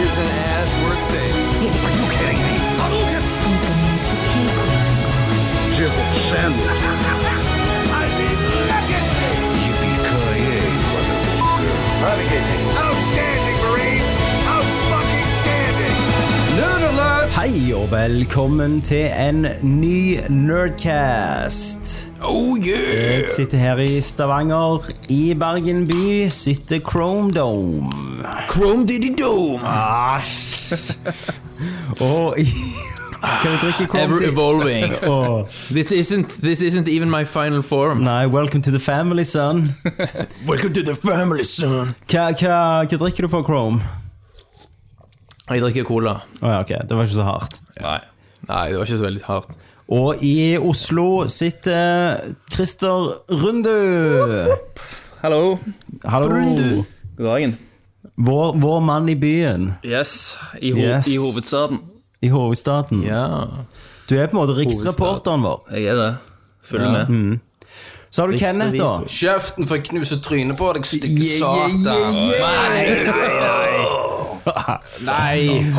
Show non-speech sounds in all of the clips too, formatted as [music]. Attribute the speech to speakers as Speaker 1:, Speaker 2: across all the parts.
Speaker 1: is an ass worth saving.
Speaker 2: Outstanding, Marine! Out fucking standing!
Speaker 3: Hei og velkommen til en ny Nerdcast.
Speaker 4: Oh yeah!
Speaker 3: Jeg sitter her i Stavanger, i Bergen by, sitter Chrome Dome.
Speaker 4: Chrome Diddy Dome!
Speaker 3: Asj! [laughs] og i Kan vi drikke Chrome
Speaker 4: Ever
Speaker 3: Dome?
Speaker 4: evolving.
Speaker 3: [laughs] Åh.
Speaker 4: This isn't this isn't even my final form.
Speaker 3: Nei, welcome to the family, son.
Speaker 4: Welcome to the family, son.
Speaker 3: Hva, hva, hva drikker du på Chrome?
Speaker 4: Jeg drikker cola.
Speaker 3: Å ja, ok, det var ikke så hardt.
Speaker 4: Nei. Nei, det var ikke så veldig hardt.
Speaker 3: Og i Oslo sitter Christer Rundu.
Speaker 5: Hallo.
Speaker 3: Hallo.
Speaker 5: God dagen.
Speaker 3: Vår, vår mann i byen,
Speaker 5: Yes, i, ho
Speaker 3: Yes.
Speaker 5: i hovedstaden.
Speaker 3: i hovedstaden.
Speaker 4: Ja.
Speaker 3: Du er på en måte riksreporteren vår.
Speaker 5: Jeg er det. Følger med.
Speaker 4: Mm.
Speaker 3: Så har du Kenneth, da.
Speaker 4: Riksrevisor.
Speaker 6: Kjeften for å knuse trynet på deg, stygge
Speaker 3: Yeah, yeah,
Speaker 6: satan.
Speaker 4: Nei!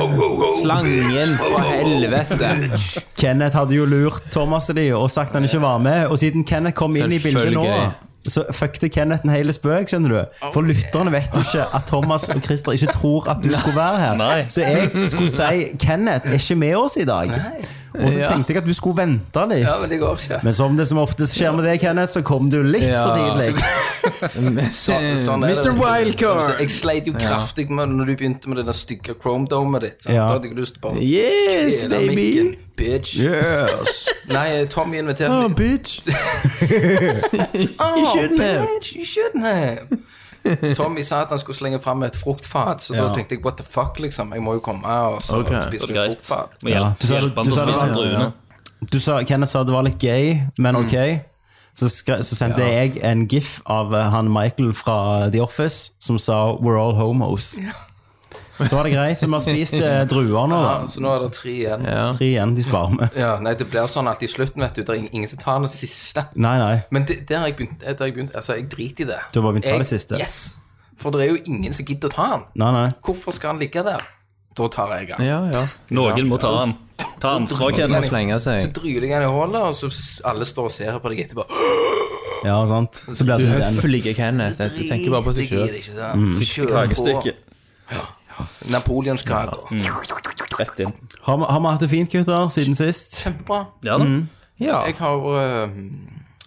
Speaker 4: Slangen, for helvete!
Speaker 3: [laughs] Kenneth hadde jo lurt Thomas og de og sagt han ikke var med. Og siden Kenneth kom inn i bildet nå,
Speaker 4: Selvfølgelig.
Speaker 3: så fuckte Kenneth en hel spøk, skjønner du. For lytterne vet jo ikke at Thomas og Christer ikke tror at du skulle være her.
Speaker 5: Nei.
Speaker 3: Så jeg skulle si Kenneth er ikke med oss i dag. Og så
Speaker 4: Ja.
Speaker 3: tenkte jeg at du skulle vente
Speaker 6: Ja,
Speaker 3: litt.
Speaker 6: men det går ikke.
Speaker 3: Men som det som oftest skjer med deg, Kenneth, så kom du litt for
Speaker 4: Ja.
Speaker 3: tidlig.
Speaker 6: Så, sånn er det.
Speaker 4: Mr. Wildcard!
Speaker 6: Så Jeg sleit jo kraftig med det når du begynte med det der stygge chrome-domet ditt. sant?
Speaker 3: Ja.
Speaker 6: Da hadde jeg lyst til bare å
Speaker 4: Yes,
Speaker 6: kvele
Speaker 4: baby!
Speaker 6: mikken, bitch.
Speaker 3: Yes.
Speaker 6: Nei, Tommy inviterte
Speaker 4: Oh,
Speaker 5: [laughs]
Speaker 6: meg.
Speaker 4: bitch!
Speaker 6: You
Speaker 4: shouldn't have.
Speaker 6: bitch, You shouldn't have.
Speaker 4: [laughs]
Speaker 6: Tommy sa at han skulle slenge fram et fruktfat, så da
Speaker 3: Ja.
Speaker 6: tenkte jeg what the fuck, liksom. Jeg må jo komme og så
Speaker 4: Ok.
Speaker 5: Det
Speaker 6: spise
Speaker 5: er
Speaker 6: litt
Speaker 5: greit.
Speaker 6: fruktfat.
Speaker 5: Må hjelpe,
Speaker 3: Du sa-
Speaker 5: hjelpe han
Speaker 3: du
Speaker 5: til
Speaker 3: sa
Speaker 5: å
Speaker 3: det
Speaker 5: spise
Speaker 3: var-
Speaker 5: druene.
Speaker 3: Du sa, Kenneth sa det var litt gøy, men ok. Så, skre, så sendte jeg en gif av eh, han Michael fra The Office som sa 'We're all homos'. Så var det greit. Så vi har spist eh, druer nå.
Speaker 4: Ah.
Speaker 6: Ja,
Speaker 3: da.
Speaker 6: så nå er det tre igjen. Ja.
Speaker 3: Tre igjen, de sparer vi.
Speaker 6: nei, det blir sånn alltid i slutten, vet du. Det er ingen som tar den siste.
Speaker 3: Nei, nei.
Speaker 6: Men det, der har jeg begynt, der har jeg begynt Altså, jeg driter i det.
Speaker 3: Du har bare begynt å ta det
Speaker 6: Jeg-
Speaker 3: siste.
Speaker 6: Yes! For det er jo ingen som gidder å ta den.
Speaker 3: Nei, nei.
Speaker 6: Hvorfor skal han ligge der? Da tar jeg den.
Speaker 4: Ja, ja.
Speaker 5: Noen må ta han. Ta ansvar,
Speaker 4: Må
Speaker 5: Kenneth.
Speaker 4: slenge
Speaker 6: Så
Speaker 4: seg.
Speaker 6: dryler jeg den i hullet, og så s- alle står og ser på deg etterpå.
Speaker 3: Ja, sant. Så blir det den.
Speaker 4: Høflige Kenneth. Du tenker bare på
Speaker 6: Drit i
Speaker 4: seg Mm. sjøl.
Speaker 6: det, ikke sant? Så kjører
Speaker 5: Kakestykke.
Speaker 6: på Napoleonskaker.
Speaker 5: Rett inn.
Speaker 3: Har vi har vi hatt det fint, gutter, siden sist?
Speaker 6: Kjempebra.
Speaker 5: Ja da.
Speaker 4: Ja.
Speaker 6: Jeg har øh,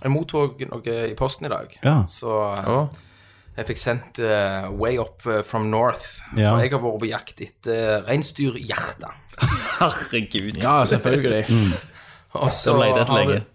Speaker 6: Jeg mottok noe i posten i dag.
Speaker 3: Ja.
Speaker 6: Så øh,
Speaker 4: Å.
Speaker 6: jeg fikk sendt øh, Way Up øh, From North.
Speaker 3: Ja.
Speaker 6: For jeg har vært på jakt etter uh, reinsdyrhjerte.
Speaker 5: Herregud.
Speaker 4: Ja,
Speaker 5: [laughs]
Speaker 4: selvfølgelig.
Speaker 6: Og så
Speaker 5: Så Mm. ble det et
Speaker 6: har
Speaker 5: lenge.
Speaker 6: det-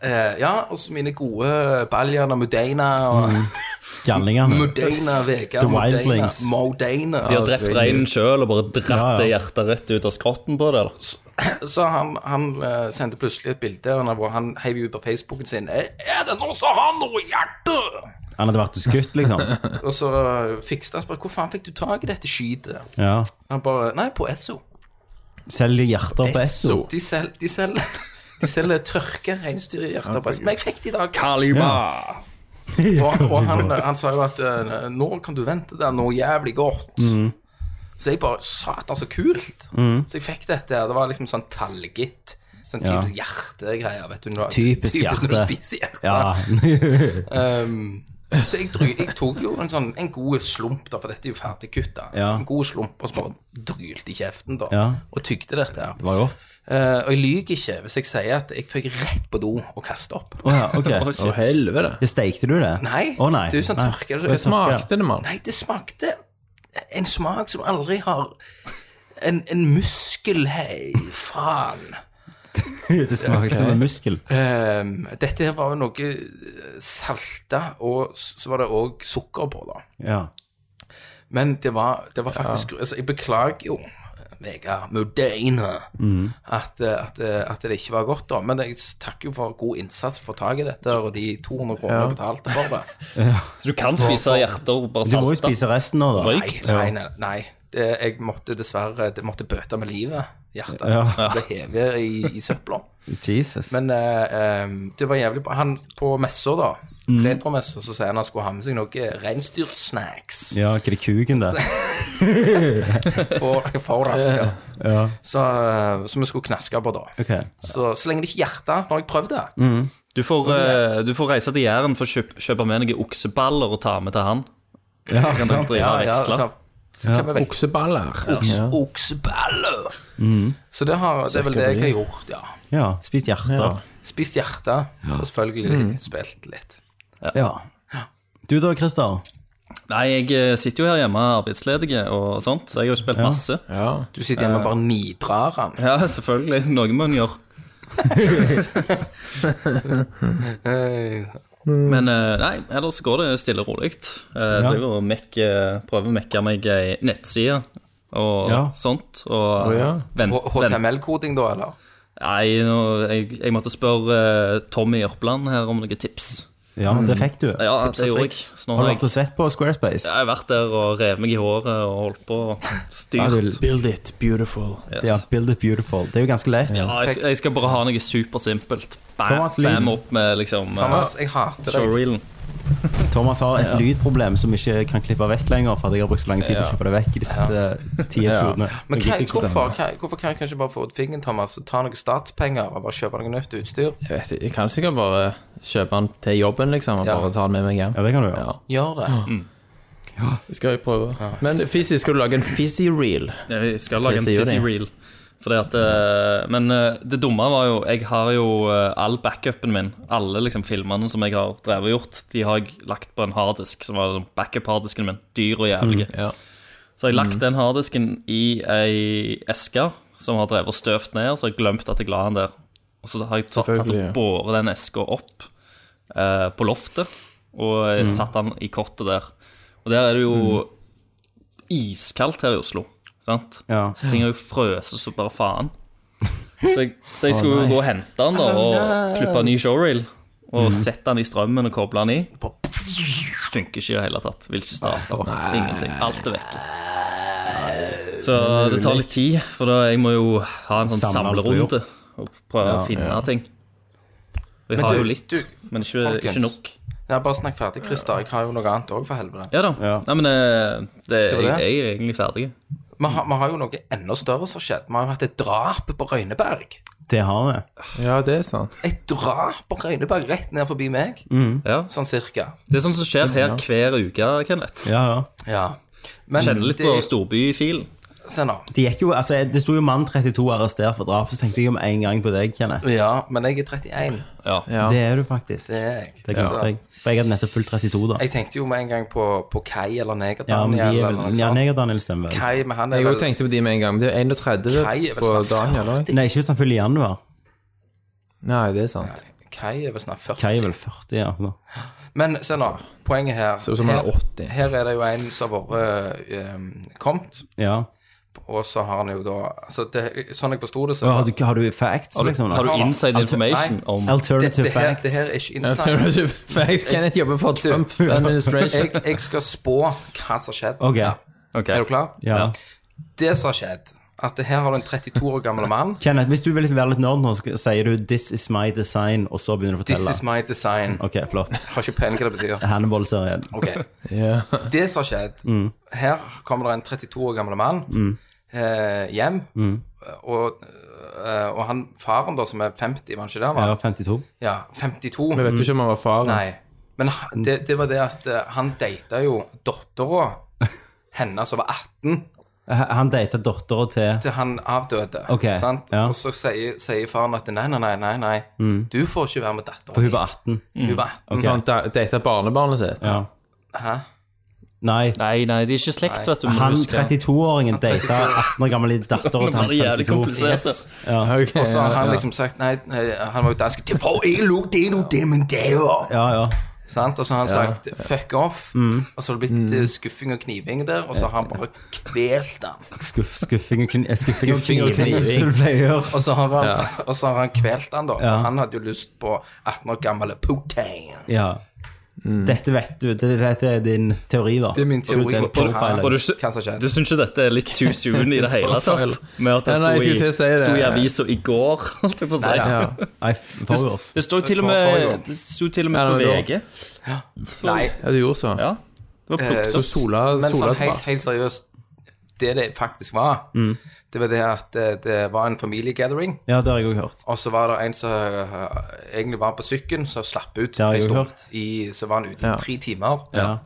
Speaker 6: Eh, ja, og så mine gode Baljan og Mudeina og
Speaker 5: Mm.
Speaker 6: [laughs]
Speaker 3: Gjallingene.
Speaker 6: Mudeina Vega.
Speaker 3: The
Speaker 6: Mudeina,
Speaker 3: Wildlings.
Speaker 6: Modena.
Speaker 5: De har drept reinen sjøl og bare
Speaker 3: Ja,
Speaker 5: dratt det
Speaker 3: ja.
Speaker 5: hjertet rett ut av skrotten på det. eller?
Speaker 6: Så han, han eh, sendte plutselig et bilde og han- hvor han heiv ut på Facebooken sin «Eh, Er det noen som har noe hjerte?
Speaker 3: Han hadde vært skutt, liksom.
Speaker 6: Og så fikste han spør hvor faen fikk du tak i dette skytet?
Speaker 3: Ja.
Speaker 6: Han bare Nei, på Esso.
Speaker 3: Selger hjerter på Esso.
Speaker 6: De selger de selger- [laughs] de selger tørka reinsdyrhjerter på Esso. Men jeg fikk det i dag. [laughs] Og, og han, han sa jo at eh, nå kan du vente deg noe jævlig godt.
Speaker 3: Mm.
Speaker 6: Så jeg bare Satan, så kult! Så jeg fikk dette. her. Det var liksom sånn talgitt. Sånn
Speaker 3: Ja.
Speaker 6: typisk hjertegreier, vet du. Når,
Speaker 3: Typisk
Speaker 6: når du
Speaker 3: hjerte.
Speaker 6: spiser hjerte.
Speaker 3: Ja. [laughs]
Speaker 6: Um, så jeg, dry, jeg tok jo en sånn En god slump, da, for dette er jo ferdig kutta.
Speaker 3: Ja.
Speaker 6: En god slump, og så bare drylte i kjeften, da.
Speaker 3: Ja.
Speaker 6: Og tygde dette her.
Speaker 3: Det var godt.
Speaker 6: Eh, og jeg lyver ikke hvis jeg sier at jeg fikk rett på do og kastet opp.
Speaker 3: Å ja, [laughs] ok.
Speaker 4: Å, helvete.
Speaker 3: Det Steikte du det?
Speaker 6: Nei,
Speaker 3: Å, nei.
Speaker 6: det er jo sånn
Speaker 3: Nei.
Speaker 6: tørke.
Speaker 4: Hva smakte det, mann?
Speaker 6: Nei, det smakte en smak som aldri har En, en muskel Hei, faen.
Speaker 3: [laughs] Det smakte som en muskel.
Speaker 6: Ehm, dette her var jo noe salta, og s- så var det òg sukker på, da.
Speaker 3: Ja.
Speaker 6: Men det var, det var faktisk altså, Jeg beklager jo, Vegard Mudeina,
Speaker 3: Mhm.
Speaker 6: at, eh, at, eh, at det ikke var godt, da. Men jeg takker jo for god innsats for tak i dette, og de 200 kronene jeg betalte for det.
Speaker 3: [laughs]
Speaker 5: Så du kan spise hjerter og bare
Speaker 3: Du må jo
Speaker 5: salte.
Speaker 3: spise resten nå, da.
Speaker 5: Røyk.
Speaker 6: Nei, nei, nei, nei. det, jeg måtte dessverre det måtte bøte med livet. Hjertet
Speaker 3: Ja.
Speaker 6: ble hevet i, i søpla.
Speaker 3: Jesus.
Speaker 6: Men eh, eh, det var jævlig bra. Han på messa, da,
Speaker 3: Mhm.
Speaker 6: retromessa, så sier han han skulle ha med seg noe reinsdyrsnacks.
Speaker 3: ja, hva er det kuken
Speaker 6: [laughs]
Speaker 3: der?
Speaker 6: For, for det, ja.
Speaker 3: [laughs] Ja,
Speaker 6: så, eh, som vi skulle knaske på, da.
Speaker 3: ok.
Speaker 6: Så, så lenge det ikke er hjertet, nå har jeg prøvd det.
Speaker 3: Mm.
Speaker 5: Du får, eh, du får reise til Jæren for å kjøpe, kjøpe med noen okseballer og ta med til han.
Speaker 3: Ja,
Speaker 5: Kan
Speaker 3: sant.
Speaker 5: dere drive og veksle?
Speaker 6: ta- så kan vi veksle.
Speaker 4: Okseballer.
Speaker 6: Oks,
Speaker 4: Ja.
Speaker 6: Okseballer.
Speaker 3: Mm.
Speaker 6: Så det, har, det er vel det jeg har gjort, ja.
Speaker 3: Ja, spist hjerter.
Speaker 6: Spist hjerte, og selvfølgelig spilt litt.
Speaker 3: Ja. Du da, Christer?
Speaker 5: Nei, jeg eh, sitter jo her hjemme arbeidsledig og sånt, så jeg har jo spilt masse.
Speaker 4: Ja.
Speaker 6: Du sitter hjemme og bare nidrar han.
Speaker 5: Ja, selvfølgelig. Noe må en gjøre.
Speaker 6: Eh,
Speaker 5: Men eh, nei, ellers går det stille og rolig. Eh, Driver og mekker- prøver å mekke meg ei nettside og
Speaker 3: Ja.
Speaker 5: sånt. Og
Speaker 4: ja.
Speaker 5: vent,
Speaker 6: H-
Speaker 5: vent.
Speaker 6: HTML-koding, da, eller?
Speaker 5: Nei, nå, jeg, jeg måtte spørre eh, Tommy Jørpeland her om noen tips.
Speaker 3: Ja, det fikk du.
Speaker 5: Mm. Ja,
Speaker 3: Tips og
Speaker 5: det gjorde jeg.
Speaker 3: triks.
Speaker 5: Så nå
Speaker 3: Har
Speaker 5: har
Speaker 3: du
Speaker 5: jeg-
Speaker 3: vært og sett på Squarespace?
Speaker 5: Jeg har vært der og rev meg i håret og holdt på og
Speaker 3: Ja,
Speaker 5: styrt.
Speaker 3: du-
Speaker 4: Build it beautiful.
Speaker 5: Yes.
Speaker 3: ja, Build it beautiful. Det er jo ganske lett.
Speaker 5: Ja, jeg, jeg skal bare ha noe supersimpelt. Bam,
Speaker 3: Thomas Lyd.
Speaker 5: bam opp med liksom
Speaker 6: Thomas, jeg hater deg.
Speaker 5: showreelen.
Speaker 3: Thomas har et lydproblem som ikke kan klippe vekk lenger, for at jeg har brukt så lang tid på å klippe det vekk i de siste ti episodene.
Speaker 6: Men hva,
Speaker 3: Jeg liker ikke stemmen.
Speaker 6: hvorfor, hva, hvorfor kan jeg kanskje bare få ut fingeren, Thomas, og ta noen statspenger og bare kjøpe noe nytt utstyr?
Speaker 4: Jeg vet ikke, jeg kan sikkert bare kjøpe den til jobben, liksom, og
Speaker 6: Ja.
Speaker 4: bare ta den med meg hjem.
Speaker 3: Ja, det kan du gjøre.
Speaker 4: Ja,
Speaker 6: Gjør det.
Speaker 3: Mm.
Speaker 4: det skal jeg prøve. Men Fizzy, skal du lage en Fizzy-reel?
Speaker 5: Jeg skal lage en
Speaker 4: Therese gjør det.
Speaker 5: fizzy reel. Fordi at, eh, men eh, det dumme var jo Jeg har jo eh, all backupen min. Alle liksom filmene som jeg har drevet og gjort, de har jeg lagt på en harddisk som var sånn backup-harddisken min. Dyr og jævlig.
Speaker 4: Mm, Ja. Mm.
Speaker 5: Så har jeg lagt den harddisken i ei eske som har drevet og støvt ned, så har jeg glemt at jeg la den der. Og så har jeg tatt, tatt
Speaker 4: Selvfølgelig,
Speaker 5: og
Speaker 4: ja.
Speaker 5: båret den eska opp eh, på loftet og eh,
Speaker 4: Mm.
Speaker 5: satt den i kortet der. Og der er det jo iskaldt her i Oslo, sant?
Speaker 3: Ja.
Speaker 5: Så ting er jo frøset så bare faen. [laughs] Så jeg, så jeg skulle gå og hente den da, og klippe en ny showreel. Og sette den i strømmen og koble den i. Funker ikke i det hele tatt. Vil ikke starte. Ingenting. Alt er vekk. Så det tar litt tid, for da jeg må jo ha en sånn
Speaker 3: Samle alt du har
Speaker 5: samlerunde og prøve å finne ting. Og jeg
Speaker 6: Men
Speaker 5: har
Speaker 6: du-
Speaker 5: jo litt,
Speaker 6: du,
Speaker 5: men ikke,
Speaker 6: folkens.
Speaker 5: ikke nok.
Speaker 6: Ja, bare snakk ferdig, Christer. Jeg har jo noe annet òg, for helvete.
Speaker 5: Ja da.
Speaker 3: Ja.
Speaker 5: Nei, men eh, det,
Speaker 6: var det.
Speaker 5: jeg, jeg er egentlig ferdig.
Speaker 6: Vi har, vi har jo noe enda større som har skjedd. Vi har jo hatt et drap på Røyneberg.
Speaker 3: Det har vi.
Speaker 4: ja, det er sant.
Speaker 6: Et drap på Røyneberg rett ned forbi meg,
Speaker 3: Mm.
Speaker 5: Ja.
Speaker 6: sånn cirka.
Speaker 5: Det er sånn som skjer her hver uke, Kenneth.
Speaker 3: Ja, ja.
Speaker 6: Ja. Men
Speaker 5: Kjenner litt
Speaker 6: det-
Speaker 5: på storbyfilen.
Speaker 6: Se nå.
Speaker 3: Det gikk jo, altså, det sto jo mann 32 arrestert for drap, så tenkte jeg om en gang på deg, Kenneth.
Speaker 6: Ja, men jeg er 31.
Speaker 5: Ja.
Speaker 4: Ja.
Speaker 3: Det er du faktisk.
Speaker 6: Det er jeg.
Speaker 3: Det glemte jeg. For jeg hadde nettopp fulgt 32, da.
Speaker 6: Jeg tenkte jo med en gang på, på Kai eller
Speaker 3: Ja, men de
Speaker 6: Neger-Daniel.
Speaker 3: er
Speaker 6: eller noe
Speaker 3: vel Ja,
Speaker 6: sånt.
Speaker 3: Neger-Daniel stemmer vel.
Speaker 6: Kai, men han er
Speaker 4: Jeg
Speaker 6: vel
Speaker 4: også tenkte på de med en gang, men det er jo 31
Speaker 6: Kai er vel
Speaker 4: på
Speaker 6: snart
Speaker 4: dagen, eller?
Speaker 6: 40.
Speaker 3: Nei, ikke hvis han fyller i januar.
Speaker 4: Nei, det er sant.
Speaker 6: Kai er vel snart 40.
Speaker 3: Kai er vel 40, ja. altså. Så.
Speaker 6: Men se nå, poenget her
Speaker 4: ut som han er
Speaker 6: her-
Speaker 4: 80.
Speaker 6: Her er det jo en som har vært eh, kommet,
Speaker 3: Ja.
Speaker 6: og så har han jo da altså det, Sånn jeg forsto det, så
Speaker 3: Og Har, du, har du facts, liksom?
Speaker 5: Har
Speaker 3: Da?
Speaker 5: du inside information
Speaker 6: Nei.
Speaker 5: om
Speaker 6: det,
Speaker 3: Alternative
Speaker 6: det, her, det
Speaker 3: facts.
Speaker 6: her er ikke insight.
Speaker 4: [laughs] Jeg Kenneth jobber for Trump administration.
Speaker 6: Jeg, jeg skal spå hva som har skjedd.
Speaker 3: Ok.
Speaker 6: Ja.
Speaker 5: Ok.
Speaker 6: Er du klar?
Speaker 3: Ja.
Speaker 6: Det som har skjedd, at her har du en 32 år gammel mann.
Speaker 3: Kenneth, hvis du vil være litt nerd nå, så sier du 'This is my design', og så begynner du å
Speaker 6: This
Speaker 3: fortelle.
Speaker 6: is my design.
Speaker 3: Ok, flott.
Speaker 6: Har ikke peiling hva det betyr.
Speaker 3: Hannibal-serien.
Speaker 6: Ok
Speaker 4: Ja.
Speaker 6: Det som har skjedd Her kommer det en 32 år gammel mann eh, hjem. Og, eh, og han faren, da, som er 50, var han ikke det?
Speaker 3: Jeg
Speaker 6: Han var,
Speaker 3: har 52.
Speaker 6: ja. 52.
Speaker 4: Jeg vet jo ikke om han var faren.
Speaker 6: Nei. Men h- det, det var det at eh, han data jo dattera hennes som var 18,
Speaker 3: H- Han datet dattera til
Speaker 6: til han avdøde.
Speaker 3: Ok,
Speaker 6: Sant?
Speaker 3: ja. Mm.
Speaker 6: Og så sier, sier faren at nei, nei, nei, nei, nei. du får ikke være med dattera
Speaker 3: For hun var 18.
Speaker 4: Mm.
Speaker 6: Hun var 18.
Speaker 4: Så han sånn, da- datet barnebarnet sitt.
Speaker 3: Ja.
Speaker 6: Hæ?
Speaker 3: Nei.
Speaker 5: Nei, nei, de er ikke slekt, vet du. må
Speaker 3: Han
Speaker 5: huske.
Speaker 3: 32-åringen data
Speaker 6: 32.
Speaker 3: 18 år gamle dattera
Speaker 5: Det
Speaker 3: til han
Speaker 5: var jævlig
Speaker 3: 52.
Speaker 5: komplisert. da.
Speaker 4: Ok,
Speaker 6: Og så har han
Speaker 4: ja.
Speaker 6: liksom sagt Nei, nei, han var jo dansk. Det får jeg lov, det er noe det, men det er jo
Speaker 3: Ja, Mm. ja.
Speaker 6: Sant? Og så har han sagt 'fuck off', og så har det
Speaker 4: Mm.
Speaker 6: blitt eh, skuffing og kniving der, og så har han bare kvelt den.
Speaker 3: Skuff, skuffing og kni- eh, skuffing og
Speaker 4: Skuffing og
Speaker 3: kniving,
Speaker 4: kniving.
Speaker 3: som du pleier å gjøre.
Speaker 6: Og så har han, og så har han kvelt den, da. For han hadde jo lyst på 18 år gamle Putain.
Speaker 3: Ja. Dette vet du, det- dette er din teori, da.
Speaker 6: Det er min teori.
Speaker 3: Du,
Speaker 6: Og-
Speaker 3: det
Speaker 6: og-
Speaker 3: profiler.
Speaker 5: Og du,
Speaker 6: Hva som skjedde?
Speaker 5: du syns ikke dette er litt too soon
Speaker 6: [laughs]
Speaker 5: i det hele tatt? Med at det
Speaker 4: Ja, nei, jeg skulle til å
Speaker 5: sto
Speaker 4: si
Speaker 5: i,
Speaker 4: det.
Speaker 5: sto i avisa i går, [laughs] holdt jeg på å si.
Speaker 6: Nei,
Speaker 4: Ja.
Speaker 3: Nei, forgårs.
Speaker 5: Det sto til og
Speaker 6: For-
Speaker 5: med,
Speaker 6: forrige
Speaker 5: det sto til og
Speaker 4: Ja,
Speaker 5: med på
Speaker 4: det var i
Speaker 5: VG.
Speaker 6: Nei.
Speaker 4: ja, du gjorde så.
Speaker 5: Ja. Det var
Speaker 6: eh,
Speaker 5: plutselig
Speaker 4: Så sola,
Speaker 6: Men
Speaker 4: sola
Speaker 6: sånn helt, helt seriøst, det det faktisk var, det var det at det, det var en familiegathering,
Speaker 3: Ja, det har jeg òg hørt.
Speaker 6: og så var det en som eh, egentlig var på sykkelen, som slapp ut.
Speaker 3: Det har
Speaker 6: en
Speaker 3: jeg jo
Speaker 6: stund.
Speaker 3: hørt.
Speaker 6: I, så var han ute i
Speaker 4: Ja.
Speaker 6: tre timer,
Speaker 3: Ja.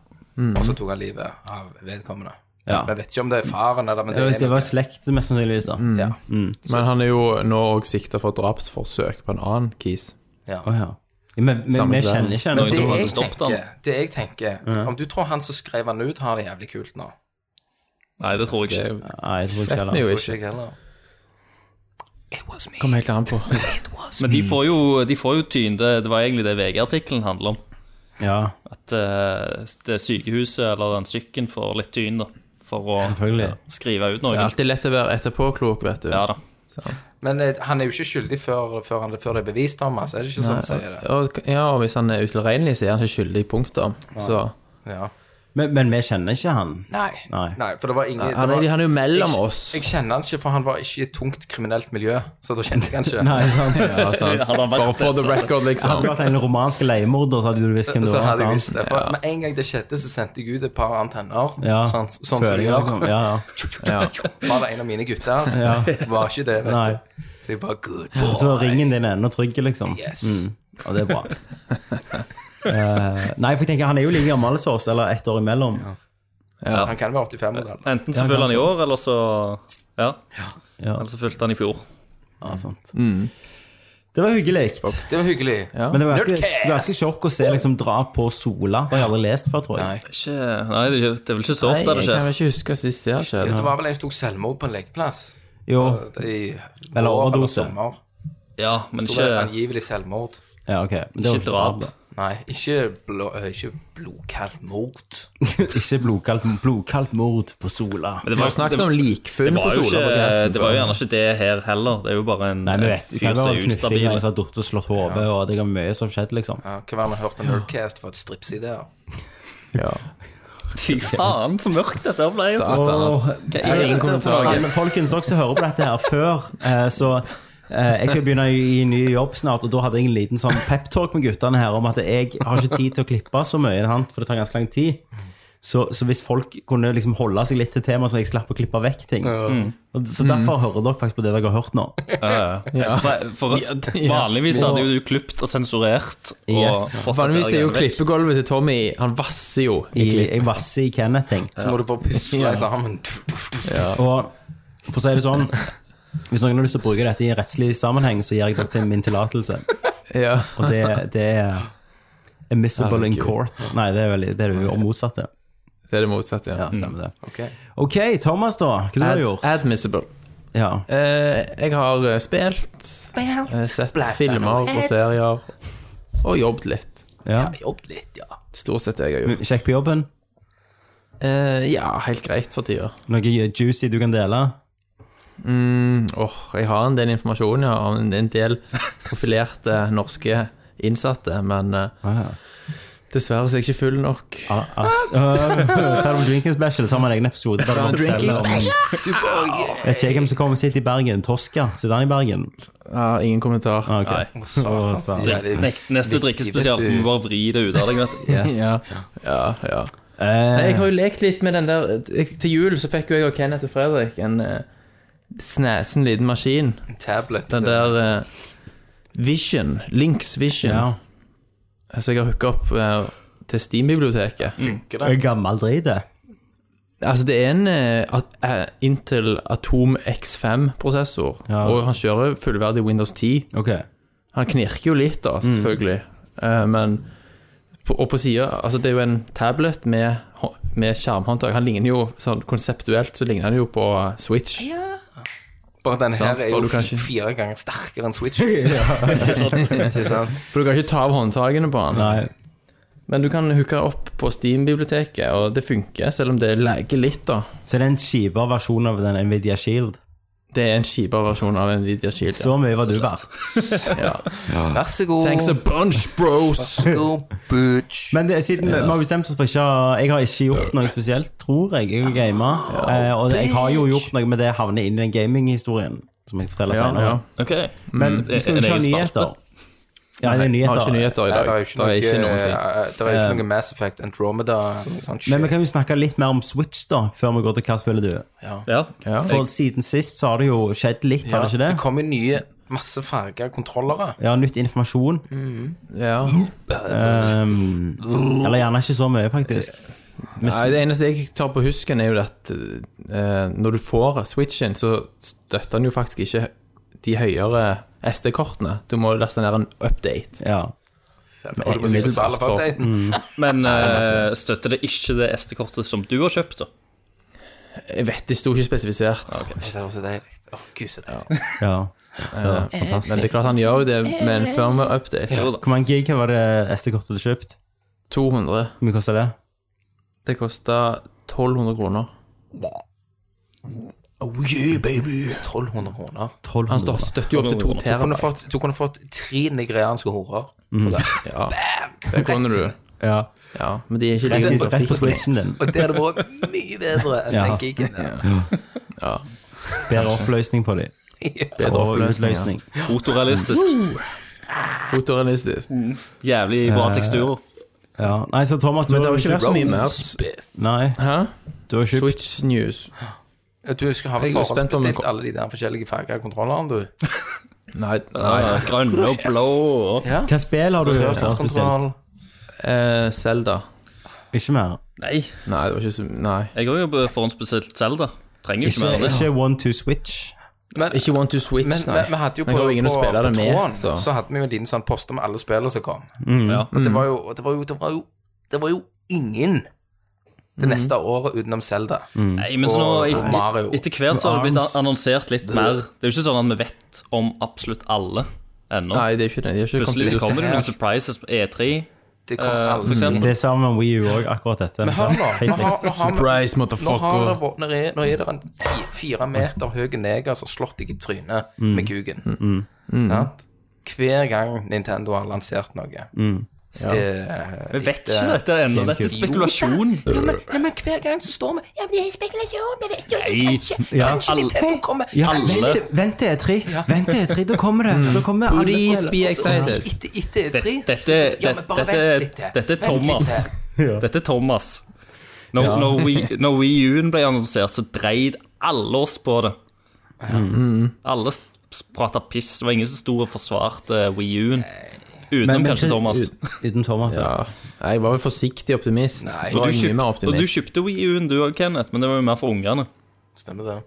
Speaker 6: og så tok han livet av vedkommende.
Speaker 3: Ja.
Speaker 6: Jeg vet ikke om det er faren eller men
Speaker 3: Ja, Hvis
Speaker 6: det
Speaker 3: det
Speaker 6: er
Speaker 3: var slekt, mest sannsynligvis, da.
Speaker 6: ja.
Speaker 4: Men han er jo nå òg sikta for drapsforsøk på en annen kis.
Speaker 6: Ja.
Speaker 3: Å, ja. Men vi,
Speaker 4: Samme
Speaker 3: vi
Speaker 4: der.
Speaker 3: kjenner ikke
Speaker 5: Noen
Speaker 6: Det
Speaker 5: som
Speaker 3: henne.
Speaker 5: hadde
Speaker 6: jeg
Speaker 5: stoppet
Speaker 6: tenker,
Speaker 5: han.
Speaker 6: det jeg tenker Om du tror han som skrev han ut, har det jævlig kult nå?
Speaker 5: Nei, det tror jeg ikke.
Speaker 4: Det
Speaker 3: Nei, jeg tror ikke
Speaker 4: vet vi
Speaker 3: heller.
Speaker 4: jo
Speaker 6: Tror
Speaker 4: ikke.
Speaker 6: ikke jeg heller.
Speaker 4: Kom helt an på.
Speaker 5: Men de får jo, de får jo tyn. Det, det var egentlig det VG-artikkelen handler om.
Speaker 3: Ja,
Speaker 5: At eh, det sykehuset eller den sykkelen får litt tyn da, for å
Speaker 3: selvfølgelig.
Speaker 5: skrive ut
Speaker 4: Det er
Speaker 5: noe.
Speaker 4: alltid lett å være etterpåklok, vet du.
Speaker 5: Ja da.
Speaker 4: Sant?
Speaker 6: Men eh, han er jo ikke skyldig før, før, han, før det er bevist, Thomas. Er det ikke sånn han sier det?
Speaker 4: Og, ja, og hvis han er utilregnelig, så er han ikke skyldig, punktum. Så
Speaker 6: Ja.
Speaker 3: Men, men vi kjenner ikke han.
Speaker 6: Nei.
Speaker 3: Nei.
Speaker 6: For det var ingen det
Speaker 4: han er,
Speaker 6: var,
Speaker 4: han er jo mellom
Speaker 6: jeg,
Speaker 4: oss.
Speaker 6: jeg kjenner han ikke, for han var ikke i et tungt kriminelt miljø. Så da kjente jeg han ikke.
Speaker 3: Nei, sant?
Speaker 4: Ja, sant.
Speaker 5: Hadde han vært
Speaker 4: Bare for
Speaker 5: det,
Speaker 4: the
Speaker 5: så-
Speaker 4: record,
Speaker 3: Hadde
Speaker 4: liksom.
Speaker 3: du vært en romansk leiemorder, så hadde du visst hvem det
Speaker 6: Så
Speaker 3: var.
Speaker 6: hadde jeg
Speaker 3: sant?
Speaker 6: visst det. For Med en gang det skjedde, så sendte jeg ut et par antenner.
Speaker 3: Ja,
Speaker 6: Sånn, sånn som
Speaker 3: føler
Speaker 6: de
Speaker 3: jeg,
Speaker 6: gjør.
Speaker 3: liksom. Ja, ja.
Speaker 6: Var det en av mine gutter? Var ikke det, vet
Speaker 3: Nei.
Speaker 6: du. Så jeg bare Good boy.
Speaker 3: Så ringen din er ennå trygg, liksom.
Speaker 6: Yes.
Speaker 3: Og det er
Speaker 5: [laughs]
Speaker 3: bra. Eh, nei, for jeg tenker, han er jo like gammel som oss, eller ett år imellom.
Speaker 6: Han kan være 85-modell.
Speaker 5: Enten så fyller han i år, eller så Ja.
Speaker 3: Ja.
Speaker 5: Eller så fylte han i fjor.
Speaker 3: Ja, sant. Det var hyggelig.
Speaker 6: Det var hyggelig.
Speaker 3: Men det var ganske, det var ganske sjokk å se liksom dra på Sola. Det har jeg aldri lest før, tror jeg.
Speaker 5: Ikke, nei, det er ikke- det er vel ikke så
Speaker 4: Nei,
Speaker 5: ofte det
Speaker 4: jeg
Speaker 5: skjer.
Speaker 4: kan vel ikke huske sist det har skjedd.
Speaker 6: Det var vel en som tok selvmord på en lekeplass.
Speaker 3: Jo,
Speaker 6: I
Speaker 3: Eller
Speaker 6: vår
Speaker 3: overdose.
Speaker 6: sommer.
Speaker 5: Ja, men
Speaker 6: Det var
Speaker 5: ikke,
Speaker 6: angivelig selvmord.
Speaker 3: ja, ok. Men det var
Speaker 5: ikke drap.
Speaker 6: Nei, ikke, blå, eh, ikke blodkaldt mord.
Speaker 3: [laughs] Ikke blodkaldt, blodkaldt mord på Sola.
Speaker 5: Men det
Speaker 4: Vi
Speaker 5: var,
Speaker 4: har snakket om likfunn
Speaker 5: det
Speaker 4: på
Speaker 5: var jo
Speaker 4: Sola på
Speaker 5: ikke, eh,
Speaker 4: grensen.
Speaker 5: det var jo
Speaker 4: før.
Speaker 5: gjerne ikke det her heller. Det er jo bare en
Speaker 3: Nei, men
Speaker 5: en
Speaker 3: vet du,
Speaker 5: fyr
Speaker 3: kan
Speaker 5: som
Speaker 3: være
Speaker 5: er
Speaker 3: knuffing
Speaker 5: ustabil.
Speaker 3: mens har datt og slått hodet, og det er mye som skjedde, liksom.
Speaker 6: Ja, hva var det vi hørte på Nerdcast for et stripsideer?
Speaker 4: Ja.
Speaker 5: Fy faen, så mørkt dette ble. Altså.
Speaker 3: Åh,
Speaker 5: er det dette for noe?
Speaker 3: Ja, eh, men folkens, dere som hører på dette her før, eh, så eh, Jeg skal begynne i i ny jobb snart, og da hadde jeg en liten sånn peptalk med guttene her om at jeg har ikke tid til å klippe så mye, sant? for det tar ganske lang tid. Så, så hvis folk kunne liksom holde seg litt til temaet, så jeg slapp å klippe vekk ting. Og, så derfor
Speaker 5: Mm.
Speaker 3: hører dere faktisk på det dere har
Speaker 5: [laughs]
Speaker 3: hørt nå.
Speaker 5: Ja. For, for, vanligvis hadde jo du klippet og sensurert. Og
Speaker 3: Yes.
Speaker 5: fått
Speaker 4: Vanligvis
Speaker 5: dette
Speaker 4: er jo
Speaker 5: greiene vekk.
Speaker 4: klippegulvet til Tommy Han vasser jo i
Speaker 3: I,
Speaker 4: klipp.
Speaker 3: jeg vasser i Kenneth-ting.
Speaker 6: Så må du bare pusle deg sammen. Tuff, tuff, tuff.
Speaker 3: Og for å si det sånn Hvis noen har lyst til å bruke dette i en rettslig sammenheng, så gir jeg dere til min tillatelse.
Speaker 4: Ja.
Speaker 3: Og det, det er Admissible in
Speaker 4: Herregud.
Speaker 3: court. Nei, det er, veldig, det er jo motsatte.
Speaker 4: Det er det motsatte, ja. Mm.
Speaker 3: Ja, stemmer det.
Speaker 6: Ok.
Speaker 3: Ok, Thomas, da. Hva du har du gjort?
Speaker 4: admissible.
Speaker 3: Ja.
Speaker 4: Eh, jeg har eh, spilt, eh, sett filmer og serier, og jobbet litt.
Speaker 3: ja.
Speaker 6: Jobb litt, ja.
Speaker 4: Stort sett det jeg har gjort.
Speaker 3: Kjekk på jobben?
Speaker 4: Eh, ja, helt greit for tida.
Speaker 3: Noe juicy du kan dele?
Speaker 4: Åh, jeg har en del informasjon, ja, om en- en del profilerte norske innsatte, men eh, dessverre så er jeg ikke full nok.
Speaker 3: Ah, ah. Øh, Ta det på Drinking Special, så har vi en egen episode. Der vi forteller om- Vet ikke jeg hvem som kommer og sitter i Bergen. Tosca, sitter han i Bergen?
Speaker 4: Ja, ingen kommentar.
Speaker 3: Ah, ok.
Speaker 5: Nei.
Speaker 3: Å, sant.
Speaker 6: Ja, det er
Speaker 5: Nek- Neste drikkespesial
Speaker 6: vet
Speaker 5: må
Speaker 6: du.
Speaker 5: bare vri det ut av deg. vet du.
Speaker 3: Yes.
Speaker 4: [laughs] Ja, ja. ja. Nei,
Speaker 3: Eh,
Speaker 4: jeg har jo lekt litt med den der jeg- Til jul så fikk jo jeg og Kenneth og Fredrik en eh, snesen liten maskin.
Speaker 6: en tablet.
Speaker 4: Den der eh, Vision. Links Vision.
Speaker 3: ja.
Speaker 4: Altså, jeg har hooka opp eh, til
Speaker 3: Mm.
Speaker 4: Steam-biblioteket.
Speaker 6: Funker det?
Speaker 3: En Gammel drit, det.
Speaker 4: Altså, det er en eh, at, eh, Intel Atom X5-prosessor,
Speaker 3: Ja.
Speaker 4: og han kjører fullverdig Windows 10.
Speaker 3: Ok.
Speaker 4: Han knirker jo litt,
Speaker 3: Mm.
Speaker 4: da, selvfølgelig. Eh, men på, Og på sida Altså, det er jo en tablet med, hå- med skjermhåndtak. Han ligner jo sånn konseptuelt så ligner han jo på eh, Switch.
Speaker 6: Bare den
Speaker 4: Sant,
Speaker 6: her er
Speaker 4: og
Speaker 6: jo
Speaker 4: du kan ikke-
Speaker 6: fire ganger sterkere enn
Speaker 3: [laughs]
Speaker 6: Switch.
Speaker 4: [laughs] Ikke sant? For du kan ikke ta av håndtakene på han.
Speaker 3: Nei.
Speaker 4: Men du kan hooke opp på Steam-biblioteket, og det funker, selv om det lager litt, da.
Speaker 3: Så det er en kjipere versjon av den Nvidia Shield.
Speaker 4: Det er en kjipere versjon av Nvidia Shield.
Speaker 3: Så mye var du verdt.
Speaker 6: Vær så god.
Speaker 4: Thanks a bunch, bros!
Speaker 6: Go, bitch.
Speaker 3: Men det, siden vi har bestemt oss for ikke å Jeg har ikke gjort noe spesielt, tror jeg. Jeg har gamet. Eh, og det, jeg har jo gjort noe med det havner inn i den gaminghistorien, som jeg forteller
Speaker 4: Ja,
Speaker 3: senere.
Speaker 4: ja.
Speaker 5: Ok.
Speaker 3: Men
Speaker 5: Mm.
Speaker 3: skal vi
Speaker 5: Er det
Speaker 3: ikke ha
Speaker 5: egen
Speaker 3: nyheter?
Speaker 5: spalte?
Speaker 3: Ja, det er
Speaker 4: Vi har
Speaker 3: nyheter.
Speaker 4: ikke nyheter i
Speaker 6: Nei,
Speaker 4: dag.
Speaker 6: det er jo ikke, noe,
Speaker 4: noen ting.
Speaker 6: eh, det er jo ikke noe Mass Effect Andromeda eller noe sånt.
Speaker 3: Men vi
Speaker 6: shit.
Speaker 3: kan jo snakke litt mer om Switch, da, før vi går til hva spiller du?
Speaker 5: Ja.
Speaker 3: For siden sist så har det jo skjedd litt, har det ikke
Speaker 6: Det
Speaker 3: det?
Speaker 6: kommer nye masse farga kontrollere.
Speaker 3: Ja, nytt informasjon.
Speaker 4: Ja.
Speaker 3: Um, eller gjerne ikke så mye, faktisk.
Speaker 4: Nei, det eneste jeg tar på husken, er jo det at eh, når du får switchen, så støtter den jo faktisk ikke de høyere SD-kortene. Du må laste ned en update.
Speaker 3: Ja.
Speaker 6: Og du må sikkert betale for
Speaker 4: for-
Speaker 6: updaten.
Speaker 5: Men eh, støtter det ikke det SD-kortet som du har kjøpt, da?
Speaker 4: Jeg vet, det sto ikke spesifisert.
Speaker 6: Det er også deilig. Å, gud, så deilig.
Speaker 3: ja.
Speaker 4: Eh, Men det er klart han gjør jo det med en firmware-update.
Speaker 5: Jo
Speaker 3: Hvor
Speaker 5: da.
Speaker 3: mange gig var det SD-kortet du kjøpt?
Speaker 4: 200.
Speaker 3: Hvor mye kosta det?
Speaker 4: Det kosta 1200 kroner.
Speaker 6: Oh yeah, baby. 1200 kroner.
Speaker 4: Han
Speaker 3: 1200
Speaker 4: støt- støtter jo opp til 2
Speaker 6: Du kunne
Speaker 4: terabyte. Mm.
Speaker 6: fått, du kunne fått tre nigerianske horer.
Speaker 4: [laughs] Ja. Det kunne du.
Speaker 3: Ja.
Speaker 4: Ja, men de er ikke like
Speaker 3: Rett,
Speaker 4: gode
Speaker 3: rett på
Speaker 4: grafikk.
Speaker 3: switchen din.
Speaker 6: Og det hadde vært mye bedre enn
Speaker 3: Ja.
Speaker 6: den gigen der.
Speaker 3: Bedre oppløsning på dem.
Speaker 4: Bedre
Speaker 3: Og
Speaker 4: oppløsning, ja.
Speaker 3: utløsning.
Speaker 5: Fotorealistisk.
Speaker 4: Fotorealistisk.
Speaker 5: Jævlig bra teksturer.
Speaker 3: Ja. Nei, så Thomas, du
Speaker 4: Men det har
Speaker 3: har
Speaker 4: jo ikke vært så mye mer.
Speaker 3: Nei,
Speaker 4: Hæ?
Speaker 3: du har kjøpt
Speaker 4: Switch News.
Speaker 6: Du skal ha
Speaker 4: Jeg er jo spent om-
Speaker 6: forhåndsbestilt alle de der forskjellige farga kontrollerne, du.
Speaker 4: Nei,
Speaker 5: Ja,
Speaker 4: nei.
Speaker 5: ja, Grønne og blå og
Speaker 6: Ja.
Speaker 3: Hva spill har du først bestilt?
Speaker 6: Rørtidskontroll.
Speaker 4: Eh, Zelda.
Speaker 3: Ikke mer.
Speaker 5: Nei,
Speaker 4: Nei, det var ikke så Nei.
Speaker 5: jeg har jo forhåndsbestilt Zelda. Trenger jo ikke
Speaker 3: Ikke,
Speaker 5: mer enn det.
Speaker 3: ikke One to Switch.
Speaker 6: Men,
Speaker 4: Ikke Want to Switch,
Speaker 6: men
Speaker 4: nei.
Speaker 6: vi- vi hadde jo på,
Speaker 4: Men jeg har jo ingen
Speaker 6: på,
Speaker 4: å spille
Speaker 6: på
Speaker 4: det med,
Speaker 6: tråden, så.
Speaker 4: så. Mm.
Speaker 6: hadde vi jo en liten sånn poster med alle spillene som kom.
Speaker 5: Ja.
Speaker 6: Og det var jo Det var jo, det var jo, det var jo ingen det
Speaker 4: Mm.
Speaker 6: neste året utenom Zelda.
Speaker 5: Nei, men så nå,
Speaker 6: Og
Speaker 5: et-
Speaker 6: Mario.
Speaker 5: etter hvert så har det blitt annonsert litt mer. Det er jo ikke sånn at vi vet om absolutt alle ennå.
Speaker 4: Nei, det er ikke det. De har ikke kommet
Speaker 5: Plutselig så
Speaker 4: ut.
Speaker 5: kommer det noen surprises på E3.
Speaker 6: Det kom
Speaker 5: Eh, for
Speaker 6: aldri.
Speaker 5: eksempel.
Speaker 3: Det er sammen med Wii U òg, akkurat dette.
Speaker 6: Men hør nå,
Speaker 3: sant?
Speaker 6: nå
Speaker 3: Helt riktig.
Speaker 6: har, nå har vi
Speaker 4: Surprise,
Speaker 6: Nå har det
Speaker 4: motherfucker.
Speaker 6: vært, når er, når er det en fi- fire meter høy neger som har slått deg i trynet
Speaker 5: Mm.
Speaker 6: med kuken. Sant? Hver gang Nintendo har lansert noe.
Speaker 5: Mm.
Speaker 6: Så, eh,
Speaker 5: Vi vet
Speaker 6: etter-
Speaker 5: ikke dette ennå. Dette er
Speaker 6: Jo,
Speaker 5: spekulasjon.
Speaker 6: Ja, men, nei, men hver gang så står vi Ja, men det er spekulasjon, vi vet jo ikke.
Speaker 5: Nei.
Speaker 6: Kanskje,
Speaker 3: Ja.
Speaker 6: kanskje Nintendo kommer
Speaker 3: Ja,
Speaker 5: Alle.
Speaker 3: vent, vent til E3. Vent til E3, da kommer det. Da kommer alle
Speaker 4: Please
Speaker 3: spill.
Speaker 4: be
Speaker 6: Og så- og så
Speaker 4: excited.
Speaker 6: Etter, etter
Speaker 5: Dette-
Speaker 6: tre, så-
Speaker 5: dette-
Speaker 6: så- ja, men bare
Speaker 5: dette-
Speaker 6: vent litt til.
Speaker 5: dette er
Speaker 6: Vent litt
Speaker 5: Thomas.
Speaker 6: til.
Speaker 5: Dette er Thomas. Når, når, Wii, når Wii U-en ble annonsert, så dreide alle oss på det.
Speaker 4: Mm.
Speaker 5: Alle s- s- prata piss. Det var ingen som sto og forsvarte Wii U-en. Utenom kanskje Thomas.
Speaker 3: ut- Uten Thomas, ja.
Speaker 4: Ja. Nei, jeg var vel forsiktig optimist. Nei,
Speaker 5: Og
Speaker 4: var
Speaker 5: du,
Speaker 4: mye
Speaker 5: kjøpt,
Speaker 4: mer
Speaker 5: og du
Speaker 4: optimist.
Speaker 5: kjøpte Wii U-en du òg, Kenneth, men det var jo mer for ungene.
Speaker 6: Stemmer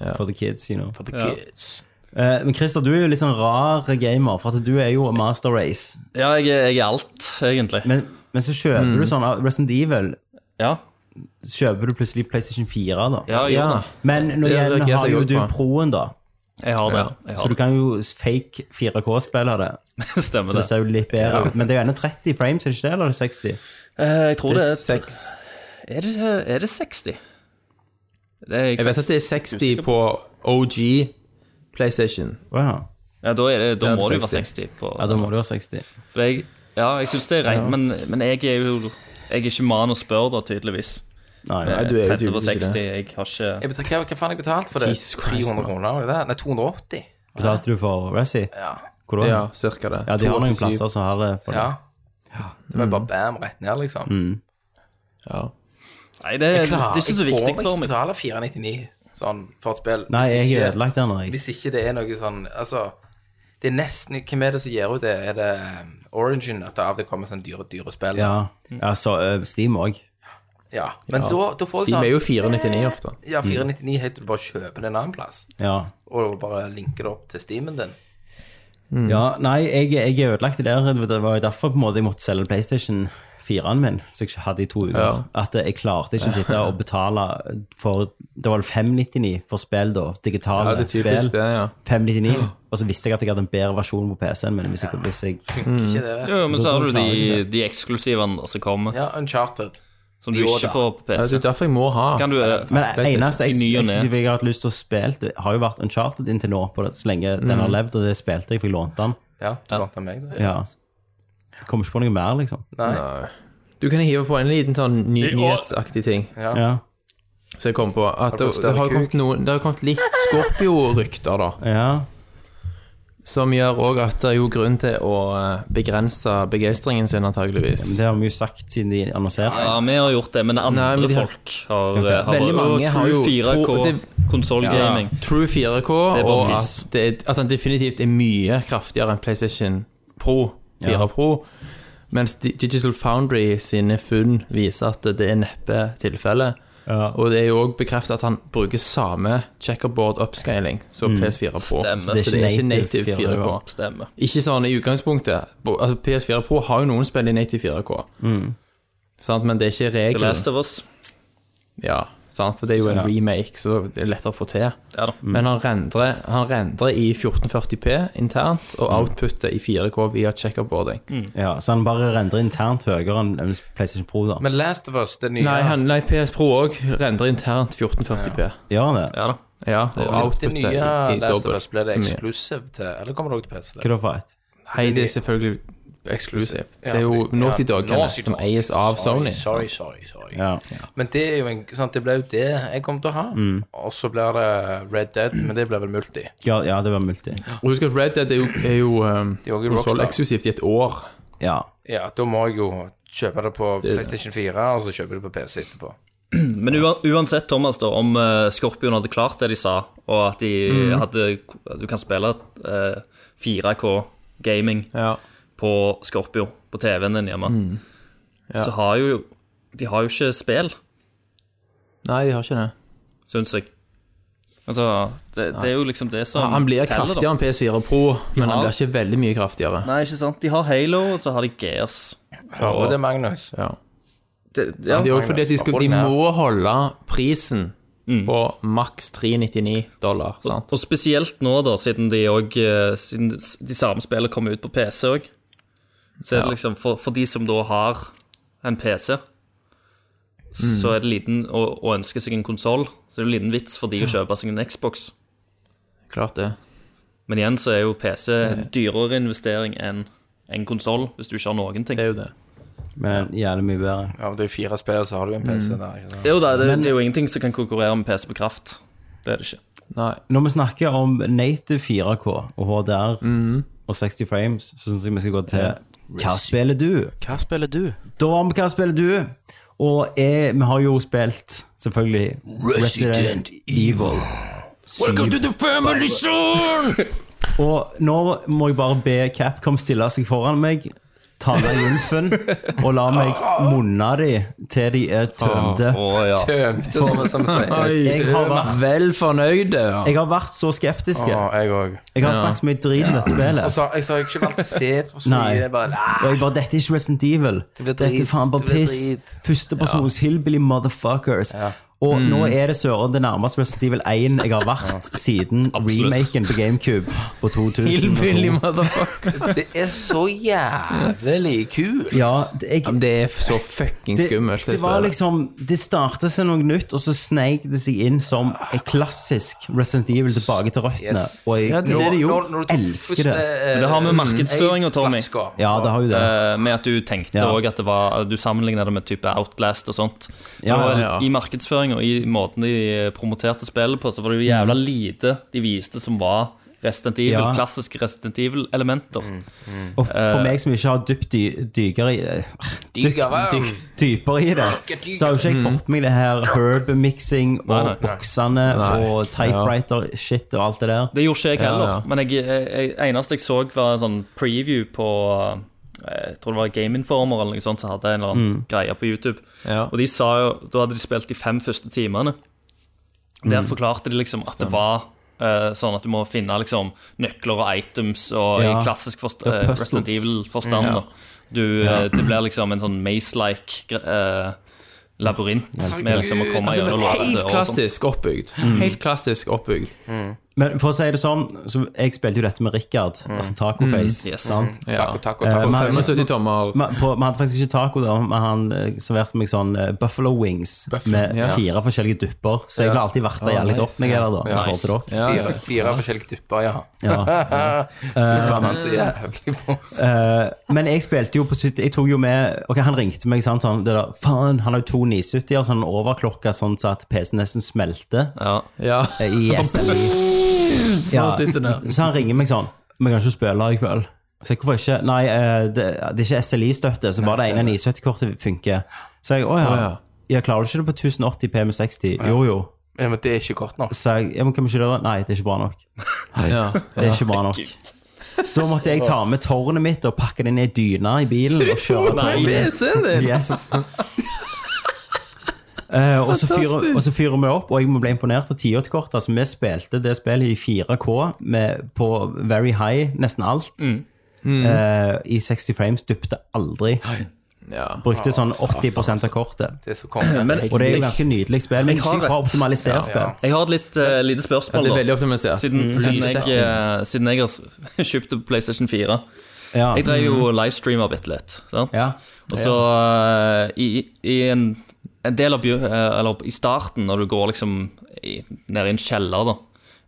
Speaker 6: det.
Speaker 3: For the kids, you know.
Speaker 6: The kids.
Speaker 3: Eh, Men Christer, du er jo litt sånn rar gamer, for at du er jo master race.
Speaker 5: Ja, jeg, er- jeg er alt, egentlig.
Speaker 3: Men, men så kjøper
Speaker 4: Mm.
Speaker 3: du sånn ah, Resident Evil
Speaker 5: Ja,
Speaker 3: så kjøper du plutselig PlayStation 4, da.
Speaker 5: ja, jeg,
Speaker 4: Ja.
Speaker 5: gjør det.
Speaker 3: Men nå
Speaker 4: Det
Speaker 3: igjen
Speaker 4: reagerte
Speaker 3: har
Speaker 4: jeg
Speaker 3: jo
Speaker 4: også
Speaker 3: du
Speaker 4: på.
Speaker 3: Pro-en, da.
Speaker 5: jeg har det. Jeg
Speaker 3: Så
Speaker 5: har
Speaker 3: du kan jo fake 4K-spille det.
Speaker 5: det. [laughs] Stemmer
Speaker 3: Så det
Speaker 5: det.
Speaker 3: ser jo litt bedre ut. Men det er jo ennå 30 frames, er det ikke det? Eller er det 60?
Speaker 5: Eh, Jeg tror
Speaker 4: Det
Speaker 5: det
Speaker 4: er
Speaker 5: er
Speaker 4: seks
Speaker 5: Er det, er det 60? Det er
Speaker 4: Jeg vet at det er 60 på OG PlayStation.
Speaker 3: Wow.
Speaker 5: Ja, da, er det, da
Speaker 4: Ja,
Speaker 5: må det jo være
Speaker 4: 60.
Speaker 5: 60. På,
Speaker 3: Ja, da må det jo være 60.
Speaker 5: for jeg, ja, jeg syns det er rent, men, men jeg er jo Jeg er ikke mann å spørre, da, tydeligvis.
Speaker 3: Nei,
Speaker 4: Nei, du er jo
Speaker 5: 30 på
Speaker 4: tydeligvis
Speaker 5: 60,
Speaker 4: ikke det.
Speaker 5: jeg har ikke
Speaker 6: Jeg betal, hva, hva faen har jeg betalt for det?
Speaker 4: Jesus Christ,
Speaker 6: 300 kroner? var det det? Nei, 280.
Speaker 3: Betalte du for Resi?
Speaker 6: Ja.
Speaker 3: Hvor da?
Speaker 4: Ja,
Speaker 3: Ja,
Speaker 4: cirka det.
Speaker 3: de har noen
Speaker 4: 287.
Speaker 3: plasser som har det. For det.
Speaker 6: ja. Det var bare bam, rett ned, liksom.
Speaker 4: Ja.
Speaker 5: Nei, det, er- det
Speaker 6: Klar,
Speaker 5: er ikke så
Speaker 6: jeg
Speaker 5: viktig
Speaker 6: får
Speaker 5: for
Speaker 6: ikke
Speaker 5: meg.
Speaker 6: betale 499 sånn for et spill.
Speaker 3: Nei,
Speaker 6: Hvis
Speaker 3: jeg
Speaker 6: ikke-
Speaker 3: er ødelagt der nå. jeg.
Speaker 6: Hvis ikke det er noe sånn Altså, det er nesten Hvem er det som gir ut det? Er det um, Origin? At det av det kommer sånn dyre, dyre spill?
Speaker 3: Ja, ja så ø, Steam òg.
Speaker 6: Ja. Men Da, da får du
Speaker 4: De
Speaker 6: sånn
Speaker 4: er jo 499 ofte.
Speaker 6: Ja, 499 helt til du bare kjøper det en annen plass.
Speaker 3: Ja.
Speaker 6: Og bare linker det opp til steamen din.
Speaker 4: Mm.
Speaker 3: ja. Nei, jeg, jeg er ødelagt der. Det var jo derfor på en måte jeg måtte selge PlayStation 4-en min, som jeg ikke hadde i to uker. At eh, jeg klarte ikke å sitte og betale for Det var vel 599 for spill, da. Digitale
Speaker 4: Ja, det er
Speaker 3: spill.
Speaker 4: typisk det, ja. [gasps]
Speaker 3: 599. Og så visste jeg at jeg hadde en bedre versjon på PC-en min. Hvis jeg, hvis jeg,
Speaker 6: Ikke det?
Speaker 5: Jo, men så har du de, de eksklusivene da, som kommer.
Speaker 6: Ja, Uncharted.
Speaker 5: Som du ikke får på
Speaker 4: Det
Speaker 5: PC.
Speaker 4: er derfor jeg må ha.
Speaker 5: Kan du eh,
Speaker 3: Men det
Speaker 4: PlayStation.
Speaker 3: eneste
Speaker 5: I ny og ne.
Speaker 3: eksklusive jeg har hatt lyst til å spille, det har jo vært Uncharted inntil nå, på det, så lenge den
Speaker 4: Mm.
Speaker 3: har levd, og det spilte jeg, for jeg lånte den.
Speaker 6: Ja, du vant av meg, det.
Speaker 3: Ja. Jeg Kommer ikke på noe mer, liksom.
Speaker 6: Nei.
Speaker 4: Du kan hive på en liten sånn ny,
Speaker 5: I år-
Speaker 4: nyhetsaktig ting.
Speaker 6: Ja.
Speaker 3: Ja.
Speaker 4: Så jeg kom på at
Speaker 6: du fått
Speaker 4: det, det
Speaker 6: større
Speaker 4: har jo
Speaker 6: kuk?
Speaker 4: kommet, noen, det har kommet litt Scorpio-rykter, da.
Speaker 3: ja.
Speaker 4: Som gjør òg at det er jo grunn til å eh, begrense begeistringen sin, antageligvis.
Speaker 3: Det har vi jo sagt siden de annonserte.
Speaker 5: Ja, vi har gjort det, men andre
Speaker 4: Nei, men de-
Speaker 5: folk har, eh,
Speaker 3: Ok.
Speaker 5: har
Speaker 4: Veldig mange har jo- tro-
Speaker 5: 4K
Speaker 4: det-
Speaker 5: konsollgaming.
Speaker 4: True 4K,
Speaker 5: Det er bare
Speaker 4: og
Speaker 5: piss.
Speaker 4: at, det, er- at den definitivt er mye kraftigere enn PlayStation Pro 4
Speaker 3: Ja.
Speaker 4: Pro. Mens Di- Digital Foundry sine funn viser at det er neppe tilfellet. Og det er jo òg bekreftet at han bruker samme checkerboard-upscaling som PS4 Pro.
Speaker 5: Stemmer.
Speaker 4: Mm. Så det er ikke, native 4K.
Speaker 5: Stemmer.
Speaker 4: Ikke sånn i utgangspunktet. Bo- Altså PS4 Pro har jo noen spill i native 4K. Sant? Men det er ikke
Speaker 5: The
Speaker 4: regelen.
Speaker 5: Last of Us.
Speaker 4: Ja, sant? For det er jo en remake, så det er lettere å få til.
Speaker 5: Ja da.
Speaker 4: Men han rendrer, han rendrer i 1440P internt, og outputter i 4K via checkerboarding.
Speaker 6: Mm.
Speaker 3: Ja, så han bare rendrer internt høyere enn enn PlayStation Pro, da.
Speaker 6: Men Last of Us, det nye
Speaker 4: Nei, han, nei, PS Pro òg rendrer internt 1440P.
Speaker 3: Gjør han det?
Speaker 5: Ja da.
Speaker 4: Ja, og
Speaker 6: Det
Speaker 4: outputter i,
Speaker 6: nye
Speaker 4: i
Speaker 6: Last of Us,
Speaker 4: dobbelt
Speaker 6: blir det
Speaker 4: så mye.
Speaker 6: eksklusiv til Eller kommer det også til PC?
Speaker 3: Hva da for et?
Speaker 4: Hei, det er selvfølgelig eksklusivt.
Speaker 6: Ja,
Speaker 4: Det er jo
Speaker 6: fordi-
Speaker 4: Naughty
Speaker 6: ja,
Speaker 4: Dog Kenneth,
Speaker 6: Naughty
Speaker 4: som
Speaker 6: Dog.
Speaker 4: eies av
Speaker 6: Sorry,
Speaker 4: Sony.
Speaker 6: Sorry, sorry, sorry.
Speaker 3: Ja.
Speaker 6: Men det er jo en, sant, det ble jo det jeg kom til å ha. Og så blir det Red Dead, men det blir vel multi.
Speaker 3: Ja, ja, det var multi.
Speaker 4: Og husk at Red Dead er jo, er
Speaker 6: [clears throat]
Speaker 4: jo um,
Speaker 6: er jo Rockstar.
Speaker 4: konsolleksklusivt i et år.
Speaker 3: Ja.
Speaker 6: Ja, da må jeg jo kjøpe det på PlayStation 4, og så kjøpe det på PC etterpå.
Speaker 5: Men ua- uansett, Thomas, da, om eh, Scorpion hadde klart det de sa, og at de
Speaker 4: Mm.
Speaker 5: hadde at Du kan spille eh, 4K gaming
Speaker 4: Ja.
Speaker 5: på Scorpio på TV-en din hjemme,
Speaker 4: Mm.
Speaker 5: så har jo De har jo ikke spill,
Speaker 4: Nei, de har ikke det.
Speaker 5: syns jeg. Altså, det, det er jo liksom det som
Speaker 4: Han blir
Speaker 5: teller, da.
Speaker 4: kraftigere enn PS4 Pro, men han
Speaker 5: har-
Speaker 4: blir ikke veldig mye kraftigere.
Speaker 5: Nei, ikke sant. De har Halo, og så har de Gears.
Speaker 6: Hører du det, Magnus?
Speaker 4: Ja.
Speaker 5: Det, ja.
Speaker 4: Det er jo fordi at de, skal, de
Speaker 6: Ordinær.
Speaker 4: må holde prisen på maks 399 dollar, sant?
Speaker 5: Og spesielt nå, da, siden de, og, siden de samme spillene kommer ut på PC òg. Så er det liksom for, for de som da har en PC,
Speaker 4: Mm.
Speaker 5: så er det liten og, og ønsker seg en konsoll, så er det jo liten vits for de å kjøpe seg en Xbox.
Speaker 4: Klart det.
Speaker 5: Men igjen så er jo PC en dyrere investering enn en konsoll, hvis du ikke har noen ting.
Speaker 4: Det er jo det.
Speaker 3: Men jævlig mye bedre.
Speaker 6: Ja, men det er fire spill, så har du en PC der. Ikke sant?
Speaker 5: Det er jo, det, det, det er jo ingenting som kan konkurrere med PC på kraft. Det er det ikke.
Speaker 4: Nei.
Speaker 3: Når vi snakker om native 4K og HDR og 60 frames, så syns jeg vi skal gå til Hva spiller du?
Speaker 7: Hva spiller du?
Speaker 3: Da var vi Hva spiller du? Og jeg, vi har jo spilt, selvfølgelig, Resident, Evil. Welcome to the family, son! og nå må jeg bare be Capcom stille seg foran meg, ta meg lymfen og la meg munne de til de er tømte.
Speaker 4: Ah,
Speaker 6: [laughs] Tømte, som vi- sånn- som vi sier.
Speaker 3: Jeg har vært,
Speaker 4: Vel fornøyd, ja.
Speaker 3: jeg har vært så skeptisk.
Speaker 6: Ah, Ja,
Speaker 3: Jeg
Speaker 6: jeg òg.
Speaker 3: har snakket så mye drit om dette spillet.
Speaker 6: Og så jeg så har jeg ikke valgt C for så
Speaker 3: Nei.
Speaker 6: mye. jeg Bare, nei,
Speaker 3: Og jeg bare, dette er ikke Resident Evil.
Speaker 6: Det blir
Speaker 3: Dette er
Speaker 6: drit,
Speaker 3: faen bare
Speaker 6: det blir
Speaker 3: piss.
Speaker 6: drit.
Speaker 3: Førstepersons hillbilly motherfuckers. Og
Speaker 4: Mm.
Speaker 3: nå er det søren det nærmeste Resident Evil 1 jeg har vært siden remaken på GameCube
Speaker 4: [laughs]
Speaker 3: på 2002.
Speaker 4: motherfucker.
Speaker 6: [laughs] det er så jævlig kult.
Speaker 3: Ja, det, jeg,
Speaker 4: Det er så fucking
Speaker 3: det,
Speaker 4: skummelt.
Speaker 3: det var liksom Det startet seg noe nytt, og så sneik det seg inn som et klassisk Resident Evil tilbake til røttene.
Speaker 6: Yes.
Speaker 3: Og jeg,
Speaker 4: Ja, det er det jo.
Speaker 6: Når- når du
Speaker 3: Elsker det.
Speaker 6: første, eh,
Speaker 5: Men det har
Speaker 4: mm.
Speaker 5: med markedsføring å ta, Tommy.
Speaker 6: flasker.
Speaker 3: ja, det har jo det.
Speaker 5: Eh, med at du tenkte
Speaker 3: Ja.
Speaker 5: også at det var Du sammenlignet det med type Outlast og sånt.
Speaker 3: Ja,
Speaker 5: og
Speaker 4: ja.
Speaker 5: I markedsføring og i måten de eh, promoterte spillet på, så var det jo jævla lite de viste som var Resident Evil,
Speaker 3: Ja.
Speaker 5: klassiske Resident Evil-elementer.
Speaker 3: Og for
Speaker 5: Eh,
Speaker 3: meg som ikke har dypt dy, dykere i eh,
Speaker 6: Digere.
Speaker 3: dypere i det, så har jo ikke jeg fått med meg det her herb-mixing
Speaker 5: Nei,
Speaker 3: og
Speaker 5: nei.
Speaker 3: boksene og typewriter-shit og alt det der.
Speaker 5: Det gjorde ikke jeg
Speaker 4: Ja,
Speaker 5: heller,
Speaker 4: ja.
Speaker 5: men jeg, jeg, jeg, eneste jeg så, var en sånn preview på eh, jeg tror det var Game Informer eller noe sånt som hadde en eller annen
Speaker 3: Mm.
Speaker 5: greie på YouTube.
Speaker 4: Ja.
Speaker 5: Og de sa jo, Da hadde de spilt de fem første timene. Der
Speaker 3: Mm.
Speaker 5: forklarte de liksom at det var eh, sånn at du må finne liksom nøkler og items og
Speaker 3: Ja.
Speaker 5: i klassisk forst
Speaker 3: Det er
Speaker 5: eh,
Speaker 3: puzzles.
Speaker 5: Resident Evil-forstand. da. Du, eh, Det blir liksom en sånn maze-like gre- eh, labyrint med liksom å komme
Speaker 4: Altså,
Speaker 5: gjennom
Speaker 4: men
Speaker 5: låste
Speaker 4: helt
Speaker 5: dører og sånt.
Speaker 4: klassisk oppbygd. Helt klassisk oppbygd.
Speaker 3: Men for å si det sånn, så jeg spilte jo dette med Rikard, altså Tacoface.
Speaker 5: Mm. yes.
Speaker 3: sant?
Speaker 6: Taco, taco,
Speaker 3: Eh,
Speaker 6: taco.
Speaker 3: men-
Speaker 6: Fem-
Speaker 4: 75 tommer.
Speaker 3: Men på- Vi hadde faktisk ikke taco, da, men han eh, serverte meg sånn eh, buffalo wings
Speaker 6: Buffalo,
Speaker 3: med
Speaker 4: ja.
Speaker 3: fire forskjellige dupper. Så jeg ble alltid verta jævlig
Speaker 4: nice.
Speaker 3: opp når jeg er der, da. i
Speaker 5: Ah, Nice.
Speaker 3: forhold til dere.
Speaker 4: Ja,
Speaker 6: Fire, fire forskjellige dupper, ja.
Speaker 3: Ja.
Speaker 6: Fy faen, han er så jævlig morsom.
Speaker 3: Eh, men jeg spilte jo på 70 Jeg tok jo med Ok, han ringte meg, sant, sånn det der, Faen, han har jo to 970-er, sånn overklokka, sånn så at PC-en nesten smelter.
Speaker 5: Ja.
Speaker 4: ja.
Speaker 3: eh, I SLI. [laughs] Ja.
Speaker 4: Nå sitter den.
Speaker 3: Så han ringer meg sånn Vi kan ikke spille i kveld Så jeg, hvorfor ikke? Nei, eh, det, det er ikke SLI-støtte Så bare det ene 970-kortet funker Så jeg, åja,
Speaker 4: Åja.
Speaker 3: ja, klarer du ikke det på 1080p med 60? Jo, jo
Speaker 6: Ja, men det er ikke godt nok.
Speaker 3: Så jeg, ja, men kan vi ikke gjøre det? Nei, det er ikke bra nok
Speaker 4: Ja.
Speaker 3: Det er ikke bra nok Så da måtte jeg ta med tårnet mitt Og pakke det ned i dyna i bilen Og kjøre til
Speaker 4: PC-en din!
Speaker 3: Yes.
Speaker 4: [laughs]
Speaker 3: Eh, og, så fyrer,
Speaker 4: Fantastisk.
Speaker 3: og så fyrer vi opp, og jeg ble imponert av tiårskortet. Altså, vi spilte det spillet i 4K med, på very high, nesten alt. Eh, I 60 frames, dupte aldri.
Speaker 4: Ja.
Speaker 3: Brukte sånn 80 av kortet.
Speaker 6: Det er så konge.
Speaker 5: Men
Speaker 3: Og det er jo ganske nydelig spill, men
Speaker 5: Jeg har
Speaker 3: sykt bra
Speaker 5: rett.
Speaker 3: optimalisert
Speaker 6: Ja,
Speaker 3: spill.
Speaker 6: ja.
Speaker 5: Jeg har et litt eh, lite spørsmål,
Speaker 4: Det er veldig Mm.
Speaker 5: da.
Speaker 4: optimisert.
Speaker 5: Siden, siden, jeg,
Speaker 4: Lyssetting.
Speaker 5: eh, siden jeg har s- kjøpte PlayStation 4.
Speaker 3: Ja.
Speaker 5: Jeg drev jo livestreamer bitte litt. Sant?
Speaker 3: Ja.
Speaker 5: Og så eh, i, i en, en del av bjø- eh, Eller i starten, når du går liksom i, ned i en kjeller, da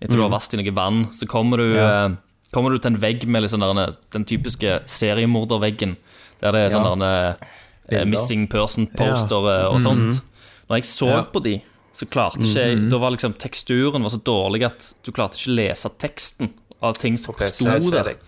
Speaker 5: etter du har vasket i noe vann, så kommer du,
Speaker 3: Mm. Ja.
Speaker 5: eh, kommer du til en vegg med liksom derne, den typiske seriemorderveggen. Der det er
Speaker 3: Ja.
Speaker 5: sånn derne, eh,
Speaker 3: Bilder. Mm.
Speaker 5: missing person-poster eh, og sånt. Når jeg så på de, så klarte ikke jeg
Speaker 3: Mm.
Speaker 5: Da var liksom teksturen var så dårlig at du klarte ikke lese teksten av ting som sto
Speaker 6: PC, så
Speaker 5: der.
Speaker 6: er det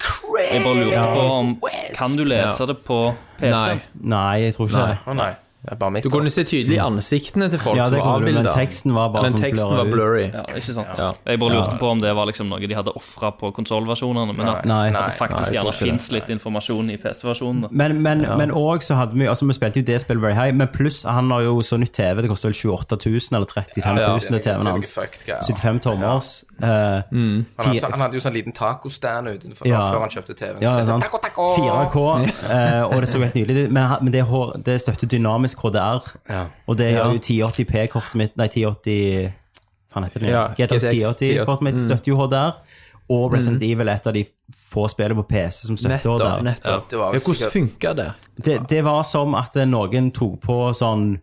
Speaker 5: Jeg bare lurte på om Kan du lese det på PC?
Speaker 4: Nei.
Speaker 3: Nei, jeg tror ikke
Speaker 4: Nei.
Speaker 3: det.
Speaker 6: Å nei, det er bare mitt.
Speaker 4: Du kunne se tydelig ansiktene til folk
Speaker 3: Ja,
Speaker 4: som
Speaker 3: det
Speaker 4: var
Speaker 3: kunne du, men
Speaker 4: avbilda.
Speaker 3: teksten var bare
Speaker 4: men
Speaker 3: sånn
Speaker 4: teksten
Speaker 3: blurra
Speaker 4: var
Speaker 3: ut.
Speaker 4: blurry.
Speaker 5: Ja, ikke sant?
Speaker 4: Ja.
Speaker 5: Jeg bare lurte på om det var liksom noe de hadde ofra på konsollversjonene, men at,
Speaker 3: Nei.
Speaker 5: at det faktisk
Speaker 4: nei, jeg
Speaker 5: gjerne
Speaker 4: tror ikke
Speaker 5: fins litt informasjon i PC-versjonen. da.
Speaker 3: Men, men, men også så hadde vi Altså vi spilte jo det spillet Very High, men pluss han har jo så nytt TV. Det koster vel 28 000 eller 35 000, det er TV-en hans. 75 tommers. eh,
Speaker 6: Han hadde, han hadde jo sånn liten tacostand utenfor
Speaker 3: Ja.
Speaker 6: før han kjøpte TV-en.
Speaker 3: ja,
Speaker 6: Så det-
Speaker 3: sant?
Speaker 6: Altså, Taco, taco!
Speaker 3: 4K, eh, og det så helt nydelig ut. Men, han- men det, hår, det støtter dynamisk HDR,
Speaker 6: Ja.
Speaker 3: og det gjør jo 1080P-kortet mitt Nei, 1080 Hva heter det?
Speaker 4: Ja,
Speaker 3: GTX
Speaker 4: GTX
Speaker 3: 1080-kortet mitt
Speaker 4: mm.
Speaker 3: støtter jo HDR. Og Resident Evil er et av de få spillene på PC som støtter
Speaker 4: Nettopp.
Speaker 3: HDR.
Speaker 4: nettopp.
Speaker 6: Det
Speaker 4: Ja,
Speaker 6: var jo
Speaker 4: hvordan
Speaker 6: sikkert-
Speaker 4: funka det?
Speaker 3: Det, det var som at noen tok på sånn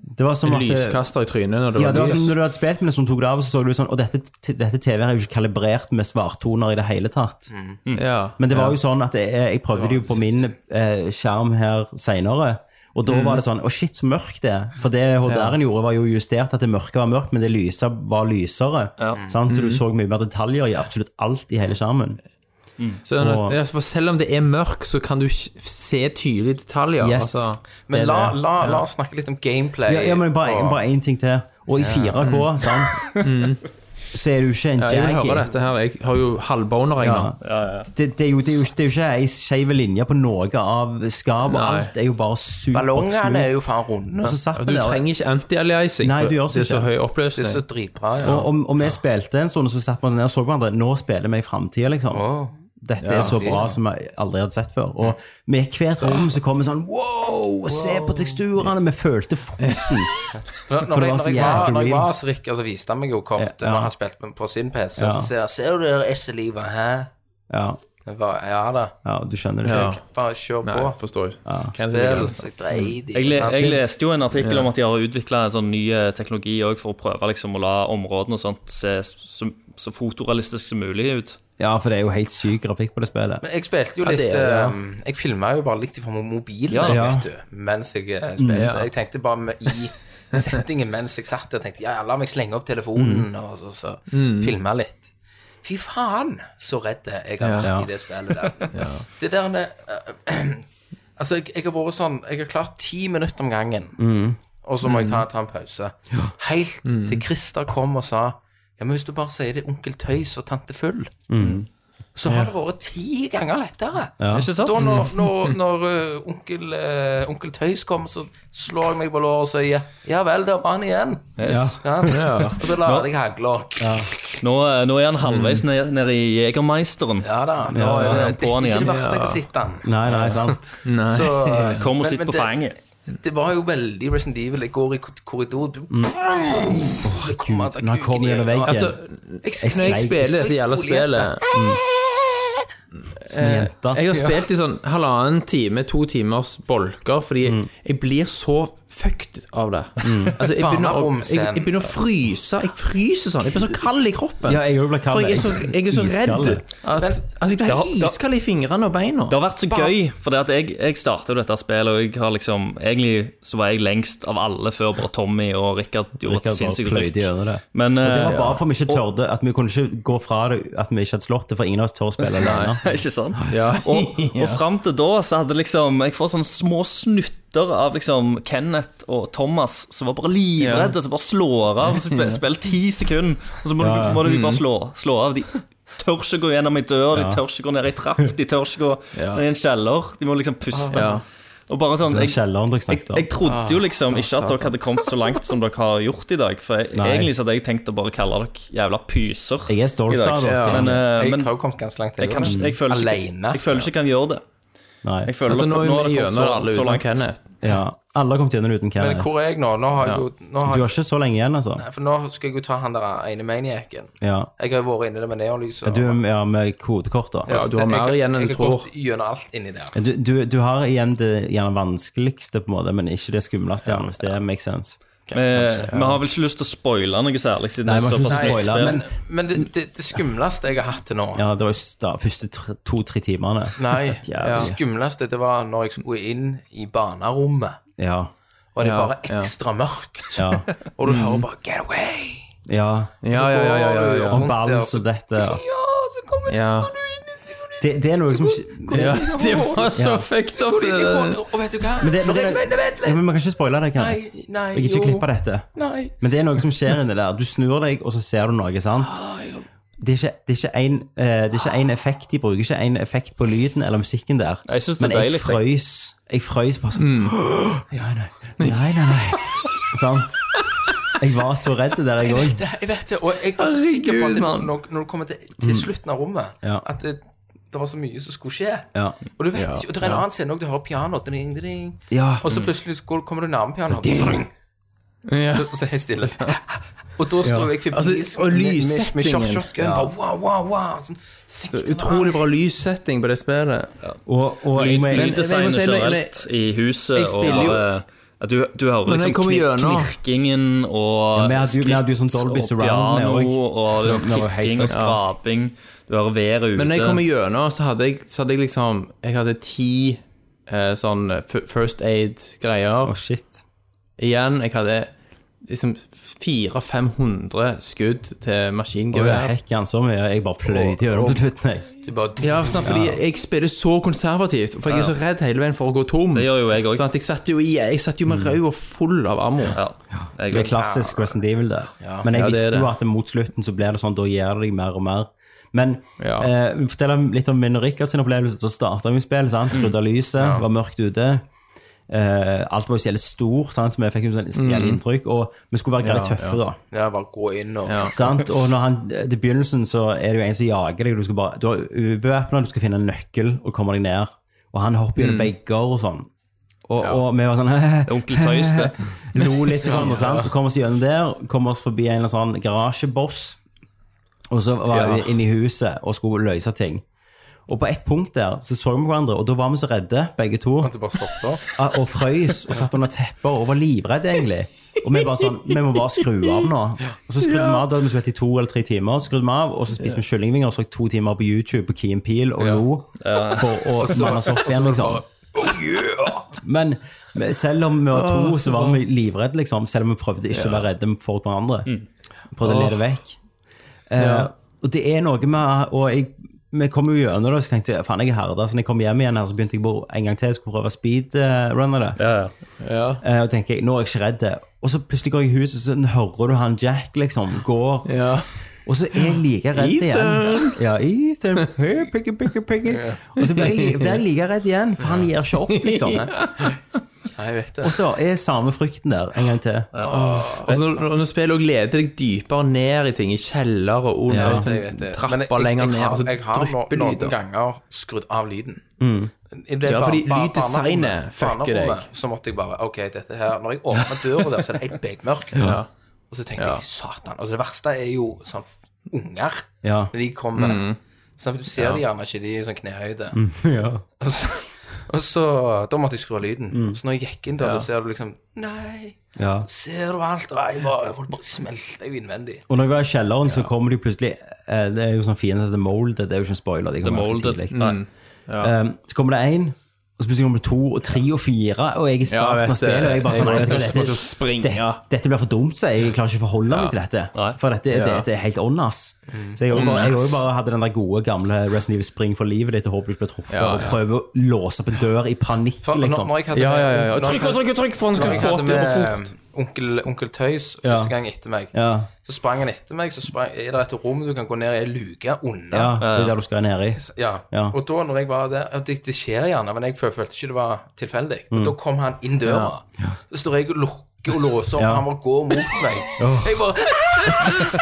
Speaker 3: Det var som at det-
Speaker 4: Lyskaster i trynet når det
Speaker 3: Ja, det
Speaker 4: var
Speaker 3: var som
Speaker 4: lys?
Speaker 3: når du hadde spilt med det, som tok det av, og så så du sånn Og dette, dette TV-et er jo ikke kalibrert med svartoner i det hele tatt.
Speaker 4: Ja.
Speaker 3: Men det var jo sånn at jeg, jeg prøvde det jo på min eh, skjerm her seinere. Og
Speaker 4: Mhm.
Speaker 3: da var det sånn Å, shit, så mørkt det er. For det HDR-en gjorde, var jo justert at det mørke var mørkt, men det lyse var lysere. Sant? Så du
Speaker 4: Mhm.
Speaker 3: så mye mer detaljer i absolutt alt i hele skjermen.
Speaker 4: Sånn at,
Speaker 3: Og-
Speaker 4: ja, for selv om det er mørkt, så kan du ikke se tydelige detaljer.
Speaker 3: Yes.
Speaker 4: Altså,
Speaker 6: Men
Speaker 3: Det er
Speaker 6: la,
Speaker 3: det.
Speaker 6: la, la oss snakke litt om gameplay.
Speaker 3: Ja, ja men bare,
Speaker 6: og-
Speaker 3: bare én ting til. Og i 4K, sant, så er du ikke en
Speaker 4: Mhm. ja, jeg vil høre
Speaker 3: jaggy.
Speaker 4: dette her. Jeg har jo halvboner, jeg
Speaker 3: Ja.
Speaker 4: nå.
Speaker 3: Det, det, er jo, det, er jo, det er jo ikke ei skeiv linje på noe av skapet.
Speaker 4: Nei.
Speaker 3: Alt er jo bare
Speaker 6: Ballongene er
Speaker 3: supersmooth.
Speaker 6: jo faen runde.
Speaker 3: Og så satt vi
Speaker 4: Og Altså, Du
Speaker 3: der, og-
Speaker 4: trenger ikke anti-aliasing.
Speaker 3: Nei,
Speaker 4: for
Speaker 3: du gjør
Speaker 4: Det er
Speaker 3: ikke.
Speaker 4: så høy
Speaker 6: Det er så
Speaker 4: oppløsning.
Speaker 6: dritbra, ja.
Speaker 3: og, og, og vi spilte en stund, og så satt man sånn ned og så på hverandre. Nå spiller vi i framtida, liksom. Dette er så bra som jeg aldri hadde sett før. Og med hvert rom så kom vi sånn Wow! Se på teksturene! Vi følte frukten.
Speaker 6: Når,
Speaker 3: det var
Speaker 6: når, jeg, når,
Speaker 3: så
Speaker 6: jeg var,
Speaker 3: jævlig
Speaker 6: når jeg
Speaker 3: real.
Speaker 6: var hos Rikard, så viste han meg jo kort
Speaker 3: Ja.
Speaker 6: når han spilte med- på sin PC. Så ser jeg Ser du det SL-livet, hæ?
Speaker 3: Ja,
Speaker 6: Jeg bare, ja da.
Speaker 3: ja du skjønner det.
Speaker 4: Ja.
Speaker 6: Bare kjør
Speaker 4: Nei,
Speaker 6: på.
Speaker 4: forstår jeg. Kan det
Speaker 6: Spill,
Speaker 4: være?
Speaker 6: så jeg dreit i
Speaker 5: Jeg, le,
Speaker 6: sant?
Speaker 5: jeg leste jo en artikkel om at de har utvikla en sånn ny eh, teknologi også for å prøve liksom å la områdene og sånt se s- så, så fotorealistisk som mulig ut.
Speaker 3: Ja, for det er jo helt syk grafikk på det spillet.
Speaker 6: Men jeg spilte jo
Speaker 4: Ja,
Speaker 6: litt
Speaker 4: det er det, ja.
Speaker 6: eh, Jeg filma jo bare litt fra mobilen
Speaker 5: Ja.
Speaker 6: vet du, mens jeg eh, spilte.
Speaker 4: Mm, Ja.
Speaker 6: Jeg tenkte bare med, i settingen mens jeg satt der, tenkte ja, ja, la meg slenge opp
Speaker 4: Mm.
Speaker 6: telefonen og så, så filme litt. Fy faen, så redd jeg har vært
Speaker 3: Ja.
Speaker 6: i det spillet
Speaker 4: [laughs]
Speaker 6: der. Det der med eh, [clears throat] Altså, jeg, jeg har vært sånn Jeg har klart ti minutter om gangen,
Speaker 4: Mm.
Speaker 6: og så må jeg
Speaker 5: Mm.
Speaker 6: ta, ta en pause. Helt til Christer kom og sa Ja, men hvis du bare sier det er onkel Tøys og tante Full
Speaker 5: Mm.
Speaker 6: så har det vært ti ganger lettere.
Speaker 5: Ikke sant?
Speaker 6: Da når, når, når eh, onkel, eh, onkel Tøys kom, så slår jeg meg på låret og sier 'ja vel, der var han igjen'.
Speaker 5: Yes.
Speaker 6: Ja.
Speaker 5: [laughs]
Speaker 6: Og så lar jeg hagla. Ja.
Speaker 5: Nå, eh, nå er han halvveis ned- nede i Jegermeisteren.
Speaker 6: da. Nå er det,
Speaker 5: ja,
Speaker 6: det
Speaker 5: på
Speaker 6: er
Speaker 5: han
Speaker 6: ikke
Speaker 5: igjen.
Speaker 6: det verste jeg har sett han.
Speaker 5: [laughs]
Speaker 3: Nei, nei, sant.
Speaker 6: Så,
Speaker 5: Kom og
Speaker 6: men-
Speaker 5: sitt
Speaker 6: men
Speaker 5: på
Speaker 6: det-
Speaker 5: fanget.
Speaker 6: det var jo veldig Resident Evil. Jeg går i ko- korridor du- Åh, jeg kommer til å
Speaker 3: Når han
Speaker 6: knuke
Speaker 3: kom
Speaker 6: ned,
Speaker 3: gjennom
Speaker 6: og-
Speaker 3: veggen
Speaker 4: Altså, når jeg spiller dette jævla spillet
Speaker 3: som en jente
Speaker 4: Jeg har spilt i sånn halvannen time, to timers bolker, fordi
Speaker 3: Mm.
Speaker 4: jeg blir så fucked av det. Altså, jeg begynner, å, jeg, jeg begynner å fryse. Jeg fryser sånn. Jeg blir så kald i kroppen.
Speaker 3: Ja, jeg er jo blitt kald.
Speaker 4: For jeg er så, jeg er så
Speaker 3: Iskald.
Speaker 4: redd. At, altså, jeg blir helt
Speaker 5: Da- da-
Speaker 4: iskald i fingrene og beina.
Speaker 5: Det har vært så gøy, for det at jeg, jeg startet jo dette spillet, og jeg har liksom, egentlig så var jeg lengst av alle før bare Tommy og Rikard gjorde
Speaker 3: Rikard
Speaker 5: et
Speaker 3: bare
Speaker 5: sinnssykt
Speaker 3: pløyde gjennom det.
Speaker 5: Men
Speaker 3: Og det var
Speaker 5: [laughs] eh,
Speaker 3: bare for vi ikke tørde At vi kunne ikke gå fra det at vi ikke hadde slått det, for ingen av oss tør å spille alene.
Speaker 5: Ikke sant? Og,
Speaker 3: [laughs]
Speaker 5: og fram til da så hadde liksom Jeg får sånne små snutter av liksom Kenneth og Thomas som var bare livredde, som bare slår av. Så sp- Spiller ti sekunder, og så må, du, må du bare slå, slå av. De tør ikke gå gjennom ei dør, de tør ikke gå ned ei trapp, de tør ikke gå ned i en kjeller. De må liksom puste.
Speaker 3: Ah.
Speaker 4: Ja.
Speaker 5: Og bare sånn
Speaker 3: Den
Speaker 5: jeg,
Speaker 3: kjelleren dere
Speaker 5: jeg,
Speaker 3: snakket om.
Speaker 5: jeg trodde
Speaker 4: Ah,
Speaker 5: jo liksom ikke at dere hadde kommet så langt som dere har gjort i dag. For jeg,
Speaker 3: Nei.
Speaker 5: egentlig så hadde jeg tenkt å bare kalle dere jævla pyser.
Speaker 3: Jeg er stolt
Speaker 5: i dag.
Speaker 3: av dere.
Speaker 6: Ja.
Speaker 5: Men, eh,
Speaker 6: jeg
Speaker 5: men-
Speaker 6: har jo kommet ganske langt.
Speaker 5: Jeg, kan, ikke- jeg, føler ikke,
Speaker 6: Alene.
Speaker 5: jeg føler ikke jeg kan gjøre det.
Speaker 3: Nei.
Speaker 5: Jeg føler
Speaker 4: Altså,
Speaker 5: dere-
Speaker 4: nå er vi
Speaker 5: dere kommet så-
Speaker 4: gjennom alle
Speaker 5: så
Speaker 4: uten
Speaker 5: langt.
Speaker 4: Kenneth.
Speaker 3: Ja. Alle har kommet gjennom uten
Speaker 6: Men
Speaker 3: Kenneth.
Speaker 6: hvor er jeg nå? Nå har jeg jo nå har
Speaker 3: Du
Speaker 6: jeg,
Speaker 3: har ikke så lenge igjen, altså.
Speaker 6: For nå skal jeg jo ta han der ene maniacen.
Speaker 3: Ja.
Speaker 6: Jeg har jo vært inni det med neonlys. og-
Speaker 3: Du er ja, med kodekort, da. Altså,
Speaker 6: Ja,
Speaker 4: du har
Speaker 6: det-
Speaker 4: mer
Speaker 6: jeg-
Speaker 4: igjen enn du
Speaker 6: jeg har
Speaker 4: tror.
Speaker 6: gått gjennom alt inni der.
Speaker 3: Du, du, du har igjen det gjerne vanskeligste, på en måte, men ikke det skumleste. gjerne, Hvis det makes sense.
Speaker 5: Eh, Vi, vi har vel ikke lyst til å spoile noe særlig, siden
Speaker 3: Nei,
Speaker 5: det er
Speaker 3: vi har ikke
Speaker 5: såpass
Speaker 3: lyst til å
Speaker 5: nytt
Speaker 3: spoile,
Speaker 5: spill.
Speaker 6: Men, men det, det, det skumleste jeg har hatt til nå
Speaker 3: Ja, det var jo de første to-tre timene. [laughs]
Speaker 6: Nei,
Speaker 3: Ja.
Speaker 6: det skumleste det var når jeg skulle inn i barnerommet,
Speaker 3: Ja.
Speaker 6: og det er
Speaker 4: Ja,
Speaker 6: bare
Speaker 4: ja.
Speaker 6: ekstra mørkt.
Speaker 3: Ja.
Speaker 6: [laughs] Og du hører bare 'get away'.
Speaker 3: ja.
Speaker 4: Ja, ja, ja, ja, ja, ja.
Speaker 3: Og balls og dette. Ja.
Speaker 6: så kommer
Speaker 4: ja.
Speaker 3: Det, det er noe som ikke [laughs]
Speaker 4: ja. Det var så
Speaker 3: Ja.
Speaker 4: fucked up. det der.
Speaker 6: Og vet du hva?
Speaker 3: Men det, men det,
Speaker 6: vent, vent, vent
Speaker 3: Ja,
Speaker 6: litt.
Speaker 3: men Vi kan ikke spoile det, Kenneth.
Speaker 6: Nei, nei,
Speaker 3: Jeg gidder ikke
Speaker 6: jo.
Speaker 3: klippe dette.
Speaker 6: Nei.
Speaker 3: Men det er noe som skjer inni der. Du snur deg, og så ser du noe, sant? Det er ikke- det er ikke en, eh, det er ikke en effekt De bruker ikke en effekt på lyden eller musikken der.
Speaker 5: Jeg synes det er
Speaker 3: Men jeg
Speaker 5: deilig, jeg.
Speaker 3: frøys. Jeg frøys bare [gasps] sånn Nei, nei, nei. nei, [laughs] nei. sant? Jeg var så redd det der, jeg
Speaker 6: Jeg vet
Speaker 3: òg.
Speaker 6: det, jeg vet det. Og jeg var så sikker på at det, når, når du kommer til, til
Speaker 4: Mm.
Speaker 6: slutten av rommet,
Speaker 3: Ja.
Speaker 6: at det, det var så mye som skulle skje.
Speaker 3: Ja.
Speaker 6: Og du vet ikke, og det er en annen scene også, du hører piano, dring, dring.
Speaker 3: Ja.
Speaker 6: og så plutselig så går, kommer du nærme pianoet,
Speaker 3: Ding.
Speaker 6: dring,
Speaker 4: Ja.
Speaker 6: så, så er jeg stille. Og da står jeg forbi
Speaker 4: Altså,
Speaker 6: med-
Speaker 4: og
Speaker 6: med-
Speaker 4: lyssettingen.
Speaker 6: Med shot- shotgun, bare wow, wow, wow. Sånn, sikte meg.
Speaker 4: Utrolig bra lyssetting på det spillet.
Speaker 3: Og, og jeg, må-
Speaker 4: men- jeg må
Speaker 5: Lyddesignet
Speaker 4: si, når-
Speaker 5: generelt i huset
Speaker 4: jeg spiller
Speaker 5: og
Speaker 4: jo-
Speaker 5: eh, at du, du hører
Speaker 4: Men jeg
Speaker 5: liksom
Speaker 4: kommer
Speaker 5: knir-
Speaker 4: gjennom.
Speaker 5: knirkingen
Speaker 3: Ja,
Speaker 5: og
Speaker 3: vi hadde jo- vi hadde jo sånn Dolby
Speaker 5: skritt og
Speaker 3: Surround med
Speaker 5: piano,
Speaker 3: også.
Speaker 5: og det
Speaker 3: Så det var
Speaker 5: var
Speaker 3: helt
Speaker 5: knirking og
Speaker 3: fucked.
Speaker 5: skraping. Du hører været ute.
Speaker 4: Men når jeg kom gjennom, så hadde jeg, så hadde jeg liksom Jeg hadde ti eh, sånn f- first aid-greier
Speaker 3: Å, shit.
Speaker 4: igjen. Jeg hadde liksom 400-500 skudd til
Speaker 3: Å, ja,
Speaker 4: maskingevær.
Speaker 3: hekken så mye. Jeg bare pløyde gjennom på slutten, jeg.
Speaker 6: Du bare
Speaker 4: Ja, sant, fordi jeg spiller så konservativt, for jeg er så redd hele veien for å gå tom.
Speaker 5: Det gjør jo jeg òg.
Speaker 4: Sånn at jeg satt jo, i- jeg satt jo med røya full av ammo.
Speaker 5: Ja, jeg
Speaker 3: Det er
Speaker 5: også.
Speaker 3: klassisk Resident Evil, det. Men jeg
Speaker 4: Ja, det er
Speaker 3: visste
Speaker 4: det.
Speaker 3: jo at mot slutten så ble det sånn, da gjør det deg mer og mer. Men
Speaker 4: Ja.
Speaker 3: eh, fortell om- litt om min og Rikard sin opplevelse. Da starta vi spillet, sant? skrudde av lyset, var mørkt ute. Eh, alt var jo så jævlig stort, sant? så vi fikk jo sånn jævlig
Speaker 4: Mm.
Speaker 3: inntrykk. Og vi skulle være greit tøffe, da.
Speaker 6: Ja, bare gå inn og
Speaker 3: Sant? Og når han, til begynnelsen så er det jo en som jager deg. Du, skal bare, du er ubevæpna, du skal finne en nøkkel og komme deg ned. Og han hopper gjennom vegger og sånn. Og, og vi var sånn [laughs]
Speaker 5: Onkel Tøys, Mm. det.
Speaker 3: Lo litt til hverandre, sant. Og kom oss gjennom der. Kom oss forbi en eller annen sånn garasjeboss. Og så var vi inne i huset og skulle løse ting. Og på et punkt der så så vi hverandre, og da var vi så redde, begge to.
Speaker 6: at du bare stoppet opp.
Speaker 3: Ah, Og frøys og satt under tepper og var livredd, egentlig. Og vi bare sånn Vi må bare skru av nå. Og så skrudde vi av. Da hadde vi spilt i to eller tre timer, så skrudde vi av, og så spiste vi kyllingvinger og så to timer på YouTube på Keen Peel og lo for å manne oss opp igjen, liksom. Men men selv om vi var to, så var vi livredde, liksom. Selv om vi prøvde ikke å være redde for hverandre. Prøvde å le det vekk. Eh, Og det er noe med Og jeg, vi kom jo gjennom det, så tenkte jeg faen, jeg er herda. Så når jeg kom hjem igjen her, så begynte jeg bare en gang til jeg skulle prøve speedrunne det.
Speaker 5: Ja, ja.
Speaker 3: Eh, og tenker jeg, nå er jeg ikke redd. Og så plutselig går jeg i huset, så hører du han Jack liksom går.
Speaker 4: Ja.
Speaker 3: Og så er jeg like redd igjen. Ja, Ethan. Hey,
Speaker 4: [laughs]
Speaker 5: sånn,
Speaker 3: picky, picky, picky. Og så blir jeg, li- blir jeg like redd igjen, for han gir ikke opp, liksom.
Speaker 6: Nei, jeg vet
Speaker 3: Og
Speaker 6: det.
Speaker 3: så er samme frykten der en gang til.
Speaker 4: Og så Altså, når, når- når spillet også leder deg dypere ned i ting, i kjeller og under
Speaker 3: Ja,
Speaker 4: sånn
Speaker 6: Jeg vet det.
Speaker 4: trapper
Speaker 6: Men jeg, jeg,
Speaker 4: lenger
Speaker 6: jeg
Speaker 4: ned, og
Speaker 6: har,
Speaker 4: så
Speaker 6: jeg har no-
Speaker 4: drypper
Speaker 6: noen
Speaker 4: lyder. Mm.
Speaker 6: ganger skrudd av lyden. Det er
Speaker 4: Ja,
Speaker 6: bare-
Speaker 4: fordi
Speaker 6: bare
Speaker 4: lyddesignet
Speaker 6: barnerommet-
Speaker 4: fucker deg.
Speaker 6: barnerommet, Så måtte jeg bare OK, dette her Når jeg åpner døra der, så er det helt bekmørkt. Og så tenkte jeg satan. Altså, det verste er jo sånn f- unger.
Speaker 3: Ja.
Speaker 6: Når de kommer.
Speaker 4: Mm.
Speaker 6: Sånn, for du ser de gjerne ikke, de er i sånn knehøyde.
Speaker 3: ja.
Speaker 6: Og så, og så Da måtte jeg skru av lyden.
Speaker 4: Mm.
Speaker 6: Så når jeg gikk inn der, så ser du liksom Nei,
Speaker 3: ja.
Speaker 6: ser du alt? Og jeg bare, jeg holdt på å smelte jeg innvendig.
Speaker 3: Og når jeg var i kjelleren, så kommer de plutselig eh, Det er jo sånn fiende som The Molded, det er jo ikke en spoiler. De kommer ganske
Speaker 5: Molded.
Speaker 3: tidlig. Mm. Um, så kommer det én, og så plutselig kommer det to og tre og fire, og jeg er i
Speaker 4: Ja, jeg
Speaker 3: starten av
Speaker 4: vet det.
Speaker 3: spillet, og jeg bare sånn
Speaker 4: Jeg
Speaker 3: nei,
Speaker 4: vet det.
Speaker 3: dette,
Speaker 4: Jeg måtte jo springe.
Speaker 3: dette, dette blir for dumt, så jeg klarer ikke å forholde meg til dette.
Speaker 5: Nei.
Speaker 3: For dette,
Speaker 4: Ja. Mm.
Speaker 3: dette er helt åndas. Så jeg òg bare, jeg også bare hadde den der gode gamle Resident Evil Spring for livet ditt og håper du ikke blir truffet,
Speaker 4: Ja,
Speaker 3: og prøver å låse opp en dør i panikk,
Speaker 6: For, når,
Speaker 3: liksom.
Speaker 6: når jeg hadde
Speaker 4: Ja, ja, ja. ja.
Speaker 6: når jeg
Speaker 4: Trykk
Speaker 6: hadde-
Speaker 4: og trykk og trykk, for han
Speaker 6: Når
Speaker 4: skal
Speaker 6: jeg
Speaker 4: få
Speaker 6: hadde
Speaker 4: det for
Speaker 6: med
Speaker 4: fort.
Speaker 6: onkel, onkel Tøys
Speaker 3: Ja.
Speaker 6: første gang etter meg,
Speaker 3: Ja,
Speaker 6: så sprang han etter meg. Så sprang, er det et rom du kan gå ned i ei luke under?
Speaker 3: ja, det er der du skal ned i.
Speaker 6: Ja.
Speaker 3: Ja.
Speaker 6: Og da når jeg var der ja, det, det skjer gjerne, men jeg føl- følte ikke det var tilfeldig.
Speaker 3: Mm.
Speaker 6: Og da kom han inn døra. Så står jeg og lukker og låser opp,
Speaker 3: Ja.
Speaker 6: han bare går mot
Speaker 3: [laughs]
Speaker 6: meg. Jeg bare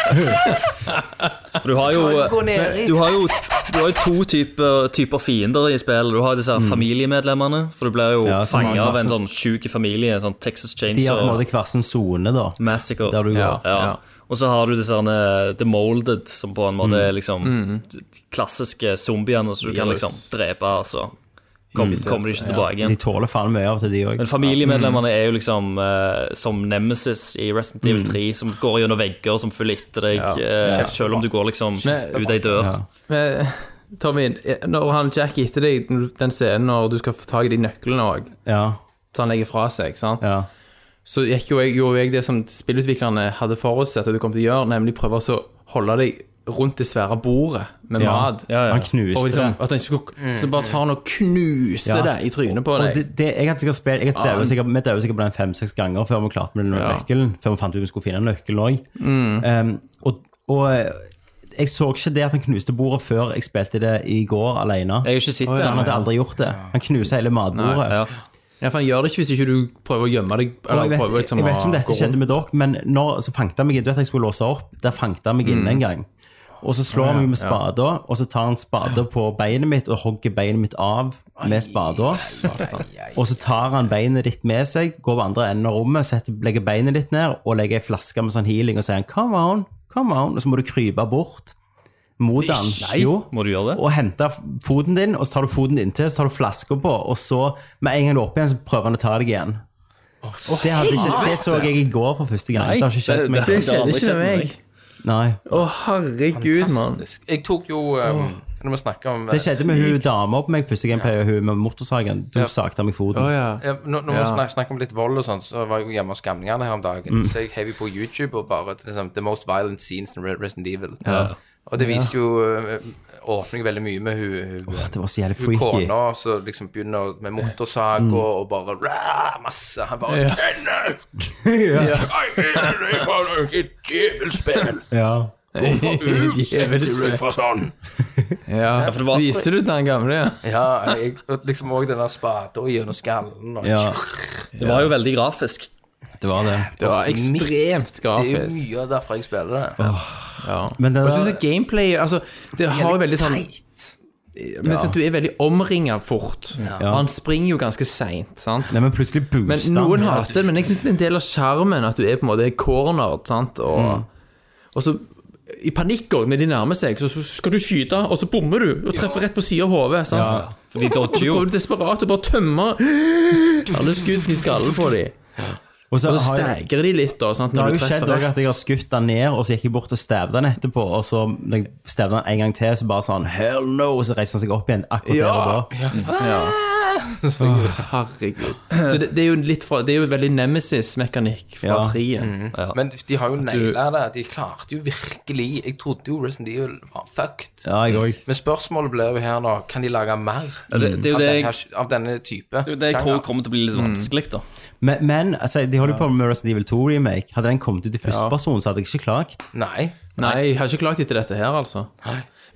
Speaker 5: For du har jo,
Speaker 6: Kan gå ned i-
Speaker 5: du har jo, du har jo to typer, typer fiender i spillet. Du har disse her familiemedlemmene, for du blir jo
Speaker 3: Mm. Ja, som
Speaker 5: fanget
Speaker 3: har-
Speaker 5: av en sånn sjuk familie. Sånn Texas
Speaker 3: De har på en
Speaker 5: Chainsaw
Speaker 3: måte hver sin sone, da.
Speaker 5: Massacre.
Speaker 3: Der du går.
Speaker 5: ja.
Speaker 4: Ja.
Speaker 5: Og så har du disse her, eh, The Molded, som på en måte
Speaker 3: Mm.
Speaker 5: er liksom de klassiske zombiene som du kan
Speaker 4: Virus.
Speaker 5: liksom drepe, altså. Kom, kommer de ikke tilbake igjen.
Speaker 3: De tåler faen mye av til, de òg.
Speaker 5: Men familiemedlemmene er jo liksom eh, som nemesis i Resident Evil 3, som går gjennom vegger, som følger etter deg, eh, selv om du går liksom
Speaker 4: Men-
Speaker 5: ut ei dør.
Speaker 4: Men, Tommy, når han Jack etter deg når du- den scenen når du skal få tak i de nøklene òg,
Speaker 3: Ja,
Speaker 4: så han legger fra seg, sant?
Speaker 3: ja.
Speaker 4: så gikk jo jeg, gjorde jeg det som spillutviklerne hadde forutsett at du kom til å gjøre, nemlig prøve å så holde deg rundt det svære bordet med
Speaker 3: Ja.
Speaker 4: mat.
Speaker 5: Ja, ja.
Speaker 3: Han knuste
Speaker 4: For liksom,
Speaker 3: det.
Speaker 4: at den skulle,
Speaker 6: Mm.
Speaker 4: så bare tar han og knuser
Speaker 3: Ja.
Speaker 4: det i trynet på
Speaker 3: Og
Speaker 4: deg.
Speaker 3: det, det, jeg hadde sikkert spilt jeg hadde døvet sikkert, Vi døde sikkert på den fem-seks ganger før vi klarte med den
Speaker 4: Ja. Mm.
Speaker 3: nøkkelen. Før vi fant ut vi skulle finne en nøkkel òg. Ehm, og, og eh, jeg så ikke det at han knuste bordet før jeg spilte det i går alene.
Speaker 5: Jeg har ikke sett
Speaker 4: Å, ja.
Speaker 5: den.
Speaker 3: Han hadde aldri gjort det. Han knuser hele matbordet.
Speaker 5: Ja.
Speaker 4: Ja, for han gjør det ikke hvis ikke du prøver å gjemme deg.
Speaker 3: Og
Speaker 4: Eller
Speaker 3: jeg, vet,
Speaker 4: prøver liksom
Speaker 3: jeg vet ikke om
Speaker 4: å
Speaker 3: dette
Speaker 4: gå rundt.
Speaker 3: skjedde med dere, men når, så fanget han meg inn. Du vet at jeg skulle låse opp. Der fanget han meg
Speaker 5: Mm.
Speaker 3: inne en gang. Og så slår han meg med spada, og så tar han spada på beinet mitt og hogger beinet mitt av med spada. Og så tar han beinet ditt med seg, går på andre enden av rommet, setter, legger beinet ditt ned og legger ei flaske med sånn healing og sier han, 'come on', come on, og så må du krype bort mot han.
Speaker 5: Nei,
Speaker 3: Jo
Speaker 5: må du gjøre det?
Speaker 3: og hente foten din, og så tar du foten inntil, så tar du flaska på, og så med en gang du er oppe igjen, så prøver han å ta deg igjen. det, hadde ikke, det så jeg i går for første gang. det har ikke skjedd meg.
Speaker 5: det-
Speaker 4: skjedde
Speaker 5: Det
Speaker 4: ikke
Speaker 5: skjedde
Speaker 4: med
Speaker 5: med
Speaker 4: meg.
Speaker 3: Nei.
Speaker 4: Å, herregud, mann.
Speaker 6: Fantastisk. Jeg tok jo um, Når vi snakker om eh,
Speaker 3: Det skjedde med hun dama på meg første gang, pleier hun med motorsagen. Du
Speaker 6: Ja.
Speaker 3: sakte meg foten.
Speaker 4: Å, ja.
Speaker 6: Ja, Når, når
Speaker 4: Ja.
Speaker 6: vi snakker, snakker om litt vold og sånn, så var jeg jo hjemme hos gamlingene her om dagen. Så jeg hev jo på YouTube og bare liksom, The most violent scenes in Resident Evil. Og det viser jo eh, åpning veldig mye med hun, hun,
Speaker 3: Åh, Det var så jævlig
Speaker 6: hun
Speaker 3: freaky.
Speaker 6: kona som liksom begynner med motorsag og, og bare rah, masse. Han bare
Speaker 4: Ja.
Speaker 6: Kenneth!
Speaker 3: Ja.
Speaker 6: Jeg er deg fra noe djevelspill!
Speaker 3: Ja.
Speaker 6: Hvorfor utsetter du deg for sånn?
Speaker 4: Ja.
Speaker 5: for det var-
Speaker 4: Viste du den gamle? ja?
Speaker 6: Ja, jeg, og liksom òg denne spaden gjennom skallen. Og,
Speaker 3: ja.
Speaker 5: Det var jo veldig grafisk.
Speaker 3: Det var det.
Speaker 4: Det var ekstremt
Speaker 6: Det er jo
Speaker 4: grafisk.
Speaker 6: mye av derfor jeg spiller det.
Speaker 4: Ja.
Speaker 3: Men det
Speaker 4: Og jeg
Speaker 3: der-
Speaker 4: synes at gameplay altså, Det har jo veldig sånn Men sånn at Du er veldig omringa fort. Og han springer jo ganske seint.
Speaker 3: Nei, men plutselig
Speaker 4: Men
Speaker 3: boosta
Speaker 4: noen hater det, men jeg syns det er en del av sjarmen at du er på en måte cornered. Sant? Og,
Speaker 3: Mm.
Speaker 4: og så i panikk også, når de nærmer seg, så så skal du skyte, og så bommer du og treffer rett på sida av hodet. sant?
Speaker 5: For [laughs] de dodger jo.
Speaker 4: Prøver du desperat å bare tømme alle skuddene i skallen på dem.
Speaker 3: Og så
Speaker 4: Og så
Speaker 3: har jeg-
Speaker 4: steiger de litt, da. sant?
Speaker 3: Det har
Speaker 4: Når
Speaker 3: jo
Speaker 4: du
Speaker 3: skjedd
Speaker 4: treffer
Speaker 3: også
Speaker 4: rett.
Speaker 3: at jeg har skutt han ned, og så gikk jeg bort og stabba han etterpå. Og så når jeg stabba han en gang til, så bare sånn Hell no! Og så reiser han seg opp igjen akkurat der og da.
Speaker 4: Herregud. Så det, det er jo litt fra Det er jo veldig nemesis-mekanikk fra
Speaker 3: Ja. Mm.
Speaker 4: treen. Ja.
Speaker 6: Men de har jo naila det. De klarte jo virkelig Jeg trodde jo Resident Evil var fucked.
Speaker 3: Ja, jeg òg.
Speaker 6: Men spørsmålet blir jo her nå Kan de lage mer
Speaker 5: Ja, det- det er jo
Speaker 6: av,
Speaker 5: det
Speaker 6: denne,
Speaker 5: jeg-
Speaker 6: her- av denne type?
Speaker 5: Det er jo det jeg tror kommer til å bli litt vanskelig, da.
Speaker 3: Men, men altså, de holder jo på med Resident Evil 2 remake. Hadde den kommet ut i første person, så hadde jeg ikke klagt.
Speaker 6: Nei.
Speaker 4: Nei, jeg har ikke klagt etter dette her, altså.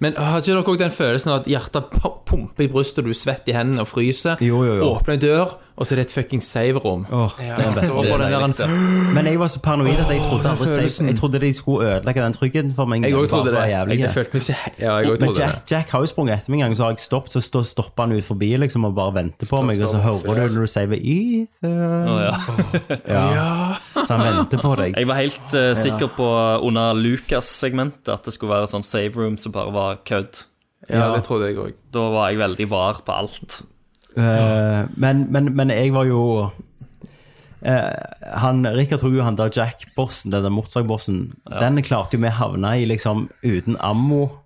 Speaker 4: Men har ikke dere òg den følelsen av at hjertet po- pumper i brystet, du er svett i hendene og fryser.
Speaker 3: Jo, jo, jo.
Speaker 4: Åpner en dør, og så er det et fucking save-rom.
Speaker 3: Åh.
Speaker 4: Det er den beste.
Speaker 5: Det er deilig, det.
Speaker 3: Men jeg var så paranoid at jeg trodde,
Speaker 4: den
Speaker 3: aldri safe,
Speaker 4: følelsen.
Speaker 3: jeg trodde de skulle ødelegge den tryggheten for meg.
Speaker 4: Jeg òg trodde
Speaker 3: Bare for å
Speaker 4: det.
Speaker 3: være
Speaker 4: Jeg,
Speaker 3: jævlige.
Speaker 4: følte meg ikke he- Ja, jeg også
Speaker 3: Men
Speaker 4: trodde det.
Speaker 3: Jack, Jack har jo sprunget etter meg en gang, så har jeg stoppet, så stå- stopper han ut forbi liksom, og bare venter på meg, og så
Speaker 6: stopp,
Speaker 3: hører du når du sier Ethan.
Speaker 5: Å,
Speaker 4: [laughs]
Speaker 5: ja.
Speaker 3: Så han venter på deg.
Speaker 5: Jeg var helt eh, sikker på under Lucas-segmentet at det skulle være sånn save room som bare var kødd.
Speaker 4: Ja, det trodde jeg òg.
Speaker 5: Da var jeg veldig var på alt.
Speaker 3: Eh, men, men, men jeg var jo eh, han, Rikard tror jo han der Jack-bossen, den der motorsagbossen, den klarte jo vi å havne i liksom uten ammo,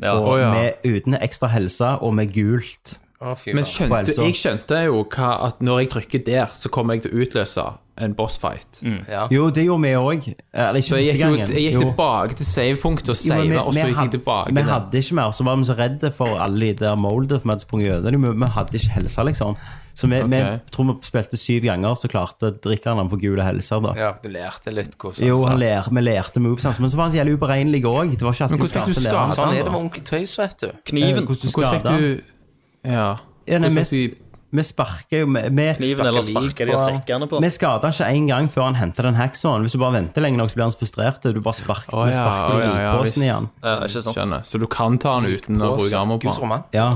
Speaker 5: Ja.
Speaker 3: og
Speaker 4: Å, ja.
Speaker 3: med, uten ekstra helse og med gult.
Speaker 6: Å, fy
Speaker 4: Men
Speaker 6: faen.
Speaker 4: skjønte,
Speaker 3: Wildstorm.
Speaker 4: jeg skjønte jo hva, at når jeg trykker der, så kommer jeg til å utløse en bossfight.
Speaker 6: Ja.
Speaker 3: Jo, det gjorde vi òg. Eller ikke
Speaker 4: Så
Speaker 3: første
Speaker 4: jeg gikk, jo,
Speaker 3: gangen.
Speaker 4: jeg gikk
Speaker 3: Jo.
Speaker 4: tilbake til save-punktet og
Speaker 3: Jo, men vi-
Speaker 4: save, og så
Speaker 3: vi
Speaker 4: gikk jeg
Speaker 3: hadde-
Speaker 4: tilbake.
Speaker 3: Vi
Speaker 4: der.
Speaker 3: hadde ikke mer, så var vi så redde for alle de der moldet for vi hadde sprunget gjennom dem. Vi hadde ikke helsa, liksom. Så vi,
Speaker 4: Ok.
Speaker 3: vi tror vi spilte syv ganger, så klarte drikkeren han på gule helser, da.
Speaker 6: ja, du lærte litt hvordan
Speaker 3: Jo, han
Speaker 6: satt.
Speaker 3: ler, vi lærte moves hans, men så var han så jævlig uberegnelig òg. Det var ikke alltid
Speaker 4: Men hvordan fikk du
Speaker 3: klarte å lære han.
Speaker 4: skade?
Speaker 6: Sånn er det med Onkel Tøys, vet du.
Speaker 3: Eh, Hvordan
Speaker 5: Kniven.
Speaker 3: du
Speaker 4: Hvordan fikk
Speaker 3: skada han?
Speaker 4: du Ja.
Speaker 3: Ja, nei,
Speaker 4: hvordan
Speaker 3: vi,
Speaker 4: fikk
Speaker 3: vi sparker jo med, med
Speaker 5: Kniven eller
Speaker 6: sparker lik
Speaker 5: sparker de har sekkene på.
Speaker 3: vi skada han ikke én gang før han henta den hacksawen. Hvis du bare venter lenge nok, så blir han så frustrert. Du bare sparker
Speaker 4: Å,
Speaker 3: oh,
Speaker 4: ja, å, ja, ja,
Speaker 3: likposen
Speaker 4: visst.
Speaker 3: i han.
Speaker 5: Ja, ikke sant?
Speaker 4: Skjønner. Så du kan ta han uten å
Speaker 6: Og
Speaker 4: bruke armer på
Speaker 6: Guds
Speaker 4: han.
Speaker 6: roman.
Speaker 3: Ja.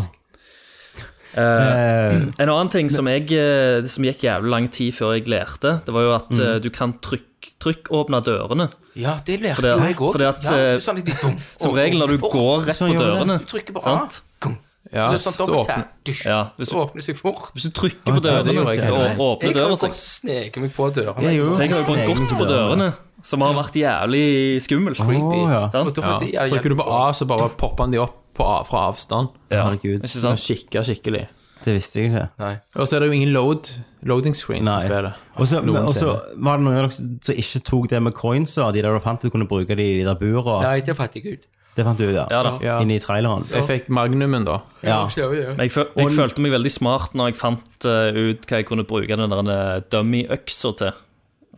Speaker 3: Eh,
Speaker 5: En annen ting som, jeg, eh, som gikk jævlig lang tid før jeg lærte, det var jo
Speaker 3: Mm.
Speaker 5: at eh, du kan trykk, trykkåpne dørene.
Speaker 6: Ja, det
Speaker 5: For
Speaker 6: lærte
Speaker 5: det-
Speaker 6: jo jeg òg.
Speaker 5: for det at,
Speaker 6: ja,
Speaker 5: eh,
Speaker 6: du sa litt i dum.
Speaker 5: [laughs] Som
Speaker 6: Og-
Speaker 5: regel
Speaker 6: og
Speaker 5: når du
Speaker 6: fort.
Speaker 5: går rett
Speaker 3: Sånn
Speaker 5: på
Speaker 3: gjør det.
Speaker 5: dørene.
Speaker 6: Du trykker på A.
Speaker 5: Sant?
Speaker 6: Gung.
Speaker 4: Ja,
Speaker 6: Så det er sånn
Speaker 4: så
Speaker 6: dobbelt
Speaker 4: åpner-
Speaker 6: her. Dusj.
Speaker 5: Ja, hvis
Speaker 6: Så
Speaker 5: du,
Speaker 6: åpner det seg fort.
Speaker 5: hvis du trykker på
Speaker 3: det er
Speaker 5: dørene,
Speaker 4: jo ikke
Speaker 5: så
Speaker 4: greit.
Speaker 5: åpner
Speaker 6: Jeg kan jo
Speaker 5: døra
Speaker 6: godt
Speaker 5: seg.
Speaker 6: sneke meg på dørene.
Speaker 3: Jeg gjorde
Speaker 5: Så jeg har jo bare
Speaker 3: sneker
Speaker 5: gått på
Speaker 3: dørene.
Speaker 5: dørene, som har vært jævlig skummelt.
Speaker 3: Å, ja.
Speaker 6: Og
Speaker 5: Sant?
Speaker 6: da får de-
Speaker 4: Ja. Trykker du på A, så bare popper han de opp på A, fra avstand.
Speaker 5: Ja,
Speaker 3: Herregud.
Speaker 5: ikke
Speaker 4: Han
Speaker 5: sant?
Speaker 4: kikker skikkelig.
Speaker 3: Det visste jeg ikke.
Speaker 4: Og så er det jo ingen load, loading screens i
Speaker 3: Nei.
Speaker 4: spillet.
Speaker 3: Og så
Speaker 4: Noen
Speaker 3: og så
Speaker 4: steder.
Speaker 3: var det noen av dere som ikke tok det med coins og de der du fant du kunne bruke de i de der bura.
Speaker 6: Nei, det fatter jeg ut.
Speaker 3: Det fant du, ja.
Speaker 5: Ja da.
Speaker 4: Ja.
Speaker 3: Inni traileren.
Speaker 4: Jeg fikk magnumen, da.
Speaker 3: Ja.
Speaker 5: Men Jeg, føl jeg følte meg veldig smart når jeg fant eh, ut hva jeg kunne bruke den der eh, dummy-øksa til.
Speaker 3: Åh,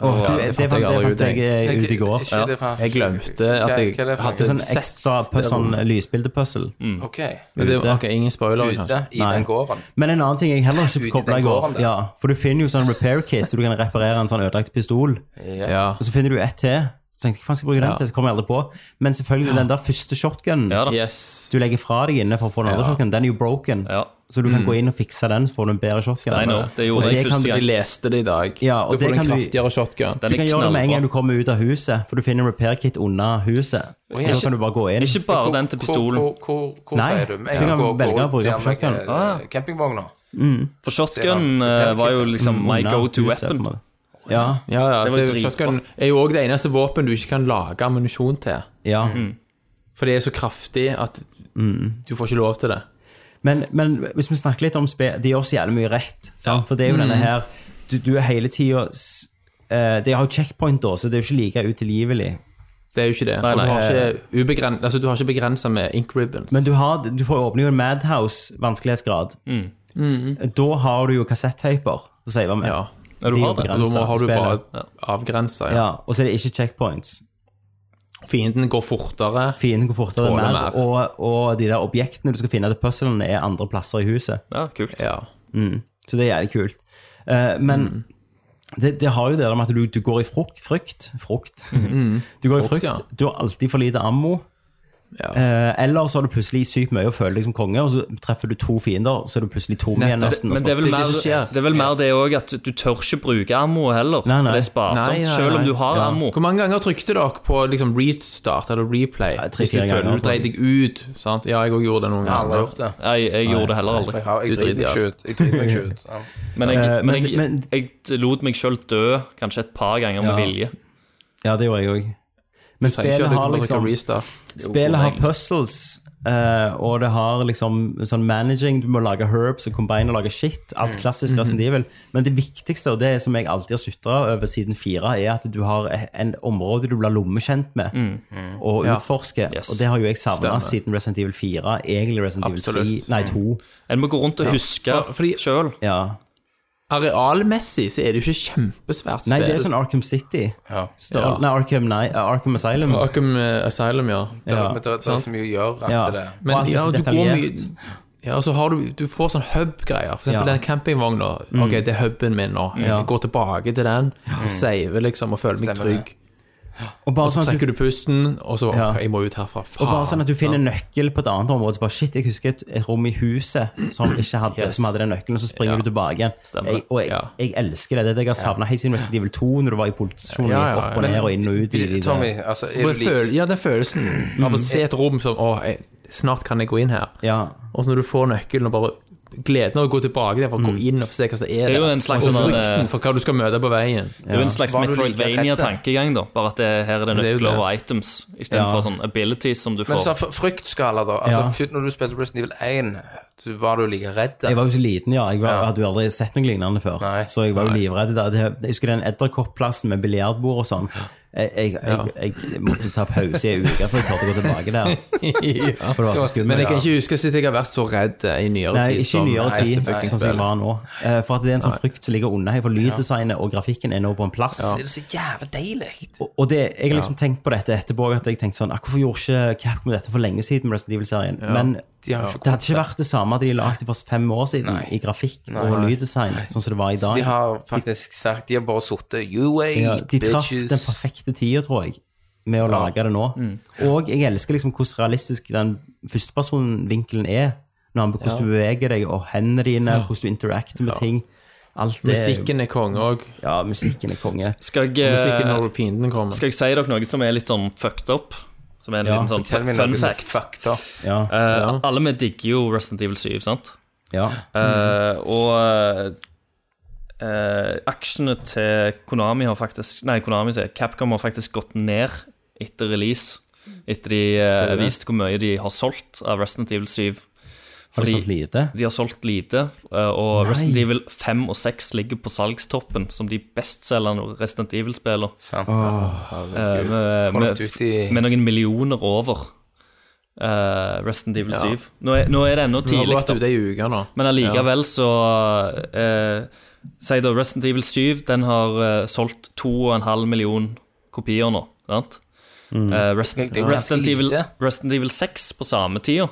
Speaker 3: du, det,
Speaker 4: fant
Speaker 3: fant,
Speaker 4: jeg
Speaker 3: det
Speaker 4: aldri ut,
Speaker 3: fant jeg eh, ut i går.
Speaker 6: Ikke det faen-
Speaker 4: Jeg glemte at
Speaker 6: Hva-
Speaker 4: jeg
Speaker 6: hva er det for
Speaker 4: hadde
Speaker 3: Det er sånn
Speaker 4: sett
Speaker 3: ekstra
Speaker 4: det
Speaker 3: sånn
Speaker 4: rommet.
Speaker 3: lysbildepuzzle.
Speaker 6: Ok,
Speaker 4: Men det-
Speaker 3: ute.
Speaker 4: Ok, ingen spoiler,
Speaker 6: ute
Speaker 4: kanskje.
Speaker 6: i den gården.
Speaker 3: Men en annen ting jeg heller
Speaker 6: Ute i
Speaker 3: ikke kobla
Speaker 6: den
Speaker 3: i går,
Speaker 6: gården der.
Speaker 3: ja, for du finner jo sånn repair kit, så du kan reparere en sånn ødelagt pistol.
Speaker 4: Ja.
Speaker 3: Og så finner du ett til. Så tenkte jeg, faen skal jeg bruke den
Speaker 4: Ja.
Speaker 3: til? Så kom jeg aldri på. Men selvfølgelig, den der første shotgunen
Speaker 5: Ja da.
Speaker 4: Yes.
Speaker 3: du legger fra deg inne for å få den andre shotgunen, den er jo broken.
Speaker 5: Ja.
Speaker 3: Så du kan gå inn og fikse den, så får du en bedre shotgun.
Speaker 5: I know. Det gjorde
Speaker 3: Og
Speaker 5: jeg
Speaker 3: det kan
Speaker 5: første
Speaker 3: du-
Speaker 4: Jeg
Speaker 5: gang.
Speaker 4: leste det i dag.
Speaker 3: Ja, og
Speaker 4: da får
Speaker 3: det
Speaker 4: du
Speaker 3: kan
Speaker 4: en
Speaker 3: du-
Speaker 4: kraftigere shotgun.
Speaker 5: Den
Speaker 3: Du
Speaker 5: er
Speaker 3: kan gjøre det med en gang
Speaker 5: knallbra.
Speaker 3: du kommer ut av huset, for du finner en repair kit under huset. Og
Speaker 6: ja.
Speaker 3: da kan du bare gå inn.
Speaker 5: Ikke bare
Speaker 6: Hvor-
Speaker 5: den til pistolen.
Speaker 6: Hvor, hvor, hvor, hvor
Speaker 3: Nei,
Speaker 6: sier du? Jeg
Speaker 3: du kan
Speaker 6: går-
Speaker 3: velge å
Speaker 6: går
Speaker 3: bruke Ah.
Speaker 6: der med,
Speaker 3: shotgun.
Speaker 6: eh, Campingvogna.
Speaker 5: For shotgun eh, var jo liksom my
Speaker 3: Under
Speaker 5: go to
Speaker 3: huset, på en
Speaker 5: weapon.
Speaker 3: måte. Ja,
Speaker 4: Ja,
Speaker 5: Det
Speaker 4: ja, det
Speaker 5: var jo
Speaker 4: er jo
Speaker 5: dritbra.
Speaker 4: shotgun er jo òg det eneste våpen du ikke kan lage ammunisjon til.
Speaker 3: ja.
Speaker 5: Mm.
Speaker 4: For det er så kraftig at du får ikke lov til det.
Speaker 3: Men, men hvis vi snakker litt om spill, de gjør så jævlig mye rett. Sant? For det er jo
Speaker 5: Mm.
Speaker 3: denne her Du, du er hele tida uh, De har jo checkpoint, da, så det er jo ikke like utilgivelig.
Speaker 4: Det er jo ikke det.
Speaker 5: Nei,
Speaker 4: Og du
Speaker 5: nei.
Speaker 4: har ikke, ubegren, altså, du har ikke begrensa med ink ribbons.
Speaker 3: Men du, har, du får åpne jo en Madhouse-vanskelighetsgrad.
Speaker 4: Mm.
Speaker 3: Da har du jo kassetteiper å save med.
Speaker 4: ja.
Speaker 5: Ja, du
Speaker 3: De
Speaker 5: har det.
Speaker 4: Og da
Speaker 3: begrenser
Speaker 4: må- har du bare
Speaker 3: spillet.
Speaker 4: avgrensa. Ja.
Speaker 3: Ja, og så er det ikke checkpoints.
Speaker 4: Fienden går fortere.
Speaker 3: Fienden går fortere
Speaker 4: Tåler
Speaker 3: mer,
Speaker 4: mer.
Speaker 3: Og, og de der objektene du skal finne til puzzlene, er andre plasser i huset.
Speaker 5: Ja, kult.
Speaker 4: Ja.
Speaker 3: Så det er jævlig kult. Eh, men
Speaker 4: Mm.
Speaker 3: det, det har jo det der med at du, du går i frukt, frykt Frukt. Du går i
Speaker 4: Mm.
Speaker 3: frykt,
Speaker 4: Frukt, ja.
Speaker 3: du har alltid for lite ammo.
Speaker 4: Ja.
Speaker 3: Eh, eller så har du plutselig sykt mye og føler deg som konge, og så treffer du to fiender, så er du plutselig tom igjen
Speaker 4: Nettopp.
Speaker 3: nesten.
Speaker 5: Men det er vel
Speaker 4: Det er det
Speaker 5: mer
Speaker 4: som
Speaker 5: det,
Speaker 4: skjer.
Speaker 5: er vel mer det òg at du tør ikke bruke ammo heller.
Speaker 3: Nei, nei.
Speaker 5: For det er
Speaker 4: Nei,
Speaker 5: sparsomt.
Speaker 4: nei,
Speaker 5: Selv om
Speaker 4: nei.
Speaker 5: du har
Speaker 4: Ja.
Speaker 5: ammo.
Speaker 4: Hvor mange ganger trykte dere på liksom restart eller replay?
Speaker 3: Nei, tre,
Speaker 4: Hvis du
Speaker 3: fire ganger, altså.
Speaker 4: føler du
Speaker 3: tror
Speaker 4: dreide
Speaker 3: jeg.
Speaker 4: deg ut. Sant? Ja, jeg òg gjorde det noen
Speaker 6: Jeg har aldri
Speaker 4: ganger.
Speaker 6: gjort det.
Speaker 5: Nei, jeg gjorde det heller
Speaker 6: Jeg,
Speaker 5: aldri.
Speaker 6: har- jeg
Speaker 4: Du
Speaker 6: driter meg
Speaker 4: driter i
Speaker 6: ut. Jeg driter meg
Speaker 3: [laughs]
Speaker 6: ut. Ja.
Speaker 5: Men jeg,
Speaker 3: Eh,
Speaker 5: men jeg,
Speaker 3: men-
Speaker 5: jeg, lot meg sjøl dø kanskje et par ganger
Speaker 3: Ja.
Speaker 5: med vilje.
Speaker 3: Ja, det gjorde jeg òg. Men
Speaker 4: Trenger ikke
Speaker 3: spillet
Speaker 4: at du
Speaker 3: har
Speaker 4: kan trykke
Speaker 3: liksom
Speaker 4: restart.
Speaker 3: Spillet har puzzles, eh, og det har liksom sånn managing. Du må lage herbs og combine og lage shit.
Speaker 4: Mm.
Speaker 3: Alt klassisk Resident
Speaker 4: Mhm.
Speaker 3: Evil. Men det viktigste, og det som jeg alltid har sutra over siden fire, er at du har eh, en område du blir lommekjent med og utforsker.
Speaker 5: Yes.
Speaker 3: Og det har jo jeg savna
Speaker 4: Mm. Stemmer.
Speaker 3: siden Resident Evil 4. Egentlig Resident Evil 3,
Speaker 4: Absolutt. Mm.
Speaker 3: nei 2.
Speaker 5: En må gå rundt og huske
Speaker 4: For- fordi-
Speaker 5: sjøl.
Speaker 3: Ja.
Speaker 4: Arealmessig så er det jo ikke kjempesvært spill.
Speaker 3: Nei, det er sånn Arkham City.
Speaker 6: Ja.
Speaker 3: Større-
Speaker 4: Ja.
Speaker 3: Nei, Arkham, nei, eh, Arkham Asylum.
Speaker 4: Arkham eh, Asylum, ja.
Speaker 6: Det,
Speaker 3: Ja.
Speaker 6: men det, det er så mye å gjøre at
Speaker 3: Ja.
Speaker 6: det
Speaker 3: Og alt
Speaker 4: Men
Speaker 3: er
Speaker 4: ja,
Speaker 3: så
Speaker 4: du går mye
Speaker 3: detaljert.
Speaker 4: Ja, og så har du, du får sånn hub-greier. For eksempel
Speaker 3: Ja. Mm.
Speaker 4: den campingvogna. Ok, det er huben min nå. Jeg går tilbake til den, og saver liksom, og føler meg
Speaker 6: Stemmer det.
Speaker 4: trygg.
Speaker 3: Og bare
Speaker 4: Og
Speaker 3: sånn
Speaker 4: så
Speaker 3: at
Speaker 4: trekker
Speaker 3: du,
Speaker 4: du pusten, og så
Speaker 3: Ja.
Speaker 4: ok, Jeg må ut herfra. Faen.
Speaker 3: og bare sånn at du finner nøkkel på et annet område. Så bare, shit, jeg husker et, et rom i huset som ikke hadde,
Speaker 4: Yes.
Speaker 3: som hadde den nøkkelen, og så springer
Speaker 4: Ja.
Speaker 3: du tilbake igjen.
Speaker 4: Stemmer.
Speaker 3: Jeg, og jeg,
Speaker 4: Ja.
Speaker 3: jeg elsker det. Det er det jeg har savna helt siden Resident Evil 2, når du var i politistasjonen.
Speaker 4: Ja, ja, ja.
Speaker 3: Opp og ned og inn og ut. I, i
Speaker 6: Tommy,
Speaker 3: det.
Speaker 6: altså er
Speaker 4: Bare
Speaker 6: du like
Speaker 4: føl- Ja, den følelsen av
Speaker 3: Mm.
Speaker 4: å se et rom som Å, jeg, snart kan jeg gå inn her.
Speaker 3: Ja.
Speaker 4: Og så når du får nøkkelen og bare gleden av å gå tilbake der for
Speaker 3: Mm.
Speaker 4: å gå inn og se hva som er der.
Speaker 5: er jo en slags
Speaker 4: og
Speaker 5: sånn, eh,
Speaker 4: frykten for hva du skal møte på veien.
Speaker 5: Det er jo en slags
Speaker 6: Var du like
Speaker 5: Metroidvania-tankegang, da. Bare at det, her er det
Speaker 4: Det er jo
Speaker 5: nøkler
Speaker 4: det.
Speaker 5: og items
Speaker 3: Ja.
Speaker 5: istedenfor sånn abilities som du
Speaker 6: Men
Speaker 5: får.
Speaker 6: sånn fr- fryktskala, da. Altså,
Speaker 3: Ja.
Speaker 6: fyr- Når du spilte Resident Evil 1, så var du like redd? da.
Speaker 3: Jeg var jo så liten, ja. Jeg var,
Speaker 6: Ja.
Speaker 3: hadde jo aldri sett noe lignende før.
Speaker 6: Nei.
Speaker 3: Så jeg var jo livredd. Da. Det, jeg husker den edderkoppplassen med biljardbord og sånn. Jeg, jeg, jeg, jeg, måtte ta pause i ei uke før jeg turte å gå tilbake
Speaker 4: [laughs]
Speaker 3: der. For det var så skummelt.
Speaker 4: Men jeg kan ikke huske sist jeg har vært så redd eh, i nyere
Speaker 3: Nei,
Speaker 4: tid.
Speaker 3: ikke i nyere
Speaker 4: dette
Speaker 3: tid,
Speaker 4: fucking
Speaker 3: sånn som jeg
Speaker 4: spillet.
Speaker 3: var nå. Eh, For at det er en sånn frykt som ligger unna her, for lyddesignet og grafikken er nå på en plass.
Speaker 6: Det er så jævlig deilig.
Speaker 3: Og- Og det, jeg har liksom tenkt på dette etterpå, at jeg tenkte sånn, ah, hvorfor gjorde ikke Capcom dette for lenge siden med Resident Evil-serien? Men
Speaker 6: De har jo ikke
Speaker 3: det hadde ikke vært det samme hadde de lagde for fem år siden i grafikk og lyddesign, sånn som det var i dag.
Speaker 6: De har faktisk sagt De har bare sittet You wait,
Speaker 3: Ja, de traff den
Speaker 6: bitches.
Speaker 3: perfekte tida, tror jeg, med å lage det nå.
Speaker 4: Mm.
Speaker 3: Og jeg elsker liksom hvordan realistisk den førstepersonvinkelen er. Når han, hvordan du beveger deg, og hendene dine, hvordan du interacter med ting. Alt det,
Speaker 4: Musikken er konge òg.
Speaker 3: Ja, musikken er konge.
Speaker 5: Skal jeg,
Speaker 4: Musikken
Speaker 5: eh,
Speaker 4: når fienden kommer.
Speaker 5: skal jeg si dere noe som er litt sånn fucked up? Som er en
Speaker 3: Ja,
Speaker 5: liten sånn
Speaker 6: Fortell meg
Speaker 5: fun
Speaker 6: noe som
Speaker 5: fact.
Speaker 6: fucked up.
Speaker 3: Ja,
Speaker 5: Eh, Alle vi digger jo Resident Evil 7, sant?
Speaker 3: ja.
Speaker 5: Eh, og eh, aksjene til Konami har faktisk Nei, Konami sier jeg. Capcom har faktisk gått ned etter release. Etter de eh,
Speaker 4: Ser du det?
Speaker 5: viste hvor mye de har solgt av Resident Evil 7.
Speaker 3: Har du
Speaker 5: Fordi
Speaker 3: sagt lite?
Speaker 5: de har solgt lite, eh, og
Speaker 3: Nei.
Speaker 5: Resident Evil 5 og 6 ligger på salgstoppen som de bestselgende Resident Evil-spillene.
Speaker 6: Sant.
Speaker 5: Eh, med,
Speaker 6: Call of
Speaker 5: med,
Speaker 6: Duty.
Speaker 5: med noen millioner over eh, Resident Evil
Speaker 4: Ja.
Speaker 5: 7. Nå er, nå er det ennå
Speaker 4: Du har
Speaker 5: tidlig,
Speaker 4: vært
Speaker 5: da.
Speaker 4: ute ei uke nå.
Speaker 5: Men allikevel så eh, Sier da Resident Evil 7 Den har eh, solgt 2,5 million kopier nå sant? Eh, Resident,
Speaker 6: Det er ganske
Speaker 5: Resident, Evil,
Speaker 6: lite.
Speaker 5: Resident Evil 6 på samme tida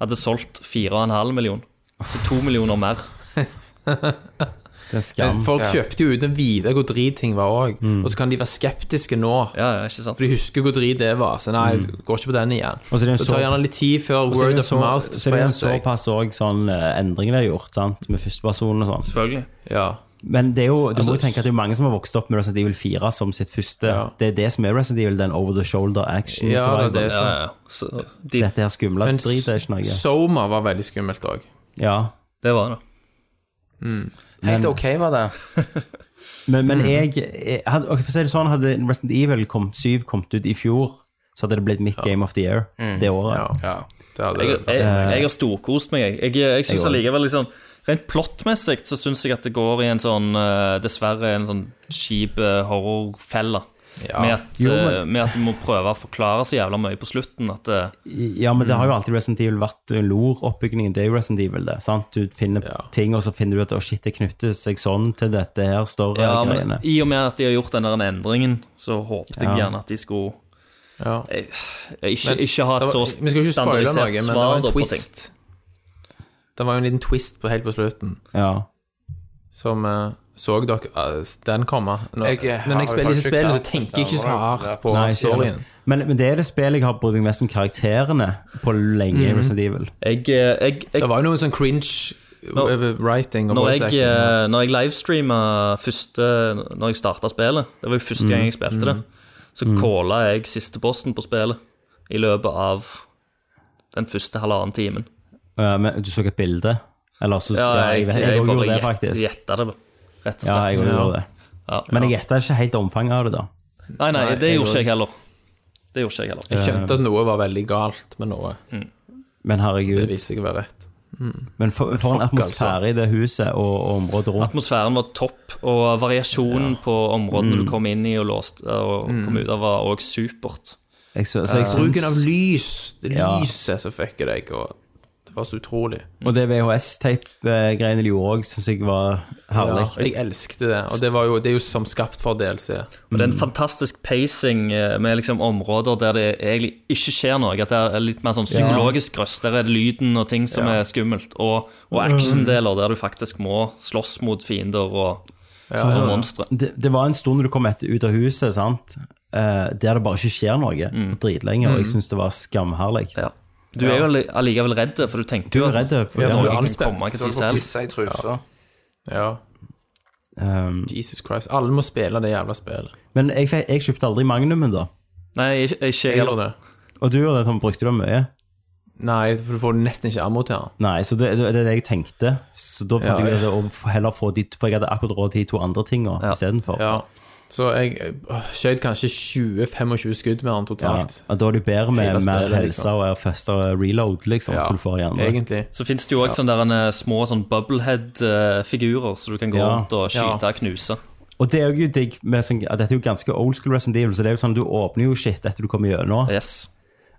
Speaker 5: Hadde solgt 4,5 million Så 2 millioner mer
Speaker 3: Det er
Speaker 4: Men
Speaker 3: skam.
Speaker 4: Folk
Speaker 6: Ja.
Speaker 4: kjøpte jo uten å vite hvor drit ting var òg.
Speaker 3: Mm.
Speaker 4: Og så kan de være skeptiske nå.
Speaker 5: Ja, ja, ikke sant?
Speaker 4: For de husker hvor drit det var. Så nei, går ikke på den igjen.
Speaker 3: Mm. Og så er det en
Speaker 4: det tar
Speaker 3: så-
Speaker 4: gjerne litt tid
Speaker 3: Så
Speaker 4: før
Speaker 3: er det
Speaker 4: word
Speaker 3: jo
Speaker 4: of
Speaker 3: så-
Speaker 4: mouth
Speaker 3: så er det jo
Speaker 4: sprer
Speaker 3: en
Speaker 4: seg.
Speaker 3: såpass òg sånn eh, endringer de har gjort, sant? med førstepersonen og sånn.
Speaker 5: Selvfølgelig
Speaker 4: Ja.
Speaker 3: Men det er jo, du
Speaker 4: Altså,
Speaker 3: må jo tenke at det er mange som har vokst opp med Resident Evil 4 som sitt første
Speaker 4: Ja.
Speaker 3: Det er det som er Resident Evil, den over the shoulder action.
Speaker 4: Ja,
Speaker 3: survival.
Speaker 4: det
Speaker 5: ja,
Speaker 4: er sant.
Speaker 5: ja, ja. Så, de,
Speaker 3: Dette her skumle
Speaker 4: Men
Speaker 3: drit er ikke noe.
Speaker 4: Soma var veldig skummelt òg.
Speaker 3: Ja.
Speaker 5: Det var det
Speaker 6: Helt ok var det.
Speaker 3: Men, men jeg, jeg hadde, ok, for å si det sånn, hadde Resident Evil kom, 7 kommet ut i fjor, så hadde det blitt mitt game of the year det året.
Speaker 4: Ja.
Speaker 6: Ja.
Speaker 4: Det hadde
Speaker 5: Jeg, jeg, jeg har storkost meg. Jeg, jeg, jeg syns
Speaker 3: Jeg også.
Speaker 5: allikevel liksom Rent plottmessig så syns jeg at det går i en sånn eh, Dessverre en sånn kjip eh, horrorfelle. Med, at,
Speaker 3: Jo,
Speaker 5: eh,
Speaker 3: men-
Speaker 5: med at du må prøve å forklare så jævla mye på slutten. At eh,
Speaker 3: Ja, men det har jo alltid Resident Evil vært lor-oppbyggingen. Det er jo Resident Evil, det. sant? Du finner
Speaker 4: Ja.
Speaker 3: ting, og så finner du ut at å shit, det knytter seg sånn til dette her større
Speaker 5: ja, men,
Speaker 3: greiene.
Speaker 5: I og med at de har gjort den der endringen, så håpte jeg
Speaker 3: Ja.
Speaker 5: gjerne at de skulle
Speaker 4: Ja.
Speaker 5: eh, ikke,
Speaker 4: Men
Speaker 5: ikke ha et
Speaker 4: det
Speaker 5: så
Speaker 4: var- Vi skal ikke spoile noe,
Speaker 5: standardisert
Speaker 4: men det var
Speaker 5: svar
Speaker 4: en
Speaker 5: da på ting.
Speaker 4: twist. Det var jo en liten twist på, helt på slutten,
Speaker 3: Ja.
Speaker 4: som eh, så dere eh, den komme. Når
Speaker 6: Jeg, eh,
Speaker 4: jeg, når
Speaker 6: har
Speaker 4: jeg spiller disse
Speaker 6: kanskje
Speaker 4: spillene, så
Speaker 6: klart
Speaker 4: tenker
Speaker 6: dette,
Speaker 4: jeg ikke så
Speaker 6: var det-
Speaker 4: hardt på
Speaker 3: Nei, ikke heller.
Speaker 4: storyen.
Speaker 3: men, men det er det spillet jeg har brydd meg mest om karakterene på lenge i Resident Evil.
Speaker 5: Jeg, eh, jeg, jeg,
Speaker 4: Det var jo noe sånn cringe
Speaker 5: Når-
Speaker 4: over writing og
Speaker 5: Når
Speaker 4: voice
Speaker 5: jeg,
Speaker 4: acting.
Speaker 5: eh, når jeg livestreama første Når jeg starta spillet, det var jo første gang jeg spilte det, så
Speaker 3: Mm.
Speaker 5: calla jeg siste bossen på spillet i løpet av den første halvannen timen.
Speaker 3: Eh, men du så et bilde? Eller så ja, jeg, jeg, jeg, gjorde det, faktisk.
Speaker 5: gjetta det, rett og
Speaker 3: ja, jeg
Speaker 5: slett.
Speaker 3: også
Speaker 4: Ja.
Speaker 3: gjorde det.
Speaker 5: Ja.
Speaker 3: Men jeg gjetta ikke helt omfanget av det, da.
Speaker 5: Nei, nei,
Speaker 4: Nei,
Speaker 5: det
Speaker 4: jeg
Speaker 5: gjorde
Speaker 4: også.
Speaker 5: ikke jeg heller. Det gjorde ikke jeg heller.
Speaker 4: Jeg kjente at noe var veldig galt med noe.
Speaker 3: Men
Speaker 4: Det
Speaker 3: herregud.
Speaker 4: viser seg å være rett.
Speaker 3: Men for, for en
Speaker 4: Fuck,
Speaker 3: atmosfære i det huset og, og området rundt.
Speaker 5: Atmosfæren var topp, og variasjonen på områdene
Speaker 3: Mm.
Speaker 5: du kom inn i og, låst, og kom ut av, var òg supert. Eh,
Speaker 3: Jeg, så, så jeg syns-
Speaker 4: Bruken av lys, det
Speaker 3: Ja.
Speaker 4: lyset som fucker deg, og Det var så utrolig.
Speaker 3: Og det VHS-tape-greiene de gjorde òg, syns jeg var herlig.
Speaker 4: Og jeg elsket det. Og det, var jo, det er jo som skapt for DLC.
Speaker 5: Og det er en fantastisk pacing eh, med liksom områder der det egentlig ikke skjer noe. At det er litt mer sånn psykologisk røst. Der er det lyden og ting som er skummelt. Og, og actiondeler der du faktisk må slåss mot fiender og, og monstre.
Speaker 3: det, det var en stund du kom etter ut av huset, sant? Eh, der det bare ikke skjer noe på dritlenge, og jeg syns det var skamherlig.
Speaker 5: Ja. Du er jo alli- allikevel redd, for du tenker
Speaker 3: Du
Speaker 5: jo
Speaker 3: er redd for
Speaker 4: Ja,
Speaker 3: det.
Speaker 4: du
Speaker 5: noe
Speaker 4: er
Speaker 5: kan
Speaker 4: anspent.
Speaker 5: komme hva
Speaker 6: Så
Speaker 5: tid
Speaker 6: du får
Speaker 5: selv.
Speaker 6: pisse i trusa.
Speaker 4: Ja.
Speaker 3: Um,
Speaker 4: Jesus Christ. Alle må spille det jævla spillet.
Speaker 3: men jeg, fikk- jeg kjøpte aldri Magnumen, da.
Speaker 5: Nei, ikke, ikke
Speaker 4: Jeg
Speaker 5: jeg.
Speaker 4: gjør det.
Speaker 3: Og du gjorde det, Tom, brukte du det mye?
Speaker 4: Nei, for du får nesten ikke ammo til den.
Speaker 3: Nei, så det, det er det jeg tenkte. Så da fant
Speaker 4: Ja,
Speaker 3: jeg ut
Speaker 4: ja.
Speaker 3: å f- heller få de For jeg hadde akkurat råd til de to andre tinga ja. istedenfor.
Speaker 4: Ja. Så jeg øh, skjøt kanskje 20-25 skudd med den
Speaker 3: Ja.
Speaker 4: totalt.
Speaker 3: og Da er det jo bedre med
Speaker 4: Hele
Speaker 3: mer
Speaker 4: spillet,
Speaker 3: helse
Speaker 4: liksom.
Speaker 3: og festere reload, liksom.
Speaker 4: Ja,
Speaker 3: til du får igjen.
Speaker 4: egentlig.
Speaker 5: Så fins det jo òg sånne der, eh, små sånn bubblehead-figurer som du kan gå
Speaker 3: Ja.
Speaker 5: rundt og
Speaker 4: Ja.
Speaker 5: skyte og knuse.
Speaker 3: Og det er jo digg med sånn, at Dette er jo ganske old school Resident Evil, så det er jo sånn du åpner jo shit etter du kommer gjennom.
Speaker 5: Yes.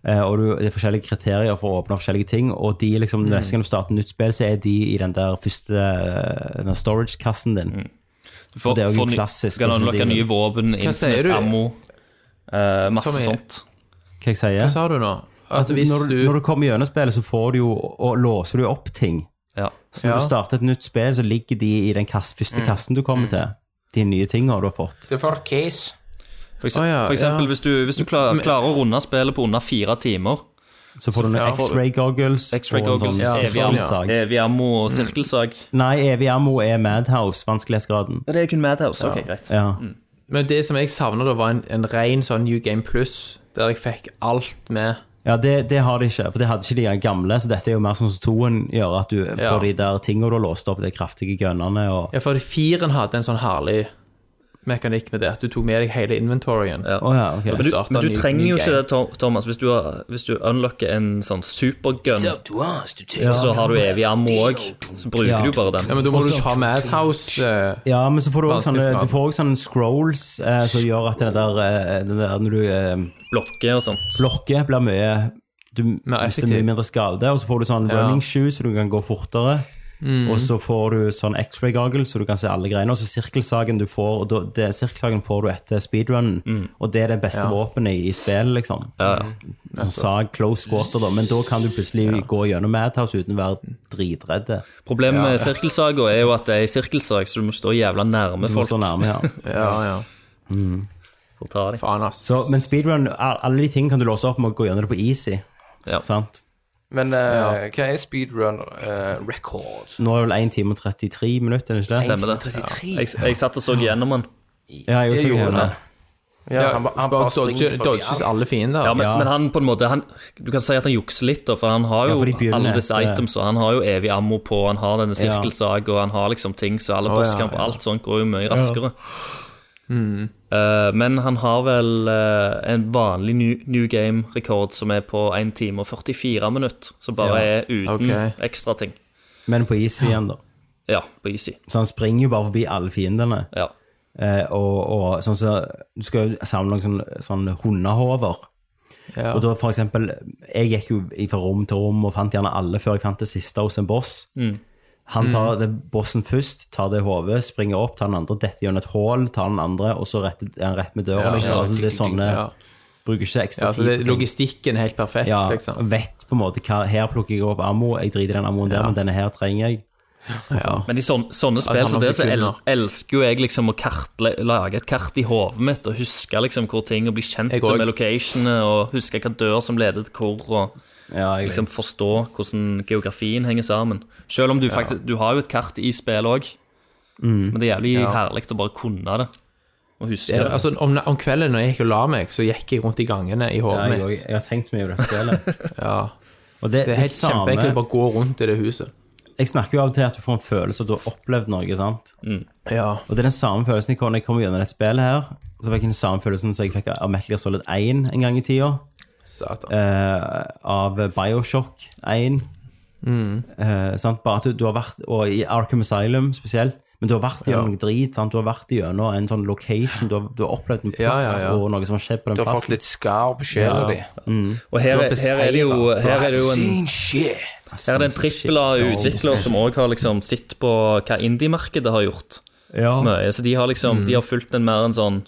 Speaker 3: Eh, Og du, det er forskjellige kriterier for å åpne forskjellige ting. Og de
Speaker 4: Mm.
Speaker 3: liksom, neste gang du starter nytt spill, så er de i den der første eh, den storage-kassen din.
Speaker 4: Mm.
Speaker 5: Du får,
Speaker 3: Det er jo
Speaker 5: får ny-
Speaker 3: klassisk,
Speaker 5: Kan
Speaker 3: sånn
Speaker 5: unlocke
Speaker 3: ting.
Speaker 5: nye våpen,
Speaker 4: sier
Speaker 5: infinite
Speaker 4: du?
Speaker 5: ammo, eh, masse
Speaker 4: Tommy,
Speaker 5: sånt.
Speaker 3: Hva jeg sier?
Speaker 4: Hva sa du nå? At hvis
Speaker 3: Altså, når,
Speaker 4: du
Speaker 3: når du kommer gjennom spillet, så får du jo, og låser du jo opp ting.
Speaker 5: Ja.
Speaker 3: Så når
Speaker 4: Ja. Mm.
Speaker 3: du starter et nytt spill, så ligger de i den kass, første kassen du kommer til. De nye tingene du har fått.
Speaker 6: Det er for case.
Speaker 5: For eksempel,
Speaker 4: Å, ja,
Speaker 5: for eksempel
Speaker 4: ja.
Speaker 5: hvis du, hvis du klar, klarer å runde spillet på under fire timer,
Speaker 3: Så får du
Speaker 4: ja,
Speaker 3: noen
Speaker 4: får du-
Speaker 3: X-ray goggles.
Speaker 5: X-ray
Speaker 3: og en
Speaker 5: goggles,
Speaker 3: sånn
Speaker 5: ja,
Speaker 3: sirkelsag.
Speaker 5: evig eh, ammo og sirkelsag
Speaker 3: Nei, evig ammo er Madhouse, vanskelighetsgraden.
Speaker 5: Det er kun Madhouse. Ok, greit.
Speaker 3: Ja.
Speaker 4: Men det som jeg savna, da, var en, en ren sånn New Game Plus, der jeg fikk alt med.
Speaker 3: Ja, det, det har de ikke, for det hadde ikke de gamle. Så dette er jo mer sånn som toen gjør, at du
Speaker 4: Ja.
Speaker 3: får de der tingene du har låst opp, de kraftige gunnene og
Speaker 4: Ja, for firen hadde en sånn herlig mekanikk med det, at du tok med deg hele inventoryen.
Speaker 5: Ja.
Speaker 3: Å ja, ok.
Speaker 5: Men du,
Speaker 4: Starter
Speaker 5: men du
Speaker 4: ny-
Speaker 5: trenger
Speaker 4: ny
Speaker 5: jo ikke
Speaker 4: game.
Speaker 5: det, Tom- Thomas, hvis du, har- hvis du unlocker en sånn supergun,
Speaker 6: Up to us to take
Speaker 5: og så har du evig ammo òg, så bruker
Speaker 3: Ja.
Speaker 5: du bare den.
Speaker 4: Ja, men da må du ta Madhouse. eh,
Speaker 3: Ja, men så får du også sånne,
Speaker 4: Vanskelighetsgraden.
Speaker 3: du får også sånne scrolls eh, som gjør at den der, eh, den der Når du eh,
Speaker 5: Blokke og sånt.
Speaker 3: blokker, blir mye Du
Speaker 4: Mer
Speaker 3: mister
Speaker 4: effektiv.
Speaker 3: mye mindre skade, og så får du sånn
Speaker 4: Ja. Mm.
Speaker 3: running shoes, så du kan gå fortere. Og så får du sånn X-ray goggle, så du kan se alle greiene. Og så sirkelsagen du får, og da- det, sirkelsagen får du etter speedrunnen. Og det er det beste våpenet i spillet, liksom. Sånn Sag close quarter, da. Men da kan du plutselig gå gjennom Madhouse uten å være dritredd.
Speaker 5: Problemet med sirkelsaga er jo at det er ei sirkelsag, så du må stå jævla nærme
Speaker 3: Du må
Speaker 5: folk
Speaker 3: stå nærme, ja.
Speaker 4: Ja, ja.
Speaker 5: for å ta dem.
Speaker 4: Faen, ass.
Speaker 3: Så, men speedrun, all- alle de tingene kan du låse opp med å gå gjennom det på easy.
Speaker 5: Ja.
Speaker 3: Sant?
Speaker 6: Men eh, hva er speedrun eh, record?
Speaker 3: Nå er det vel 1 time og 33 minutter, er det ikke det?
Speaker 5: Stemmer det. Jeg, jeg satt og så gjennom den.
Speaker 3: Ja, jeg,
Speaker 6: Jeg
Speaker 3: jeg,
Speaker 6: gjorde det. Ja,
Speaker 4: ja,
Speaker 6: han, ba- han
Speaker 4: bare
Speaker 6: bare springer
Speaker 4: dodge-
Speaker 6: forbi
Speaker 4: dodges
Speaker 6: alt.
Speaker 4: alle fiender.
Speaker 5: Ja, men, men han på en måte han, Du kan si at han jukser litt, da, for han har
Speaker 3: Ja,
Speaker 5: jo
Speaker 3: for de begynner
Speaker 5: alle disse
Speaker 3: etter-
Speaker 5: items, og han har jo evig ammo på, han har denne
Speaker 3: Ja.
Speaker 5: sirkelsag, og han har liksom ting, så alle
Speaker 4: Å, ja,
Speaker 5: bosskamper
Speaker 4: ja. Mm.
Speaker 5: og alt sånt går jo mye raskere. Eh, men han har vel eh, en vanlig new, new game-rekord som er på 1 time og 44 minutter, som bare er uten
Speaker 4: ok.
Speaker 5: ekstra ting.
Speaker 3: Men på easy igjen, da.
Speaker 5: Ja, på easy.
Speaker 3: Så han springer jo bare forbi alle fiendene.
Speaker 5: Ja.
Speaker 3: Eh, og, og sånn så, Du skal jo samle noen sånne, sånne hundehover.
Speaker 4: Ja.
Speaker 3: Og da for eksempel, Jeg gikk jo fra rom til rom og fant gjerne alle før jeg fant det siste hos en boss.
Speaker 4: Mm.
Speaker 3: Han tar det, bossen først, tar det i hodet, springer opp, tar den andre, detter gjennom et hull, tar den andre, og så rett, er han rett med døra.
Speaker 4: Ja,
Speaker 3: liksom.
Speaker 4: ja.
Speaker 3: altså, det er sånne,
Speaker 4: Ja.
Speaker 3: Bruker ikke ekstra
Speaker 4: Ja, så det,
Speaker 3: tid. på ting.
Speaker 4: logistikken er helt perfekt,
Speaker 3: ja,
Speaker 4: liksom.
Speaker 3: Vet på en måte hva Her plukker jeg opp ammo, jeg driter i den ammoen der, men denne her trenger jeg.
Speaker 5: Men i sånne, sånne
Speaker 4: det
Speaker 5: spill som
Speaker 4: handler
Speaker 5: det,
Speaker 4: om
Speaker 5: så el
Speaker 4: sekunder.
Speaker 5: elsker jo jeg liksom å kartle, lage et kart i hodet mitt og huske liksom hvor ting Og bli kjent
Speaker 4: Jeg òg.
Speaker 5: med locationene og huske hvilken dør som leder til hvor, og
Speaker 3: Ja, jeg,
Speaker 5: liksom forstå hvordan geografien henger sammen. Selv om du faktisk Du har jo et kart i spill òg, men det er jævlig herlig å bare kunne det. Og huske
Speaker 4: Mm. Det er,
Speaker 5: det.
Speaker 4: altså, om, om kvelden når jeg gikk og la meg, så gikk jeg rundt i gangene i
Speaker 3: ja,
Speaker 4: hodet
Speaker 3: jeg,
Speaker 4: mitt.
Speaker 3: jeg, jeg har tenkt så mye over dette
Speaker 4: [laughs]
Speaker 3: spillet.
Speaker 4: Ja.
Speaker 3: Og det,
Speaker 4: Det
Speaker 3: det,
Speaker 4: er helt
Speaker 3: samme
Speaker 4: kjempeenkelt å bare gå rundt i det huset.
Speaker 3: Jeg snakker jo av og til at du får en følelse at du har opplevd noe, sant?
Speaker 4: Mm. Ja.
Speaker 3: Og det er den samme følelsen jeg kom når jeg kom gjennom dette spillet her. Så fikk jeg den samme følelsen som jeg fikk av Metal Gear Solid 1 en gang i tida.
Speaker 4: Satan.
Speaker 3: eh, av Bioshock 1.
Speaker 4: Mm.
Speaker 3: Eh, sant? Bare at du, du har vært, og i Arkham Asylum spesielt, men du har vært gjennom noe drit. Sant? Du har vært gjennom en sånn location, du har, du har opplevd en
Speaker 4: Ja,
Speaker 3: plass
Speaker 4: ja, ja.
Speaker 3: og noe som har skjedd på den
Speaker 6: Du har fått
Speaker 3: plassen.
Speaker 6: litt skar på sjela di.
Speaker 5: Og her, er- her er det jo, her er det jo en
Speaker 6: Seen shit.
Speaker 5: Her er det en trippel av
Speaker 3: Shit.
Speaker 5: utviklere som òg har liksom sett på hva indie-markedet har gjort.
Speaker 3: Ja.
Speaker 5: Mye. Så de har liksom
Speaker 6: Mm.
Speaker 5: De har fulgt en mer en sånn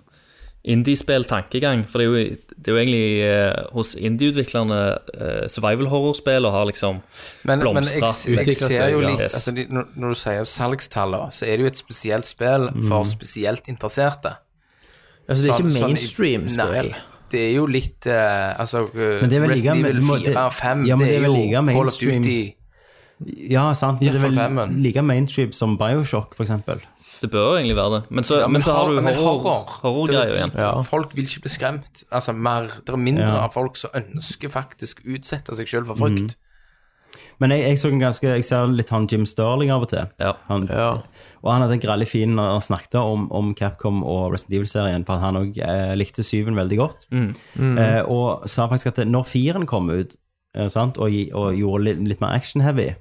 Speaker 5: indie-spill-tankegang. For det er jo, det er jo egentlig eh, hos indie-utviklerne eh, survival horror-spill og har liksom
Speaker 6: Men, men jeg,
Speaker 5: blomstra,
Speaker 6: jeg
Speaker 4: utvikle
Speaker 6: ser jo
Speaker 4: seg, ja.
Speaker 6: litt
Speaker 5: Yes.
Speaker 6: altså, de- når, når du sier salgstallene, så er det jo et spesielt spill
Speaker 3: Mhm.
Speaker 6: for spesielt interesserte.
Speaker 4: Altså, det er
Speaker 6: Sånn-
Speaker 4: ikke
Speaker 6: sånn i-
Speaker 4: mainstream-spill.
Speaker 6: Nei, Det er jo litt eh, Altså,
Speaker 3: Men det er vel
Speaker 6: Resident
Speaker 3: like-
Speaker 6: Evil
Speaker 3: du må-
Speaker 6: 4 og 5
Speaker 3: ja, men
Speaker 6: det,
Speaker 3: det er
Speaker 6: er
Speaker 3: vel
Speaker 6: jo
Speaker 3: like
Speaker 6: Call of
Speaker 3: mainstream.
Speaker 6: Duty.
Speaker 3: ja, sant. Men det er vel
Speaker 6: Iallfall femmen.
Speaker 3: like mainstream som Bioshock, for eksempel.
Speaker 5: Det bør egentlig være det. Men så,
Speaker 6: Ja,
Speaker 5: men så har du
Speaker 6: hor- men
Speaker 5: horror- horror-greier
Speaker 6: det er
Speaker 5: igjen.
Speaker 6: dit Folk vil ikke bli skremt. Altså, mer, det er mindre
Speaker 3: Ja. Mhm.
Speaker 6: av folk som ønsker faktisk utsette seg selv for frykt.
Speaker 3: Men jeg, jeg så en ganske Jeg ser litt han Jim Sterling av og til.
Speaker 5: Ja.
Speaker 3: Han,
Speaker 4: Ja.
Speaker 3: Og han hadde en grellig fin når han snakket om, om Capcom og Resident Evil-serien, for at han òg eh, likte syven veldig godt.
Speaker 4: Mm.
Speaker 3: Eh, og sa faktisk at når firen kom ut eh, sant, og, gi- og gjorde litt, litt mer action-heavy,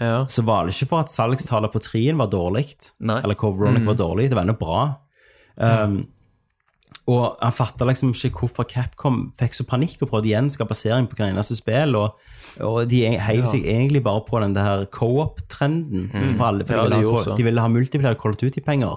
Speaker 4: Ja.
Speaker 3: så var det ikke for at salgstallet på trien var dårlig,
Speaker 5: Nei.
Speaker 3: eller Coveronic
Speaker 4: Mm.
Speaker 3: var dårlig, det var ennå bra. Um, og han fatta liksom ikke hvorfor Capcom fikk så panikk og prøvde å gjenskape serien på hver eneste spill, og, og de e- heiv seg egentlig bare på den der co-op-trenden. For alle, for de,
Speaker 4: Mm. Ja, de
Speaker 3: ville ha,
Speaker 4: gjorde
Speaker 3: ko-
Speaker 4: så.
Speaker 3: de ville ha multiplier Call of Duty-penger,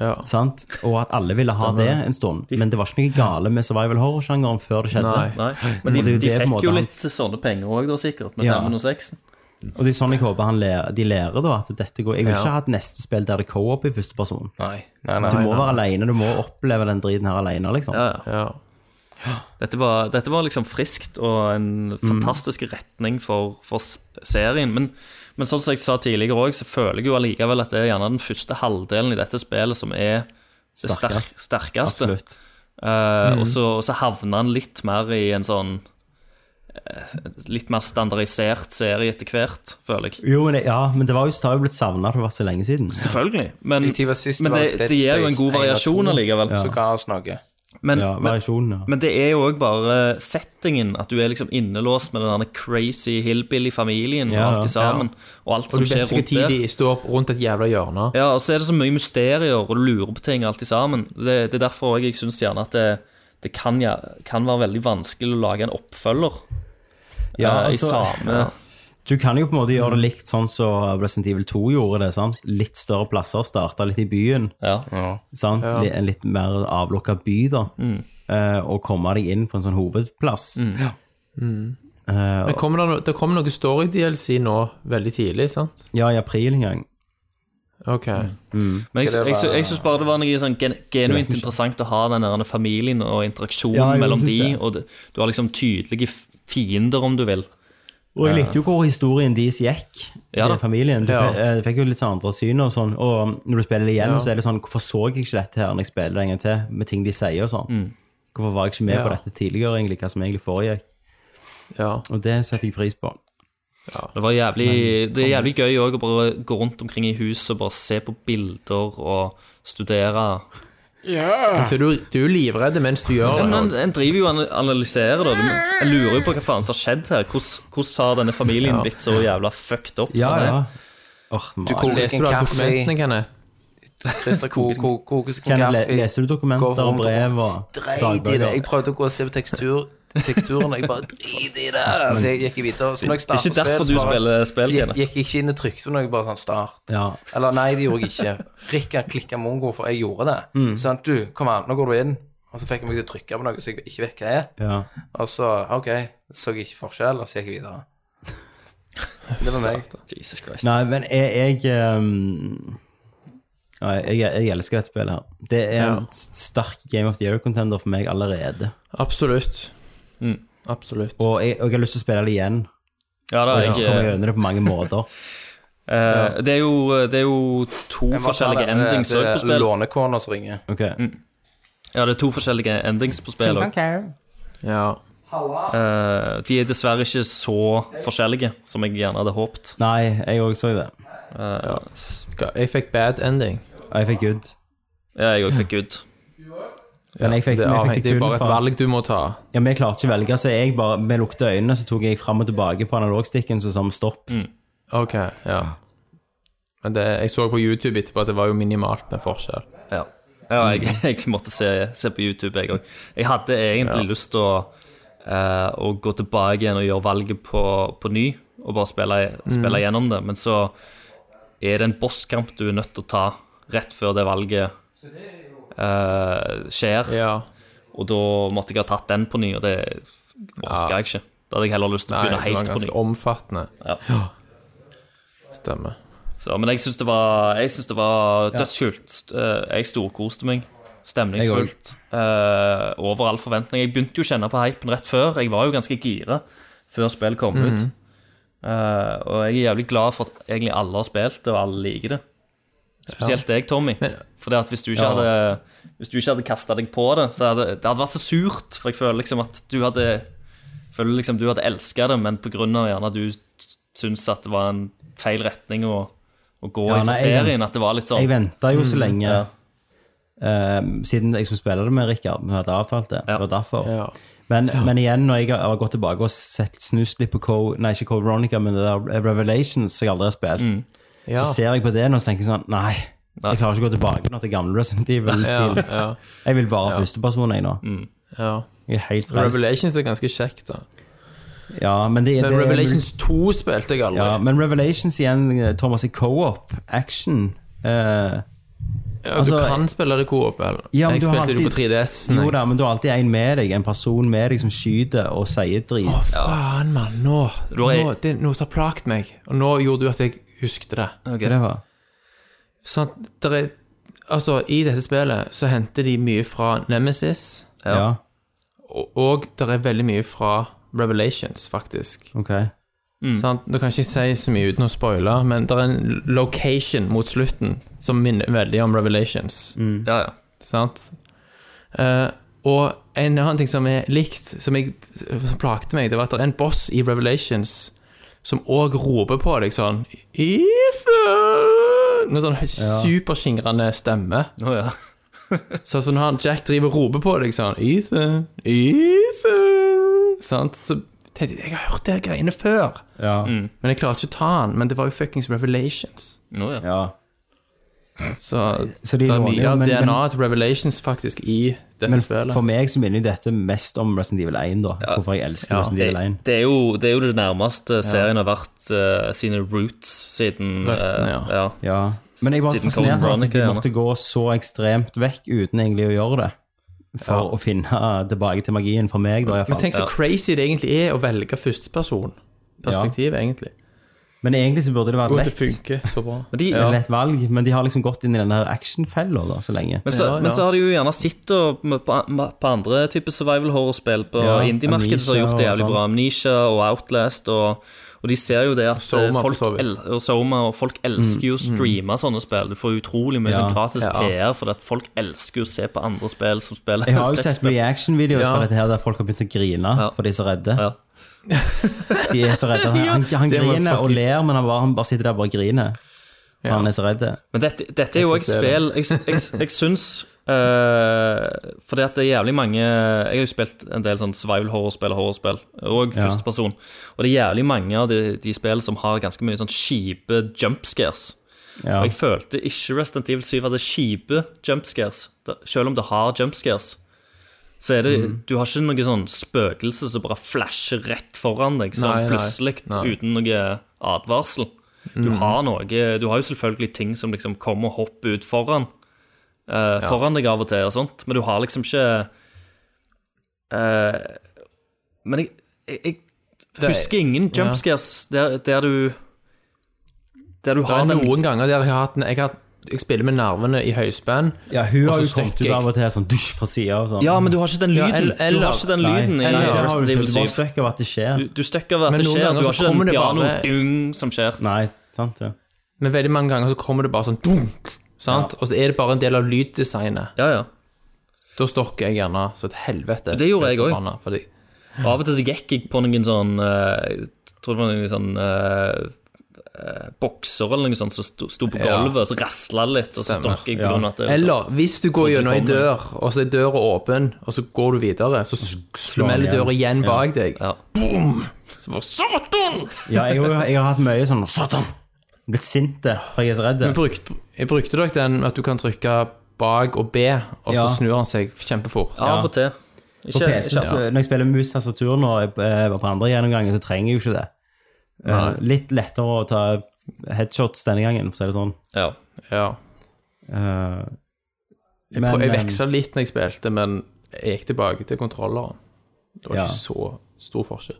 Speaker 4: ja.
Speaker 3: sant? og at alle ville ha det en stund. Men det var ikke noe gale med survival horror-sjangeren før det skjedde.
Speaker 4: Nei.
Speaker 5: Nei. Men de,
Speaker 3: Og det er jo
Speaker 5: de
Speaker 3: det på en måte
Speaker 5: fikk jo
Speaker 3: han-
Speaker 5: litt sånne penger òg, da, sikkert, med
Speaker 3: Ja.
Speaker 5: femmen og seksen.
Speaker 3: Og det er sånn jeg håper han lærer, de lærer, da. At dette går Jeg vil
Speaker 4: Ja.
Speaker 3: ikke ha et neste spill der det er co-op i første person.
Speaker 6: Nei, nei,
Speaker 3: Du
Speaker 6: nei.
Speaker 3: må være alene, du må oppleve den driten her alene, liksom.
Speaker 5: Ja, ja.
Speaker 4: ja.
Speaker 5: Dette, var- dette var liksom friskt og en fantastisk retning for, for s- serien. Men, men sånn som jeg sa tidligere òg, så føler jeg jo allikevel at det er gjerne den første halvdelen i dette spillet som er det sterk,
Speaker 3: Sterkest.
Speaker 5: sterkeste.
Speaker 3: Absolutt.
Speaker 5: Eh,
Speaker 6: Mhm.
Speaker 5: og, så, og så havna han litt mer i en sånn eh, Litt mer standardisert serie etter hvert, føler jeg.
Speaker 3: Jo, men det, ja, men det var jo, det har jo blitt savna, det har vært så lenge siden.
Speaker 5: Selvfølgelig. Men,
Speaker 6: I tid var sist
Speaker 5: men
Speaker 6: var
Speaker 5: det,
Speaker 6: Dead
Speaker 5: det gir jo en
Speaker 6: Space
Speaker 5: god
Speaker 6: 1 og
Speaker 5: variasjon
Speaker 6: 2.
Speaker 5: allikevel.
Speaker 6: Så ga oss noe.
Speaker 5: Men,
Speaker 3: Ja,
Speaker 5: men,
Speaker 3: variasjonen, ja.
Speaker 5: men det er jo òg bare settingen. At du er liksom innelåst med den derne crazy hillbilly-familien
Speaker 3: Ja,
Speaker 5: og
Speaker 3: ja.
Speaker 5: alt sammen. Og alt som
Speaker 4: Og du
Speaker 5: skjer
Speaker 4: vet ikke
Speaker 5: rundt
Speaker 4: tid
Speaker 5: der.
Speaker 4: de står opp rundt et jævla hjørne.
Speaker 5: Ja, og så er det så mye mysterier, og du lurer på ting alt i sammen. Det, det er derfor også jeg syns gjerne at det, det kan, ja, kan være veldig vanskelig å lage en oppfølger
Speaker 3: ja
Speaker 5: eh, i
Speaker 3: altså,
Speaker 5: samme
Speaker 3: du kan jo på en måte gjøre det likt sånn som Resident Evil 2 gjorde det. sant? Litt større plasser, starta litt i byen.
Speaker 5: ja.
Speaker 3: sant? Litt- En litt mer avlukka by, da. Eh, og komme deg inn på en sånn hovedplass.
Speaker 4: Men kommer det, no- det kommer noe story-DLC nå veldig tidlig, sant?
Speaker 3: Ja, i april en gang.
Speaker 4: Ok.
Speaker 5: Men jeg,
Speaker 6: det
Speaker 5: jeg,
Speaker 6: være-
Speaker 5: jeg syns bare det var noe sånn gen, genuint interessant å ha den der familien og interaksjonen
Speaker 3: Ja, jeg
Speaker 5: mellom
Speaker 3: synes
Speaker 5: de,
Speaker 3: det.
Speaker 5: og det, du har liksom tydelige f- fiender, om du vil.
Speaker 3: Og jeg likte jo hvor historien deres gikk.
Speaker 5: Ja
Speaker 3: Eh. Ja,
Speaker 5: da.
Speaker 3: familien. Du
Speaker 4: Ja.
Speaker 3: fikk, eh, fikk jo litt sånn andre syn og sånn. Og når du spiller det igjen, så er det sånn Hvorfor så jeg ikke dette her når jeg spiller det en gang til, med ting de sier og sånn? Hvorfor var jeg ikke med
Speaker 4: Ja.
Speaker 3: på dette tidligere, egentlig, hva som egentlig foregikk?
Speaker 4: Ja.
Speaker 3: Og det setter jeg pris på.
Speaker 5: Det, var jævlig, det er jævlig gøy òg å bare gå rundt omkring i huset og bare se på bilder og studere.
Speaker 4: Så du, du er livredd mens du gjør
Speaker 5: Men
Speaker 4: det.
Speaker 5: en, en driver jo og ana- analyserer, da. Du- En lurer jo på hva faen som har skjedd her. Hvordan hvordan har denne familien blitt så jævla fucked up? sånn
Speaker 3: Ja,
Speaker 5: som det
Speaker 3: ja.
Speaker 5: er?
Speaker 3: Åh, man.
Speaker 6: koker
Speaker 4: Leste du alle dokumentene, Kenneth?
Speaker 6: Christer ko- ko- kokes en
Speaker 3: Ken, le,
Speaker 6: kaffe.
Speaker 3: leser du dokumenter og
Speaker 6: Går rundt
Speaker 3: brev og
Speaker 6: Dreit i det.
Speaker 3: dagbøker?
Speaker 6: Jeg prøvde å gå og se på tekstur, [laughs] teksturen, og jeg bare drit i det. Så jeg gikk videre. Så når jeg
Speaker 5: Det er
Speaker 6: startet
Speaker 5: ikke derfor
Speaker 6: spillet, så
Speaker 5: du
Speaker 6: bare-
Speaker 5: spiller spill,
Speaker 6: Så jeg
Speaker 5: Kenneth.
Speaker 6: gikk jeg ikke inn og trykte på noe, bare sånn start.
Speaker 3: Ja.
Speaker 6: Eller nei, det gjorde jeg ikke. Rikard klikka mongo, for jeg gjorde det.
Speaker 5: Mm.
Speaker 6: Sånn, du, kom an, nå går du inn. Og så fikk jeg meg til å trykke på noe så jeg ikke vet hva er.
Speaker 3: ja.
Speaker 6: Og så OK, så jeg ikke forskjell, og så gikk jeg videre. Det var
Speaker 5: [laughs]
Speaker 6: meg.
Speaker 5: Jesus Christ.
Speaker 3: Nei, men jeg Jeg, ehm, ja, jeg, jeg elsker dette spillet her. Det er en
Speaker 4: Ja.
Speaker 3: sterk Game of the Year-contender for meg allerede.
Speaker 4: Absolutt. Mm. Absolutt.
Speaker 3: Og jeg, og jeg har lyst til å spille det igjen.
Speaker 5: Ja, da,
Speaker 3: Jeg
Speaker 5: jeg,
Speaker 3: kommer gjennom det på mange måter. [laughs]
Speaker 5: Eh, det, er jo, det er jo to
Speaker 6: Jeg må ta
Speaker 5: forskjellige
Speaker 6: den,
Speaker 5: endings
Speaker 6: det, eh,
Speaker 5: også på spill.
Speaker 6: Lånekornet som ringer.
Speaker 3: Ok.
Speaker 4: Mm.
Speaker 5: Ja, det er to forskjellige endings på spill. og,
Speaker 4: Ja.
Speaker 5: eh, de er dessverre ikke så forskjellige som jeg gjerne hadde håpet. Eh,
Speaker 3: Nei, jeg òg så det.
Speaker 4: Ga- Jeg fikk bad ending.
Speaker 3: Og jeg fikk good.
Speaker 5: Ja, jeg òg fikk Gud.
Speaker 3: Men jeg fikk,
Speaker 4: Det,
Speaker 3: men jeg fikk
Speaker 4: det
Speaker 3: det
Speaker 4: er
Speaker 3: kun
Speaker 4: bare et
Speaker 3: fra
Speaker 4: valg du må ta.
Speaker 3: Ja, men jeg klarte ikke å velge, så jeg bare med lukta øynene så tok jeg fram og tilbake på analogstikken som sa stopp.
Speaker 4: Mm. Ok, ja. Men det, jeg så på YouTube etterpå at det var jo minimalt med forskjell.
Speaker 5: Ja, ja jeg, [laughs] jeg måtte se, se på YouTube, jeg òg. Jeg hadde egentlig lyst til å, eh, å gå tilbake igjen og gjøre valget på, på ny, og bare spille,
Speaker 4: Mm.
Speaker 5: spille gjennom det. Men så er det en bosskamp du er nødt til å ta rett før det valget eh, skjer.
Speaker 4: Ja.
Speaker 5: Og da måtte jeg ha tatt den på ny, og det orka jeg ikke. Da hadde jeg heller lyst til å
Speaker 4: Nei, det
Speaker 5: begynne
Speaker 4: var
Speaker 5: helt på
Speaker 4: ganske
Speaker 5: ny.
Speaker 4: omfattende.
Speaker 5: Ja.
Speaker 4: Stemmer.
Speaker 5: Så, men jeg syns det var, jeg synes det var dødskult. Eh, Jeg storkoste meg. Stemningsfullt. eh, over all forventning. Jeg begynte jo å kjenne på hypen rett før. Jeg var jo ganske gira før spill kom ut. Eh, og jeg er jævlig glad for at egentlig alle har spilt det, og alle liker det. Spesielt deg, Tommy. For det at hvis du ikke
Speaker 4: Ja.
Speaker 5: hadde Hvis du ikke hadde kasta deg på det, så hadde det hadde vært så surt. For jeg føler liksom at du hadde Føler liksom du hadde elska det, men pga. gjerne at du syntes at det var en feil retning å, å gå
Speaker 3: Ja, nei,
Speaker 5: i for
Speaker 3: jeg-
Speaker 5: serien, at det var litt sånn
Speaker 3: Jeg venta jo
Speaker 4: Mm,
Speaker 3: så lenge,
Speaker 5: ja.
Speaker 3: eh, siden jeg skulle spille det med Rikard. Vi hadde avtalt det. Det var derfor.
Speaker 4: Ja.
Speaker 3: Men, men igjen, når jeg har gått tilbake og sett snust litt på Co Nei, ikke Co Veronica, men det der Revelations som jeg aldri har spilt,
Speaker 4: Mm. Ja.
Speaker 3: så ser jeg på det nå og så tenker jeg sånn Nei,
Speaker 5: Nei.
Speaker 3: jeg klarer ikke å gå tilbake nå til gamle Resident Evil-stil.
Speaker 4: [laughs] Ja, ja, Mm.
Speaker 3: Jeg vil bare ha førsteperson, jeg nå.
Speaker 4: ja.
Speaker 3: Jeg er helt frelst.
Speaker 4: Revelations er ganske kjekt, da.
Speaker 3: Ja, men det, det
Speaker 4: Men
Speaker 3: er
Speaker 4: Revelations 2 spilte jeg aldri.
Speaker 3: Ja, men Revelations igjen, Thomas, er co-op, action. eh,
Speaker 4: Ja,
Speaker 3: altså,
Speaker 4: du kan spille det coop, eller?
Speaker 3: Ja, men du
Speaker 4: jeg
Speaker 3: har
Speaker 4: spilte det jo på
Speaker 3: alltid-
Speaker 4: 3DS.
Speaker 3: jo da, men du har alltid en med deg, en person med deg som skyter og sier drit.
Speaker 4: Faen, mann. Nå,
Speaker 5: Du har-
Speaker 4: nå Det er noe som har plaget meg. Og nå gjorde du at jeg husket det.
Speaker 3: Hva det var?
Speaker 4: Sant? Der er, altså, I dette spillet så henter de mye fra Nemesis,
Speaker 3: Ja.
Speaker 4: og, og der er veldig mye fra Revelations, faktisk.
Speaker 3: ok.
Speaker 4: Sant? Nå kan jeg ikke si så mye uten å spoile, men det er en location mot slutten som minner veldig om Revelations.
Speaker 5: ja, ja.
Speaker 4: Sant? Eh, og en annen ting som er likt, som, jeg, som plagte meg, det var at det er en boss i Revelations som òg roper på deg sånn Ethan! Med sånn superskingrende stemme.
Speaker 5: Å, ja.
Speaker 4: Så altså, når han Jack driver og roper på deg sånn Ethan, Ethan Sant? Så tenkte jeg jeg har hørt de greiene før.
Speaker 3: Ja.
Speaker 4: Men jeg klarte ikke å ta han. Men det var jo fuckings Revelations.
Speaker 5: Nå, ja.
Speaker 3: ja.
Speaker 4: Så,
Speaker 3: Så de
Speaker 4: det er
Speaker 3: låner
Speaker 4: mye
Speaker 3: jo,
Speaker 4: av
Speaker 3: men- men-
Speaker 4: DNA-et til Revelations faktisk i dette
Speaker 3: Men
Speaker 4: spillet.
Speaker 3: for meg så minner jo dette mest om Resident Evil 1, da. Hvorfor jeg elsker
Speaker 4: Ja,
Speaker 3: Resident
Speaker 5: Det,
Speaker 3: Evil 1.
Speaker 5: det, er jo, det er jo det nærmeste serien har vært eh, sine roots siden eh,
Speaker 4: Røttene, ja.
Speaker 5: ja.
Speaker 3: Ja. Men jeg var så
Speaker 5: Siden
Speaker 3: fascinert av at
Speaker 5: Code
Speaker 3: de
Speaker 5: Veronica, ja.
Speaker 3: måtte gå så ekstremt vekk uten egentlig å gjøre det. For å finne tilbake til magien, for meg, da. i hvert
Speaker 4: Men
Speaker 3: fall.
Speaker 4: tenk så
Speaker 5: Ja.
Speaker 4: crazy det egentlig er å velge førsteperson. Perspektiv, egentlig.
Speaker 3: Men egentlig så burde det
Speaker 4: Og
Speaker 3: vært
Speaker 4: at det
Speaker 3: lett.
Speaker 4: funker så bra.
Speaker 5: Men de,
Speaker 3: Et lett valg, men de har liksom gått inn i den der actionfella da, så lenge.
Speaker 5: Men så,
Speaker 4: Ja, ja.
Speaker 5: men så har de jo gjerne sett og, på, på andre typer survival horror-spill på
Speaker 3: Ja,
Speaker 5: indie-markedet som har gjort
Speaker 3: Amnesia
Speaker 5: det
Speaker 3: og
Speaker 5: jævlig
Speaker 4: sånn.
Speaker 5: bra. Amnesia og Outlast. Og, og de ser jo det at
Speaker 4: Soma,
Speaker 5: eh,
Speaker 4: for
Speaker 5: folk,
Speaker 4: så vidt. Mm,
Speaker 5: el og Soma, og folk elsker jo å streame sånne spill. Du får utrolig mye sånn gratis
Speaker 4: ja.
Speaker 5: PR fordi at folk elsker jo å se på andre spill som spiller
Speaker 3: Jeg har jo sett reaction-videoer
Speaker 4: Ja.
Speaker 3: fra dette her der folk har begynt å grine
Speaker 5: Ja.
Speaker 3: for de er så redde.
Speaker 5: Ja.
Speaker 3: De er så redde. Han, han,
Speaker 5: [laughs]
Speaker 3: han
Speaker 4: det må jeg
Speaker 3: griner og
Speaker 4: faktisk-
Speaker 3: ler, men han bare, han bare sitter der og bare griner. Og Han er så redd.
Speaker 5: Men dette, dette er jo et
Speaker 4: Jeg synes det er
Speaker 5: spill Jeg, jeg, jeg syns eh, Fordi at det er jævlig mange Jeg har jo spilt en del sånn survival horror-spill og horrorspill, og
Speaker 3: Ja.
Speaker 5: førsteperson. Og det er jævlig mange av de, de spill som har ganske mye sånn kjipe jumpscares.
Speaker 3: Ja.
Speaker 5: Og jeg følte ikke Resident Evil 7 hadde kjipe jumpscares. Da- Selv om det har jumpscares, så er det
Speaker 4: Mm.
Speaker 5: Du har ikke noe sånn spøkelse som bare flasher rett foran deg, sånn
Speaker 4: Nei, nei,
Speaker 5: plutselig,
Speaker 4: nei. Mm.
Speaker 5: uten noe advarsel. Du har noe Du har jo selvfølgelig ting som liksom kommer og hopper ut foran eh, Foran deg av og til og sånt, men du har liksom ikke eh, Men jeg, jeg, jeg
Speaker 4: er-
Speaker 5: husker ingen jumpscares der, der du Der du
Speaker 4: Det
Speaker 5: har
Speaker 4: er
Speaker 5: den
Speaker 4: noen ganger der jeg har hatt en- jeg, har, jeg spiller med nervene i høyspenn.
Speaker 3: Ja, hun
Speaker 4: Og
Speaker 3: har
Speaker 4: så
Speaker 3: jo kommet ut
Speaker 4: støkker jeg.
Speaker 3: av og til sånn dusj fra sida og sånn.
Speaker 5: Ja, men du har ikke den lyden.
Speaker 4: el-
Speaker 5: du
Speaker 4: eller-
Speaker 5: har ikke den
Speaker 3: Nei,
Speaker 5: lyden
Speaker 3: nei,
Speaker 5: i
Speaker 3: det har
Speaker 5: Resident
Speaker 3: du ikke.
Speaker 5: Evil
Speaker 3: Du bare
Speaker 5: 7.
Speaker 3: støkker av at det skjer.
Speaker 5: Du støkker ved
Speaker 4: Men
Speaker 5: at det
Speaker 4: noen
Speaker 5: skjer.
Speaker 4: ganger
Speaker 5: Du har
Speaker 4: så
Speaker 5: ikke
Speaker 4: kommer
Speaker 5: den
Speaker 4: det bare-
Speaker 5: piano-dung som skjer.
Speaker 3: Nei, sant det.
Speaker 4: Men veldig mange ganger så kommer det bare sånn dunk, sant? Og så er det bare en del av lyddesignet.
Speaker 5: Ja, ja.
Speaker 4: Da stokker jeg gjerne så et helvete.
Speaker 5: Det gjorde jeg også.
Speaker 4: Forbanna, fordi-
Speaker 5: Og Av og til så gikk jeg på noen sånn eh, Jeg tror det var noen sånn eh, eh, bokser eller noe sånt som sto, sto på
Speaker 4: Ja.
Speaker 5: gulvet, og så rasla det litt, og så
Speaker 4: Stemmer,
Speaker 5: stokk jeg
Speaker 3: ja.
Speaker 5: på grunn av at det
Speaker 4: Eller hvis du går
Speaker 5: Sånn at
Speaker 4: gjennom
Speaker 5: det
Speaker 4: ei dør, og så er døra åpen, og så går du videre, så smeller
Speaker 3: igjen.
Speaker 4: døra igjen bak deg.
Speaker 5: Mm. Ja. sånn!
Speaker 3: Ja, jeg, har- jeg har hatt mye sånn Satan! Blitt sinte, for jeg er så redd.
Speaker 4: Men brukt, jeg brukte dere den at du kan trykke bak og B, og så
Speaker 3: Ja.
Speaker 4: snur han seg kjempefort.
Speaker 5: Av og til. Ikke,
Speaker 3: På PC,
Speaker 5: ikke,
Speaker 3: så, når jeg spiller mus-tastatur nå eh, på andre gjennomganger, så trenger jeg jo ikke det. Eh, litt lettere å ta headshots denne gangen, for å si det sånn.
Speaker 5: Ja.
Speaker 4: Ja.
Speaker 3: Eh,
Speaker 4: Jeg,
Speaker 3: Men,
Speaker 4: prøv- jeg
Speaker 3: eh,
Speaker 4: veksla litt når jeg spilte, men jeg gikk tilbake til kontrolleren. Det var
Speaker 3: Ja.
Speaker 4: ikke så stor forskjell.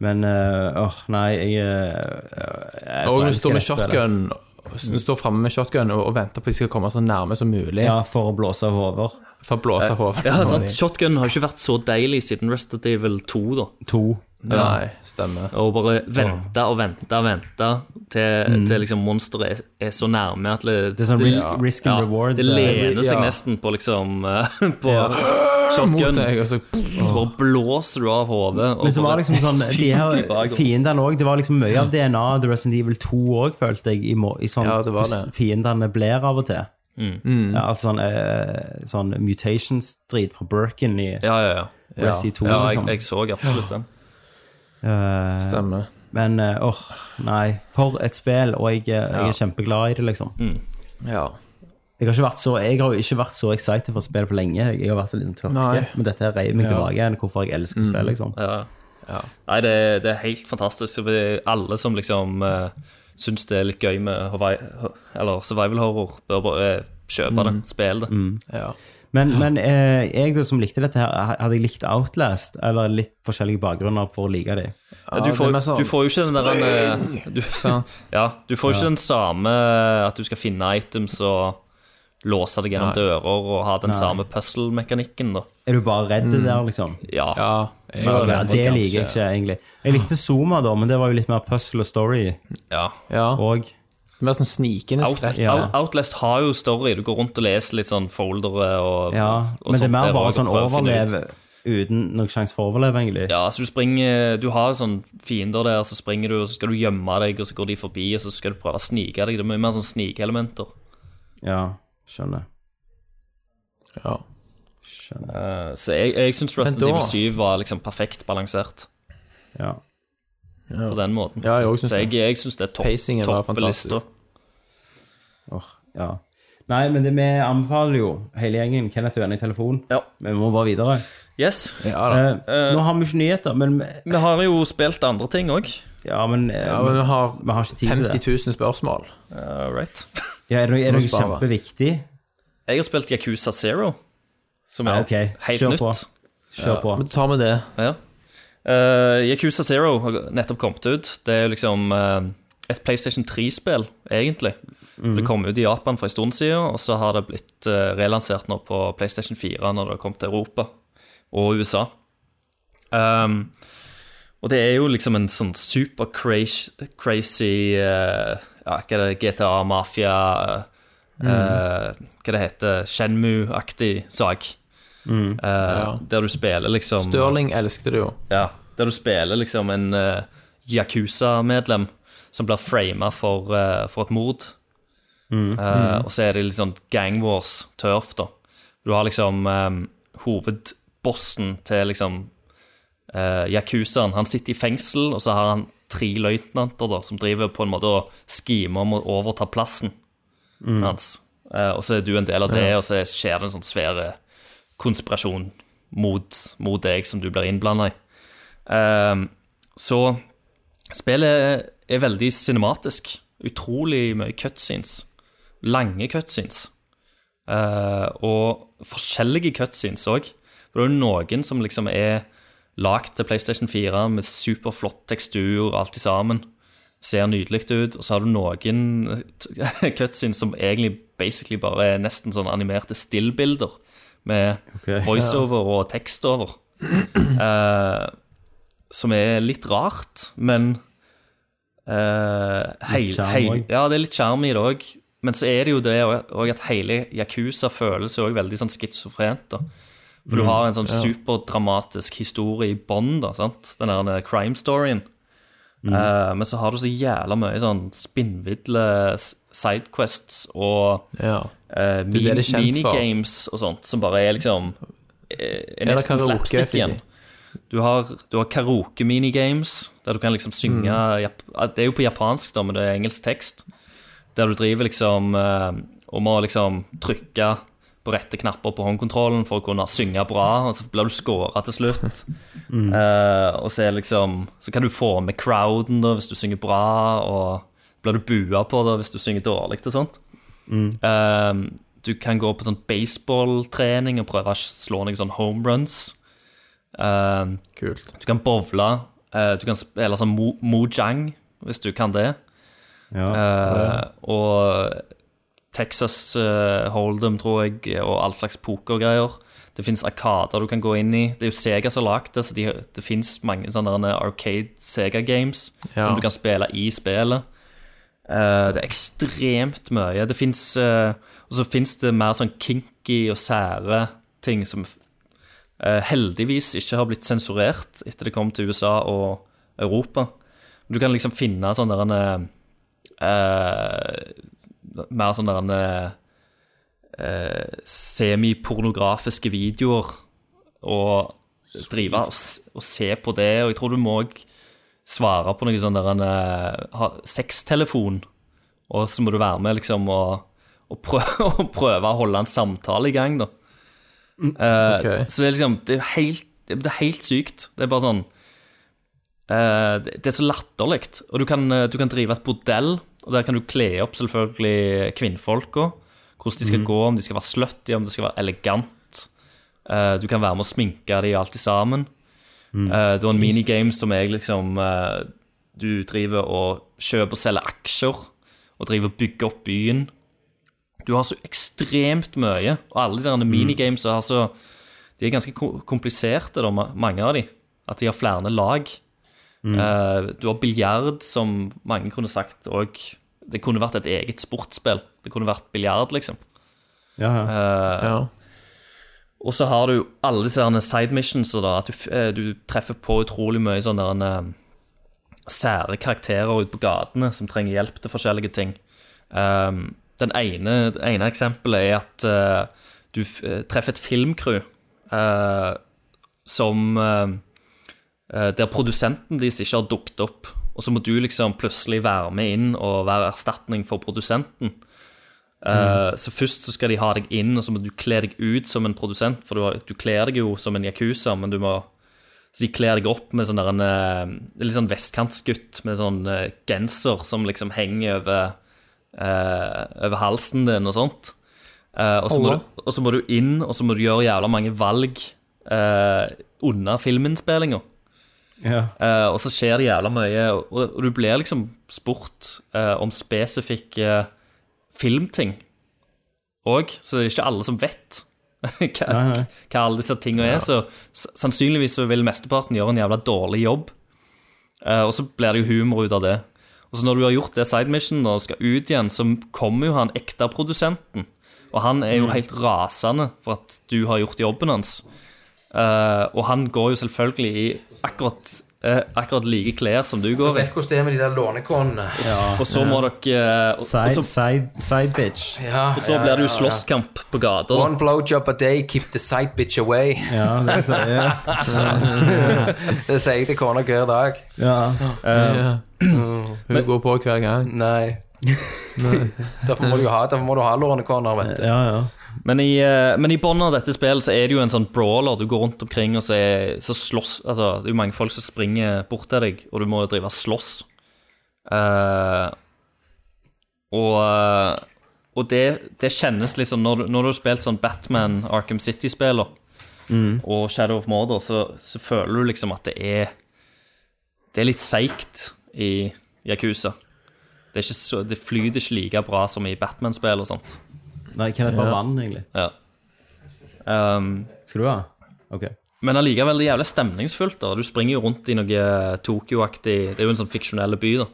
Speaker 3: men eh, åh, nei, jeg, eh, jeg
Speaker 4: Og når du
Speaker 3: forelsker
Speaker 4: står med
Speaker 3: dette spillet.
Speaker 4: shotgun Når du står fremme med shotgun og, og venter på at de skal komme så nærme som mulig
Speaker 3: Ja, for å blåse av hoder.
Speaker 4: for å blåse hodet
Speaker 5: ja sant? Shotgun har jo ikke vært så deilig siden Resident Evil 2, da.
Speaker 3: To.
Speaker 4: Nei, stemmer.
Speaker 5: Og bare vente og vente og vente til,
Speaker 4: Mm.
Speaker 5: til liksom monsteret er, er så nærme at det,
Speaker 3: Det er sånn risk, risk and
Speaker 5: ja,
Speaker 3: reward. eh,
Speaker 5: det lener seg
Speaker 4: Ja.
Speaker 5: nesten på liksom eh, [laughs] På
Speaker 4: Mot
Speaker 5: shotgun.
Speaker 4: deg, og så
Speaker 5: Og så bare blåser du av hodet. og
Speaker 3: Men så var
Speaker 5: bare-
Speaker 3: det liksom sånn
Speaker 5: [laughs]
Speaker 3: de
Speaker 5: Fyker i
Speaker 3: her
Speaker 5: bakgrunnen.
Speaker 3: Fiendene òg. Det var liksom mye av DNA The Resident Evil 2 òg, følte jeg, i, må- i sånn
Speaker 4: Ja, det var
Speaker 3: hvordan
Speaker 4: det.
Speaker 3: fiendene blir av og til. Ja, altså sånn, eh, sånn mutations-drit fra Birkin i
Speaker 5: Ja, ja, ja.
Speaker 3: Resi 2.
Speaker 5: ja jeg,
Speaker 3: liksom.
Speaker 5: jeg så absolutt den.
Speaker 3: Eh,
Speaker 4: Stemmer.
Speaker 3: men eh, åh, nei. For et spill, og jeg, eh, jeg er kjempeglad i det, liksom.
Speaker 4: Ja.
Speaker 3: Jeg har, ikke vært så, jeg har jo ikke vært så excited for å spille på lenge. Jeg har vært så liksom tørke.
Speaker 4: Nei.
Speaker 3: Men dette her reiv meg tilbake igjen, hvorfor jeg elsker spill, liksom.
Speaker 5: Ja. Nei, det, det er helt fantastisk. Og det- Alle som liksom uh, syns det er litt gøy med Hawaii, eller survival horror, bør bare eh, kjøpe det.
Speaker 3: Mm.
Speaker 5: Spille det.
Speaker 4: ja.
Speaker 3: Men, men eh, jeg da som likte dette her, hadde jeg likt Outlast, eller litt forskjellige bakgrunner for å like dem?
Speaker 5: Ja, du,
Speaker 4: det er
Speaker 5: får,
Speaker 4: mer sånn-
Speaker 5: du får jo ikke den der eh, du,
Speaker 4: Sant?
Speaker 5: ja, du får ikke den samme at du skal finne items og låse deg gjennom dører og ha den samme puzzle-mekanikken, da.
Speaker 3: Er du bare redd der, liksom?
Speaker 5: Ja.
Speaker 4: Ja, jeg
Speaker 3: Ja,
Speaker 4: var
Speaker 3: det,
Speaker 4: redd,
Speaker 3: liker jeg
Speaker 4: kanskje.
Speaker 3: ikke, egentlig. Jeg likte Zoma, da, men det var jo litt mer puzzle og story
Speaker 5: ja.
Speaker 4: Ja.
Speaker 3: òg.
Speaker 4: Mer sånn snikende
Speaker 5: Out,
Speaker 4: skrekk.
Speaker 3: Ja.
Speaker 5: Out- Outlast har jo story. Du går rundt og leser litt sånn foldere og,
Speaker 3: Ja,
Speaker 5: og
Speaker 3: men det er
Speaker 5: sånt
Speaker 3: mer
Speaker 5: der
Speaker 3: bare
Speaker 5: også,
Speaker 3: sånn
Speaker 5: og prøver å finne ut.
Speaker 3: overleve uten noen sjanse for å overleve, egentlig.
Speaker 5: Ja, så du springer Du har sånn fiender der, så springer du, og så skal du gjemme deg, og så går de forbi, og så skal du prøve å snike deg. Det er mye mer sånn snikelementer.
Speaker 3: Ja, skjønner.
Speaker 4: Ja.
Speaker 3: skjønner.
Speaker 5: Eh, så jeg, jeg syns Resident
Speaker 4: da-
Speaker 5: Evil 7 var liksom perfekt balansert
Speaker 3: Ja.
Speaker 5: på den måten.
Speaker 4: Ja, jeg også synes
Speaker 5: så jeg, jeg syns det er topp,
Speaker 4: Pacingen var fantastisk.
Speaker 5: toppelista.
Speaker 3: Åh, ja. Nei, men det vi anbefaler jo hele gjengen Kenneth og Venne i telefon.
Speaker 5: Ja.
Speaker 3: Vi må bare videre.
Speaker 5: Yes.
Speaker 4: ja da.
Speaker 3: Eh, nå har vi ikke nyheter, men
Speaker 5: Vi har jo spilt andre ting òg.
Speaker 3: Ja, men, eh,
Speaker 4: Ja, men vi har,
Speaker 3: vi har ikke tid til
Speaker 4: 50
Speaker 3: det.
Speaker 4: 000 spørsmål.
Speaker 5: All right.
Speaker 3: Ja, er det, er det
Speaker 4: Må
Speaker 3: noe
Speaker 4: spare.
Speaker 3: kjempeviktig?
Speaker 5: Jeg har spilt Yakuza Zero, som er
Speaker 3: Ja, ok.
Speaker 5: helt
Speaker 3: Kjør
Speaker 5: nytt.
Speaker 3: på. Kjør på.
Speaker 4: Men tar vi det.
Speaker 5: Ja. Eh, Yakuza Zero har nettopp kommet ut. Det er jo liksom eh, et PlayStation 3-spill, egentlig. Det kom ut i Japan for en stund siden, og så har det blitt eh, relansert nå på PlayStation 4 når det har kommet til Europa og USA. Ehm, og det er jo liksom en sånn super crazy, crazy eh, ja, Hva er det? GTA, mafia eh, Hva det heter? Shenmu-aktig sak. Eh, Der du spiller liksom
Speaker 4: Stirling elsket det jo.
Speaker 5: ja, der du spiller liksom en eh, Yakuza-medlem som blir frama for, eh, for et mord. Eh, og så er det litt sånn gang wars, turf, da. Du har liksom eh, hovedbossen til liksom uh, Yakuzaen. Han sitter i fengsel, og så har han tre løytnanter da, som driver på en måte og skimer om å overta plassen hans. Eh, og så er du en del av det, og så skjer det en sånn svære konspirasjon mot, mot deg som du blir innblanda i. Ehm, så spillet er veldig cinematisk. Utrolig mye cutscenes. Lange cutscenes. Eh, og forskjellige cutscenes òg. For det er jo noen som liksom er lagd til PlayStation 4 med superflott tekstur og alt i sammen. Ser nydelig ut. Og så har du noen [laughs] cutscenes som egentlig basically bare er nesten sånn animerte stillbilder med voiceover og tekst over. Eh, som er litt rart, men eh, hei,
Speaker 3: Litt sjarm
Speaker 5: hei,
Speaker 3: også.
Speaker 5: Ja, det er litt sjarm i det òg. Men så er det jo det òg at hele Yakuza føles jo også veldig sånn schizofrent. da. For
Speaker 3: Mm.
Speaker 5: du har en sånn superdramatisk historie i bånn, da, sant? den der crime storyen.
Speaker 3: Mm.
Speaker 5: Eh, men så har du så jævla mye sånn spinnvidle s- sidequests og
Speaker 4: Ja.
Speaker 5: eh,
Speaker 4: det er
Speaker 5: min,
Speaker 4: det kjent for.
Speaker 5: minigames og sånt, som bare er liksom eh, Er
Speaker 4: Eller
Speaker 5: nesten
Speaker 4: karaoke,
Speaker 5: slapstick
Speaker 4: vil jeg
Speaker 5: igjen. Du har, du har karaoke-minigames, der du kan liksom synge
Speaker 4: Mm.
Speaker 5: jap ah, Det er jo på japansk, da, men det er engelsk tekst. Der du driver liksom eh, og må liksom trykke på rette knapper på håndkontrollen for å kunne synge bra, og så blir du scora til slutt.
Speaker 4: Mm.
Speaker 5: Eh, og så, er liksom, så kan du få med crowden da, hvis du synger bra, og blir du bua på da, hvis du synger dårlig og sånt. Eh, du kan gå på sånn baseballtrening og prøve å slå noen sånn home runs. Eh,
Speaker 4: Kult.
Speaker 5: du kan bowle. eh, du kan spille sånn mo- mojang, hvis du kan det.
Speaker 3: Ja.
Speaker 5: Eh, og Texas eh, Hold'em, tror jeg, og all slags pokergreier. Det fins arkader du kan gå inn i. Det er jo Sega som har lagd det, så de, det fins mange sånne der eh, arcade Sega-games
Speaker 4: Ja.
Speaker 5: som du kan spille i spillet. Eh, det er ekstremt mye. Det fins Og så fins det mer sånn kinky og sære ting som eh, heldigvis ikke har blitt sensurert etter det kom til USA og Europa. Du kan liksom finne sånne der, eh, mer sånne der, eh, semipornografiske videoer og drive og, s- og se på det. Og jeg tror du må òg svare på noe sånn der en eh, ha sextelefon, og så må du være med liksom og, og, prøve, [laughs] og prøve å holde en samtale i gang, da. Eh,
Speaker 4: ok.
Speaker 5: Så det er liksom det er, helt, det er helt sykt. Det er bare sånn Eh, det det er så latterlig. Og du kan, eh, du kan drive et bordell, og der kan du kle opp selvfølgelig kvinnfolka. Hvordan de skal gå, om de skal være slutty, om de skal være elegant. Eh, du kan være med å sminke de alt sammen. Eh, du har en minigame som er liksom eh, Du driver og kjøper og selger aksjer, og driver og bygger opp byen. Du har så ekstremt mye, og alle de mm. minigames har så De er ganske ko- kompliserte, da, ma- mange av de. At de har flere lag. Eh, du har biljard, som mange kunne sagt òg Det kunne vært et eget sportsspill. Det kunne vært biljard, liksom.
Speaker 3: Ja, ja.
Speaker 4: Ja.
Speaker 5: Og så har du alle disse herne side missions, og da, at du, f- eh, du treffer på utrolig mye sånne herne sære karakterer ute på gatene som trenger hjelp til forskjellige ting. Um, den ene, det ene eksempelet er at eh, du f eh, treffer et filmcrew eh, som eh, eh, Der produsenten deres ikke har dukket opp, og så må du liksom plutselig være med inn og være erstatning for produsenten. Eh, Så først så skal de ha deg inn, og så må du kle deg ut som en produsent, for du, har, du kler deg jo som en yakuza, men du må Så de kler deg opp med sånn der en eh, Litt sånn vestkantsgutt med sånn eh, genser som liksom henger over eh, Over halsen din og sånt. Eh, og, så må
Speaker 4: Allah.
Speaker 5: du, og så må du inn, og så må du gjøre jævla mange valg eh, under filminnspillinga.
Speaker 3: ja.
Speaker 5: Eh, og så skjer det jævla mye, og, og du blir liksom spurt eh, om spesifikke filmting òg, så det er ikke alle som vet [laughs] hva,
Speaker 3: Nei, nei.
Speaker 5: hva alle disse tinga er. Så s- sannsynligvis så vil mesteparten gjøre en jævla dårlig jobb, Eh, og så blir det jo humor ut av det. Og så når du har gjort det side mission og skal ut igjen, så kommer jo han ekte produsenten, og han er
Speaker 3: Mm.
Speaker 5: jo helt rasende for at du har gjort jobben hans. Eh, og han går jo selvfølgelig i akkurat, eh, akkurat like klær som du går i.
Speaker 6: Vet hvordan det er med de der lånekonene.
Speaker 5: Og så må dere eh, og, og,
Speaker 3: Side,
Speaker 5: så,
Speaker 3: side, side bitch.
Speaker 6: Ja,
Speaker 5: og så
Speaker 6: ja,
Speaker 5: blir det
Speaker 6: ja,
Speaker 5: jo
Speaker 6: ja.
Speaker 5: slåsskamp på gata. da.
Speaker 6: One blowjob a day, keep the side bitch away. [laughs]
Speaker 3: Ja, det sier jeg.
Speaker 6: Det sier jeg til kona hver dag.
Speaker 3: Ja.
Speaker 4: Ja. Hun går på hver gang.
Speaker 6: Nei. derfor må du jo ha, derfor må du ha lånekoner, vet du.
Speaker 3: Ja, ja.
Speaker 5: Men i, eh, men i bunnen av dette spillet så er det jo en sånn brawler. Du går rundt omkring, og så, er, så slåss Altså, det er jo mange folk som springer bort til deg, og du må jo drive og slåss. Eh, og eh, og det, det kjennes liksom Når, du- når du har spilt sånn Batman Arkham City-spiller og Shadow of Mordor, så, så føler du liksom at det er Det er litt seigt i Yakuza. Det, er ikke så, det flyter ikke like bra som i Batman-spill og sånt.
Speaker 3: Nei, kan jeg bare vann, egentlig?
Speaker 5: Ja. Um,
Speaker 3: Skal du ha? Ok.
Speaker 5: men allikevel det er jævlig stemningsfullt. da Du springer jo rundt i noe eh, Tokyo-aktig Det er jo en sånn fiksjonell by, da.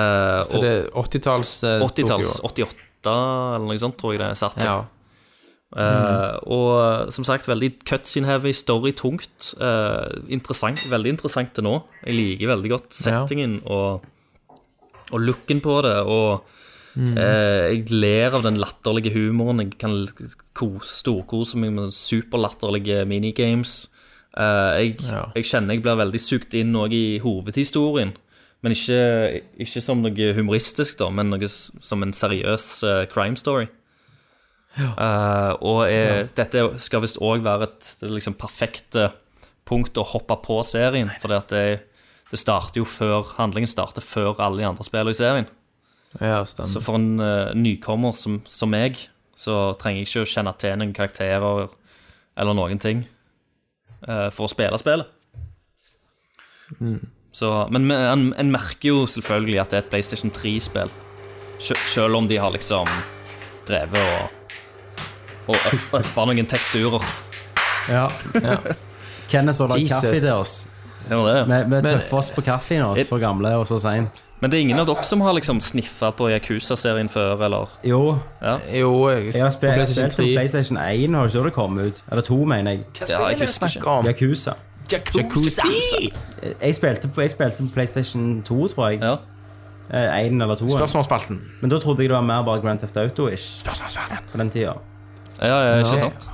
Speaker 5: Eh,
Speaker 4: Så det er 80-talls eh,
Speaker 5: og 80-talls.
Speaker 4: Tokyo.
Speaker 5: 88 eller noe sånt, tror jeg det er satt. i.
Speaker 4: Ja.
Speaker 5: Eh, og som sagt, veldig cutscene-heavy, story-tungt. eh, interessant, veldig interessant til nå. Jeg liker veldig godt
Speaker 4: Ja.
Speaker 5: settingen og, og looken på det. Og eh, jeg ler av den latterlige humoren. Jeg kan l- ko- storkose meg med superlatterlige minigames. Eh, jeg,
Speaker 4: Ja.
Speaker 5: jeg kjenner jeg blir veldig sugd inn òg i hovedhistorien. Men ikke, ikke som noe humoristisk, da, men noe s- som en seriøs eh, crime story. Eh, og er, dette skal visst òg være et det liksom perfekte punkt å hoppe på serien. For det, det starter jo før handlingen starter før alle de andre spiller i serien.
Speaker 4: Ja, stemmer.
Speaker 5: Så for en eh, nykommer som, som meg, så trenger jeg ikke å kjenne til noen karakterer eller noen ting eh, for å spille spillet. Så, men men en, en merker jo selvfølgelig at det er et PlayStation 3-spill, selv om de har liksom drevet og og up- uppa noen teksturer.
Speaker 3: Ja. Kenneth har lagd
Speaker 4: Jesus.
Speaker 3: kaffe til oss.
Speaker 5: Det var det.
Speaker 3: Vi, vi tøffer oss på kaffe nå, så gamle og så seint.
Speaker 5: Men det er ingen av dere som har liksom sniffa på Yakuza-serien før, eller?
Speaker 3: Jo,
Speaker 4: Jo, jeg,
Speaker 3: jeg har spilt, jeg
Speaker 4: PlayStation
Speaker 3: spilte på
Speaker 4: 3.
Speaker 3: PlayStation 1 har ikke det kommet ut. Eller 2, mener jeg.
Speaker 6: Hva
Speaker 5: Ja,
Speaker 6: spiller
Speaker 5: jeg
Speaker 6: du
Speaker 5: husker
Speaker 6: snakker om?
Speaker 3: Yakuza.
Speaker 6: Jacuzzi!
Speaker 3: Jeg spilte, på, jeg spilte på PlayStation 2, tror jeg.
Speaker 5: Ja.
Speaker 3: Eh, 1 eller 2.
Speaker 6: Spørsmålsspalten.
Speaker 3: Men da trodde jeg det var mer bare Grand Theft Auto-ish
Speaker 6: Spørsmålsspalten.
Speaker 3: på den tida.
Speaker 5: Ja, ja, ikke sant?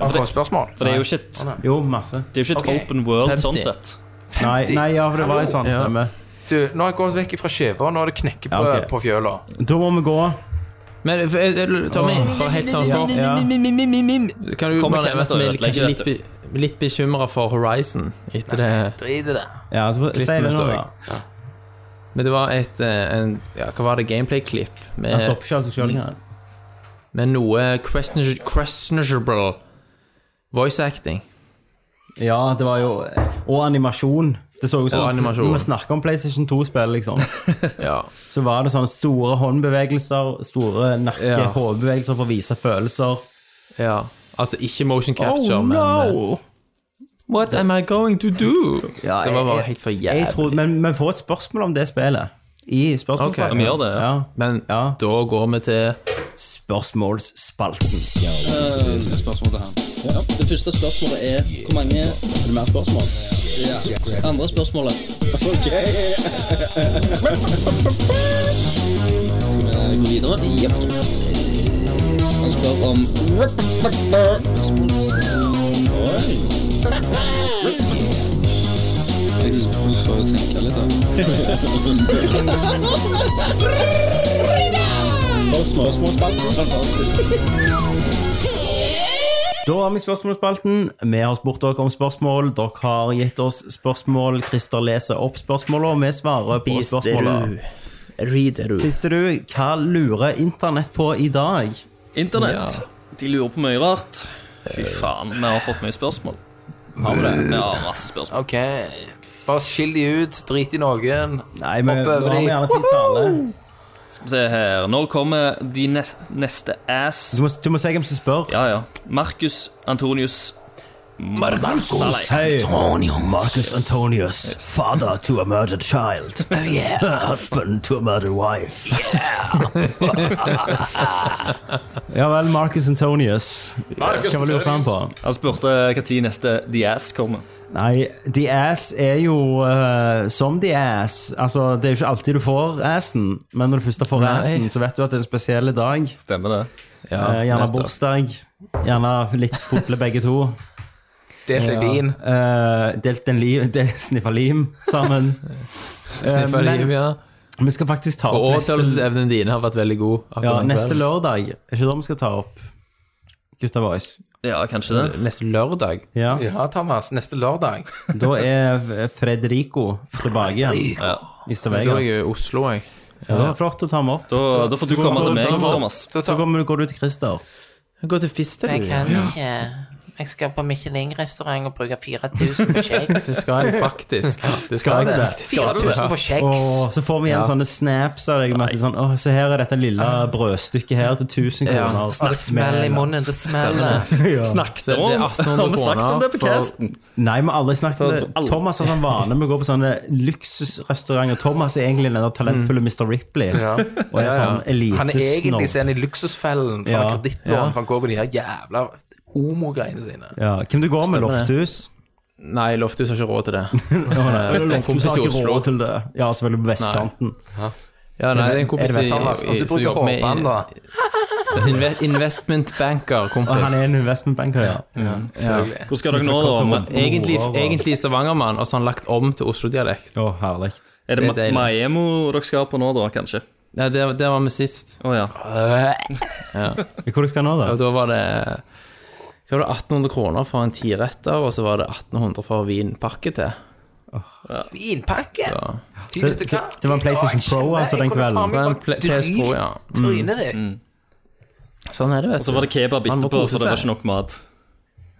Speaker 6: Har du spørsmål?
Speaker 5: For det er jo ikke et,
Speaker 3: Jo, masse.
Speaker 5: det er jo ikke et
Speaker 6: Ok.
Speaker 5: open world
Speaker 4: 50.
Speaker 5: sånn sett.
Speaker 3: Nei,
Speaker 6: 50.
Speaker 3: nei, ja, for det var jo sånn
Speaker 4: Hallo.
Speaker 3: stemme.
Speaker 6: Du, nå har jeg gått vekk fra skiva, nå er det knekkebrød
Speaker 3: Ja, ok.
Speaker 6: på fjøla.
Speaker 3: Da må vi gå.
Speaker 4: Men eh, eh, Tommy, bare helt sånn på
Speaker 3: Ja.
Speaker 4: Kan du
Speaker 5: Kommer
Speaker 4: bare
Speaker 5: Kenneth
Speaker 4: nevne at vi
Speaker 5: og
Speaker 4: er kanskje
Speaker 5: ødelegger
Speaker 4: litt, be- litt bekymra for Horizon etter det
Speaker 6: Drit i det.
Speaker 3: Ja, du får, si det nå, da.
Speaker 4: Men det var et eh, en, ja, Hva var det? Gameplay-klipp
Speaker 3: Han
Speaker 4: med,
Speaker 3: stopper ikke av seg sjøl engang.
Speaker 4: med noe questionable- questionable voice acting.
Speaker 3: Ja, det var jo Og animasjon. Det så jo
Speaker 4: Og
Speaker 3: sånn
Speaker 4: animasjon.
Speaker 3: Når vi snakker om PlayStation 2-spill,
Speaker 4: [laughs]
Speaker 3: liksom,
Speaker 4: [laughs] Ja.
Speaker 3: så var det sånne store håndbevegelser, store
Speaker 4: Ja.
Speaker 3: nakke-hodebevegelser for å vise følelser.
Speaker 4: ja. Altså ikke motion capture,
Speaker 3: oh,
Speaker 4: men eh,
Speaker 3: no!
Speaker 4: What am I going to do?
Speaker 3: Ja,
Speaker 4: det var
Speaker 3: jeg-
Speaker 4: bare helt for
Speaker 3: Jeg
Speaker 4: jævlig.
Speaker 3: tror, men vi får et spørsmål om det spillet. I spørsmålsspalten.
Speaker 4: Ok, vi
Speaker 5: gjør det, ja.
Speaker 4: Men
Speaker 3: Ja.
Speaker 4: da går vi til
Speaker 3: Spørsmålsspalten.
Speaker 7: Det første spørsmålet er hvor mange Er det mer spørsmål? Andre spørsmålet. Ok. Skal vi gå videre? Jepp. Han spør om Oi. Jeg får tenke litt, da.
Speaker 3: Da har vi spørsmålsspalten. Vi har spurt dere om spørsmål. Dere har gitt oss spørsmål. Christer leser opp spørsmålene, og vi svarer på spørsmålene.
Speaker 4: Rideru.
Speaker 3: Kristerud, hva lurer internett på i dag?
Speaker 5: Internett. Eh. De lurer på mye rart. Fy faen, vi har fått mye spørsmål. Har vi det? Vi har masse spørsmål.
Speaker 6: Ok. Bare skill de ut, drit i noen.
Speaker 3: Nei, men
Speaker 6: Hopp
Speaker 3: nå
Speaker 6: over
Speaker 3: har vi
Speaker 6: de.
Speaker 3: gjerne tid til alle.
Speaker 5: Skal vi se her Når kommer de nes- neste ass
Speaker 3: Du må, du må si hvem som spør.
Speaker 5: Ja, ja. Marcus Antonius Marcus
Speaker 3: Hei. Marcus Antonius, father to a murdered child. Oh yeah. [laughs] Husband to a murdered wife. ja vel, Marcus Antonius. Marcus Hva lurer han på?
Speaker 5: Han spurte når neste The Ass kommer.
Speaker 3: Nei, The Ass er jo eh, som The Ass. Altså, det er jo ikke alltid du får assen, men når du først får assen, så vet du at det er en spesiell dag.
Speaker 5: Stemmer det.
Speaker 3: Eh, gjerne bursdag. Gjerne litt fotle begge to.
Speaker 6: Delt i vin.
Speaker 3: Eh, [laughs] delt en liv, del, sniffa lim sammen. Eh,
Speaker 4: Sniffa
Speaker 3: men-
Speaker 4: liv, ja.
Speaker 3: Vi skal faktisk ta
Speaker 4: Og
Speaker 3: opp neste,
Speaker 4: overtalelsesevnen dine har vært veldig god.
Speaker 3: ja,
Speaker 4: akkurat den
Speaker 3: neste
Speaker 4: kvelden.
Speaker 3: lørdag. Er ikke det vi skal ta opp? Gutta Boys.
Speaker 5: Ja, kanskje det.
Speaker 4: Neste lørdag.
Speaker 3: Ja.
Speaker 6: Ja, Thomas. Neste lørdag.
Speaker 3: Da er Fredrico tilbake igjen i
Speaker 5: Ja.
Speaker 4: Da er jeg
Speaker 3: Stavanger.
Speaker 4: i Oslo, jeg.
Speaker 3: Ja, det var flott å ta med opp.
Speaker 5: Da, da får du komme til meg, Thomas.
Speaker 6: Så
Speaker 3: Så
Speaker 6: tar
Speaker 3: kommer du, går du til Christer.
Speaker 4: Gå til Fisterud.
Speaker 8: Jeg kan ikke. Jeg skal på Michelin-restaurant og bruke 4000 på shakes. [laughs]
Speaker 4: Det skal jeg faktisk. Det skal jeg faktisk.
Speaker 8: 4000 på shakes!
Speaker 3: Og så får vi igjen sånne snaps av deg med at det er sånn, åh, se her er dette lille brødstykket her til 1000
Speaker 4: Ja.
Speaker 3: kroner. [laughs]
Speaker 8: Og det smeller i munnen. Det smeller.
Speaker 4: Snakket om det er 1800
Speaker 5: Har vi snakket om det på
Speaker 4: kroner for-
Speaker 5: casten?
Speaker 3: Nei, vi har aldri snakket om det. Thomas har sånn vane med å gå på sånne luksusrestauranter. Thomas er egentlig den der talentfulle Mr. Ripley. Og er sånn
Speaker 6: Han er egentlig
Speaker 3: elitesnobb.
Speaker 6: sen i luksusfellen fra
Speaker 3: Ja.
Speaker 6: kredittlån.
Speaker 4: Ja.
Speaker 6: For han går på de her jævla homogreiene sine.
Speaker 3: Ja. Hvem du går med?
Speaker 4: Stemmer det.
Speaker 3: Lofthus?
Speaker 4: Nei, Lofthus har ikke råd til det.
Speaker 3: Eller
Speaker 4: Det er en
Speaker 3: Lofthus
Speaker 4: kompis i
Speaker 3: har ikke
Speaker 4: Oslo.
Speaker 3: råd til det. Ja, selvfølgelig på vestkanten.
Speaker 4: Ja, nei, det er en kompis
Speaker 3: Er det
Speaker 4: i-
Speaker 6: Thomas, når
Speaker 4: i-
Speaker 6: du
Speaker 4: som
Speaker 6: bruker
Speaker 4: jobber med
Speaker 6: hårbånd, da
Speaker 4: [laughs] inve- investmentbanker, kompis.
Speaker 3: Og han er en investmentbanker, ja.
Speaker 6: selvfølgelig.
Speaker 5: Hvor skal dere nå, da?
Speaker 4: Men egentlig, egentlig stavangermann, og så har han lagt om til Oslo-dialekt.
Speaker 3: Å, herlig.
Speaker 5: Er det
Speaker 4: Det er deilig.
Speaker 5: Ma- Maemo dere skal på nå, da, kanskje?
Speaker 4: Nei, der, der var vi sist.
Speaker 5: Å ja.
Speaker 3: Hvor skal jeg nå, da?
Speaker 4: Og da var det hva var det, 1800 kroner for en tiretter, og så var det 1800 for vinpakke til.
Speaker 6: Vinpakke! Fy,
Speaker 3: Det-
Speaker 6: vet du hva?
Speaker 3: det- det var en PlayStation
Speaker 6: Å, jeg
Speaker 3: Pro,
Speaker 6: kjenner-
Speaker 3: altså, den
Speaker 6: jeg kunne
Speaker 3: kvelden.
Speaker 6: faen
Speaker 4: Det var
Speaker 6: meg
Speaker 4: en Play-
Speaker 6: bare
Speaker 4: PS Pro, ja. Mm.
Speaker 6: drygt Trynet ditt.
Speaker 4: Sånn er det, vet du.
Speaker 5: Og så var det kebab
Speaker 4: Man må
Speaker 5: etterpå,
Speaker 4: kose
Speaker 5: for det var
Speaker 4: seg.
Speaker 5: ikke nok mat.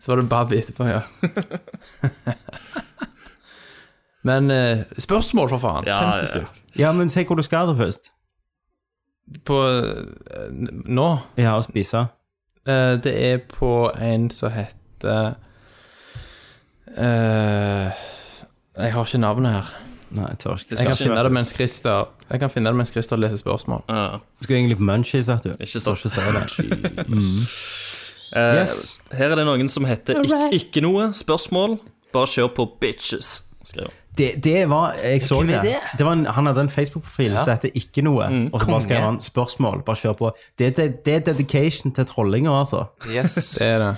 Speaker 4: Så var det bab etterpå, ja. [laughs] Men eh, spørsmål, for faen.
Speaker 5: Ja,
Speaker 4: 50
Speaker 5: ja, ja.
Speaker 4: stykk.
Speaker 3: Ja, men si hvor du skal da først.
Speaker 4: På eh, n- Nå
Speaker 3: Ja, og spise.
Speaker 4: eh, Det er på en som heter eh, Jeg har ikke navnet her.
Speaker 3: Nei, jeg tør ikke.
Speaker 4: Jeg kan finne det mens Christer Jeg kan finne det mens Christer leser spørsmål.
Speaker 5: Ja.
Speaker 3: Du skulle egentlig på Munchies, vet du.
Speaker 5: Ikke
Speaker 3: Tør
Speaker 5: sant.
Speaker 3: ikke si det.
Speaker 5: Eh,
Speaker 3: Yes.
Speaker 5: Her er det noen som heter Ik ikke noe spørsmål. Bare kjør på bitches. Skriver. han.
Speaker 3: Det, det var Jeg så
Speaker 6: Hvem er
Speaker 3: det.
Speaker 6: det?
Speaker 3: det var en, han hadde en Facebook-profil som heter Ikke noe. og
Speaker 4: Mm.
Speaker 3: så bare skrev han spørsmål. Bare kjør på. Det, det, det er dedication til trollinger, altså.
Speaker 6: Yes.
Speaker 4: Det er det.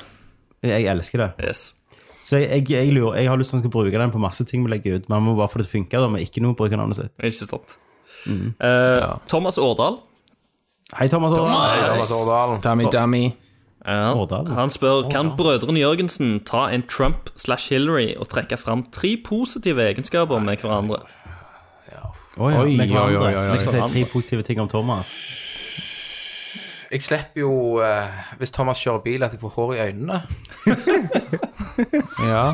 Speaker 3: Jeg elsker det.
Speaker 5: Yes.
Speaker 3: Så jeg, jeg, jeg lurer Jeg har lyst til han skal bruke den på masse ting vi legger ut. Men han må bare få det til å funke da med Ikke noe brukernavnet sitt.
Speaker 5: Ikke sant.
Speaker 3: Mm.
Speaker 5: Eh, Thomas Årdal.
Speaker 3: Hei, Thomas Aarland.
Speaker 6: Thomas Årdalen.
Speaker 4: Dummy, dummy.
Speaker 5: Ja,
Speaker 3: Årdal.
Speaker 5: han spør Kan brødrene Jørgensen ta en Trump slash Hillary og trekke fram tre positive egenskaper med hverandre?
Speaker 3: Oi,
Speaker 4: Oi,
Speaker 3: med hverandre.
Speaker 4: oi, oi, oi, oi.
Speaker 3: Vi skal si tre positive ting om Thomas.
Speaker 6: Jeg slipper jo, eh, hvis Thomas kjører bil, at jeg får hår i øynene.
Speaker 4: Ja.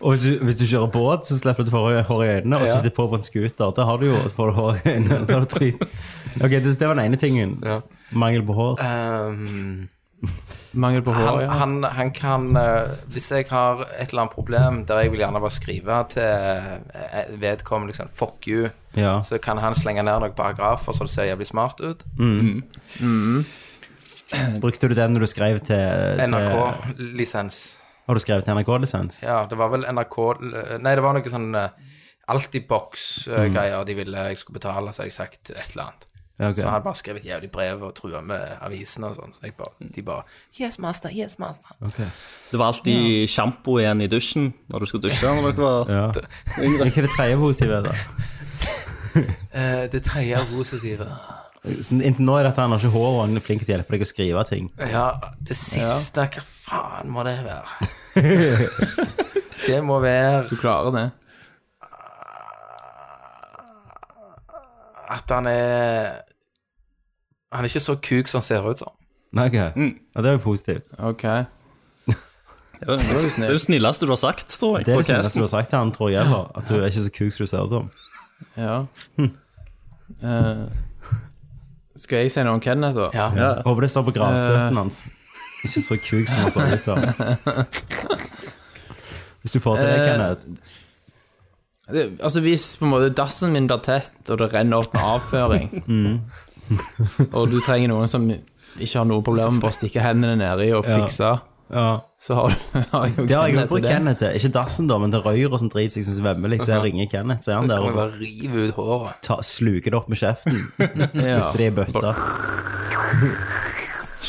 Speaker 3: Og hvis du, hvis du kjører båt, så slipper du hår i- hår i øynene, og
Speaker 6: Ja.
Speaker 3: sitter på på en scooter. Da har du jo og så får du hår i øynene. Da har du tre. Ok, det, det var den ene tingen.
Speaker 6: Ja.
Speaker 3: Mangel på hår.
Speaker 6: Um,
Speaker 4: Mangel på hår,
Speaker 6: han,
Speaker 4: ja.
Speaker 6: han, han kan eh, Hvis jeg har et eller annet problem der jeg vil gjerne bare skrive til eh, vedkommende liksom, 'fuck you',
Speaker 3: Ja.
Speaker 6: så kan han slenge ned noen paragrafer så det ser jævlig smart ut.
Speaker 3: Brukte du den når du skrev til, til
Speaker 6: NRK-lisens.
Speaker 3: Har du skrevet til NRK-lisens?
Speaker 6: Ja, det var vel NRK l- Nei, det var noe sånn eh, Altibox-greier de ville jeg skulle betale, så hadde jeg sagt et eller annet.
Speaker 3: Mm. Ja, ok.
Speaker 6: Så han hadde bare skrevet jævlig brev og trua med avisene og sånn, så jeg bare, de bare Yes, master. Yes, master.
Speaker 3: Ok.
Speaker 5: Det var alltid sjampo igjen i dusjen når du skulle dusje. Når dere var
Speaker 3: Ja. Hva er det tredje positive? da?
Speaker 6: Eh, det tredje positive
Speaker 3: Så Sånn, Inntil nå er dette han har ikke hår, og han er flink til å hjelpe deg å skrive ting.
Speaker 6: Ja, det siste Hva faen må det være?
Speaker 3: [laughs]
Speaker 6: det må være
Speaker 4: Du klarer det.
Speaker 6: at han er Han er ikke så kuk som han ser ut som.
Speaker 3: Nei, ok. Ja, det er jo positivt.
Speaker 4: Ok.
Speaker 5: Det er det- det er det snilleste du har sagt, tror jeg.
Speaker 3: Det er
Speaker 5: på
Speaker 3: det snilleste
Speaker 5: casten.
Speaker 3: du har sagt til han, tror jeg. da. At du er ikke så kuk som du ser ut som.
Speaker 4: Ja. Eh, skal jeg si noe om Kenneth, da?
Speaker 6: Ja.
Speaker 3: Håper det står på gravstøtten hans. Ikke så kuk som han så ut som. Hvis du får til det,
Speaker 4: Eh,
Speaker 3: Kenneth.
Speaker 4: Det, altså Hvis på en måte dassen min blir tett, og det renner opp med
Speaker 3: [laughs]
Speaker 4: avføring,
Speaker 3: Mm.
Speaker 4: og du trenger noen som ikke har noe problem med å bare stikke hendene nedi og fikse,
Speaker 3: Ja.
Speaker 4: så har du [laughs] har jo
Speaker 3: Det har jeg jo
Speaker 4: Kenneth
Speaker 3: brukt
Speaker 4: til det.
Speaker 3: Kenneth til. Ikke dassen, da, men til røyr og sånn drit som jeg synes svømmer. Liksom. Så jeg ringer Kenneth, så er han
Speaker 6: Kan
Speaker 3: der
Speaker 6: vi
Speaker 3: og
Speaker 6: bare rive ut håret?
Speaker 3: ta, sluker det opp med kjeften. Spytter det i bøtta.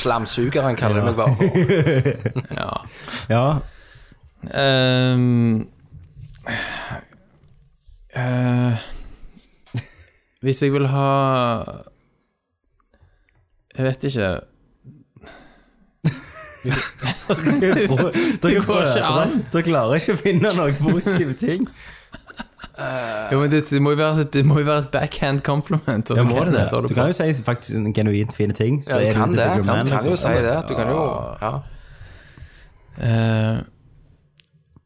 Speaker 6: Slamsugeren kaller det meg bare. for.
Speaker 4: Ja.
Speaker 3: Ja.
Speaker 4: Ehm, eh, hvis jeg vil ha Jeg vet ikke.
Speaker 3: Dere prøver-
Speaker 4: an.
Speaker 3: Dere klarer ikke å finne noen positive ting.
Speaker 4: Jo, men det, det, må jo være, et- det må jo være et backhand compliment. altså. og
Speaker 3: Ja, må det det?
Speaker 4: Kenneth har
Speaker 3: Du
Speaker 4: fått.
Speaker 3: kan jo si faktisk en genuint fine ting. Så
Speaker 6: Ja,
Speaker 3: er
Speaker 6: du kan
Speaker 3: litt
Speaker 6: det.
Speaker 3: Bigger Man,
Speaker 6: Du kan jo
Speaker 3: liksom.
Speaker 6: si det. Du kan jo ja.
Speaker 4: Eh,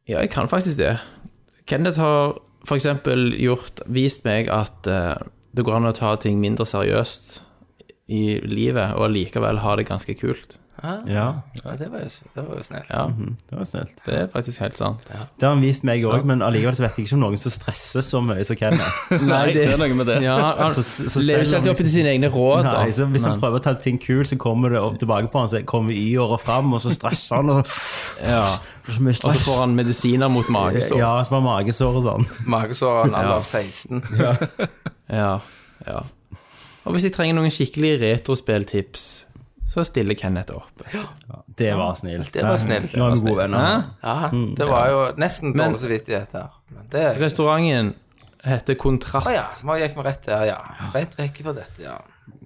Speaker 4: ja, jeg kan faktisk det. Kenneth har for eksempel gjort, vist meg at eh, det går an å ta ting mindre seriøst i livet, og likevel ha det ganske kult.
Speaker 3: Ja, mm,
Speaker 6: ja, det var jo, det var jo snilt.
Speaker 4: Ja,
Speaker 3: det var snilt.
Speaker 4: det er faktisk
Speaker 3: [laughs]
Speaker 4: helt sant.
Speaker 3: Det har han vist meg òg, men allikevel så vet jeg ikke om noen som stresser så mye som Kenneth.
Speaker 4: [laughs]
Speaker 5: Nei, det er noe med det.
Speaker 4: Ja, han
Speaker 3: Så- så- så
Speaker 4: lever
Speaker 3: selv om
Speaker 4: ikke alltid opp til sine egne råd, da.
Speaker 3: Nei, så hvis han
Speaker 4: Men-
Speaker 3: prøver å ta ting kul, så kommer det opp tilbake på han, så kommer y-året fram, og så stresser han, og så
Speaker 4: ja.
Speaker 3: Det er så mye
Speaker 4: Og så
Speaker 3: stress.
Speaker 4: får han medisiner mot magesår.
Speaker 3: Ja, som har magesår og sånn.
Speaker 6: Magesår en alder av 16.
Speaker 4: Ja, ja. Og hvis jeg trenger noen skikkelig retrospilltips, så stiller Kenneth opp.
Speaker 3: Det var snilt.
Speaker 6: Det var snilt.
Speaker 3: Nå er vi gode venner.
Speaker 4: Hæ?
Speaker 6: Ja, det var jo nesten dårlig samvittighet her. Men det
Speaker 4: Restauranten heter Kontrast.
Speaker 6: Å ja, nå gikk vi rett der, ja. Rett rekke for dette, ja.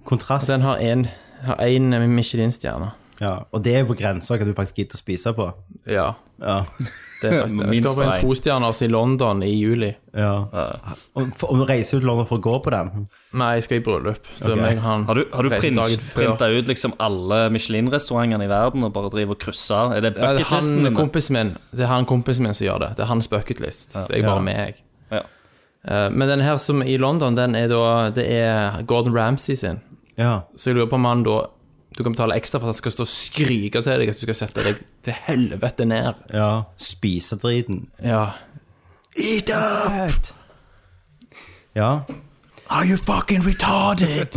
Speaker 3: Kontrast.
Speaker 4: Den har en- har én Michelin-stjerne.
Speaker 3: Ja, og det er jo på grensa hva du faktisk gidder å spise på.
Speaker 4: Ja.
Speaker 3: Ja.
Speaker 4: Det er faktisk, det. jeg skal på en
Speaker 5: Minst en.
Speaker 4: tostjerners i London i juli.
Speaker 3: ja. Og, for, og reise ut London for å gå på den.
Speaker 4: Nei, jeg skal i bryllup. Så meg og han
Speaker 5: Har du, har du
Speaker 4: reiser
Speaker 5: prins,
Speaker 4: dagen før.
Speaker 5: printa ut liksom alle Michelin-restaurantene i verden og bare driver og krysser? Er det
Speaker 4: Ja, det er
Speaker 5: bucketlisten
Speaker 4: han
Speaker 5: din?
Speaker 4: kompisen min Det er han kompisen min som gjør det. Det er hans bucketlist. Det er
Speaker 3: Ja.
Speaker 4: bare meg.
Speaker 5: Ja.
Speaker 4: Eh, Men den her som i London, den er da Det er Gordon Ramsay sin.
Speaker 3: Ja.
Speaker 4: Så jeg lurer på om han da Du kan betale ekstra for at han skal stå og skrike til deg at du skal sette deg til helvete ned.
Speaker 3: ja. Spise driten.
Speaker 4: Ja.
Speaker 3: Ja.
Speaker 4: Are you fucking retarded?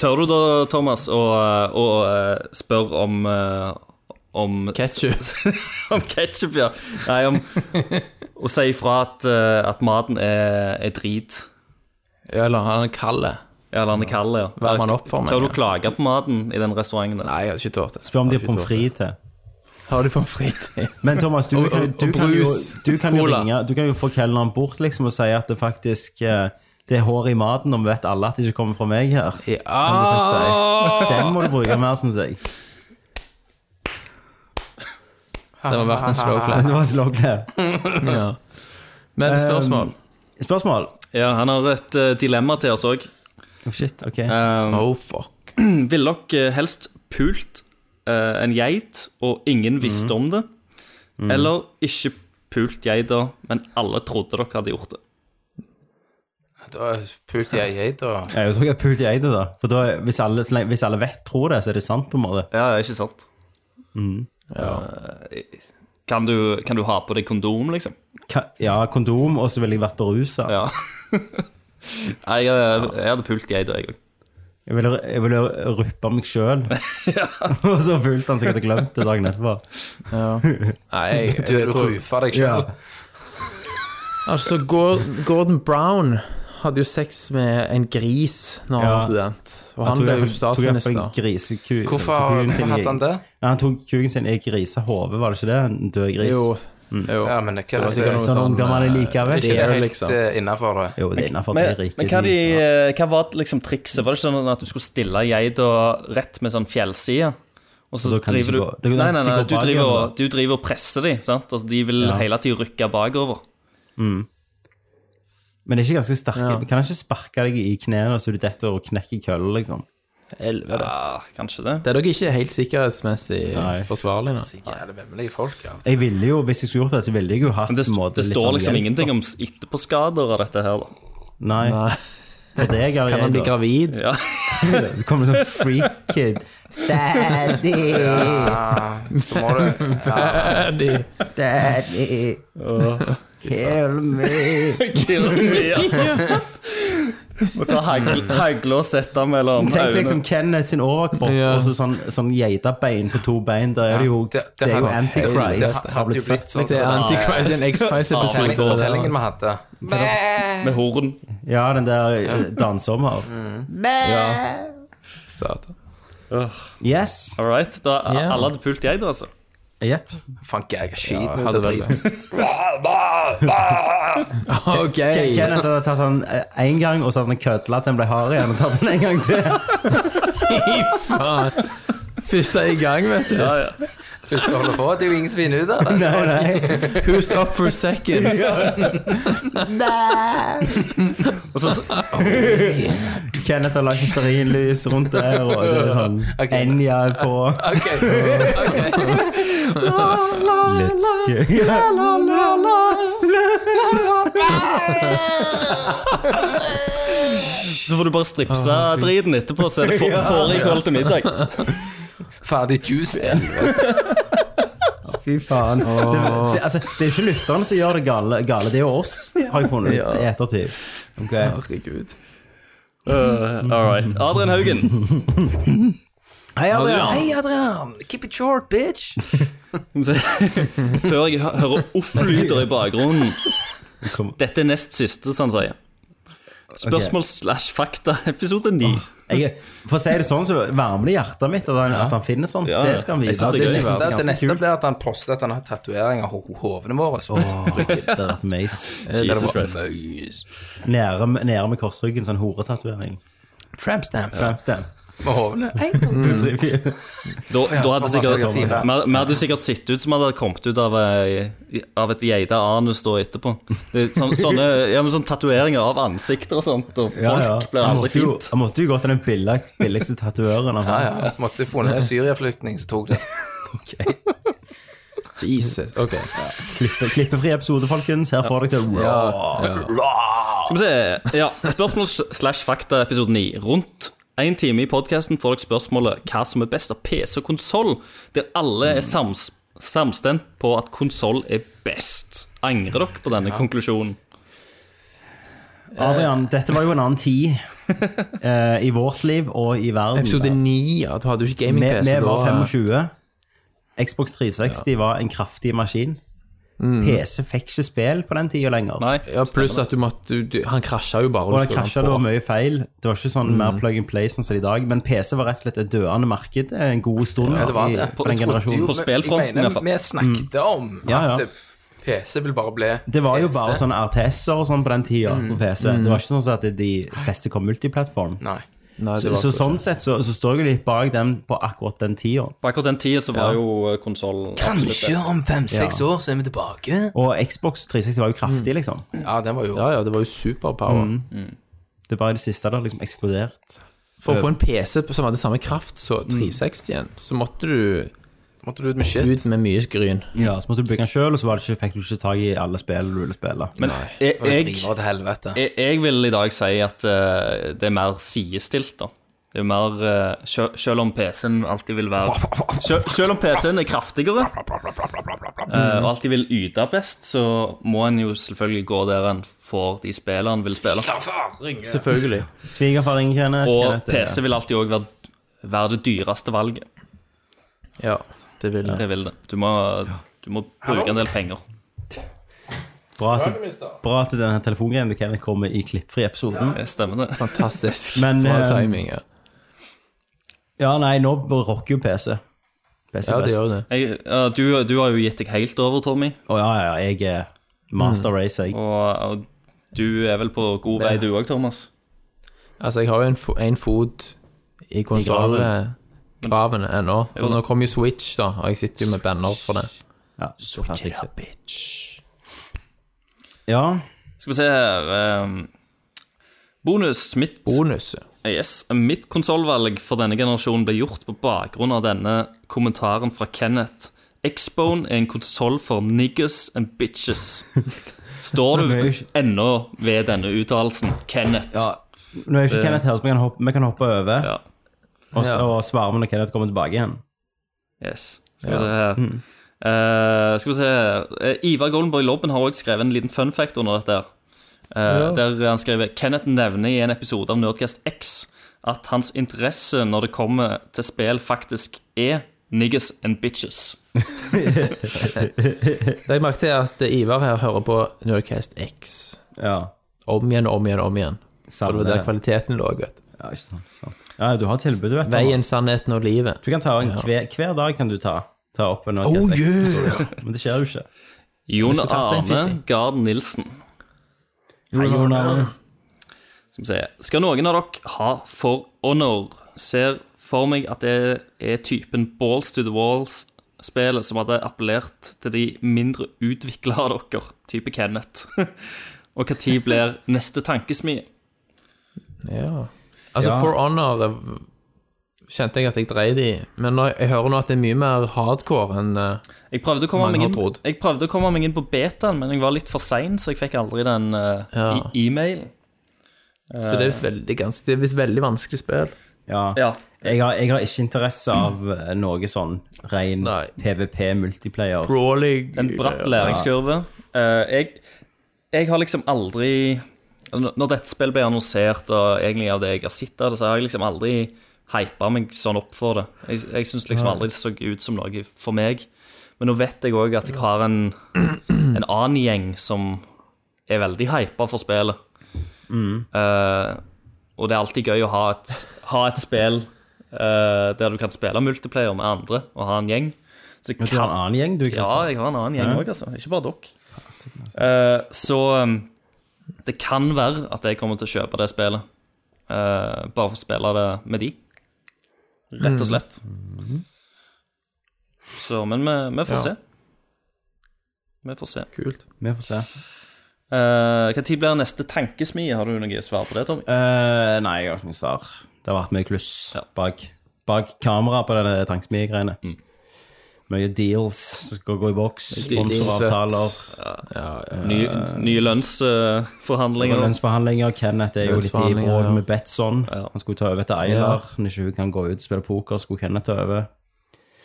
Speaker 5: Tør du da, Thomas, å, å eh, spørre om eh, om
Speaker 4: [laughs] Ketchup.
Speaker 5: [laughs] om ketchup, ja. Nei, om å si ifra at, eh, at maten er, er drit.
Speaker 4: Eller han er kald.
Speaker 5: Ja, Eller han er kald, ja.
Speaker 4: Varmer han opp for meg,
Speaker 5: Tør
Speaker 4: ja.
Speaker 5: du klage på maten i den restauranten? der?
Speaker 4: Nei, jeg har ikke tort det.
Speaker 3: Spør om de
Speaker 4: Jeg
Speaker 3: har
Speaker 4: ikke
Speaker 3: pommes
Speaker 4: tålt det.
Speaker 3: frites til.
Speaker 4: Har de pommes frites?
Speaker 3: Men Thomas, du,
Speaker 4: Og-
Speaker 3: kan-
Speaker 4: og-
Speaker 3: du,
Speaker 4: og
Speaker 3: kan, jo,
Speaker 4: brus,
Speaker 3: du, kan jo
Speaker 4: cola.
Speaker 3: ringe, du kan jo få kelneren bort liksom, og si at det faktisk eh, det er hår i maten, og vi vet alle at det ikke kommer fra meg her. Kan du
Speaker 4: Ja!
Speaker 3: fint si. Den må du bruke mer, syns jeg.
Speaker 4: Det må ha vært en slow clap.
Speaker 3: Altså, det var slow clap.
Speaker 4: Ja. [laughs] Men spørsmål.
Speaker 3: Spørsmål?
Speaker 5: Ja, han har et eh, dilemma til oss òg.
Speaker 3: Oh, shit, ok.
Speaker 4: oh, fuck.
Speaker 5: Ville dere eh, helst pult eh, en geit, og ingen visste
Speaker 4: Mhm.
Speaker 5: om det? Eller ikke pult geita, men alle trodde dere hadde gjort det?
Speaker 6: Da pulte jeg geita.
Speaker 3: Jeg tror jeg pulte jeg det, da. For da, er- hvis alle, så lenge- hvis alle vet tror det, så er det sant, på en måte.
Speaker 5: Ja, ikke sant?
Speaker 3: Mm.
Speaker 5: Eh, Kan du, kan du ha på deg kondom, liksom?
Speaker 3: Ka- Ja, kondom, og så ville jeg vært berusa.
Speaker 5: Ja. [laughs] Nei, jeg, jeg hadde pult geita, jeg òg.
Speaker 3: Jeg ville, jeg ville ruppe meg sjøl. [laughs] og så pulte han sikkert og glemt det dagen etterpå.
Speaker 4: Nei, jeg,
Speaker 6: Du
Speaker 4: jeg tror
Speaker 6: rufa deg sjøl.
Speaker 4: Altså, Gor- Gordon Brown hadde jo sex med en gris når han
Speaker 3: Ja.
Speaker 4: var student. Og
Speaker 3: Jeg
Speaker 4: han
Speaker 3: tror
Speaker 4: ble
Speaker 3: jeg-
Speaker 4: jo
Speaker 3: tror jeg fikk en
Speaker 4: statsminister.
Speaker 3: griseku-
Speaker 6: Hvorfor,
Speaker 3: tok kuken
Speaker 6: hvorfor
Speaker 3: sin i-
Speaker 6: hadde han det?
Speaker 3: Ja, han tok kuken sin i grisehove, var det ikke det? En død gris. Mm.
Speaker 4: Jo,
Speaker 3: Jo,
Speaker 4: jo.
Speaker 6: Ja, men det, hva er
Speaker 4: var
Speaker 6: det,
Speaker 4: sikkert
Speaker 6: det,
Speaker 4: noe
Speaker 3: sånn
Speaker 4: sånn,
Speaker 3: ungdommene
Speaker 4: eh,
Speaker 3: liker
Speaker 6: er
Speaker 3: vekk.
Speaker 6: ikke det
Speaker 4: det er
Speaker 6: helt
Speaker 4: liksom-
Speaker 6: eh, innenfor det.
Speaker 3: Jo, det er innenfor det
Speaker 5: Men,
Speaker 3: er riktig.
Speaker 5: men hva, de,
Speaker 3: ja.
Speaker 5: hva var liksom trikset? Var det ikke sånn at du skulle stille geita rett med sånn fjellside? Og så
Speaker 3: Og da kan de ikke
Speaker 5: driver du
Speaker 3: gå- det-
Speaker 5: Nei, nei,
Speaker 3: de
Speaker 5: nei,
Speaker 3: går
Speaker 5: du
Speaker 3: bak igjen,
Speaker 5: driver, og, du driver og presser dem, sant? Altså, de vil hele tida rykke bakover.
Speaker 3: Men det er ikke ganske sterke. Kan han ikke sparke deg i knærne så du detter og knekker kølla, liksom?
Speaker 4: Helvete.
Speaker 5: Ja, Ah, kanskje det.
Speaker 4: Det er nok ikke helt sikkerhetsmessig
Speaker 3: Nei.
Speaker 4: forsvarlig nå.
Speaker 6: Jævlig vemmelige folk, ja.
Speaker 3: Jeg ville jo, Hvis jeg skulle gjort det, så ville jeg jo hatt
Speaker 5: Men det,
Speaker 3: en måte,
Speaker 5: det
Speaker 3: litt
Speaker 5: står
Speaker 3: sånn
Speaker 5: liksom
Speaker 3: hjelp.
Speaker 5: ingenting om etterpåskader av dette her, da.
Speaker 3: Nei.
Speaker 4: Nei.
Speaker 3: For deg er
Speaker 4: Kan han bli
Speaker 3: det
Speaker 4: gravid?
Speaker 5: Ja.
Speaker 3: greit. [laughs] Så kommer det sånn freak kid. [laughs] Daddy,
Speaker 6: Eh, Så må du
Speaker 4: [laughs] Ja, de,
Speaker 3: daddy, kill me.
Speaker 5: Kill me, ja. Må ta hagl- hagle og sette mellom
Speaker 3: Mm. Tenk
Speaker 5: øynene.
Speaker 3: liksom Kenneth sin overkropp
Speaker 4: Ja.
Speaker 3: og så sånn, sånn geitabein på to bein. Der er det jo,
Speaker 6: Ja,
Speaker 3: det,
Speaker 6: det- det
Speaker 3: er jo
Speaker 6: hadde-
Speaker 3: Antichrist.
Speaker 6: det
Speaker 3: har
Speaker 6: hadde jo
Speaker 3: blitt
Speaker 6: blitt
Speaker 3: født,
Speaker 6: sånn
Speaker 4: det
Speaker 3: [laughs]
Speaker 4: er
Speaker 6: som-
Speaker 4: Antichrist, det er en X-Files-episode.
Speaker 5: Ja,
Speaker 6: fortellingen vi hadde.
Speaker 5: Med horn.
Speaker 3: Ja, den der eh, dansommer.
Speaker 4: Satan.
Speaker 3: Yes.
Speaker 5: All right. Da,
Speaker 4: Ja.
Speaker 5: Alle hadde pult geita, altså.
Speaker 3: Jepp.
Speaker 6: Fant jeg
Speaker 4: Ja,
Speaker 6: skiten ut
Speaker 4: hadde
Speaker 6: av
Speaker 4: vært
Speaker 6: driten. [laughs]
Speaker 4: Ok.
Speaker 3: Kenneth hadde tatt han én gang, og så hadde han kødla til han ble hard igjen. Og tatt han en gang til
Speaker 6: [laughs]
Speaker 4: Faen. Først er jeg i gang, vet du.
Speaker 5: Ja, ja.
Speaker 6: Først å holde på, det er jo ingen som finner ut av det.
Speaker 3: Nei, nei.
Speaker 4: Who's up for seconds?
Speaker 5: Og så,
Speaker 3: Kenneth har lagt stearinlys rundt der, og det er sånn
Speaker 6: Ok.
Speaker 3: Enja er på.
Speaker 6: Ok, ok.
Speaker 3: Let's go. Ja.
Speaker 5: så får du bare stripsa driten etterpå, så er det for- fårikål til
Speaker 3: [laughs]
Speaker 5: middag.
Speaker 6: Ferdig juiced.
Speaker 3: Fy faen. Det, det, altså, det er ikke lytterne som gjør det gale, gale. det er jo oss, har jeg funnet ut i ettertid.
Speaker 4: Herregud.
Speaker 5: Uh, all right. Adrian Haugen.
Speaker 3: Hei, Adrian.
Speaker 4: Adrian.
Speaker 3: Hei,
Speaker 5: [laughs] Før jeg hø- hører off-lyder i bakgrunnen.
Speaker 3: Kom.
Speaker 5: Dette er nest siste, som han sier. Spørsmål slash fakta, episode 9.
Speaker 3: Jeg, for å si det sånn, så varmer det hjertet mitt at han, at han finner sånt.
Speaker 5: Ja,
Speaker 3: Det skal han
Speaker 5: jeg
Speaker 3: vise.
Speaker 5: synes det er
Speaker 6: Det
Speaker 5: gøy.
Speaker 6: neste,
Speaker 3: ganske
Speaker 6: det neste
Speaker 3: kult.
Speaker 6: blir at han poster at han har tatoveringer av hovene våre. Så [laughs]
Speaker 3: Det hadde vært mace.
Speaker 5: Jesus Christ.
Speaker 3: Nære, med- nære med korsryggen, sånn horetatovering.
Speaker 6: tramp stamp
Speaker 3: Tramp stamp.
Speaker 6: med hovene.
Speaker 3: To, tre,
Speaker 5: [laughs]
Speaker 3: fire.
Speaker 5: Da, da hadde
Speaker 6: Thomas
Speaker 5: sikkert
Speaker 6: Hagen
Speaker 5: vi
Speaker 6: fire.
Speaker 5: hadde- vi hadde jo sikkert sett ut som vi hadde kommet ut av, eh, av et geita anus da etterpå. Det er Sånn, sånne ja, men sånne tatoveringer av ansikter og sånt, og folk
Speaker 3: Ja, ja.
Speaker 5: blir
Speaker 3: Han
Speaker 5: aldri
Speaker 3: måtte jo-
Speaker 5: fint.
Speaker 3: Han måtte jo gå til den billigste, billigste tatuøren. av
Speaker 6: Ja,
Speaker 3: han.
Speaker 6: ja. Måtte få ned en Syria-flyktning som tok det.
Speaker 4: Jesus. Ok.
Speaker 3: Klippe, klippefri episode, folkens. Her får dere det.
Speaker 5: Skal vi se ja, Spørsmål slash fakta episode 9. Rundt én time i podkasten får dere spørsmålet hva som er best av PC og konsoll, der alle er sams, samstemt på at konsoll er best. Angrer dere på denne konklusjonen?
Speaker 3: Adrian, dette var jo en annen tid eh, i vårt liv og i verden.
Speaker 4: Episode 9, ja. Du hadde jo ikke
Speaker 3: Vi,
Speaker 4: gaming-PC
Speaker 3: vi
Speaker 4: da.
Speaker 3: var 25. Xbox 360 var en kraftig maskin. PC fikk ikke spill på den tida lenger.
Speaker 5: Nei?
Speaker 4: Ja, pluss at du måtte du, du, Han krasja jo bare.
Speaker 3: Og
Speaker 4: du
Speaker 3: det
Speaker 4: skulle
Speaker 3: krasja,
Speaker 4: han
Speaker 3: det
Speaker 4: på.
Speaker 3: var mye feil. Det var ikke sånn mer plug and play sånn som i dag. Men PC var rett og slett et døende marked en god stund
Speaker 6: det var
Speaker 3: i-
Speaker 6: det.
Speaker 3: på den
Speaker 5: Jeg trodde
Speaker 3: generasjonen.
Speaker 5: jo- På spillfronten,
Speaker 6: i hvert
Speaker 5: iallfall.
Speaker 6: fall. Vi snakket om
Speaker 3: Mm. Ja, ja.
Speaker 6: at PC vil bare bli
Speaker 3: Det var jo
Speaker 6: PC.
Speaker 3: bare sånne RTS-er og sånn på den tida på PC. Det var ikke sånn at de fleste kom multiplattform.
Speaker 6: Nei.
Speaker 4: Nei, det
Speaker 3: Så,
Speaker 4: var
Speaker 3: så
Speaker 4: ikke.
Speaker 3: sånn sett så, så står jeg litt bak den på akkurat den tida.
Speaker 5: På akkurat den tida så var jo konsollen absolutt best.
Speaker 6: om fem-seks år så er vi tilbake.
Speaker 3: Og Xbox 360 var jo kraftig, liksom.
Speaker 6: Ja, den var jo
Speaker 4: Ja, ja, det var jo superpower.
Speaker 3: Mm. Det var i det siste det har liksom eksplodert.
Speaker 4: For å få en PC som hadde samme kraft
Speaker 3: Mm.
Speaker 4: som 360-en, så måtte du
Speaker 6: Måtte du ut med shit?
Speaker 4: ut med mye skryn.
Speaker 3: Ja, Så måtte du bygge den sjøl, og så var det ikke, fikk du ikke tak i alle spill du ville spille.
Speaker 5: Men jeg,
Speaker 6: Og det
Speaker 5: jeg,
Speaker 6: driver til helvete.
Speaker 5: jeg, jeg vil i dag si at eh, det er mer sidestilt, da. Det er jo mer eh, sjø, Selv om PC-en alltid vil være sjø, Selv om PC-en er kraftigere eh, og alltid vil yte best, så må en jo selvfølgelig gå der en får de spillene en vil spille.
Speaker 4: Selvfølgelig.
Speaker 3: Svigerfar ringer Kenneth.
Speaker 5: Og
Speaker 3: Kenneth, eh,
Speaker 5: PC vil alltid òg være, være det dyreste valget.
Speaker 4: Ja, det vil jeg.
Speaker 5: Det vil det. Du må, du må bruke en del penger.
Speaker 3: Bra at, bra at denne telefongreien til Kenneth kommer i klippfri-episoden.
Speaker 5: Det stemmer, det.
Speaker 4: Fantastisk.
Speaker 3: [laughs] Men,
Speaker 4: Bra
Speaker 3: eh,
Speaker 4: timing. Ja,
Speaker 3: Ja, nei, nå rocker jo PC. PC
Speaker 4: ja det
Speaker 3: best.
Speaker 4: gjør det.
Speaker 5: Jeg, eh, du, du har jo gitt deg helt over, Tommy,
Speaker 3: Å ja, ja, ja, jeg er master
Speaker 4: Mm.
Speaker 3: race, jeg.
Speaker 5: og, og du er vel på god vei, du òg, Thomas.
Speaker 4: Altså, jeg har jo en, fo en fot i konsollgraven ennå. Og nå kommer jo Switch, da, og jeg sitter jo med banner for det.
Speaker 3: Ja, så klart jeg ikke. Ja,
Speaker 5: Skal vi se her ehm, Bonus. Mitt, Eh,
Speaker 4: Bonus.
Speaker 5: yes, mitt konsollvalg for denne generasjonen ble gjort på bakgrunn av denne kommentaren fra Kenneth. Xbone er en konsoll for niggas and bitches. Står du ennå ved denne uttalelsen, Kenneth?
Speaker 3: ja. Nå er jo ikke Kenneth her, så vi kan hoppe, vi kan hoppe over
Speaker 5: Ja.
Speaker 3: og, s- og svare med når Kenneth kommer tilbake igjen.
Speaker 5: Yes. Skal vi se her.
Speaker 4: Mm.
Speaker 5: Eh, skal vi se Eh, Ivar Goldenborg Lobben har også skrevet en liten fun fact under dette. her Eh, Der han skriver Kenneth nevner i en episode av Nerdcast X at hans interesse når det kommer til spill, faktisk er niggas and bitches.
Speaker 4: Legg merke til at eh, Ivar her hører på Nerdcast X
Speaker 3: Ja,
Speaker 4: om igjen, om igjen, om igjen. For det
Speaker 3: Samme
Speaker 4: var der
Speaker 3: det.
Speaker 4: kvaliteten lå, vet du.
Speaker 3: ja ikke sant. ikke sant. Ja, du har tilbud, du vet.
Speaker 4: Veien,
Speaker 3: Thomas.
Speaker 4: sannheten og livet.
Speaker 3: Du kan ta en hver, hver dag kan du ta, ta opp en orkester. [laughs] Men det skjer jo ikke.
Speaker 5: Jon
Speaker 4: skulle tatt en
Speaker 5: Arne
Speaker 4: fissing.
Speaker 5: Garden Nilsen.
Speaker 3: Hei, Jonas.
Speaker 5: Skal, vi se. Skal noen av dere ha for honor? Ser for meg at det er typen balls to the walls-spillet som hadde appellert til de mindre utvikla av dere, type Kenneth. [laughs] Og når blir neste tankesmie?
Speaker 4: Ja. Altså,
Speaker 3: Ja.
Speaker 4: For Honor eh, kjente jeg at jeg dreide i, men når jeg hører nå at det er mye mer hardcore enn eh,
Speaker 5: Jeg prøvde å komme,
Speaker 4: Mange
Speaker 5: meg
Speaker 4: har
Speaker 5: inn,
Speaker 4: trodd.
Speaker 5: jeg prøvde å komme meg inn på betaen, men jeg var litt for sein, så jeg fikk aldri den eh,
Speaker 4: Ja.
Speaker 5: i- e-mailen.
Speaker 4: Så det er visst veldig, ganske, det er visst veldig vanskelig spill.
Speaker 3: Ja.
Speaker 5: Eh, Ja.
Speaker 3: Jeg, har, jeg har ikke interesse av eh, noe sånn ren
Speaker 4: Nei.
Speaker 3: PVP-multiplayer.
Speaker 4: Brawling
Speaker 5: En
Speaker 3: eh,
Speaker 5: bratt læringskurve. Eh, jeg, jeg har liksom aldri altså, Når dette spillet ble annonsert, og egentlig av det jeg har sett av det, så har jeg liksom aldri hypa meg sånn opp for det. Jeg, jeg syns liksom aldri det så ut som noe for meg. Men nå vet jeg òg at jeg har en, en annen gjeng som er veldig hypa for spillet. Eh, og det er alltid gøy å ha et ha et spill eh, der du kan spille multiplayer med andre og ha en gjeng. Så
Speaker 3: Men du har en
Speaker 5: kan,
Speaker 3: annen gjeng, du,
Speaker 5: ja,
Speaker 3: Kristian.
Speaker 5: jeg har en annen gjeng òg, altså. Ikke bare dere.
Speaker 3: altså.
Speaker 5: Eh, så um, det kan være at jeg kommer til å kjøpe det spillet. eh, bare for å spille det med de. Rett og slett. Så, men vi, vi får se. Vi får se.
Speaker 4: Kult.
Speaker 3: Vi får se.
Speaker 5: Uh, hva tid blir neste tankesmie? Har du noe svar på det, Tommy?
Speaker 3: Eh, nei, jeg har ikke noe svar. Det har vært mye kluss bak, bak kamera på denne tankesmiegreiene. Mye deals som skal gå i boks, sponsoravtaler,
Speaker 5: Nye, nye lønnsforhandlinger.
Speaker 3: lønnsforhandlinger. Kenneth er jo litt i
Speaker 4: Lønnsforhandlinger,
Speaker 3: bråd
Speaker 4: ja.
Speaker 3: med Betson.
Speaker 5: Ja.
Speaker 3: Han skulle ta over etter Eiler. Når ikke hun kan gå ut og spille poker, skulle Kenneth ta over.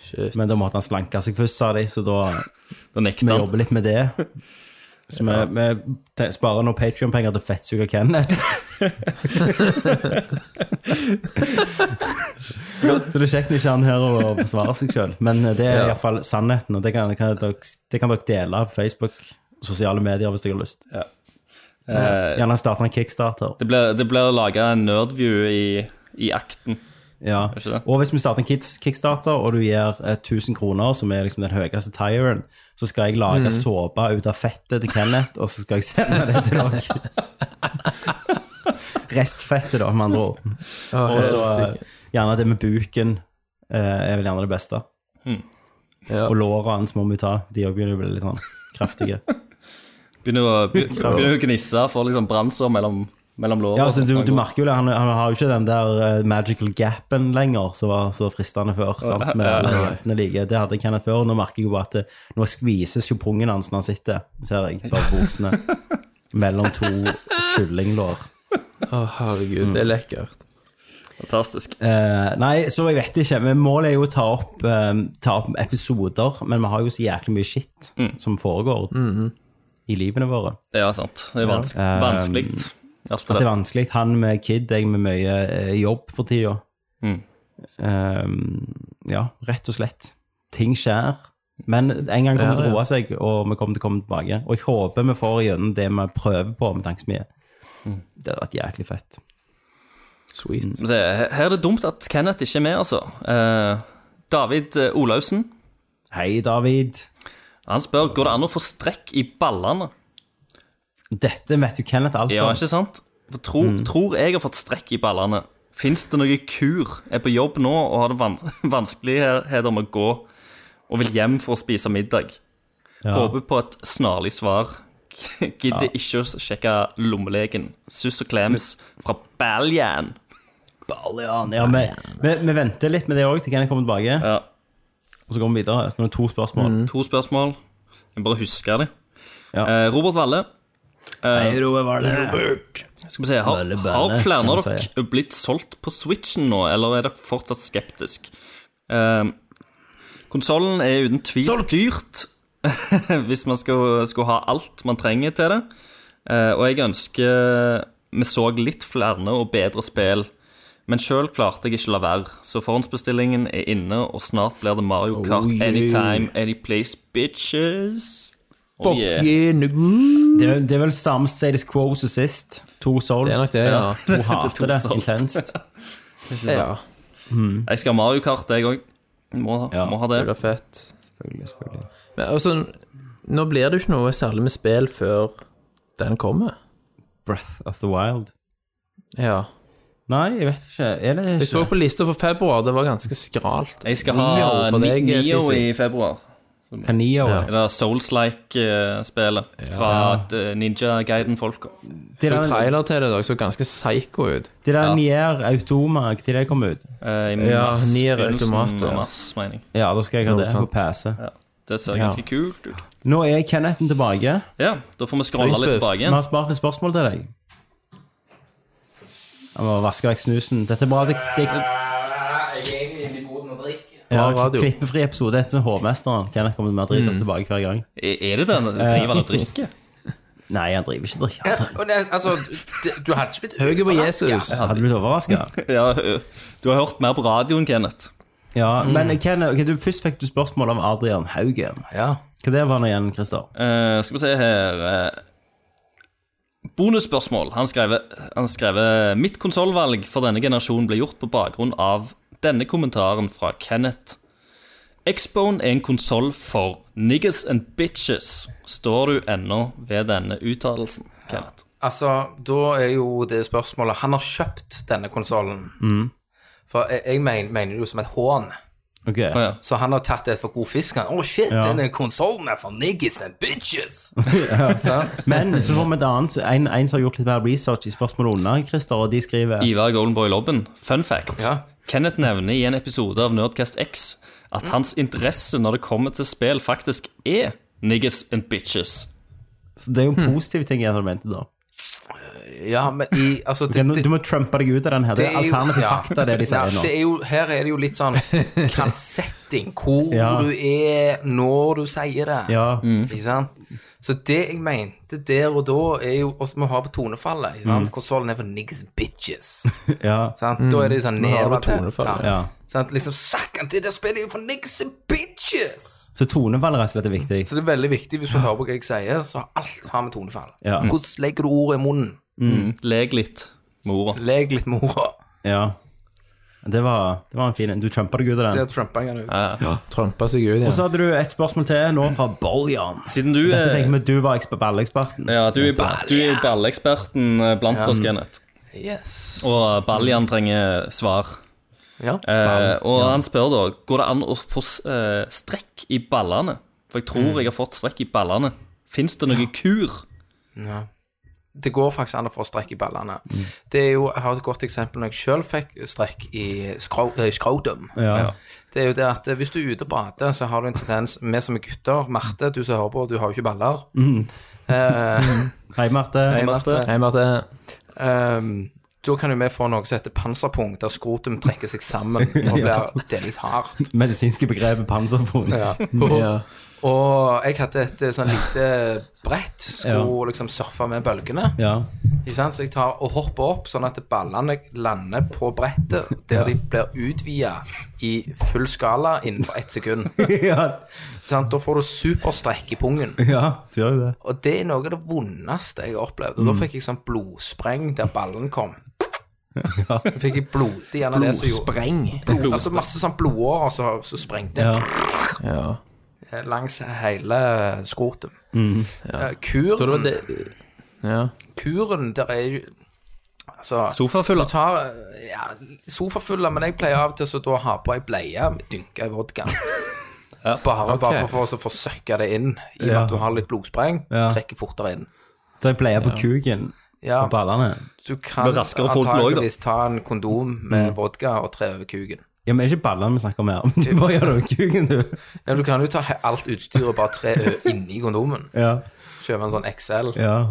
Speaker 4: Shit.
Speaker 3: Men da måtte han slanke seg først, sa de, så da
Speaker 5: da nekter
Speaker 3: vi
Speaker 5: han.
Speaker 3: jobber litt med det. Så vi, vi te- sparer nå Patrion-penger til å fettsuge Kenneth. Så det er kjekt når ikke han her å forsvare seg sjøl, men eh, det er i hvert fall sannheten. Og det kan, det kan dere, det kan dere dele på Facebook og sosiale medier hvis dere har lyst.
Speaker 5: Eh,
Speaker 3: Gjerne starte en kickstarter.
Speaker 5: det blir, det blir laga en nerdview i, i akten.
Speaker 3: Ja.
Speaker 5: ikke det?
Speaker 3: Og hvis vi starter en kids- kickstarter, og du gir eh, 1000 kroner, som er liksom den høyeste tieren, så skal jeg lage såpe ut av fettet til Kenneth, og så skal jeg sende det til dere. Restfettet, da, med andre ord. Og så eh, gjerne det med buken eh, er vel gjerne det beste.
Speaker 5: Hmm.
Speaker 4: Ja.
Speaker 3: Og lårene hans må vi ta. De òg begynner å bli litt sånn kraftige.
Speaker 5: Begynner å,
Speaker 3: [laughs]
Speaker 5: be- begynner å gnisse, får liksom brannsår mellom, mellom lårene.
Speaker 3: Ja, altså, du, du merker jo det, han, han har jo ikke den der eh, magical gapen lenger, som var så fristende før. sant? Med alle jentene like. Det hadde Kenneth før. Nå merker jeg jo bare at det, nå skvises jo pungen hans når han sitter, ser jeg, bare buksene. Mellom to kyllinglår.
Speaker 4: Å, herregud, det er lekkert.
Speaker 3: Mm.
Speaker 5: Fantastisk.
Speaker 3: Eh, nei, så jeg vet ikke. Men målet er jo å ta opp, eh, ta opp episoder, men vi har jo så jæklig mye shit som foregår i livene våre.
Speaker 5: Ja, sant. Det er vanskelig.
Speaker 3: Ja.
Speaker 5: vanskelig. Alt
Speaker 3: At det
Speaker 5: det
Speaker 3: er
Speaker 5: der.
Speaker 3: vanskelig. Han med kid, jeg med mye eh, jobb for tida.
Speaker 5: Mm.
Speaker 3: Eh, ja, rett og slett. Ting skjer. Men en gang kommer det til å roe seg, og vi kommer til å komme tilbake. Og jeg håper vi får gjennom det vi prøver på med tankesmie.
Speaker 5: Mm.
Speaker 3: Det hadde vært jæklig fett. Mm.
Speaker 4: Sweet.
Speaker 5: Skal vi se, Her her er det dumt at Kenneth ikke er med, altså. Eh, David eh, Olaussen
Speaker 3: Hei, David.
Speaker 5: han spør går det an å få strekk i ballene.
Speaker 3: Dette vet jo Kenneth alt
Speaker 5: Ja,
Speaker 3: om.
Speaker 5: ikke sant? For tro,
Speaker 3: Mm.
Speaker 5: Tror jeg har fått strekk i ballene. Fins det noe kur? Er på jobb nå og har det van [laughs] vanskeligheter med å gå og vil hjem for å spise middag. Håper på et snarlig svar. Gidder ikke å sjekke lommelegen. Suss og klems fra Baljan.
Speaker 3: Baljan. Ja, vi, vi, vi venter litt med det òg til Kenneth kommer tilbake.
Speaker 5: Ja.
Speaker 3: Og så går vi videre. Så nå er det to spørsmål.
Speaker 5: To spørsmål. Jeg bare husker det.
Speaker 3: Ja.
Speaker 5: Eh, Robert Valle, Eh,
Speaker 3: Hei, Robert, hva er det? Robert.
Speaker 5: skal vi se, har,
Speaker 3: Valle Balle,
Speaker 5: har flere av
Speaker 3: skal
Speaker 5: dere
Speaker 3: jeg si.
Speaker 5: blitt solgt på Switchen nå, eller er dere fortsatt skeptisk? Uh, Konsollen er uten tvil dyrt [laughs] hvis man skal, skal ha alt man trenger til det. Eh, og jeg ønsker eh, vi så litt flere og bedre spill. Men sjøl klarte jeg ikke la være, så forhåndsbestillingen er inne, og snart blir det Mario Kart anytime, any place, bitches. Oh, yeah.
Speaker 3: Det, er- det er vel samme status quo som sist. To solgt.
Speaker 4: Det er nok det, ja.
Speaker 3: [laughs] Hun hater
Speaker 5: to
Speaker 3: det
Speaker 5: solgt.
Speaker 4: [laughs]
Speaker 3: intenst.
Speaker 4: Ja,
Speaker 5: Jeg skal ha Mario Kart, jeg òg. Må,
Speaker 3: Ja,
Speaker 5: må ha
Speaker 4: det
Speaker 5: det.
Speaker 4: blir fett.
Speaker 3: Selvfølgelig, selvfølgelig.
Speaker 4: Men altså, nå blir det jo ikke noe særlig med spill før den kommer.
Speaker 3: Breath of the Wild.
Speaker 4: Ja.
Speaker 3: Nei, jeg vet ikke. Er det
Speaker 4: Jeg så
Speaker 3: ikke?
Speaker 4: på lista for februar, det var ganske skralt.
Speaker 5: Jeg skal ha
Speaker 4: Nio for deg,
Speaker 5: Nio
Speaker 4: Fizzy.
Speaker 5: i februar.
Speaker 3: Kanio.
Speaker 5: Det er Souls-like-spelet fra eh, Ninja Guiden-folka.
Speaker 3: De
Speaker 4: Så
Speaker 3: der,
Speaker 4: trailer til det, da, så ganske psycho ut.
Speaker 3: de der Nier Automa, når det kom ut?
Speaker 5: eh, I
Speaker 4: Ja,
Speaker 5: mars,
Speaker 4: Nier
Speaker 5: begynnelsen av
Speaker 4: Automata.
Speaker 5: mars, mener jeg.
Speaker 3: Ja, da skal jeg ha
Speaker 4: Noe
Speaker 3: det på
Speaker 4: sånt.
Speaker 3: PC.
Speaker 5: Ja. Det ser ganske kult ut.
Speaker 3: Nå er Kennethen tilbake.
Speaker 5: Ja, da får vi scrolle litt
Speaker 4: Flingspøff.
Speaker 5: tilbake
Speaker 3: Vi
Speaker 5: igjen.
Speaker 3: har spart et spørsmål til deg. Jeg må vaske vekk snusen. Dette er bra. Det, det, ja,
Speaker 4: radio. Mm.
Speaker 3: klippefri episode. Dette er Hovmesteren. Kenneth kommer til å drite oss tilbake hver gang.
Speaker 5: Er er det den? Driver han og drikker?
Speaker 3: Nei, han driver ikke drikke.
Speaker 6: Ja,
Speaker 3: Han
Speaker 6: og det, er- altså, det, du hadde ikke blitt
Speaker 4: Høy på
Speaker 6: overrasket.
Speaker 4: Jesus.
Speaker 3: driver- Hadde du blitt overraska?
Speaker 5: Ja, ø, du har hørt mer på radioen, Kenneth.
Speaker 3: Ja, men Ken, ok, du, først fikk du spørsmål av Adrian Haugen.
Speaker 6: Ja.
Speaker 3: Hva det var nå igjen, Christer?
Speaker 5: Eh, skal vi se her eh, Bonusspørsmål. Han skrev, han skrev Mitt konsollvalg for denne generasjonen ble gjort på bakgrunn av denne kommentaren fra Kenneth. Xbone er en konsoll for niggas and bitches. Står du ennå ved denne uttalelsen, Kenneth?
Speaker 6: Altså, da er jo det spørsmålet Han har kjøpt denne konsollen.
Speaker 3: Mm.
Speaker 6: For jeg, jeg men, mener det jo som et hån.
Speaker 3: Ok.
Speaker 5: Å ja.
Speaker 6: Så han har tatt det for god fisk. han. Å, shit, denne konsollen er for niggas and
Speaker 3: [laughs]
Speaker 6: bitches! Sant?
Speaker 3: Men så får vi et annet. En, en som har gjort litt mer research i spørsmålet under, Christer, og de skriver
Speaker 5: Ivar Goldenboy Lobben, fun fact.
Speaker 6: Ja.
Speaker 5: Kenneth nevner i en episode av Nerdcast X at hans interesse når det kommer til spill, faktisk er niggas and bitches.
Speaker 3: Så det er jo en positiv ting jeg hadde ventet, da.
Speaker 6: Ja, men i Altså,
Speaker 3: Ok, nå- du må trumpe deg ut av den her. Det er alternativ fakta, det de sier
Speaker 6: Nei,
Speaker 3: nå.
Speaker 6: det er jo, her er det jo litt sånn
Speaker 3: [laughs]
Speaker 6: kassetting. Hvor
Speaker 3: Ja.
Speaker 6: du er når du sier det.
Speaker 3: Ja.
Speaker 6: Ikke sant? Så det jeg mente der og da, er jo oss vi har på tonefallet. Ikke
Speaker 3: Mm.
Speaker 6: sant? Konsollen er for niggas and bitches.
Speaker 3: [laughs] ja.
Speaker 6: Sant? Da er det sånn
Speaker 4: Mm. har det
Speaker 6: nedover
Speaker 4: på tonefallet,
Speaker 3: ja.
Speaker 6: Sant? Liksom Sakkan til, der spiller jeg for niggas and bitches!
Speaker 3: Så tonevalg rett og slett er viktig.
Speaker 6: Så det er veldig viktig, hvis du hører på hva jeg sier, så har alt har med tonefall.
Speaker 3: Ja.
Speaker 4: Mm.
Speaker 6: Hvordan legger du ordet i munnen?
Speaker 5: Leg litt med ordene.
Speaker 6: Leg litt med ordet.
Speaker 3: Ja. Det var, det var en fin en. Du trumpa deg ut av den.
Speaker 6: Det er trumpa jeg ut.
Speaker 4: Trumpa seg ut
Speaker 3: Og
Speaker 4: igjen.
Speaker 3: så hadde du et spørsmål til nå fra Boljan.
Speaker 5: Siden du eh,
Speaker 3: Dette
Speaker 5: er,
Speaker 3: tenker vi at du var eksper- balleksperten.
Speaker 5: ja, du er, ba- du er balleksperten eh, blant oss, Kenneth,
Speaker 6: Yes.
Speaker 5: og Baljan trenger svar.
Speaker 6: Ja.
Speaker 5: Eh, og han spør da Går det an å få eh, strekk i ballene. For jeg tror jeg har fått strekk i ballene. Fins det noen kur?
Speaker 6: det går faktisk an å få strekk i ballene.
Speaker 4: Mm.
Speaker 6: Det er jo, Jeg har et godt eksempel når jeg sjøl fikk strekk i skro- eh, skrotum.
Speaker 3: Ja.
Speaker 6: Det er jo det at eh, Hvis du er ute og bader, så har du en tendens Vi som er gutter Marte, du som hører på, du har jo ikke baller.
Speaker 4: Mm.
Speaker 6: Eh,
Speaker 4: [laughs]
Speaker 3: Hei, Marte.
Speaker 6: Hei, Marte.
Speaker 4: Hei, Marte.
Speaker 6: Ehm, da kan jo vi få noe som heter panserpung, der skrotum trekker seg sammen og blir delvis hardt.
Speaker 3: Medisinske begrepet panserpung.
Speaker 6: Ja.
Speaker 4: Ja.
Speaker 6: Og jeg hadde et eh, sånn lite brett, skulle liksom surfe med bølgene.
Speaker 3: [laughs] Ja.
Speaker 6: Ikke sant? Så jeg tar og hopper opp sånn at ballene lander på brettet, der de blir utvida i full skala innenfor ett sekund. [laughs]
Speaker 3: ja.
Speaker 6: Sant? Da får du superstrekk i pungen.
Speaker 3: Ja, du gjør jo det.
Speaker 6: Og det er noe av det vondeste jeg har opplevd.
Speaker 4: Mm.
Speaker 6: Og da fikk jeg sånn blodspreng der ballen kom. Da fikk jeg blodig gjerne det som gjorde Blod, altså masse sånn blodårer som så, sprengte Eh,
Speaker 3: Ja.
Speaker 4: Ja.
Speaker 6: langs hele skrotum. Eh,
Speaker 4: Mm. Så det
Speaker 6: Kuren
Speaker 4: var det Ja.
Speaker 6: kuren der er jo Altså
Speaker 5: Sofafulla.
Speaker 6: du Tar, ja, sofafulla, men jeg pleier av og til så da ha på ei bleie med dynka i
Speaker 5: [laughs]
Speaker 6: vodka. Bare, bare for, for å få søkka det inn, i og med
Speaker 3: Ja.
Speaker 6: at du har litt blodspreng.
Speaker 3: Ja.
Speaker 6: Trekker fortere inn.
Speaker 3: Så jeg pleier på kuken
Speaker 6: Ja,
Speaker 3: og ballene.
Speaker 6: du kan
Speaker 5: Men raskere får du til også, da.
Speaker 6: antageligvis ta en kondom
Speaker 3: Mm.
Speaker 6: med vodka og tre over kuken.
Speaker 3: Ja, men er det ikke ballene vi snakker om her? [laughs] Hva gjør du med kuken, du?
Speaker 6: Ja, du kan jo ta he- alt utstyret og bare tre ø-
Speaker 3: [laughs]
Speaker 6: inni kondomen.
Speaker 3: Ja,
Speaker 6: Kjøpe en sånn XL.
Speaker 3: ja.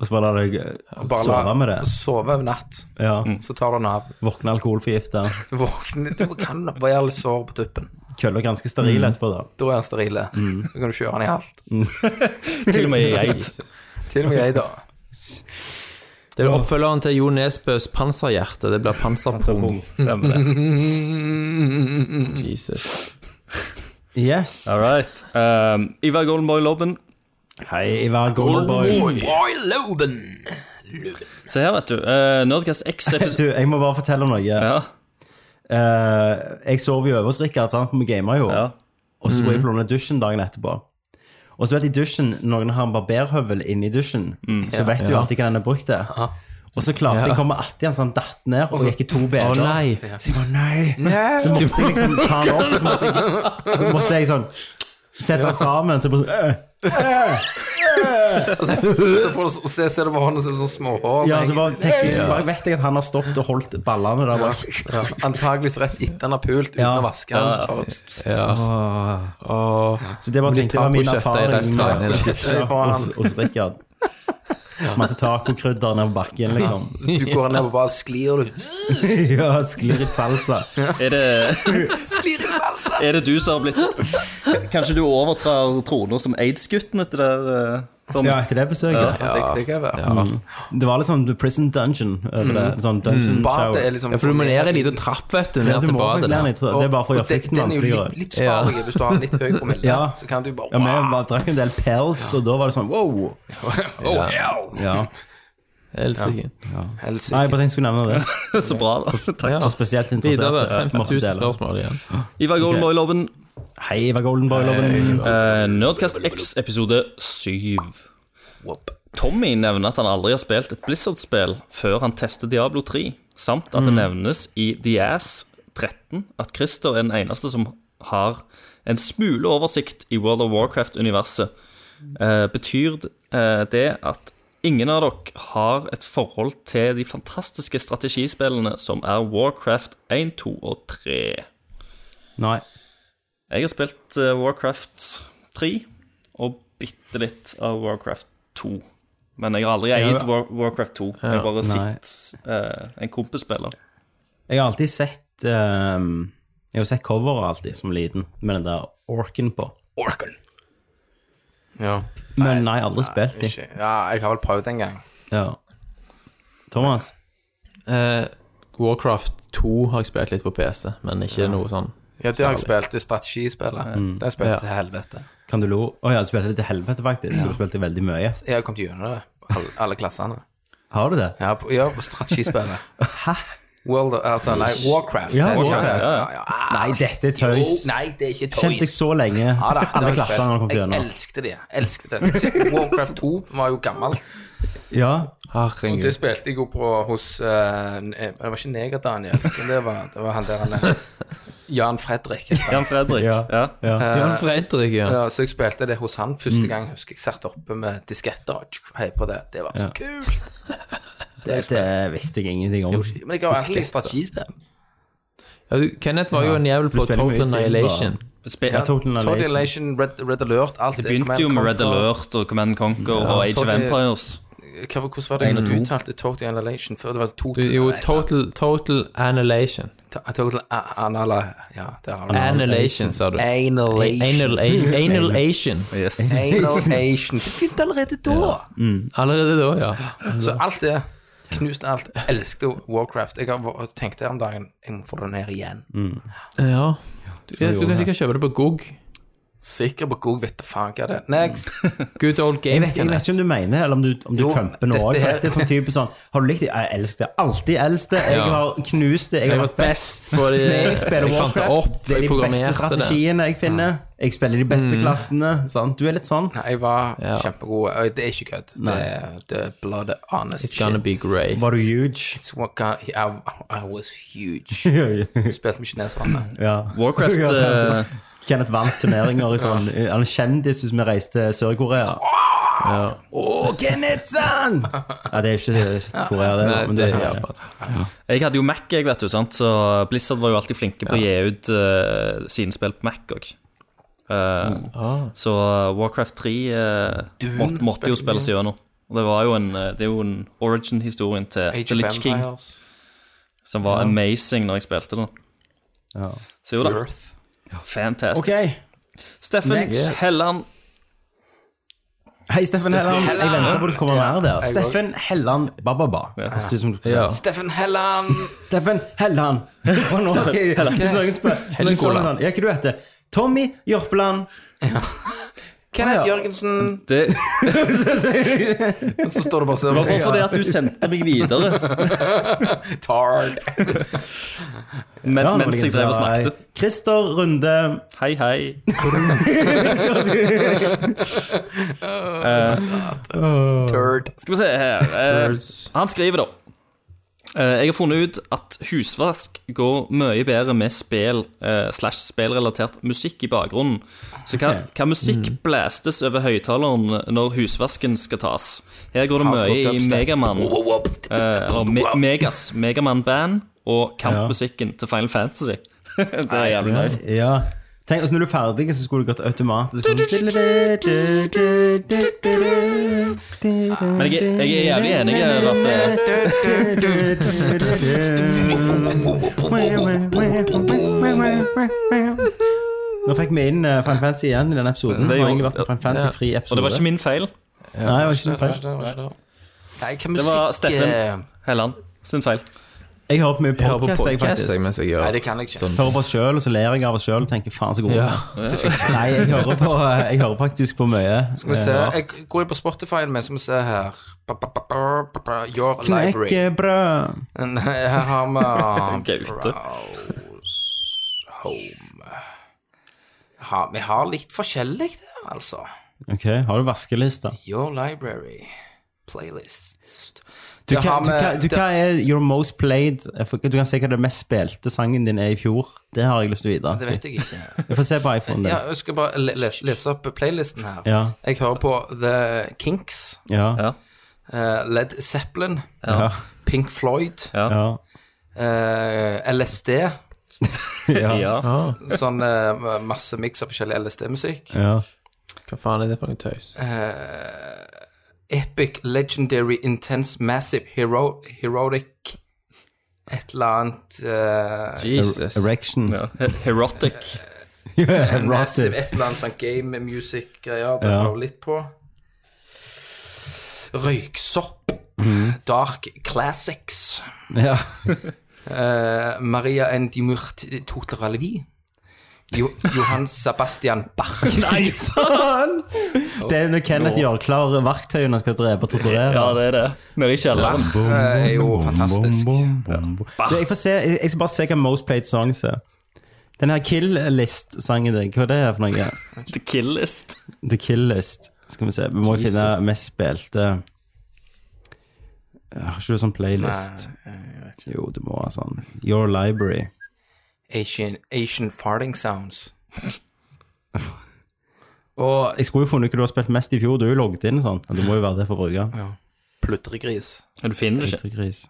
Speaker 3: Og så bare lar deg
Speaker 6: og
Speaker 3: eh,
Speaker 6: bare la- Mm.
Speaker 3: sove med det.
Speaker 6: Sove over natt.
Speaker 3: Ja.
Speaker 6: Så tar du den av.
Speaker 3: Våkne alkoholforgifta.
Speaker 6: Du våkner, du kan være litt sår på tuppen.
Speaker 3: Køller ganske steril etterpå, da.
Speaker 6: Da er han sterile.
Speaker 5: Mm.
Speaker 6: Da kan du kjøre han i alt.
Speaker 5: Til og med [laughs] i eid.
Speaker 6: Til og med jeg, da.
Speaker 4: Det er oppfølgeren til Jo Nesbøs panserhjerte. Det blir panserpung.
Speaker 5: Stemmer det.
Speaker 4: Jesus.
Speaker 3: Yes.
Speaker 5: All right. Um, Ivar Goldenboy Lobben.
Speaker 3: Hei, Ivar Goldboy.
Speaker 6: Boy Loben!
Speaker 5: Se her, vet du. Eh, Nerdcast X episode
Speaker 3: [laughs] Du,
Speaker 5: [laughs]
Speaker 3: jeg må bare fortelle om noe.
Speaker 5: ja,
Speaker 3: Eh, jeg sover jo over hos Rikard, sant? for vi gamer jo.
Speaker 5: ja.
Speaker 3: Og så går jeg for å låne dusjen dagen etterpå. Og så vet jeg i dusjen, noen har en barberhøvel inni dusjen, så vet du jo alltid hva den er brukt til. Og så klarte jeg å komme atti han sånn datt ned og gikk i to beder.
Speaker 4: nei.
Speaker 3: Så jeg bare nei. Så måtte jeg liksom ta han opp, [laughs] og så måtte jeg, så måtte jeg sånn sette han sammen. Så bare, sånn, øh.
Speaker 6: Og så, så får du så ser du på hånden som er sånn småhår.
Speaker 3: ja, så
Speaker 6: så
Speaker 3: bare, tenker, jeg- bare vet jeg at han har stått og holdt ballene der bak.
Speaker 6: henger- ja, antageligvis rett etter han har pult, uten
Speaker 3: Ja.
Speaker 6: å vaske han. Bare s-
Speaker 4: Ja. Åh.
Speaker 3: Så det bare tenkte jeg var min
Speaker 4: Tacokjøttet i
Speaker 3: erfaring med-
Speaker 4: restauranten.
Speaker 6: Kjøttet i
Speaker 3: ja,
Speaker 6: banen.
Speaker 3: hos, hos Rikard. Masse tacokrydder ned på bakken, liksom.
Speaker 6: Du går ned og bare sklir, du.
Speaker 3: [laughs] Ja, sklir litt salsa.
Speaker 5: Er, det,
Speaker 6: Sklir i salsa!
Speaker 5: er det du som har blitt Kanskje du overtrar trona som aids-gutten etter det der, eh, Tom?
Speaker 3: Ja, etter det besøket.
Speaker 6: Det, det kan være. Mm.
Speaker 3: Det var litt sånn The Prison Dungeon
Speaker 4: Mm.
Speaker 3: over det. Sånn dungeon
Speaker 6: Badet er
Speaker 3: shower.
Speaker 6: liksom
Speaker 4: Ja, for du må ned en liten trapp, vet du.
Speaker 3: Ja,
Speaker 4: Ned
Speaker 3: du
Speaker 4: til
Speaker 3: må
Speaker 4: badet.
Speaker 3: faktisk lære
Speaker 4: der.
Speaker 3: litt, det er bare for å gjøre frykten
Speaker 6: Den er jo
Speaker 3: vanskeligere.
Speaker 6: litt, litt farlig hvis du har en litt høy promille.
Speaker 3: Ja.
Speaker 6: Så kan du bare
Speaker 3: Ja, vi
Speaker 6: wow,
Speaker 3: bare drakk en del pels, og da var det sånn wow.
Speaker 6: oh, yeah.
Speaker 3: Ja.
Speaker 4: Helsike.
Speaker 6: Helsike.
Speaker 3: Nei, jeg bare tenkte jeg skulle nevne det.
Speaker 5: [laughs] Så bra, da. Takk.
Speaker 3: For spesielt
Speaker 4: Videre.
Speaker 3: interesserte.
Speaker 4: 50
Speaker 3: måtte
Speaker 4: 000
Speaker 3: dele.
Speaker 4: spørsmål igjen.
Speaker 5: Ivar Goldenboy-lobben.
Speaker 3: Hei, Ivar Goldenboy-loven.
Speaker 5: Eh, Nerdcast X episode 7. Tommy nevner at han aldri har spilt et Blizzard-spill før han tester Diablo 3, samt at det nevnes i The Ass 13 at Christer er den eneste som har en smule oversikt i World of Warcraft-universet. Eh, betyr eh, det at ingen av dere har et forhold til de fantastiske strategispillene som er Warcraft 1, 2 og 3?
Speaker 3: Nei.
Speaker 5: Jeg har spilt eh, Warcraft 3 og bitte litt av Warcraft 2. Men jeg har aldri eid
Speaker 3: har-
Speaker 5: War Warcraft 2. Jeg har bare
Speaker 3: Nei.
Speaker 5: sett eh, en kompis spille.
Speaker 3: Jeg har alltid sett ehm, Jeg har sett coveret alltid som liten, med den der orken på.
Speaker 6: Ja.
Speaker 3: Men nei, aldri spilt de.
Speaker 6: Ikke. ja, jeg har vel prøvd en gang.
Speaker 3: Ja. Thomas?
Speaker 4: Eh, Warcraft 2 har jeg spilt litt på PC, men ikke noe sånn
Speaker 6: Ja, det har jeg spilt. Det er strategispillet.
Speaker 3: Mm.
Speaker 6: Det har jeg spilt
Speaker 4: Ja.
Speaker 6: til helvete.
Speaker 3: Kan du lo? Å ja, du spilte litt til helvete, faktisk. Så du spilte veldig mye.
Speaker 6: Jeg har kommet gjennom det. Alle, alle klassene.
Speaker 3: Har du det?
Speaker 6: Ja, på, ja, på strategispillet. World of, altså, nei, Warcraft.
Speaker 3: Ja,
Speaker 6: heter det.
Speaker 3: Warcraft,
Speaker 6: ja, ja. Ah,
Speaker 3: Nei, dette er
Speaker 6: Jo,
Speaker 3: tøys.
Speaker 6: nei, det er ikke tøys.
Speaker 3: Kjente jeg så lenge.
Speaker 6: Ja, da, det har
Speaker 3: Alle
Speaker 6: jeg
Speaker 3: klassene
Speaker 6: spilt.
Speaker 3: når jeg kom
Speaker 6: Jeg
Speaker 3: gjennom.
Speaker 6: elsket det. elsket det. Warcraft 2 var jo gammel.
Speaker 3: Ja.
Speaker 4: Herregud.
Speaker 6: Det spilte jeg jo på hos eh, ne- Det var ikke Neger Daniel, men det var, det var han der han er. Jan Fredrik.
Speaker 5: Jan Fredrik. ja.
Speaker 3: Ja. ja.
Speaker 4: Jan Fredrik, ja.
Speaker 6: Ja, så jeg spilte det hos han første gang. husker Jeg satt oppe med disketter og tsk, hei på det. Det var så kult.
Speaker 3: Dette visste jeg ingenting om.
Speaker 6: Men jeg har alltid strategispill.
Speaker 4: ja du, Kenneth var jo en jævel på
Speaker 3: spiller mye
Speaker 4: Total
Speaker 3: Simba.
Speaker 4: Annihilation.
Speaker 5: Spe-
Speaker 3: Ja, Total
Speaker 6: Total
Speaker 3: Annihilation.
Speaker 6: Elation, Red, Red Alert, alt
Speaker 5: det begynte jo med Red Alert og Command Conquer og Age of
Speaker 6: Total-
Speaker 5: Empires.
Speaker 6: Hva, hvordan var det
Speaker 5: En og
Speaker 6: du
Speaker 5: to.
Speaker 6: uttalte Total Elation før? Det var to,
Speaker 4: Du, jo, Total, total Annihilation.
Speaker 6: Ta- Total a- Anala ah, Ja, der har du det.
Speaker 4: Annihilation, sa du.
Speaker 6: Analation.
Speaker 3: [laughs]
Speaker 4: Annihilation.
Speaker 6: Analation. Det begynte allerede da.
Speaker 4: Allerede da, ja.
Speaker 6: Så alt det Knust alt. Elsket jo Warcraft. Jeg har tenkt det om dagen. Jeg må få det ned igjen.
Speaker 4: Mm. ja. Du, du kan sikkert kjøpe det på GOG.
Speaker 6: Sikker på god vette faen hva det er. Next.
Speaker 4: [laughs] Good old
Speaker 3: Jeg
Speaker 4: games,
Speaker 3: vet, jeg vet ikke om du mener det, eller om du, om du
Speaker 6: Jo,
Speaker 3: trumper nå
Speaker 6: dette
Speaker 3: òg.
Speaker 6: her-
Speaker 3: Det er sånn typisk sånn Har du likt det? Jeg elsker det. Alltid eldste. Jeg
Speaker 4: Ja.
Speaker 3: har knust det. Jeg har vært best.
Speaker 4: på det.
Speaker 3: Når jeg spiller
Speaker 4: eh, Jeg fant det
Speaker 3: Warcraft,
Speaker 4: opp,
Speaker 3: det er de
Speaker 4: jeg
Speaker 3: beste
Speaker 4: programmerte det.
Speaker 3: strategiene jeg finner. Jeg spiller i de beste klassene. Sant? Du er litt sånn.
Speaker 6: Nei, jeg var
Speaker 4: Ja.
Speaker 6: kjempegod. Øy, Det er ikke kødd. Det, er- det er blood honest
Speaker 4: It's gonna
Speaker 6: shit.
Speaker 4: be great.
Speaker 3: Var du huge?
Speaker 6: It's what got, I, I was
Speaker 4: [laughs]
Speaker 6: huge. Spilte med kineserne.
Speaker 3: ja.
Speaker 5: Warcraft
Speaker 3: [laughs] Ja, sant.
Speaker 5: eh,
Speaker 3: Kenneth vant turneringer i sånn Han er kjendis hvis vi reiste til Sør-Korea. Åh, Kenneth-san! Ja, det er ikke det er ikke Korea, det.
Speaker 4: Nei,
Speaker 3: da, men
Speaker 4: det
Speaker 3: det,
Speaker 4: er
Speaker 3: ja.
Speaker 4: jævla.
Speaker 5: Jeg hadde jo Mac, jeg, vet du, sant? så Blizzard var jo alltid flinke på å gi ut eh, sine spill på Mac òg.
Speaker 6: Mm.
Speaker 3: Ah.
Speaker 5: Så Warcraft 3 eh, måtte, måtte jo spilles gjennom. Og Det, var jo en, eh, det er jo en origin-historien til
Speaker 6: Age
Speaker 5: The
Speaker 6: of
Speaker 5: Lich King,
Speaker 6: Empires.
Speaker 5: som var amazing når jeg spilte den.
Speaker 3: Ja.
Speaker 5: Så jo da. Fantastisk.
Speaker 3: Ok.
Speaker 5: Steffen
Speaker 3: Next.
Speaker 5: Helland
Speaker 3: Hei, Steffen Helland. Jeg venter på at du kommer mer der. Steffen Helland Bababa. Hørtes ut som du skulle si.
Speaker 4: Ja.
Speaker 6: Steffen Helland.
Speaker 3: Steffen Helland. Og nå skal jeg Hvis noen spør hvis noen spør om han, Ja, hva du heter Tommy Jørpeland.
Speaker 6: Kenneth
Speaker 3: Ah, ja.
Speaker 6: Jørgensen.
Speaker 5: Det
Speaker 3: [laughs] Så sier du-
Speaker 6: [laughs] Så står det bare sånn
Speaker 5: var bare fordi
Speaker 3: [laughs]
Speaker 5: at du sendte meg videre
Speaker 6: Tard.
Speaker 5: mens,
Speaker 3: Ja,
Speaker 5: mens jeg drev og
Speaker 3: sa,
Speaker 5: snakket.
Speaker 3: Christer Runde.
Speaker 5: Hei, hei.
Speaker 6: Turd.
Speaker 5: Skal vi se her eh, Han skriver da eh, Jeg har funnet ut at husvask går mye bedre med spel eh, Slash spelrelatert musikk i bakgrunnen Så hva, hva musikk blastes over høytaleren når husvasken skal tas? Her går det mye i
Speaker 6: dubstep.
Speaker 5: Megaman eh, Eller me Megas Megaman Band Og kampmusikken til Final Fantasy [laughs] Det er jævlig nice
Speaker 3: Ja. Tenk, altså, når du er ferdig, så skulle det gått automatisk. sånn-
Speaker 5: Men jeg, er- jeg er jævlig enig i at eh,
Speaker 3: Nå fikk vi inn eh, Final Fantasy igjen i denne episoden. Det har egentlig vært en Final Fantasy-fri episode.
Speaker 5: Og det var ikke min feil
Speaker 3: Nei, det var ikke min feil.
Speaker 6: Nei, hva
Speaker 5: Det var
Speaker 6: musikk
Speaker 5: Steffen
Speaker 6: eh,
Speaker 5: Helland sin feil
Speaker 3: Jeg hører på mye
Speaker 4: Jeg hører på
Speaker 3: podcast, jeg,
Speaker 4: podcast
Speaker 3: faktisk.
Speaker 4: jeg, mens jeg gjør
Speaker 6: Nei, det kan jeg ikke.
Speaker 4: Sånn.
Speaker 3: Hører på oss sjøl, og så ler jeg av oss sjøl og tenker faen så god.
Speaker 4: Ja.
Speaker 3: Nei, jeg hører, på, eh, jeg hører faktisk på mye.
Speaker 6: Skal vi se,
Speaker 3: eh, rart.
Speaker 6: jeg går inn på Spotify-en min, så må vi se her. Ba, ba, ba, ba, ba, ba, Your library.
Speaker 3: Knekkebrød.
Speaker 6: [laughs] Her har [laughs] vi
Speaker 5: Gaute.
Speaker 6: Browse Home. Ha, vi har litt forskjellig der, altså.
Speaker 3: Ok, har du vaskeliste?
Speaker 6: Your library. Playlist.
Speaker 3: Du,
Speaker 6: Det
Speaker 3: hva,
Speaker 6: har
Speaker 3: du,
Speaker 6: vi-
Speaker 3: hva, du,
Speaker 6: det-
Speaker 3: hva er your most played Jeg får- Du kan se hva det mest spilte sangen din er i fjor. Det har jeg lyst til å vite.
Speaker 6: Det vet jeg ikke.
Speaker 3: Vi får se på iPhone.
Speaker 6: Ja,
Speaker 3: Ja.
Speaker 6: jeg skal bare le- lese, lese opp playlisten her.
Speaker 3: Ja.
Speaker 6: Jeg hører på The Kinks,
Speaker 3: Ja.
Speaker 5: Ja.
Speaker 6: eh, Led Zeppelin,
Speaker 3: Ja.
Speaker 6: Pink Floyd,
Speaker 3: Ja.
Speaker 6: eh, LSD,
Speaker 3: Ja.
Speaker 5: [laughs] Ja.
Speaker 6: sånn eh, masse miks av forskjellig LSD-musikk,
Speaker 3: Ja.
Speaker 4: Hva faen er det for noe tøys?
Speaker 6: Epic, Legendary, Intense, Massive, hero, Heroic, et eller annet eh,
Speaker 4: Jesus.
Speaker 3: Erection.
Speaker 5: ja. He- Herotic.
Speaker 6: Massive,
Speaker 3: Erotic.
Speaker 6: et eller annet sånn game music-greier, det
Speaker 3: Ja.
Speaker 6: har vi litt på. Røyksopp,
Speaker 3: Mhm.
Speaker 6: Dark Classics,
Speaker 3: Ja.
Speaker 6: Eh, Maria Endimurt Toteralvi. eh, Jo, Johan Sebastian Bach. Nei,
Speaker 3: Det er når Kenneth gjør klar verktøyene han skal drepe og torturere.
Speaker 5: Ja, det er det. Nede i kjelleren.
Speaker 6: Bach eh, er jo fantastisk.
Speaker 3: Bom, bom, bom. Du, jeg, får se, jeg, jeg skal bare se hva Most Played Songs er. Den her Kill List-sangen din, hva er det for noe?
Speaker 5: The Kill List.
Speaker 3: The Kill List. Skal vi se, vi må
Speaker 4: Jesus.
Speaker 3: finne mest spilte Jeg Har ikke du sånn playlist? Jo, du må ha sånn. Your Library.
Speaker 6: Asian, Asian farting sounds.
Speaker 3: Og jeg skulle jo funnet ut hva du har spilt mest i fjor. Du er jo logget inn sånn. Du må jo være det for å bruke.
Speaker 6: Plutregris.
Speaker 5: Du finner det ikke.
Speaker 3: Yttergris.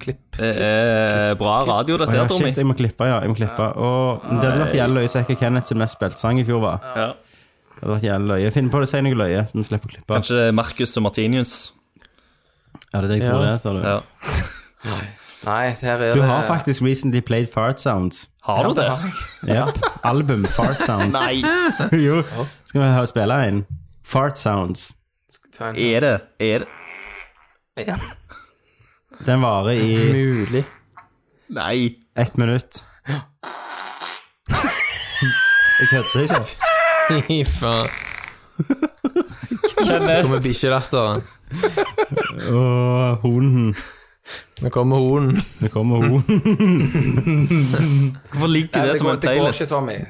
Speaker 6: Klipp.
Speaker 5: Det er Eh, bra radio, dette her,
Speaker 3: Ja,
Speaker 5: Tommy.
Speaker 3: shit, jeg må klippe, ja. Jeg må klippe. Og det hadde vært jævlig løye å se hva Kenneth sin mest spilte sang i fjor var.
Speaker 5: Ja.
Speaker 3: Det hadde vært jævlig løye. Finn på det, si noe løye. Vi slipper å klippe.
Speaker 5: Kanskje det er Marcus og Martinius.
Speaker 3: Ja, det er det jeg tror
Speaker 4: Ja.
Speaker 3: det, sa du.
Speaker 5: Ja.
Speaker 6: Nei, her er
Speaker 3: Du
Speaker 6: det
Speaker 3: har faktisk recently played Fart Sounds.
Speaker 5: Har du det?
Speaker 3: Yep. Album
Speaker 4: [laughs]
Speaker 3: Fart Sounds.
Speaker 5: Nei. [laughs]
Speaker 3: jo. Skal vi ha- spille en? Fart Sounds.
Speaker 6: Ta en-
Speaker 5: Er det? Er det?
Speaker 6: Ja.
Speaker 3: Den varer
Speaker 5: [laughs]
Speaker 3: i
Speaker 4: Mulig.
Speaker 5: Nei.
Speaker 3: ett
Speaker 5: [laughs]
Speaker 3: minutt. Jeg kødder ikke.
Speaker 4: [laughs] Fy faen.
Speaker 3: [laughs]
Speaker 5: Kenneth.
Speaker 4: Kommer bikkjelatteren.
Speaker 3: Åh, hunden.
Speaker 4: Nå kommer hunden.
Speaker 3: Nå kommer hunden.
Speaker 5: Hvorfor ligger det
Speaker 6: Det
Speaker 5: som
Speaker 6: går,
Speaker 5: en
Speaker 6: det går ikke, sånn.
Speaker 5: playlist?
Speaker 6: Tommy.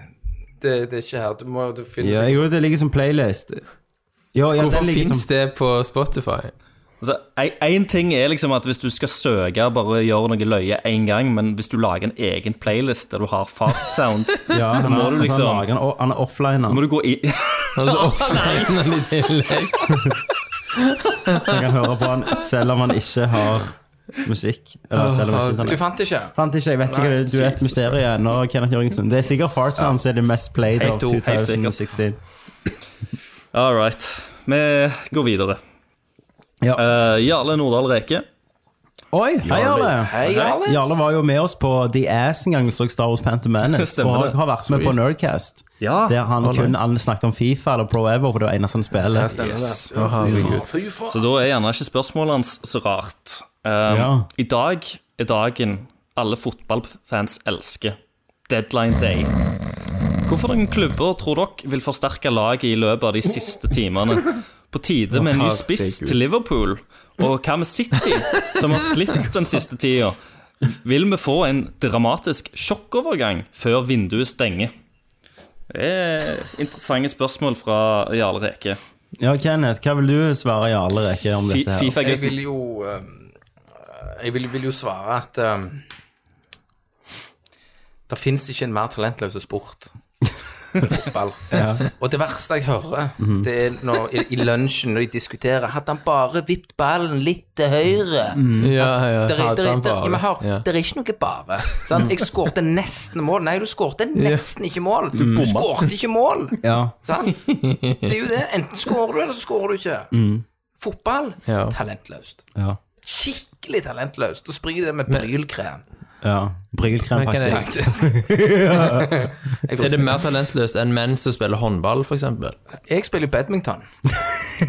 Speaker 6: Det, det er ikke her. Du må du finner
Speaker 3: Ja,
Speaker 6: seg
Speaker 3: jo, det ligger som playlist. Jo, ja,
Speaker 4: Hvorfor
Speaker 3: den ligger
Speaker 4: fins
Speaker 3: som
Speaker 4: det på Spotify?
Speaker 5: Altså, Én ting er liksom at hvis du skal søke, bare gjør noe løye én gang, men hvis du lager en egen playlist der du har fart sound,
Speaker 3: ja,
Speaker 5: da
Speaker 3: han,
Speaker 5: må
Speaker 3: er, altså, han,
Speaker 5: du liksom
Speaker 3: lager, den, og han er offline,
Speaker 5: Må
Speaker 3: han.
Speaker 5: du gå i
Speaker 4: Altså, offline i tillegg.
Speaker 3: så jeg kan høre på han selv om han ikke har musikk. Eller selv om han ikke
Speaker 6: Du fant det ikke?
Speaker 3: Fant ikke, jeg vet ikke hva det Du er et mysterium ennå, Kenneth Jørgensen. Det er sikkert Fart Sounds er det mest played
Speaker 5: Helt
Speaker 3: av
Speaker 5: to- helt sikkert.
Speaker 3: 2016.
Speaker 5: All right. Vi går videre.
Speaker 3: Ja.
Speaker 5: Eh, Jarle Nordahl Reke.
Speaker 3: Oi, hei, Jarle.
Speaker 6: Hei, Alice.
Speaker 3: Jarle var jo med oss på The Ass en gang vi så Star Wars Phantom Menace,
Speaker 5: Stemmer
Speaker 3: og
Speaker 5: det.
Speaker 3: har vært med på Nerdcast.
Speaker 5: Ja.
Speaker 3: Der han kun alle snakket om Fifa eller Pro Ever, for det var eneste han spiller.
Speaker 6: Stemmer
Speaker 5: Yes.
Speaker 6: det. Fy faen, fy faen.
Speaker 5: Så da er gjerne ikke spørsmålet hans så rart. Um,
Speaker 3: Ja.
Speaker 5: I dag er dagen alle fotballfans elsker. Deadline day. Hvorfor noen klubber tror dere vil forsterke laget i løpet av de siste timene? På tide med en ny spiss til Liverpool. Og hva med City, som har slitt den siste tida? Vil vi få en dramatisk sjokkovergang før vinduet stenger? Det er interessante spørsmål fra Jarle Reke.
Speaker 3: Ja, Kenneth, hva vil du svare Jarle Reke om
Speaker 5: Fi-
Speaker 3: dette her?
Speaker 6: Jeg
Speaker 5: Fifa-gutten.
Speaker 6: vil jo ehm, Jeg vil, vil jo svare at ehm, det fins ikke en mer talentløs sport. enn Fotball. Og det verste jeg hører, det er når, i, i lunsjen når de diskuterer Hadde han bare vippet ballen litt til høyre?
Speaker 4: Ja, ja.
Speaker 6: Der, er- der,
Speaker 4: Mm. Hadde
Speaker 6: er-
Speaker 4: han
Speaker 6: der, ja, men hør,
Speaker 4: bare.
Speaker 6: der er ikke noe bare. Sant? Jeg skårte nesten mål. Nei, du skårte nesten ikke mål. Du skårte ikke mål.
Speaker 3: Ja.
Speaker 6: Sant? Det er jo det. Enten skårer du, eller så skårer du ikke. Fotball
Speaker 4: Ja.
Speaker 6: talentløst.
Speaker 3: Ja.
Speaker 6: Skikkelig talentløst. Og springer det med brylkrem.
Speaker 3: Ja. Bryggelkrem,
Speaker 4: Men kan jeg-
Speaker 3: faktisk.
Speaker 6: Jeg,
Speaker 4: Er det mer talentløst enn menn som spiller håndball, f.eks.?
Speaker 6: jeg spiller jo badminton.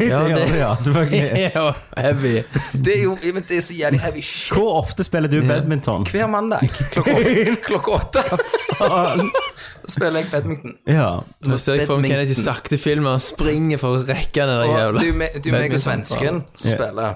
Speaker 4: Ja,
Speaker 3: det gjør du, [laughs] ja. Selvfølgelig.
Speaker 4: er jo heavy.
Speaker 6: Det er jo men det er så jævlig heavy shit.
Speaker 3: Hvor ofte spiller du badminton?
Speaker 6: Hver mandag klokka
Speaker 3: [laughs]
Speaker 6: åtte, klokka åtte spiller jeg badminton.
Speaker 3: Ja.
Speaker 4: Nå ser jeg for meg Kenneth i sakte film, og han springer for å rekke den der
Speaker 6: Og
Speaker 4: jævla
Speaker 6: det er jo meg- det er jo meg og
Speaker 4: badminton.
Speaker 6: svensken som
Speaker 3: Ja.
Speaker 6: spiller.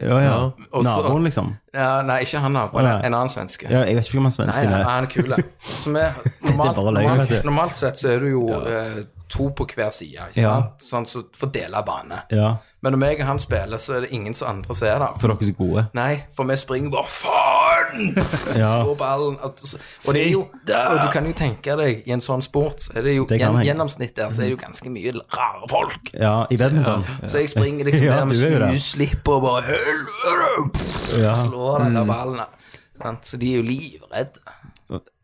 Speaker 3: ja, ja.
Speaker 6: Og så-
Speaker 3: Naboen, liksom.
Speaker 6: Ja, nei, ikke han, da. men
Speaker 3: Å, nei.
Speaker 6: En annen svenske.
Speaker 3: Ja, jeg vet ikke om han
Speaker 6: Nei,
Speaker 3: svensker
Speaker 6: nei,
Speaker 3: det.
Speaker 6: han er kul. ja. Så
Speaker 3: [laughs]
Speaker 6: vi, normalt,
Speaker 3: bare løgn,
Speaker 6: normalt,
Speaker 3: vet du.
Speaker 6: normalt sett så er du jo eh, to på hver side, ikke
Speaker 3: Ja.
Speaker 6: sant? Sånn, så fordeler bane.
Speaker 3: Ja,
Speaker 6: Men når jeg og han spiller, så er det ingen som andre ser det.
Speaker 3: for dere er så gode.
Speaker 6: Nei, for vi springer bare Faen!
Speaker 3: [laughs] Ja.
Speaker 6: Slår ballen. At, så- og, det er jo, og du kan jo tenke deg, i en sånn sport, så er det jo
Speaker 3: Det kan
Speaker 6: gjen,
Speaker 3: jeg.
Speaker 6: gjennomsnitt der, så er det jo ganske mye rare folk.
Speaker 3: Ja, i badminton.
Speaker 6: Så jeg springer liksom
Speaker 3: [laughs] Ja,
Speaker 6: der med
Speaker 3: du er jo det.
Speaker 6: snuslipp og bare Helvete!
Speaker 3: Ja. Mm.
Speaker 6: Slår den der ballen. sant? Så de er jo livredde.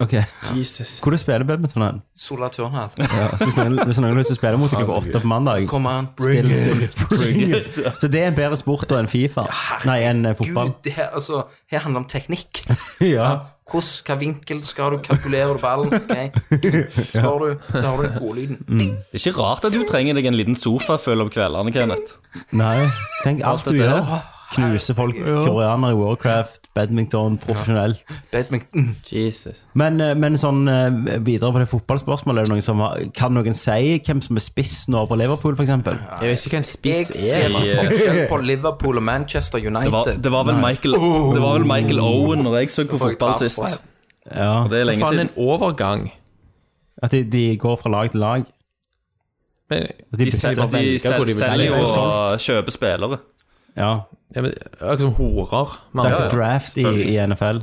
Speaker 3: Ok.
Speaker 4: Jesus.
Speaker 3: Hvor du spiller badminton hen?
Speaker 6: Sola Turnhall.
Speaker 3: Ja, så hvis noen hvis noen har lyst til å spille mot deg klokka åtte på mandag
Speaker 6: Kom an.
Speaker 3: Still, still, bring it. Så det er en bedre sport da enn Fifa? Nei, enn eh, [laughs] fotball.
Speaker 6: Gud, det her, altså, her handler det om teknikk.
Speaker 3: [laughs] Ja.
Speaker 6: Hvordan, hva vinkel skal du kalkulere du ballen? ok?
Speaker 3: [laughs]
Speaker 6: Slår du, så har du den gode lyden.
Speaker 3: Mm.
Speaker 5: Det er ikke rart at du trenger deg en liten sofa føl om kveldene, Kenneth.
Speaker 3: Nei. Tenk alt du
Speaker 5: dette
Speaker 3: gjør. Knuse folk, koreanere i Warcraft, badminton, profesjonelt.
Speaker 6: Badminton.
Speaker 4: Jesus.
Speaker 3: Men, eh, men sånn eh, videre på det fotballspørsmålet, er det noen som har, kan noen si hvem som er spiss nå på Liverpool, f.eks.?
Speaker 4: Jeg vet ikke hva en
Speaker 6: Jeg
Speaker 4: spiss
Speaker 6: ser
Speaker 4: er.
Speaker 5: det.
Speaker 6: forskjell på Liverpool og Manchester
Speaker 5: Det var,
Speaker 6: United.
Speaker 5: det var, vel, Michael, det var vel Michael Owen når jeg så på
Speaker 6: Folk
Speaker 5: fotball
Speaker 6: tar fra-
Speaker 5: sist.
Speaker 3: Ja.
Speaker 5: Det er lenge
Speaker 4: Faen,
Speaker 5: siden.
Speaker 4: en overgang.
Speaker 3: At de, de går fra lag til lag?
Speaker 4: Men,
Speaker 3: At de
Speaker 5: De, sel-
Speaker 3: bytter?
Speaker 5: de
Speaker 4: hvor
Speaker 5: sel
Speaker 4: de vil
Speaker 5: selger
Speaker 4: spille.
Speaker 5: jo
Speaker 3: sånn?
Speaker 5: og kjøper spillere.
Speaker 3: Ja.
Speaker 4: ja, men, akkurat som horer.
Speaker 3: Det er
Speaker 4: med andre
Speaker 3: altså
Speaker 4: ord.
Speaker 3: draft i, i NFL.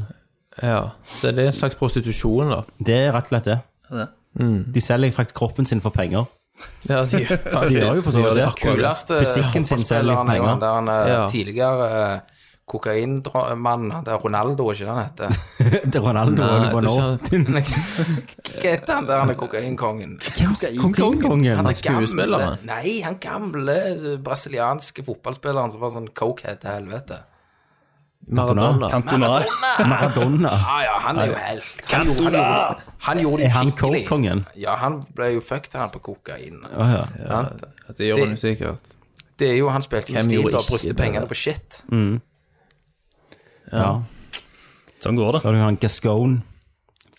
Speaker 4: Ja. Så det er en slags prostitusjon, da.
Speaker 3: Det er rett og slett det.
Speaker 5: Det.
Speaker 4: Mm.
Speaker 3: De selger faktisk kroppen sin for penger.
Speaker 4: [laughs] Ja, de, faktisk,
Speaker 3: gjør jo for så vidt
Speaker 4: gjør
Speaker 3: det.
Speaker 4: akkurat
Speaker 6: Kuleste
Speaker 3: Fysikken sin selger
Speaker 6: fotballspilleren er jo
Speaker 3: penger.
Speaker 6: han der han eh,
Speaker 4: Ja.
Speaker 6: tidligere eh, kokainmann Det er Ronaldo, ikke det han heter?
Speaker 3: Det er Ronaldo
Speaker 4: Nei,
Speaker 3: og
Speaker 4: jeg tror
Speaker 3: Bono.
Speaker 4: ikke han-
Speaker 6: Hva heter han der han er kokainkongen?
Speaker 3: Kokainkongen.
Speaker 6: Han er
Speaker 4: skuespiller,
Speaker 6: gamle,
Speaker 4: han.
Speaker 6: nei, han gamle eh, brasilianske fotballspilleren som var sånn cokehead til helvete.
Speaker 4: Maradona.
Speaker 5: Cantona.
Speaker 3: Maradona.
Speaker 6: Ja, Ah, ja, han er jo helt. Han gjorde, han gjorde, han gjorde det
Speaker 3: Er han
Speaker 6: skikkelig.
Speaker 3: coke-kongen?
Speaker 6: Ja, han ble jo fucked han på kokain.
Speaker 3: Ja, ja.
Speaker 6: sant?
Speaker 4: Det gjør
Speaker 6: Det-
Speaker 4: han jo sikkert.
Speaker 6: Det er jo han spilte med
Speaker 4: Hvem
Speaker 6: stil
Speaker 4: gjorde
Speaker 6: og
Speaker 4: ikke
Speaker 6: brukte
Speaker 4: det?
Speaker 6: pengene på shit.
Speaker 3: ja.
Speaker 5: Sånn går
Speaker 3: Da
Speaker 5: det.
Speaker 3: har du han Gascone.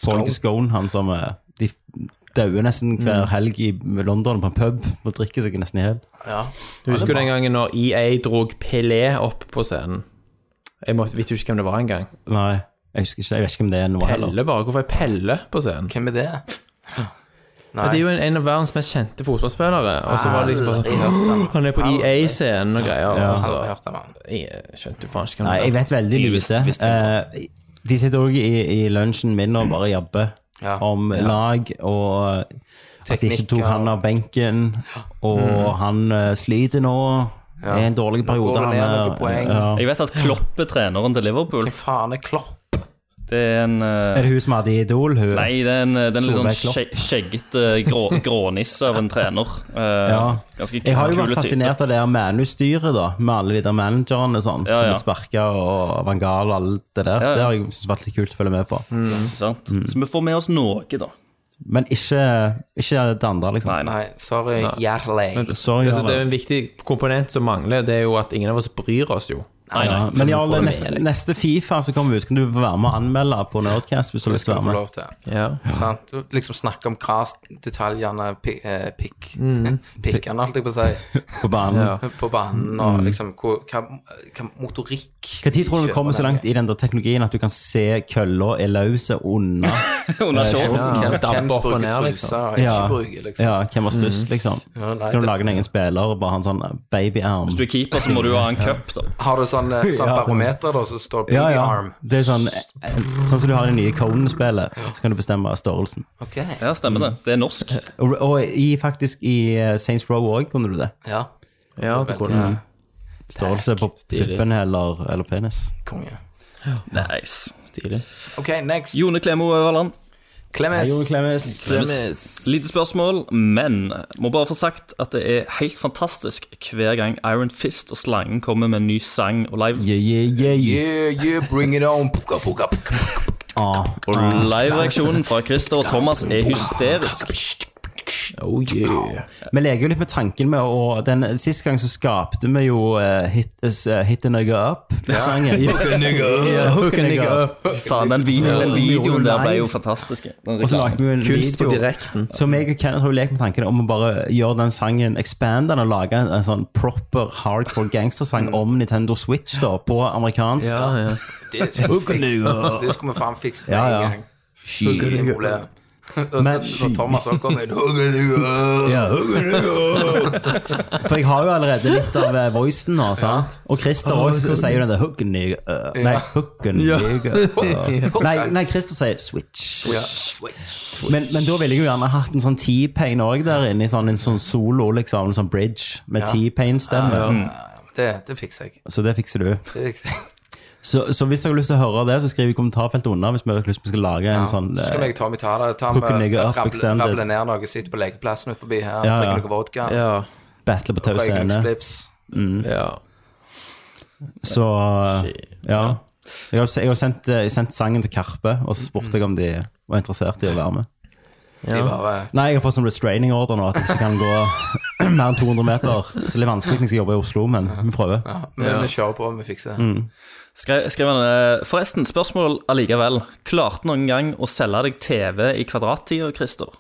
Speaker 3: Paul Gascone, han som eh, De dauer nesten hver
Speaker 4: Mm.
Speaker 3: helg i London på en pub og drikker seg nesten i hjel.
Speaker 6: Ja.
Speaker 4: Du husker den gangen når EA drog Pelé opp på scenen? Jeg måtte, vet jo ikke hvem det var engang.
Speaker 3: Nei, jeg husker ikke. Jeg vet ikke om det er noe heller.
Speaker 4: Pelle, bare. Hvorfor er Pelle på scenen?
Speaker 6: Hvem er det?
Speaker 4: Ja, det er jo en, en av verdens mest kjente fotballspillere. Og så var det liksom
Speaker 6: Aldri
Speaker 4: bare
Speaker 6: hørt om han.
Speaker 4: Han er på EA-scenen og greier. Og så,
Speaker 6: Aldri hørt om han.
Speaker 4: jeg skjønte jo faen ikke hva
Speaker 3: Nei,
Speaker 4: han
Speaker 3: jeg vet veldig lite. Eh, de sitter òg i, i lunsjen min og bare jabber
Speaker 6: Ja.
Speaker 3: om lag og at de ikke
Speaker 6: Teknikker.
Speaker 3: tok han av benken, og
Speaker 5: Mm.
Speaker 3: han eh, sliter nå. Det er en dårlig
Speaker 6: Nå går
Speaker 3: periode.
Speaker 6: det ned
Speaker 3: han er-
Speaker 6: noen poeng.
Speaker 3: Ja.
Speaker 5: Jeg vet at Klopp er treneren til Liverpool.
Speaker 6: Hvem faen er Klopp?
Speaker 5: Det er en eh,
Speaker 3: Er det hun som hadde Idol? Hun?
Speaker 5: Nei, det er en, det er en litt sånn
Speaker 3: Solveig Klopp.
Speaker 5: skje- skjeggete eh,
Speaker 3: [laughs]
Speaker 5: grå, grånisse av en trener. Eh,
Speaker 3: Ja.
Speaker 5: Ganske
Speaker 3: Jeg har jo vært
Speaker 5: kule type.
Speaker 3: fascinert av det her manustyret, da, med alle de der managerne sånn,
Speaker 5: Ja, ja.
Speaker 3: som er sparka og Vangal og alt det der.
Speaker 5: Ja, ja.
Speaker 3: Det har jeg syntes vært litt kult å følge med på.
Speaker 6: Mm.
Speaker 5: Ikke sant?
Speaker 3: Mm.
Speaker 5: Så vi får med oss noe, da.
Speaker 3: Men ikke, ikke det andre, liksom.
Speaker 5: Nei, nei.
Speaker 6: Nei, sorry, Jarle.
Speaker 3: Sorry,
Speaker 4: Altså,
Speaker 3: Jarle.
Speaker 4: det er jo en viktig komponent som mangler, det er jo at ingen av oss bryr oss jo.
Speaker 5: nei,
Speaker 3: Ja,
Speaker 5: nei.
Speaker 3: men Jarle,
Speaker 4: får det
Speaker 3: neste,
Speaker 4: med deg.
Speaker 3: neste Fifa som kommer ut, kan du være med og anmelde på Nerdcast hvis du har
Speaker 6: Det
Speaker 3: lyst til å
Speaker 6: skal du få
Speaker 3: være med.
Speaker 6: lov til.
Speaker 4: Ja.
Speaker 6: Sant? Du Liksom snakke om kras-detaljene, pi- eh, pikk
Speaker 3: Mm.
Speaker 6: Pikkene, holdt jeg på å
Speaker 3: [laughs]
Speaker 6: si,
Speaker 3: På banen.
Speaker 4: Ja.
Speaker 6: på banen, og liksom hvor- hva, hva motorikk
Speaker 3: Mm. Hva tid tror du
Speaker 6: kjøper
Speaker 3: du kommer så
Speaker 6: den
Speaker 3: langt i den der teknologien at du kan se kølla er løs unna?
Speaker 5: Under shorts.
Speaker 6: med?
Speaker 4: Ja,
Speaker 6: Hvem- Hvem
Speaker 4: dampe
Speaker 6: som
Speaker 4: opp og
Speaker 6: bruker
Speaker 4: ned, liksom.
Speaker 6: truser og
Speaker 3: Ja.
Speaker 6: ikke bruker, liksom.
Speaker 3: ja, hvem var størst, liksom?
Speaker 6: Ja, nei,
Speaker 3: Kan du
Speaker 6: det-
Speaker 3: lage en egen spiller og bare ha en sånn babyarm?
Speaker 5: Hvis du er keeper, så må du ha en cup, da.
Speaker 6: Har du sånn, eh,
Speaker 3: [laughs]
Speaker 6: sånn
Speaker 3: Ja, det-
Speaker 6: barometer, da, så står
Speaker 3: Ja, ja.
Speaker 6: PB-arm?
Speaker 3: Det er sånn, eh, sånn som du har i det nye Conan-spillet, så kan du bestemme størrelsen.
Speaker 6: Ok.
Speaker 5: Ja, stemmer det. Det er norsk.
Speaker 3: Og, og i, faktisk i eh, Saints Row òg kunne du det.
Speaker 6: Ja.
Speaker 4: ja, det kunne jeg.
Speaker 3: Størrelse på
Speaker 4: stilig.
Speaker 3: puppen eller, eller penis.
Speaker 6: Konge.
Speaker 5: Nice.
Speaker 4: Stilig.
Speaker 6: Ok, next.
Speaker 5: Jone Klemo Øverland.
Speaker 6: Klemmes.
Speaker 5: Lite spørsmål, men må bare få sagt at det er helt fantastisk hver gang Iron Fist og Slangen kommer med en ny sang og live.
Speaker 3: Yeah, yeah, yeah.
Speaker 6: Yeah, yeah, bring it on. Puka, puka, puka.
Speaker 3: Ah,
Speaker 5: Og livereaksjonen fra Christer og Thomas er hysterisk.
Speaker 3: oh yeah. Vi leker jo litt med tanken med å den, Sist gang så skapte vi jo eh, hit, eh, Hit a nigga up-sangen. Ja, hook a nigga up.
Speaker 5: Faen, den, vi- den videoen der ble jo
Speaker 3: Live.
Speaker 5: fantastisk. Den
Speaker 3: Og så
Speaker 5: reklamen.
Speaker 3: lagde vi jo en
Speaker 4: Kunst på
Speaker 3: video.
Speaker 4: direkten.
Speaker 3: Så meg og Kenneth har jo lekt med tanken om å bare gjøre den sangen expand den og lage en, en sånn proper hardcore gangstersang om Nintendo Switch da, på amerikansk.
Speaker 4: Mm. Ja, ja.
Speaker 6: Det skulle vi fikse. Det skulle vi faen fikse med
Speaker 3: Ja, ja.
Speaker 6: en gang. Ingen problem. Og
Speaker 3: Men-
Speaker 6: så når Thomas også
Speaker 3: [laughs]
Speaker 6: kommer inn «Hook a nigga up».
Speaker 3: For jeg har jo allerede litt av eh, voicen nå, sant? Og Christer også sier jo den der hooken i øh, Nei, hooken i
Speaker 4: [laughs]
Speaker 3: øh. Nei, nei, Christer sier switch.
Speaker 6: Ja, switch.
Speaker 3: Men, men da ville jeg jo gjerne hatt en sånn T-pain òg der inne, i sånn, en sånn solo, liksom. En sånn bridge med T-pain-stemme.
Speaker 6: Det, det fikser jeg.
Speaker 3: Så det fikser du.
Speaker 6: Det fikser jeg.
Speaker 3: Så, så hvis dere har lyst til å høre det, så skriv i kommentarfeltet under hvis vi har lyst til å skal lage en
Speaker 6: Ja.
Speaker 3: sånn
Speaker 6: Så skal
Speaker 3: eh,
Speaker 6: jeg ta meg ta det. Ta med,
Speaker 3: Hook a nigga up
Speaker 6: rable,
Speaker 3: extended.
Speaker 6: rable ned noe, sitte på lekeplassen ut forbi her,
Speaker 3: Ja, Mm. ja.
Speaker 6: drikke noe vodka,
Speaker 4: ja,
Speaker 3: battle på tau
Speaker 6: røyke noen
Speaker 3: scene.
Speaker 6: splips.
Speaker 4: ja.
Speaker 3: Så eh, ja. Jeg har, se- jeg har sendt, eh, jeg har sendt sangen til Karpe, og så spurte jeg om de var interessert i å være med.
Speaker 6: De bare
Speaker 3: Nei, jeg har fått sånn restraining order nå, at jeg ikke kan gå [clears throat] mer enn 200 meter. Så det er litt vanskelig når jeg skal jobbe i Oslo, men vi prøver.
Speaker 6: ja, men vi kjører på, vi fikser det.
Speaker 3: Mm.
Speaker 5: Skrev, skrev han eh, Forresten, spørsmål allikevel. Klarte noen gang å selge deg TV i kvadrattida, Christer?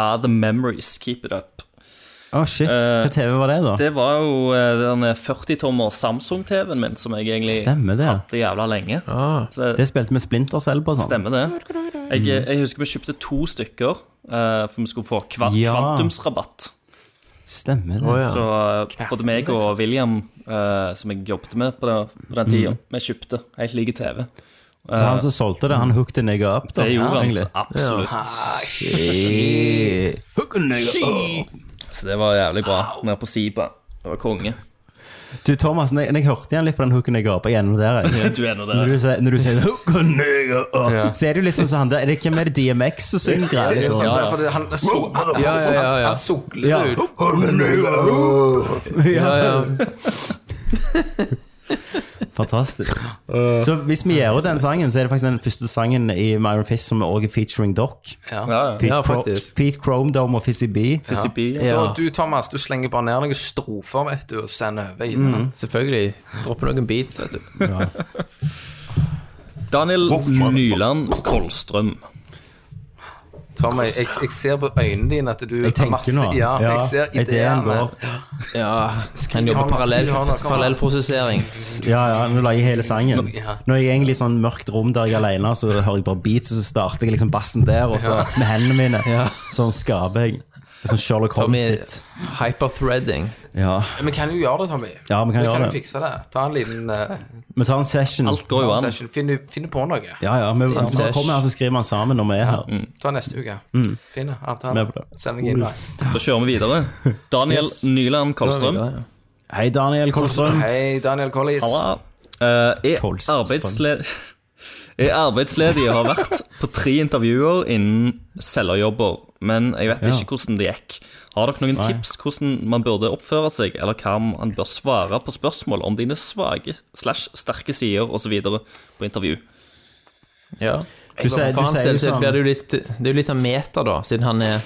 Speaker 5: Ah, the memories. Keep it up.
Speaker 3: Å, shit. Hva TV var det, da?
Speaker 5: Eh, Det var jo eh, den 40-tommer Samsung-TV-en min som jeg egentlig
Speaker 3: Stemmer det.
Speaker 5: hadde jævla lenge. Så
Speaker 3: Det spilte vi Splinter selv på og sånn.
Speaker 5: stemmer det. Jeg, jeg husker vi kjøpte to stykker, eh, for vi skulle få kva
Speaker 3: Ja.
Speaker 5: kvantumsrabatt.
Speaker 3: Stemmer det.
Speaker 4: ja.
Speaker 5: Så eh, både meg og William, eh, som jeg jobbet med på, den- på den
Speaker 3: Mm.
Speaker 5: tida, vi kjøpte helt like TV.
Speaker 3: Så han som solgte det, han hooked en nigga up, da?
Speaker 5: Det gjorde han
Speaker 3: egentlig.
Speaker 5: så absolutt. Så det var jævlig bra. Nede på Siba. Det var konge.
Speaker 3: Du, Thomas, når jeg, når jeg hørte igjen litt på den hooken jeg ga opp, jeg er enig med dere.
Speaker 5: [laughs] Du er nå
Speaker 3: Når
Speaker 5: der.
Speaker 3: du sier, når du sier «Hooker nigger», åh, Så er det jo liksom sånn der, Er det hvem er det DMX som synger? greier,
Speaker 6: Det er jo
Speaker 3: Liksom?
Speaker 6: sånn, det er fordi han så, han, han,
Speaker 4: Ja, ja, ja,
Speaker 6: han-
Speaker 4: ja.
Speaker 6: han sukler
Speaker 3: Ja.
Speaker 6: ut.
Speaker 3: Ja,
Speaker 4: ja.
Speaker 3: Fantastisk. Så hvis vi gjør ut den sangen, så er det faktisk den første sangen i Myron Fish som også er featuring Doc.
Speaker 5: Ja, ja.
Speaker 4: Ja,
Speaker 3: Feet Cro-
Speaker 4: faktisk.
Speaker 3: Feet Chrome Dome og Fizzy B.
Speaker 5: Fizzy Bee.
Speaker 6: Da,
Speaker 4: Ja,
Speaker 6: du, Thomas, du slenger bare ned noen strofer, vet du, og sender over. ikke
Speaker 3: Mhm.
Speaker 6: sant?
Speaker 4: selvfølgelig. Droppe noen beats, vet du.
Speaker 5: Daniel Nyland Kolstrøm.
Speaker 6: Tom, jeg, jeg, jeg ser på øynene dine at du
Speaker 3: Jeg
Speaker 6: har
Speaker 3: tenker
Speaker 6: masse
Speaker 3: nå.
Speaker 6: Ja, jeg ser
Speaker 3: ideen
Speaker 6: ideene.
Speaker 3: går.
Speaker 4: Ja, kan
Speaker 6: ha
Speaker 4: jobbe
Speaker 6: noe,
Speaker 4: parallell,
Speaker 6: skal vi ha noe?
Speaker 4: parallellprosessering.
Speaker 3: Ja, ja, nå lager jeg hele sangen.
Speaker 6: Ja.
Speaker 3: Når jeg er egentlig i sånn mørkt rom der jeg er alene, så hører jeg bare beats, og så starter jeg liksom bassen der, og så med hendene mine. Sånn skaper jeg. Sånn Sherlock
Speaker 4: Tommy,
Speaker 3: Holmes sitt.
Speaker 4: hyperthreading.
Speaker 3: Ja,
Speaker 6: Vi kan jo gjøre det, Tommy.
Speaker 3: Ja, vi kan
Speaker 6: vi
Speaker 3: gjøre
Speaker 6: kan jo
Speaker 3: det.
Speaker 6: fikse det. Ta en liten eh,
Speaker 3: vi tar en session.
Speaker 5: Alt går jo an.
Speaker 6: session. Finn, finn på noe.
Speaker 3: Ja, ja, vi, vi
Speaker 4: sesh.
Speaker 3: kommer altså- her, så skriver man sammen når vi er her.
Speaker 6: Ta neste uke. Finn en avtale.
Speaker 3: Med på det.
Speaker 6: Send meg innlag.
Speaker 5: Da kjører vi
Speaker 3: [laughs]
Speaker 5: videre. Daniel Nyland Kolstrøm.
Speaker 3: Hei, Daniel Kolstrøm.
Speaker 6: Hei, Daniel Collis.
Speaker 5: Halla. Eh, er,
Speaker 3: Kolstrøm.
Speaker 5: arbeidsled... [laughs] er arbeidsledig og har vært på tre intervjuer innen selgerjobber, men jeg vet
Speaker 3: Ja.
Speaker 5: ikke hvordan det gikk. Har dere noen tips hvordan man burde oppføre seg, eller hva man bør svare på spørsmål om dine svake slash sterke sider osv. på intervju?
Speaker 4: Ja.
Speaker 3: Du sier,
Speaker 4: For
Speaker 3: du
Speaker 4: hans
Speaker 3: sier
Speaker 4: del
Speaker 3: jo
Speaker 4: så blir
Speaker 3: sånn
Speaker 4: det jo litt Det er jo litt av meta, da, siden han er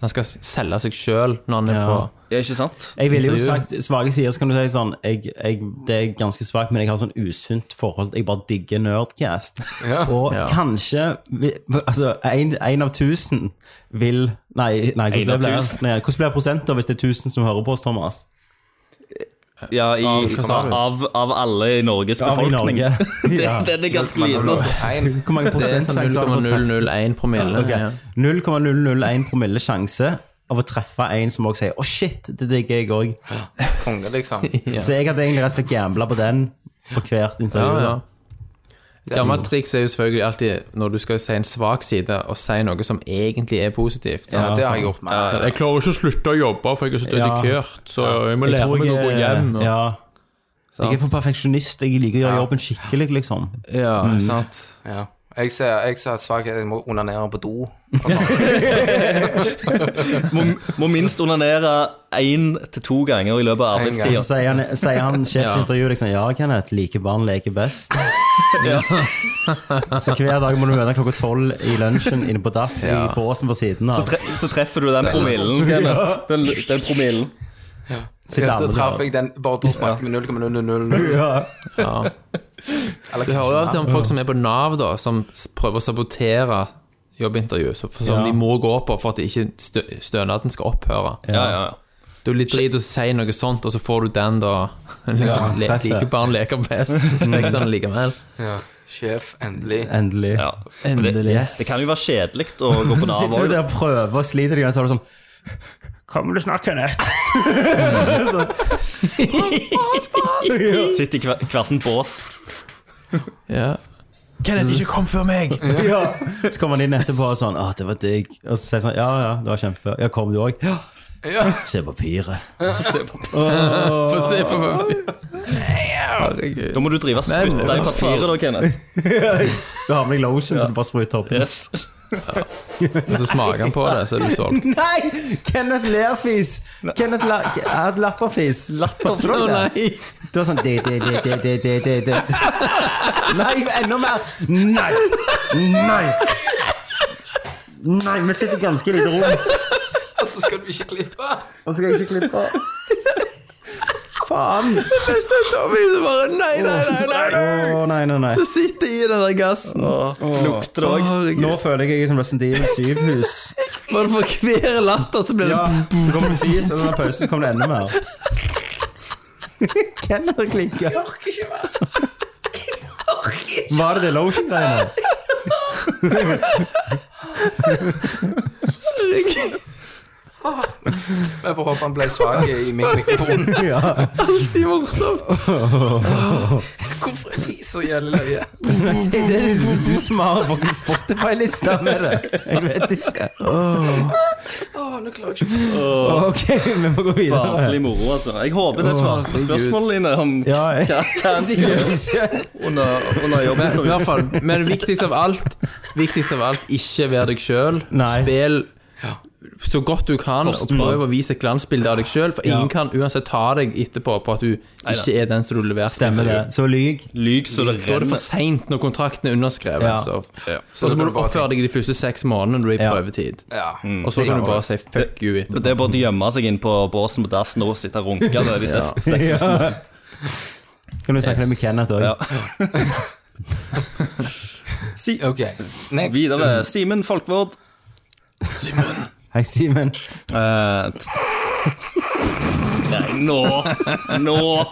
Speaker 4: Han skal selge seg sjøl når han er
Speaker 3: Ja.
Speaker 4: på
Speaker 5: Ja, ikke sant?
Speaker 3: Jeg ville jo
Speaker 4: Intervju.
Speaker 3: sagt svake sider, så kan du si sånn jeg, jeg, Det er ganske svakt, men jeg har sånn usunt forhold. Jeg bare digger Nerdcast. Og
Speaker 4: Ja.
Speaker 3: kanskje vi- Altså, en, en av tusen vil Nei, nei
Speaker 5: En
Speaker 3: hvordan,
Speaker 5: av
Speaker 3: det blir,
Speaker 5: tusen?
Speaker 3: nei, hvordan blir prosenter hvis det er tusen som hører på oss, Thomas?
Speaker 5: Ja, i,
Speaker 4: hva sa du?
Speaker 5: av, av alle i Norges
Speaker 3: Av i
Speaker 5: befolkning.
Speaker 4: [laughs]
Speaker 5: [laughs]
Speaker 3: Norge. [laughs] ja.
Speaker 5: Den- Den er ganske liten, altså.
Speaker 6: Hei.
Speaker 3: Hvor mange
Speaker 4: Det er
Speaker 3: prosent
Speaker 4: sånn
Speaker 3: sjanse har man til-
Speaker 4: 0,001 promille.
Speaker 3: Ok.
Speaker 4: Ja.
Speaker 3: 0,001 promille sjanse av å treffe en som også sier 'Å, shit, det digger jeg òg'.
Speaker 6: Konge,
Speaker 3: [laughs]
Speaker 6: liksom.
Speaker 3: Så jeg hadde egentlig rett og slett gambla på den på hvert intervju.
Speaker 4: Ja,
Speaker 3: da.
Speaker 4: ja. Et gammelt triks er jo selvfølgelig alltid når du skal si en svak side, og si noe som egentlig er positivt. sånn
Speaker 6: Ja,
Speaker 4: sant?
Speaker 6: det har jeg gjort med.
Speaker 4: Jeg klarer ikke å slutte å jobbe, for jeg er så
Speaker 3: Ja.
Speaker 4: så jeg eh, må
Speaker 3: Jeg tror jeg er-
Speaker 4: og-
Speaker 3: Ja. Jeg er for perfeksjonist. Jeg liker å gjøre jobben skikkelig, liksom.
Speaker 4: Ja, sant.
Speaker 6: Ja. Jeg ser, jeg ser svakhet, jeg må onanere på do.
Speaker 5: Må, må minst onanere én til to ganger i løpet av
Speaker 6: En gang.
Speaker 5: arbeidstida.
Speaker 3: Så sier han, sier han sjefsintervjuet liksom Ja, Kenneth, like barn leker best. [laughs] Så hver dag må du møte klokka tolv i lunsjen inne på dass i båsen på siden
Speaker 5: Så,
Speaker 3: av.
Speaker 5: tre, så treffer du den
Speaker 3: [laughs]
Speaker 5: promillen, Kenneth. Den, den promillen.
Speaker 3: Sitt
Speaker 6: Da
Speaker 3: arme
Speaker 6: traff
Speaker 3: der.
Speaker 6: jeg den bare til å snakke med 0,000.
Speaker 3: Ja.
Speaker 6: Eller
Speaker 4: Du hører jo av og
Speaker 6: kanskje
Speaker 4: til om folk som er på Nav, da, som s- prøver å sabotere jobbintervju, så- for- som
Speaker 3: Ja.
Speaker 4: de må gå på for at ikke stø stønaden skal opphøre.
Speaker 5: Ja, ja, ja.
Speaker 4: Det er jo litt drit å si noe sånt, og så får du den, da. [laughs] Liksom, le
Speaker 3: treffer.
Speaker 4: like barn leker best. Fikk den likevel.
Speaker 6: ja. Sjef, endelig. [laughs]
Speaker 3: Endelig.
Speaker 5: ja.
Speaker 4: Endelig.
Speaker 3: Yes.
Speaker 5: Det kan jo være kjedelig å gå på
Speaker 3: Så
Speaker 5: Nav
Speaker 3: sitter du
Speaker 5: òg.
Speaker 3: der og prøver og sliter deg, og så er du sånn Kommer du snart, Kenneth? så,
Speaker 5: [laughs] Sitter i hver- hver sin bås.
Speaker 4: Ja. Kenneth, ikke kom før meg!
Speaker 3: ja. så kommer han inn etterpå og sånn Å, det var digg. Og så sier han sånn Ja, ja, det var kjempe. Ja, kom du òg? Ja.
Speaker 6: Ja.
Speaker 3: Se papiret.
Speaker 4: Få se på papir. Herregud.
Speaker 5: Da må du drive og spytte i papiret, da, Kenneth.
Speaker 3: Du har med deg lotion, så du bare spruter opp.
Speaker 5: Yes.
Speaker 4: Og så smaker han på det, så er du
Speaker 3: [laughs]
Speaker 4: solgt.
Speaker 3: Nei! Kenneth lerfis! Kenneth la had latterfis.
Speaker 4: Å
Speaker 3: Latterfis?
Speaker 4: nei!
Speaker 3: Det var sånn det, det, det, det, det, det, det, det. Nei, enda mer! Nei! Nei! Nei, vi sitter i ganske lite rom.
Speaker 6: Så skal du ikke klippe!
Speaker 3: Og så skal jeg ikke klippe. Faen!
Speaker 4: Hvis det er Tommy, så bare nei, nei, nei, nei! nei.
Speaker 3: Å, nei, nei, nei.
Speaker 4: Så sitter jeg i den der gassen.
Speaker 5: Lukter det òg.
Speaker 4: Herregud.
Speaker 3: Nå føler jeg jeg er som Resident Evil 7-hus.
Speaker 4: Bare for hver latter så blir det
Speaker 3: Ja, så kommer det fis, og så er det pause, så kommer det enda [laughs] mer. Kenneth har klikka. Var det det
Speaker 6: [laughs]
Speaker 3: lotion-greiene?
Speaker 6: Jeg får håpe han ble svak i min mikrofon.
Speaker 3: Ja. [laughs]
Speaker 4: alltid morsomt.
Speaker 6: Hvorfor er vi så jævlig løye?
Speaker 3: Det er det du som har fucking Spotify-lista med det. Jeg vet ikke.
Speaker 6: Å, nå klarer jeg ikke
Speaker 3: Ok, vi må gå videre.
Speaker 5: Barnslig moro, altså. Jeg håper det svarte på spørsmålene dine om
Speaker 3: Ja,
Speaker 5: [laughs]
Speaker 3: jeg-
Speaker 5: hva hva en skal gjøre
Speaker 3: Ikke.
Speaker 5: under, under
Speaker 4: I hvert
Speaker 5: jobbintervju.
Speaker 4: fall, men viktigst av alt, viktigst av alt ikke vær deg sjøl.
Speaker 3: Nei.
Speaker 4: Spill så godt du kan, og
Speaker 5: Forstå.
Speaker 4: prøv å vise et glansbilde av deg sjøl. For
Speaker 3: Ja.
Speaker 4: ingen kan uansett ta deg etterpå på at du ikke er den som du leverte.
Speaker 3: Stemmer det. Så lyg.
Speaker 5: Lyg så det
Speaker 4: Da er det for
Speaker 5: renner.
Speaker 4: seint når kontrakten er underskrevet.
Speaker 3: Ja.
Speaker 4: Så.
Speaker 5: Ja.
Speaker 4: Så, så må
Speaker 6: kan
Speaker 4: du
Speaker 6: du bare
Speaker 4: oppføre deg i de første seks månedene når du er i
Speaker 3: Ja.
Speaker 4: prøvetid.
Speaker 6: Ja.
Speaker 4: Og så kan du bare si fuck you etterpå.
Speaker 5: Det er bare å gjemme seg inn på båsen på dassen og sitte og runke det de seks seks
Speaker 3: Ja.
Speaker 5: første
Speaker 3: Kan du snakke litt med Kenneth òg?
Speaker 5: Ja.
Speaker 6: Ok, next.
Speaker 5: Videre. Simen Folkvord.
Speaker 3: Hei, Simen.
Speaker 5: Eh, t- Nei, nå! Nå!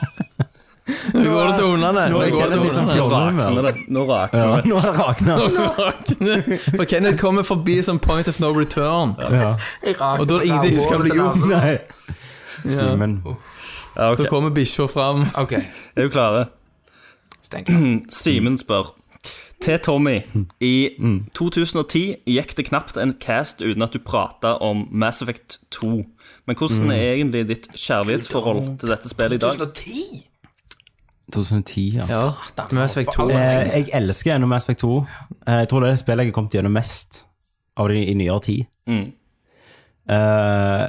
Speaker 4: Nå går det til hundene!
Speaker 3: Nå er Kenneth liksom
Speaker 5: Nå rakner det. Nå rakner det.
Speaker 3: Nå har det rakna. liksom-
Speaker 4: [laughs] For Kenneth kommer forbi som point of no return.
Speaker 3: Ja.
Speaker 4: Og da er det ingenting som skal bli gjort.
Speaker 3: Nei. Simen.
Speaker 5: Ja, ok.
Speaker 4: Da kommer bikkja fram.
Speaker 6: Ok,
Speaker 5: Er du klare?
Speaker 6: stenk den.
Speaker 5: Simen spør Til Tommy I
Speaker 3: Mm.
Speaker 5: 2010 gikk det knapt en cast Uten at du pratet om Mass Effect 2 Men
Speaker 3: Mm.
Speaker 5: hvordan er egentlig ditt kjærlighetsforhold Til dette spillet i dag?
Speaker 6: 2010?
Speaker 3: 2010, ja.
Speaker 4: Mass Effect 2.
Speaker 3: Eh, jeg elsker gjennom Mass Effect 2. Eh, jeg tror det er det spillet jeg har kommet gjennom mest av det i nyere tid. Eh,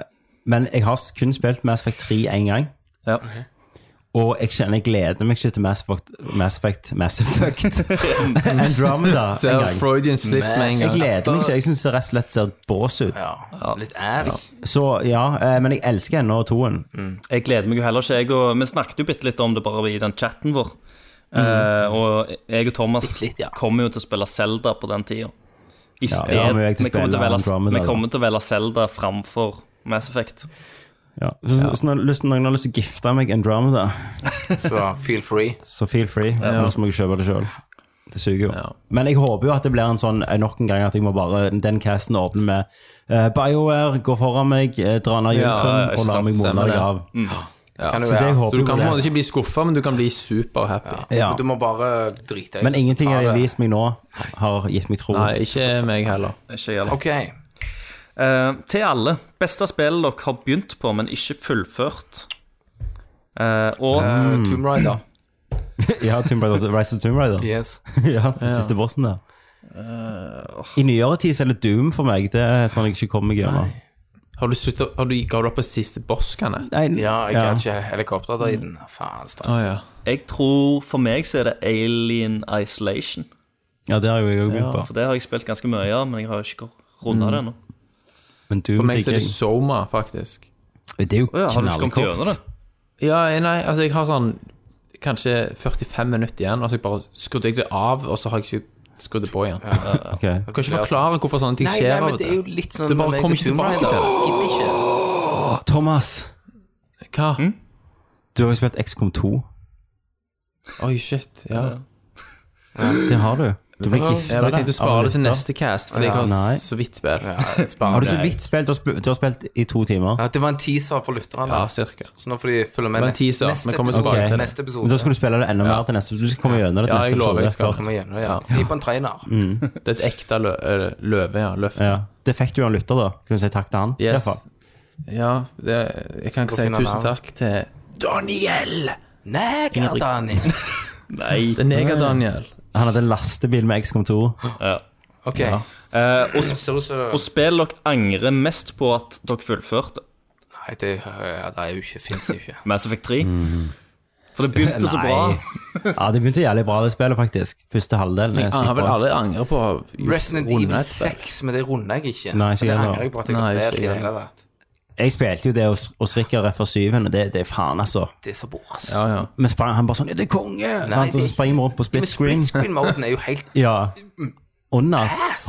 Speaker 3: men jeg har kun spilt Mass Effect 3 én gang.
Speaker 5: Ja.
Speaker 3: Og jeg kjenner jeg gleder meg ikke til Mass Effect Mass Effect, Mass Effect. Andromeda en
Speaker 4: Ser
Speaker 3: gang.
Speaker 4: Freudian slip med en
Speaker 3: Jeg
Speaker 4: gang.
Speaker 3: gleder meg ikke. Jeg syns det rett og slett ser bås ut.
Speaker 6: Ja. Litt ass.
Speaker 3: Så ja, eh, men jeg elsker ennå toen.
Speaker 5: Jeg gleder meg jo heller ikke jeg og, Vi snakket jo bitte litt om det bare i den chatten vår Eh,
Speaker 3: Mm.
Speaker 5: Og jeg og Thomas
Speaker 6: Bitte litt, ja.
Speaker 5: Kommer jo til å spille Zelda på den tiden I
Speaker 3: Ja,
Speaker 5: sted
Speaker 3: det har vi jo ikke til å
Speaker 5: vi, kommer til å
Speaker 3: spille
Speaker 5: velge,
Speaker 3: Andromeda,
Speaker 5: vi
Speaker 3: da.
Speaker 5: kommer til å velge Zelda Framfor Mass Effect
Speaker 3: Ja. Så, så, så når lyst- noen har lyst til å gifte meg Andromeda,
Speaker 6: Så feel free.
Speaker 3: så feel free. Ellers må jeg kjøpe det sjøl. Det suger jo. Men jeg håper jo at det blir en sånn eh, nok en gang at jeg må bare den casten åpne med eh, BioWare, gå foran meg, eh, dra ned
Speaker 4: Ja,
Speaker 3: gylfen
Speaker 4: ikke
Speaker 3: og la
Speaker 4: sant,
Speaker 3: meg
Speaker 4: stemmer
Speaker 3: måne deg
Speaker 4: det.
Speaker 3: av.
Speaker 6: Kan
Speaker 3: Så det
Speaker 6: du
Speaker 3: jeg
Speaker 6: være.
Speaker 4: Så du
Speaker 3: håper
Speaker 4: kan på en
Speaker 3: jo
Speaker 4: måte ikke bli skuffa, men du kan bli superhappy.
Speaker 3: ja.
Speaker 6: Du må bare drite i
Speaker 3: Men
Speaker 6: det, så
Speaker 3: ingenting
Speaker 6: tar
Speaker 3: av det de har
Speaker 6: det.
Speaker 3: vist meg nå, har gitt meg tro. [laughs]
Speaker 4: Nei, ikke meg heller.
Speaker 5: Ikke gjelder
Speaker 6: Ok.
Speaker 5: Eh, til alle. Beste spillet dere har begynt på, men ikke fullført. Eh, og
Speaker 6: Eh, Tomb Raider.
Speaker 3: [laughs] Ja, Tomb Raider, Rise of Tomb Raider.
Speaker 6: Yes.
Speaker 3: ja, den siste bossen der. I nyere tid så er det Doom for meg. Det er sånn jeg ikke kommer meg gjennom.
Speaker 4: Har du sluttet, har du, ga du opp på siste boss, kan jeg?
Speaker 3: Nei,
Speaker 6: Ja, jeg kan ikke helikopterdriten. Faen, stress.
Speaker 4: Å, ja.
Speaker 5: Jeg tror for meg så er det Alien Isolation.
Speaker 3: ja, Mm. det har jo jeg òg begynt på.
Speaker 5: For det har jeg spilt ganske mye av, men jeg har ikke runda det ennå.
Speaker 3: Men Doom
Speaker 4: For meg så
Speaker 3: digger
Speaker 4: er det
Speaker 3: jeg.
Speaker 4: Soma, faktisk.
Speaker 3: Det er jo
Speaker 5: Ja, har du ikke kommet gjennom
Speaker 3: knallkort.
Speaker 5: det?
Speaker 4: Ja, nei, altså jeg har sånn kanskje 45 minutter igjen, og så jeg bare skrudde jeg det av, og så har jeg ikke skrudd det på igjen.
Speaker 3: Ok.
Speaker 4: Du kan ikke forklare hvorfor sånne ting
Speaker 6: altså- Nei,
Speaker 4: skjer.
Speaker 6: nei,
Speaker 4: av
Speaker 6: men
Speaker 4: og
Speaker 6: det
Speaker 4: til.
Speaker 6: er jo litt sånn
Speaker 4: Det
Speaker 6: med
Speaker 4: bare
Speaker 6: meg
Speaker 4: kommer
Speaker 6: og
Speaker 4: ikke
Speaker 6: Tomb
Speaker 4: tilbake
Speaker 6: Raider.
Speaker 4: til
Speaker 6: Gidder ikke.
Speaker 3: Å, Thomas,
Speaker 4: Hva?
Speaker 3: du har jo spilt XCOM 2.
Speaker 4: Oi, shit. Ja.
Speaker 3: Det har du. Du ble gifta
Speaker 4: Jeg tenkte å spare det til neste cast, fordi jeg har
Speaker 3: Nei.
Speaker 4: så vidt spilt. [laughs]
Speaker 6: Ja, spar
Speaker 3: Har du så
Speaker 6: det.
Speaker 3: vidt spilt? Du har sp- Du har spilt i to timer.
Speaker 6: Ja, det var en teaser for lytterne.
Speaker 4: Ja, cirka.
Speaker 6: Så nå får de følge med
Speaker 4: var en
Speaker 6: neste,
Speaker 4: teaser.
Speaker 6: neste,
Speaker 4: Vi kommer
Speaker 6: episode,
Speaker 4: tilbake til det.
Speaker 6: neste episode.
Speaker 3: Men da skal du spille det enda mer til neste Du skal komme gjennom det til
Speaker 4: Ja, jeg
Speaker 3: neste
Speaker 4: lover, jeg skal.
Speaker 3: episode.
Speaker 6: Kom igjen, ja. De er på en trainer.
Speaker 4: Det er et ekte lø eh, løve, ja. Løft.
Speaker 3: Ja. Det fikk du jo en lytter, da. Kunne du si takk til han? I hvert
Speaker 4: Yes.
Speaker 3: fall.
Speaker 4: Ja, det, jeg kan ikke si
Speaker 6: finne
Speaker 4: tusen
Speaker 6: navn.
Speaker 4: takk til Daniel!
Speaker 6: Neger, Daniel.
Speaker 4: Det er Neger-Daniel.
Speaker 3: Han hadde en lastebil med XCOM 2.
Speaker 6: Ok.
Speaker 5: Eh, og,
Speaker 6: Det ser ut som
Speaker 5: og spill dere angrer mest på at dere fullførte.
Speaker 6: Nei, det, ja, det er jo ikke, finnes det jo ikke.
Speaker 5: Mass Effect 3. For det begynte så
Speaker 3: Nei.
Speaker 5: bra.
Speaker 3: Ja, det begynte jævlig bra, det spillet, faktisk. Første halvdelen er
Speaker 4: Han har
Speaker 3: sykt
Speaker 4: vel
Speaker 3: bra.
Speaker 4: Ah, aldri angret på å
Speaker 6: Resident
Speaker 4: runde
Speaker 6: Evil
Speaker 4: et spill.
Speaker 6: 6, men det runder jeg ikke.
Speaker 3: Nei, ikke
Speaker 6: det
Speaker 3: heller.
Speaker 6: angrer jeg på at jeg
Speaker 4: Nei,
Speaker 6: har
Speaker 4: ikke
Speaker 6: spilt i det
Speaker 4: heller.
Speaker 6: hele tatt.
Speaker 3: Jeg spilte jo det hos, hos Rikard rett før syvende. Det, det er faen, altså.
Speaker 6: Det er så bra, ass.
Speaker 4: Ja, ja.
Speaker 3: Vi sprang, han bare sånn 'Ja, det er konge!' sant?
Speaker 6: det er
Speaker 3: Og så
Speaker 6: ikke-
Speaker 3: springer vi rundt på split
Speaker 6: Men
Speaker 3: screen.
Speaker 6: split screen-moden er jo helt
Speaker 3: Ja. Under.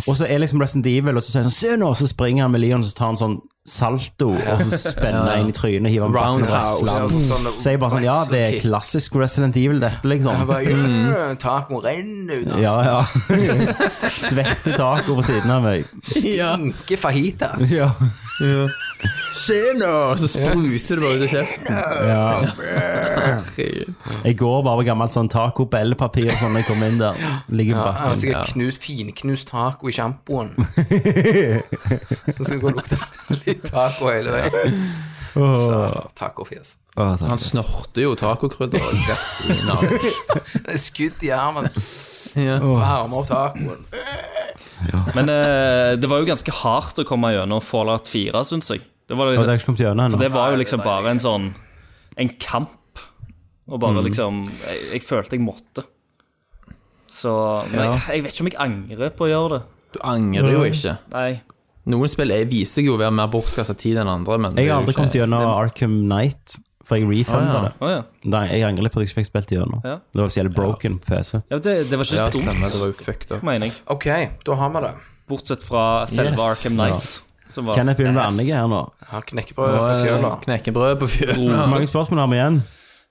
Speaker 3: Og så er liksom Resident Evil, og så sier han 'Se nå!' Og så springer han med Leon, og så tar han sånn salto, og så spenner han inn i trynet, hiver han bakken og
Speaker 4: Roundhouse.
Speaker 3: wrestler.
Speaker 6: altså, sånn,
Speaker 3: Så jeg bare sånn Ja, det er klassisk Resident Evil, dette,
Speaker 6: Jeg
Speaker 3: liksom.
Speaker 6: bare, «Øh, Taco renner ut,
Speaker 3: [laughs]
Speaker 6: ass.
Speaker 3: Ja, ja. Svette taco på siden av meg.
Speaker 6: Stinker fajitas.
Speaker 3: Ja.
Speaker 4: Se nå! Så spruter det bare ut av kjeften.
Speaker 3: Jeg går bare med gammelt sånn taco-bellepapir og sånn når jeg kommer inn der. Ligger på
Speaker 6: Han har
Speaker 3: bakken.
Speaker 6: sikkert knust, finknust taco i sjampoen. Så skal jeg gå og lukte litt taco hele veien. Så tacofjes.
Speaker 3: Å, så-
Speaker 4: Han snorter jo tacokrydder og rett i nesen.
Speaker 6: Skudd i armen,
Speaker 4: Ja.
Speaker 6: varme opp tacoen.
Speaker 5: Men eh, det var jo ganske hardt å komme gjennom Fallout 4, syns jeg. Det var,
Speaker 3: Å, det har
Speaker 5: liksom,
Speaker 3: ikke kommet gjennom
Speaker 5: det
Speaker 3: ennå.
Speaker 5: var jo liksom bare en sånn En kamp. Og bare liksom Jeg, jeg følte jeg måtte. Så men jeg, jeg vet ikke om jeg angrer på å gjøre det.
Speaker 4: Du angrer jo ikke.
Speaker 5: Nei.
Speaker 4: Noen spill er- viser seg jo å være mer bortkasta tid enn andre, men det
Speaker 3: Jeg
Speaker 4: er
Speaker 3: har
Speaker 4: jo
Speaker 3: aldri
Speaker 4: ikke-
Speaker 3: kommet gjennom Arkham Knight, for jeg refunda
Speaker 4: Ah, ja.
Speaker 3: det.
Speaker 5: Å ja.
Speaker 3: Nei, jeg angrer litt på at jeg ikke fikk spilt gjennom.
Speaker 5: Ja.
Speaker 3: Det var så jævlig broken på PC.
Speaker 5: ja det, det var ikke så
Speaker 4: Ja, stemmer. Det
Speaker 5: dumt,
Speaker 4: var jo fucked up.
Speaker 5: mener jeg.
Speaker 6: Ok, da har vi det.
Speaker 5: Bortsett fra selve
Speaker 4: Yes.
Speaker 5: Arkham Knight. Som var
Speaker 3: Kenneth begynner å
Speaker 5: ass.
Speaker 3: bli her nå.
Speaker 6: Har knekkebrød på fjøla.
Speaker 4: Knekkebrød på
Speaker 3: Hvor
Speaker 4: fjøla.
Speaker 3: mange spørsmål har vi igjen?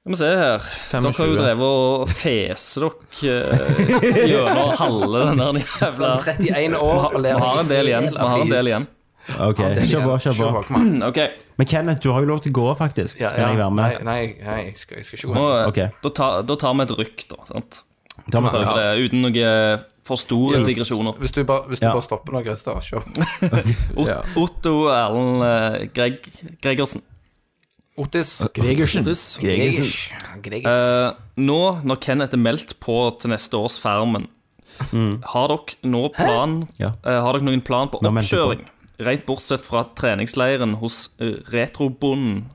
Speaker 5: Skal vi se her. Dere har jo
Speaker 4: 25.
Speaker 5: drevet og fese dere eh, gjennom halve den der jævla
Speaker 6: Sånn 31 år og
Speaker 5: Vi
Speaker 6: ler
Speaker 5: har en del igjen. Vi har en del igjen.
Speaker 3: Ok, Kjør på, kjør på.
Speaker 6: kom an.
Speaker 5: Ok,
Speaker 3: Men Kenneth, du har jo lov til å gå, faktisk.
Speaker 6: Ja,
Speaker 3: Skal jeg
Speaker 6: ja.
Speaker 3: være
Speaker 6: Nei,
Speaker 3: med?
Speaker 6: nei, nei, jeg skal, jeg skal ikke
Speaker 5: nå,
Speaker 6: gå.
Speaker 5: eh,
Speaker 3: Ok.
Speaker 5: Da, ta, da tar vi et rykk, da. sant?
Speaker 3: Da må
Speaker 5: Prøver
Speaker 3: jeg-
Speaker 5: det uten noen eh, for store digresjoner.
Speaker 6: Hvis du bare, hvis du
Speaker 3: Ja.
Speaker 6: bare stopper nå, Christer, kjør.
Speaker 5: Ot
Speaker 4: Ja.
Speaker 5: Otto Erlend eh, Greg Gregersen.
Speaker 6: Otis.
Speaker 4: Gregersen.
Speaker 5: Otis.
Speaker 6: Gregers. Gregers.
Speaker 5: Eh, nå, når Kenneth er meldt på til neste års Farmen, har, dere nå plan,
Speaker 3: Ja.
Speaker 5: eh, har dere noen plan på
Speaker 3: Nå meldte jeg
Speaker 5: oppkjøring? Rent bortsett fra treningsleiren hos eh, retrobonden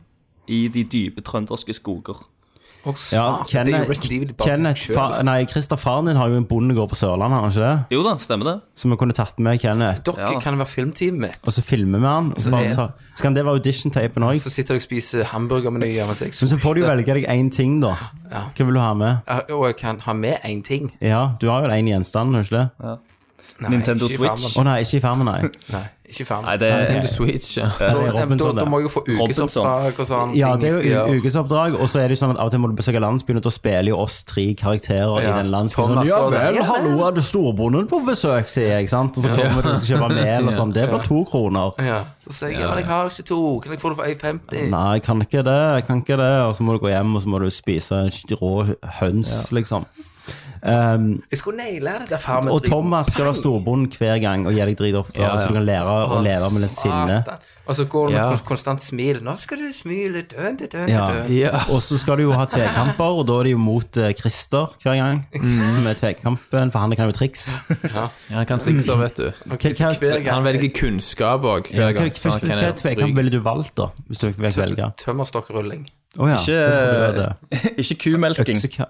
Speaker 5: i de dype trønderske skoger.
Speaker 6: Å,
Speaker 3: Ja,
Speaker 6: satan, det er jo
Speaker 3: Kenneth,
Speaker 6: Resident Evil bare for
Speaker 3: Kenneth
Speaker 6: seg selv.
Speaker 3: fa Nei, Christer, faren din har jo en bondegård på Sørlandet, har han ikke det?
Speaker 5: Jo da, stemmer det?
Speaker 3: Så vi kunne tatt med Kenneth,
Speaker 6: Dere
Speaker 5: Ja.
Speaker 6: kan være filmteamet mitt.
Speaker 3: og så filmer vi han. Og så bare
Speaker 6: er-
Speaker 3: ta Skal han det være audition-tapen òg?
Speaker 6: Så sitter dere og spiser hamburgermeny. ja, mens jeg
Speaker 3: Men så får du jo velge deg én ting, da. Hva vil du ha med?
Speaker 6: Ja, Og jeg kan ha med én ting.
Speaker 3: Ja, du har jo én gjenstand, har du ikke det?
Speaker 6: Nei,
Speaker 5: Nintendo
Speaker 6: ikke i
Speaker 3: Å
Speaker 5: Switch.
Speaker 6: farmen.
Speaker 3: nei, ikke i farmen, nei.
Speaker 6: Nei, ikke i farmen.
Speaker 5: Nei, det er
Speaker 4: Nintendo Switch, ja.
Speaker 6: Da,
Speaker 3: det er
Speaker 6: da, da,
Speaker 3: Robinson,
Speaker 6: da
Speaker 3: det.
Speaker 6: må jeg jo få ukesoppdrag og sånn.
Speaker 3: Ja, det er
Speaker 6: ting
Speaker 3: jo u-
Speaker 6: jeg skal gjøre.
Speaker 3: ukesoppdrag, og så er det jo sånn at av og til må du besøke landsbyen, og da spiller jo oss tre karakterer i
Speaker 6: Ja.
Speaker 3: den landsbyen. Sånn,
Speaker 6: Thomas
Speaker 3: ja
Speaker 6: står der.
Speaker 3: vel,
Speaker 6: Ja
Speaker 3: hallo, er det storbonden på besøk, sier jeg, ikke sant? Og så kommer vi til å skal kjøpe
Speaker 6: [laughs]
Speaker 3: mel og sånn. Det blir to kroner.
Speaker 6: Ja. Så sier jeg ja, men jeg har ikke to. Kan jeg få det for 1,50?
Speaker 3: Nei, jeg kan ikke det, jeg kan ikke det. Og så må du gå hjem, og så må du spise rå høns, liksom. Um,
Speaker 6: Jeg skulle naile det der farmen.
Speaker 3: og Thomas skal være storbonden hver gang og gi deg dritofte,
Speaker 4: Ja, ja.
Speaker 3: så du kan lære å leve med litt sinne.
Speaker 6: Og så går du med
Speaker 4: Ja.
Speaker 6: kon- konstant smil. Nå skal du smile dønn til dønn til
Speaker 3: Ja.
Speaker 6: dønn.
Speaker 4: Ja.
Speaker 3: Og så skal du jo ha tvekamper, og da er det jo mot eh, Christer hver gang.
Speaker 6: Mm.
Speaker 3: Som er tvekampen, for han kan jo triks.
Speaker 4: Ja, han kan trikser, vet du.
Speaker 3: Hva, hva,
Speaker 6: Hver gang.
Speaker 4: Han velger kunnskap òg hver
Speaker 3: hva,
Speaker 4: gang.
Speaker 3: hvis
Speaker 4: så han
Speaker 3: du
Speaker 4: kan
Speaker 3: ser tvekamp,
Speaker 4: bruke-
Speaker 3: ville du valgt, da? Hvis du fikk velge?
Speaker 6: Tømmerstokkrulling.
Speaker 3: Å ja.
Speaker 5: Ikke, eh,
Speaker 3: jeg tror du hadde-
Speaker 5: [laughs] ikke kumelking.
Speaker 3: Øksekam-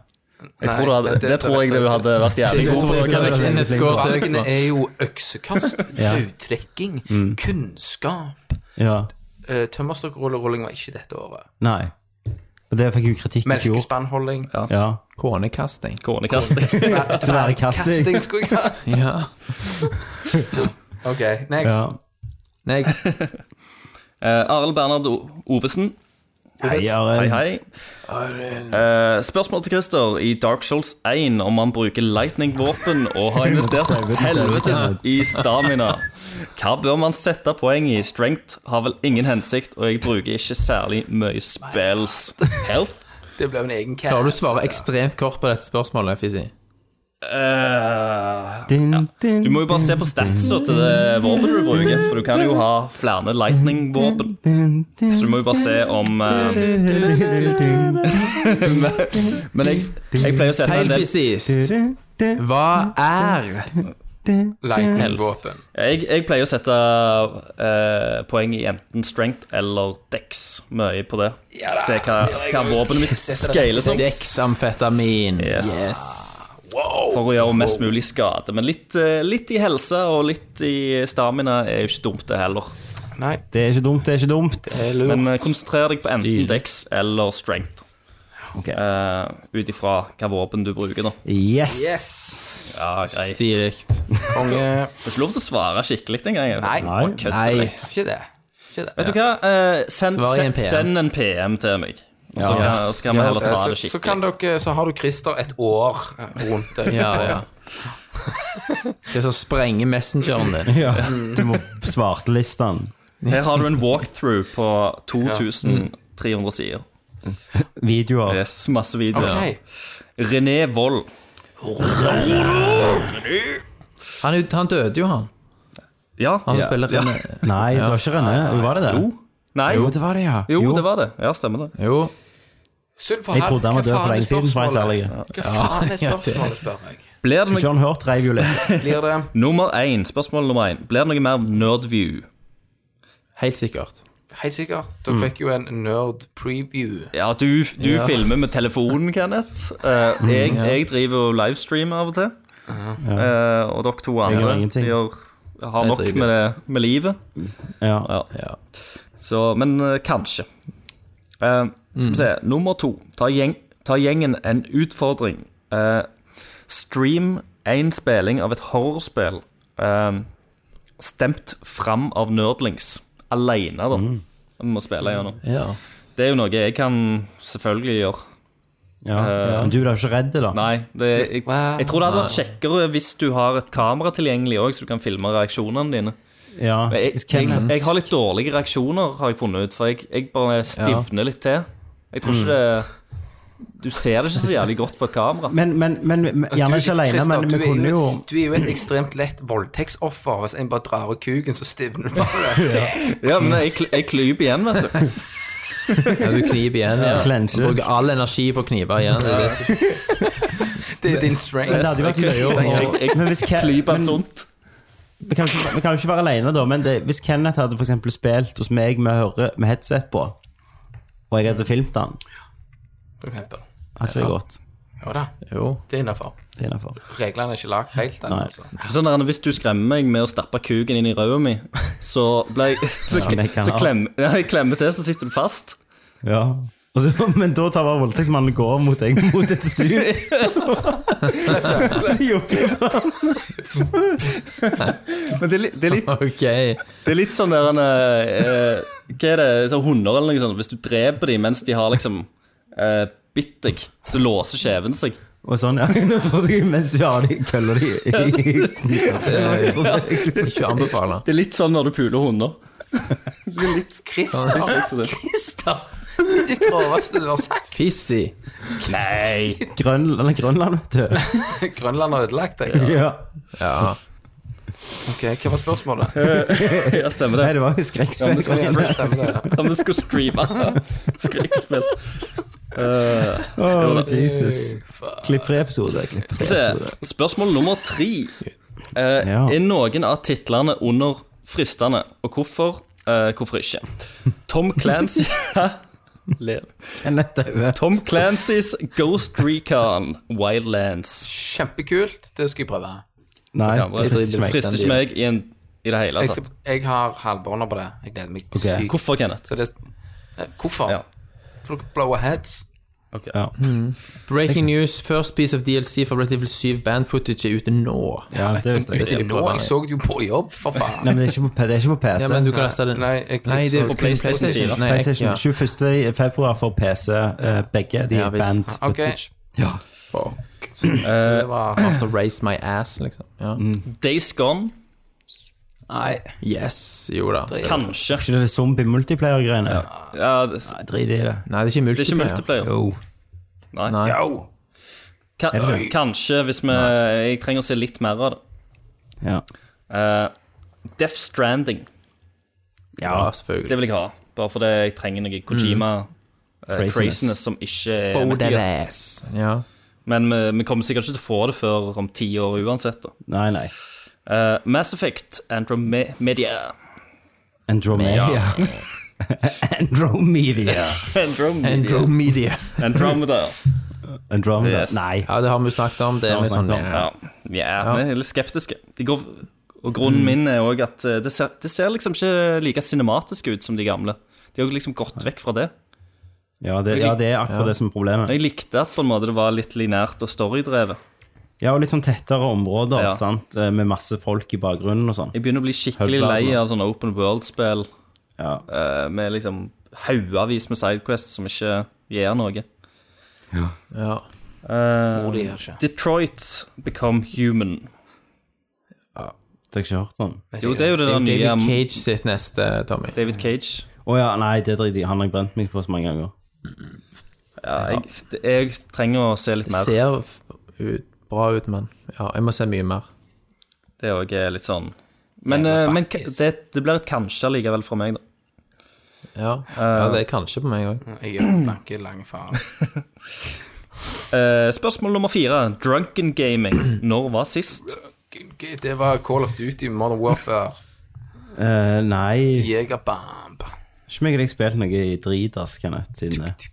Speaker 5: Jeg tror du hadde,
Speaker 6: Nei, det-
Speaker 5: det, tror jeg du hadde vært jævlig god på.
Speaker 3: tror jeg
Speaker 5: Kenneth.
Speaker 3: det er
Speaker 4: En
Speaker 3: veldig
Speaker 4: skår til,
Speaker 6: Valgene
Speaker 4: Knut.
Speaker 6: er jo
Speaker 3: [laughs]
Speaker 6: øksekast, tautrekking,
Speaker 3: Mm.
Speaker 6: kunnskap.
Speaker 3: Ja.
Speaker 6: Uh, Tømmerstokkrullerulling var ikke dette året.
Speaker 3: Nei. Og det fikk jo kritikk i fjor.
Speaker 6: Melkespannholding.
Speaker 3: Ja.
Speaker 4: Kånekasting.
Speaker 5: Kronekasting.
Speaker 3: Dvergkasting. [laughs]
Speaker 6: Kasting skulle jeg ha.
Speaker 4: Ja.
Speaker 6: Ok, next.
Speaker 3: Ja.
Speaker 4: Nei,
Speaker 5: Eh, Arild Bernhard O- Ovesen.
Speaker 3: Hei,
Speaker 5: Hei,
Speaker 3: Arild.
Speaker 5: hei. Eh, spørsmål til Christer i Dark Souls 1 om han bruker lightning-våpen og har [laughs] investert helvetes i stamina. Hva bør man sette poeng i? Strength har vel ingen hensikt, og jeg bruker ikke særlig mye spells. Health?
Speaker 6: Det ble en egen cast.
Speaker 4: Klarer du å svare ekstremt kort på dette spørsmålet, Fizzy?
Speaker 5: Eh,
Speaker 3: Din, din,
Speaker 5: du må jo bare se på statsa til det våpenet du bruker, for du kan jo ha flere lightning-våpen.
Speaker 3: din, din,
Speaker 5: Så du må jo bare se om [laughs] eh, Men jeg, jeg pleier å sette en
Speaker 4: Feil,
Speaker 5: del
Speaker 4: Fizzy.
Speaker 3: din, din,
Speaker 4: Hva er
Speaker 3: din.
Speaker 6: Lightning-våpen.
Speaker 5: Jeg, jeg pleier å sette eh, poeng i enten strength eller dex mye på det. Se hva, hva våpenet mitt scaler som.
Speaker 4: Dexamfetamin?
Speaker 5: Yes.
Speaker 6: Wow!
Speaker 5: For å gjøre mest mulig skade. Men litt, eh, litt i helse og litt i stamina er jo ikke dumt, det heller.
Speaker 6: Nei,
Speaker 3: Det er ikke dumt, det er ikke dumt.
Speaker 6: det er lurt.
Speaker 5: Men eh, konsentrer deg på enten dex eller strength.
Speaker 3: Ok.
Speaker 5: Uh, Ut ifra hva våpen du bruker, da.
Speaker 3: Yes!
Speaker 5: Ja, greit. Du
Speaker 4: Stilig.
Speaker 6: Konge
Speaker 5: får ikke lov til å svare skikkelig engang. jeg.
Speaker 6: Nei.
Speaker 3: Nei.
Speaker 5: Kødder
Speaker 4: Nei.
Speaker 5: litt.
Speaker 6: Ikke det. Ikke det.
Speaker 5: Vet du hva, Eh, send,
Speaker 4: Svar i en
Speaker 5: send,
Speaker 4: PM.
Speaker 5: send en PM til meg. Og så kan- så kan vi heller ta
Speaker 6: eh, så,
Speaker 5: det
Speaker 6: så,
Speaker 5: skikkelig.
Speaker 6: kan dere, så har du Christer et år rundt
Speaker 3: [laughs]
Speaker 6: deg.
Speaker 4: Ja, ja. Det som sprenger messengeren din.
Speaker 3: Ja.
Speaker 5: Mm.
Speaker 3: Du må svartelisten.
Speaker 5: Her har du en walkthrough på 2300 sider.
Speaker 3: Videoer.
Speaker 5: Yes, masse videoer.
Speaker 6: Ok.
Speaker 5: René Wold.
Speaker 4: Han, er jo- han døde jo, han.
Speaker 5: Ja,
Speaker 4: Han som
Speaker 5: ja.
Speaker 4: spiller
Speaker 5: ja.
Speaker 4: René.
Speaker 3: Nei, det var ikke René. Var det det?
Speaker 5: Jo. Nei,
Speaker 3: Jo,
Speaker 5: jo,
Speaker 3: det var det, ja.
Speaker 5: det var det. Ja, stemmer det.
Speaker 4: Jo.
Speaker 6: Sylfa,
Speaker 3: Jeg trodde han var død for lenge siden. for å være helt ærlig.
Speaker 6: Hva
Speaker 3: [laughs]
Speaker 6: faen er spørsmålet, spør jeg.
Speaker 5: Blir det noe
Speaker 3: John Hurt reiv jo litt.
Speaker 6: Blir det
Speaker 5: Nummer én, spørsmål nummer én. Blir det noe mer nerdview?
Speaker 4: Helt sikkert.
Speaker 6: helt sikkert
Speaker 3: Mm.
Speaker 6: Dere fikk jo en nerd preview.
Speaker 5: Ja, du, du filmer med telefonen, Kenneth. Eh, jeg, jeg driver og livestreamer av og til. Eh, og dere to
Speaker 3: gjør
Speaker 5: andre
Speaker 3: ingenting.
Speaker 5: gjør, har
Speaker 4: Jeg
Speaker 5: nok
Speaker 4: driver.
Speaker 5: med, det, med livet.
Speaker 3: Ja.
Speaker 4: Ja.
Speaker 5: Så, men eh, kanskje. Eh, skal vi se. Nummer to. Ta, gjeng, ta gjengen en utfordring. Eh, stream én spilling av et horrorspill eh, stemt fram av nerdlings. Aleine, da. Vi må spille gjennom.
Speaker 4: ja.
Speaker 5: Det er jo noe jeg kan selvfølgelig gjøre.
Speaker 3: ja. Men du ble jo ikke redd, da?
Speaker 5: Eh. Nei, det, jeg,
Speaker 6: Wow.
Speaker 5: jeg tror det hadde vært kjekkere hvis du har et kamera tilgjengelig òg, så du kan filme reaksjonene dine.
Speaker 3: Ja.
Speaker 5: Men Jeg,
Speaker 3: Hvis
Speaker 5: jeg,
Speaker 3: Kenneth
Speaker 5: jeg har litt dårlige reaksjoner, har jeg funnet ut. For jeg, jeg bare stivner litt til. Jeg tror ikke det Du ser det ikke så jævlig godt på et kamera.
Speaker 3: Men, men, men, men gjerne ikke alene,
Speaker 6: Christer,
Speaker 3: men
Speaker 6: Altså, du
Speaker 3: vi
Speaker 6: er
Speaker 3: kunne jo
Speaker 6: Du er jo et ekstremt lett voldtektsoffer. Hvis en bare drar av kuken, så stivner du
Speaker 3: [laughs]
Speaker 6: bare.
Speaker 5: Ja, men jeg, kl- jeg klyper igjen, [laughs] vet du.
Speaker 4: ja, du kniper igjen. Ja.
Speaker 3: Clenche.
Speaker 4: Du bruker all energi på å knipe igjen. Det er det som-
Speaker 6: Det
Speaker 3: Men
Speaker 6: er din
Speaker 3: det
Speaker 6: strength.
Speaker 3: hadde jo vært løye å-
Speaker 5: Jeg,
Speaker 3: Men hvis Ke-
Speaker 5: jeg klyper
Speaker 3: men-
Speaker 5: en sånn. sunt.
Speaker 3: Vi kan jo ikke, vi kan jo ikke være alene, da, men det, hvis Kenneth hadde for eksempel spilt hos meg med, høre, med headset på, og jeg hadde filmt han,
Speaker 6: for eksempel.
Speaker 3: hadde ikke det gått.
Speaker 6: Jo da,
Speaker 4: Jo.
Speaker 6: det er innafor.
Speaker 3: Det er innenfor.
Speaker 6: Reglene er ikke lagd helt ennå. Altså.
Speaker 5: Sånn der, hvis du skremmer meg med å stappe kuken inn i ræva mi, så, ble jeg, [laughs] så,
Speaker 3: Ja, det kan
Speaker 5: så
Speaker 3: jeg.
Speaker 5: klem, ja, jeg klemmer til, så sitter du fast.
Speaker 3: Ja. Og så, [laughs] men da tar bare voldtektsmannen og går mot deg mot et stup. [laughs] Så jokker jeg faen.
Speaker 5: Men det, er li- det, er litt,
Speaker 4: Ok.
Speaker 5: det er litt sånn der en, eh, Hva er det, sånn hunder eller noe sånt? Hvis du dreper dem mens de har liksom eh, bitt deg, så låser kjeven seg.
Speaker 3: Og sånn, ja. [laughs] Nå trodde jeg mens du har de køller de i
Speaker 4: Det er ikke å anbefale.
Speaker 5: Det er litt sånn når du puler hunder.
Speaker 6: Christer,
Speaker 5: Liksom det.
Speaker 6: Christer! Det groveste du har sagt.
Speaker 4: Fizzy.
Speaker 5: Nei.
Speaker 3: Grønland, eller Grønland, vet du.
Speaker 6: Grønland har ødelagt deg.
Speaker 3: Ja.
Speaker 6: Ja. Ok, Hva var spørsmålet?
Speaker 5: Ja, stemmer
Speaker 3: Nei,
Speaker 5: det.
Speaker 3: det var jo
Speaker 5: Ja, men
Speaker 3: skrekkspill.
Speaker 5: skal vi-
Speaker 6: Stemmer det? ja.
Speaker 5: Ja, vi skulle streame [laughs] skrekkspill.
Speaker 3: Åh, Jesus. Klipp tre episoder. Klipp tre episoder.
Speaker 5: Se, spørsmål nummer tre. Eh,
Speaker 3: Ja.
Speaker 5: Er noen av titlene under fristende, og hvorfor? Eh, hvorfor ikke? Tom Clancy [laughs] Ler.
Speaker 3: Kenneth Daue.
Speaker 5: Tom Clancys Ghost Recon Wildlands.
Speaker 6: Kjempekult. Det skal jeg prøve.
Speaker 3: Nei,
Speaker 5: Ja,
Speaker 3: det frister ikke meg.
Speaker 5: frister ikke meg i, en, i det hele
Speaker 6: Jeg, skal,
Speaker 5: tatt.
Speaker 6: jeg har halvbånder på det. Jeg gleder meg sykt.
Speaker 5: Hvorfor, Kenneth?
Speaker 6: Så det, eh, hvorfor?
Speaker 5: Ja.
Speaker 6: For dere blower heads.
Speaker 3: Ja.
Speaker 4: Breaking news. First piece of DLC for Resident Evil 7 band footage er ute nå.
Speaker 3: Ja, det visste jeg.
Speaker 6: Ute nå,
Speaker 4: prøve.
Speaker 6: jeg så det jo på jobb, for faen.
Speaker 3: Nei, men det er ikke på, P- det er ikke på PC.
Speaker 4: Ja, men du kan laste den.
Speaker 6: Nei, jeg,
Speaker 4: Nei, det er
Speaker 6: så-
Speaker 4: på
Speaker 5: PlayStation
Speaker 4: PlayStation.
Speaker 5: fire.
Speaker 4: Nei, jeg-
Speaker 3: PlayStation
Speaker 4: ja.
Speaker 3: 21. februar for PC, eh, begge. De
Speaker 4: Ja,
Speaker 3: er
Speaker 4: visst.
Speaker 3: band
Speaker 6: Ok.
Speaker 3: footage. Ja.
Speaker 6: så det var
Speaker 4: To raise my ass, liksom. Ja.
Speaker 5: Days Gone?
Speaker 3: Nei,
Speaker 4: Yes, jo da.
Speaker 5: Kanskje.
Speaker 3: ikke det zombie-multiplayer-greiene?
Speaker 5: Ja, det,
Speaker 3: Nei, drit i det.
Speaker 4: Nei, det er ikke
Speaker 5: det er ikke
Speaker 4: multiplayer.
Speaker 5: multiplayer.
Speaker 3: Jo.
Speaker 5: Nei.
Speaker 4: Nei.
Speaker 5: Ka kanskje, hvis vi Jeg trenger å se litt mer av det.
Speaker 3: Ja.
Speaker 5: Eh, Death Stranding,
Speaker 3: ja.
Speaker 4: Ja, selvfølgelig.
Speaker 5: det vil jeg ha. Bare fordi jeg trenger noe Kojima-craziness som ikke er eventyr.
Speaker 4: ass. Ja.
Speaker 5: Men vi, vi kommer sikkert ikke til å få det før om ti år uansett. Da.
Speaker 3: Nei, nei.
Speaker 5: Eh, Mass Effect Andromedia.
Speaker 3: [laughs] Andromeda. Andromedia.
Speaker 5: Andromedia.
Speaker 4: Andromedia.
Speaker 5: Andromeda.
Speaker 3: Andromeda.
Speaker 5: Yes.
Speaker 3: Nei.
Speaker 4: Ja, det har vi snakket om. Det
Speaker 3: har
Speaker 4: er
Speaker 3: vi
Speaker 4: vi sånn
Speaker 3: snakket om.
Speaker 4: ja.
Speaker 5: Ja, ja, vi er litt skeptiske. De går, og grunnen min er òg at eh, det ser, det ser liksom ikke like cinematisk ut som de gamle. De har liksom gått vekk fra det.
Speaker 3: Ja, det, ja, det er akkurat det som er problemet.
Speaker 5: Jeg likte at på en måte det var litt linært og storydrevet.
Speaker 3: Ja, og litt sånn tettere områder,
Speaker 5: Ja.
Speaker 3: sant? Eh, med masse folk i bakgrunnen og sånn.
Speaker 5: Jeg begynner å bli skikkelig
Speaker 3: Hubble,
Speaker 5: lei
Speaker 3: da.
Speaker 5: av sånne open world-spill
Speaker 3: Ja.
Speaker 5: eh, med liksom haugavis med sidequests som ikke gir noe.
Speaker 4: ja.
Speaker 5: Eh,
Speaker 6: Rolig, gjør ikke.
Speaker 5: Detroit Become Human.
Speaker 3: Det har jeg ikke hørt om.
Speaker 5: Jo, det er jo det der
Speaker 4: Det er
Speaker 5: nye
Speaker 4: David
Speaker 5: um,
Speaker 4: Cage sitt neste, Tommy.
Speaker 5: David Cage.
Speaker 3: Å ja, nei, det driter jeg i. Han har jeg brent meg på så mange ganger.
Speaker 5: Ja, jeg, det- jeg trenger å se litt mer.
Speaker 4: Ser f- ut, bra ut, men ja, jeg må se mye mer.
Speaker 5: Det òg er litt sånn Men, eh, men ka- det, det blir et kanskje likevel fra meg, da.
Speaker 4: Ja, ja det er kanskje på meg òg.
Speaker 6: Jeg gjør blanke lange faen.
Speaker 5: Eh, spørsmål nummer fire. Drunken gaming. Når var sist?
Speaker 6: Det var Call of Duty, Modern Warfare,
Speaker 3: Eh, nei,
Speaker 6: Jegerbomb
Speaker 3: ikke meg og deg spilt noe i dritas, Kenneth, siden det.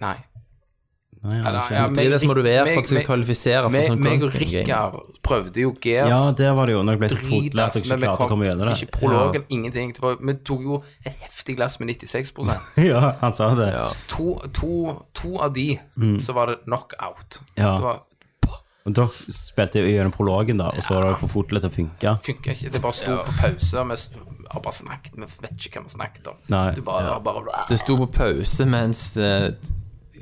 Speaker 6: Nei.
Speaker 3: Nei, jeg har
Speaker 6: Ja,
Speaker 3: ikke.
Speaker 4: Det er det som må du være for at du skal
Speaker 6: meg-
Speaker 4: kvalifisere for
Speaker 6: meg-
Speaker 4: sånn
Speaker 6: meg og
Speaker 4: drunken game.
Speaker 6: Rikard prøvde jo Gears.
Speaker 3: Ja, der var det jo, når jeg ble så
Speaker 6: drit,
Speaker 3: fotlært
Speaker 6: ass,
Speaker 3: og ikke
Speaker 6: men vi
Speaker 3: klarte å komme gjennom det.
Speaker 6: Ikke prologen, ingenting. Det var, vi tok jo et heftig glass med
Speaker 4: [laughs]
Speaker 6: 96
Speaker 3: [laughs] Ja, han sa det.
Speaker 6: to, to, to av de,
Speaker 4: Mm.
Speaker 6: så var det knockout.
Speaker 3: Ja.
Speaker 6: Det var,
Speaker 3: Og da spilte jeg gjennom prologen, da, og så var det for fotlært til å funke.
Speaker 6: [laughs] funka ikke. Det bare sto på pause, og vi s- har bare snakket. Vi vet ikke hva vi snakket om.
Speaker 3: Nei.
Speaker 6: Du bare, bare
Speaker 4: Det sto på pause mens eh,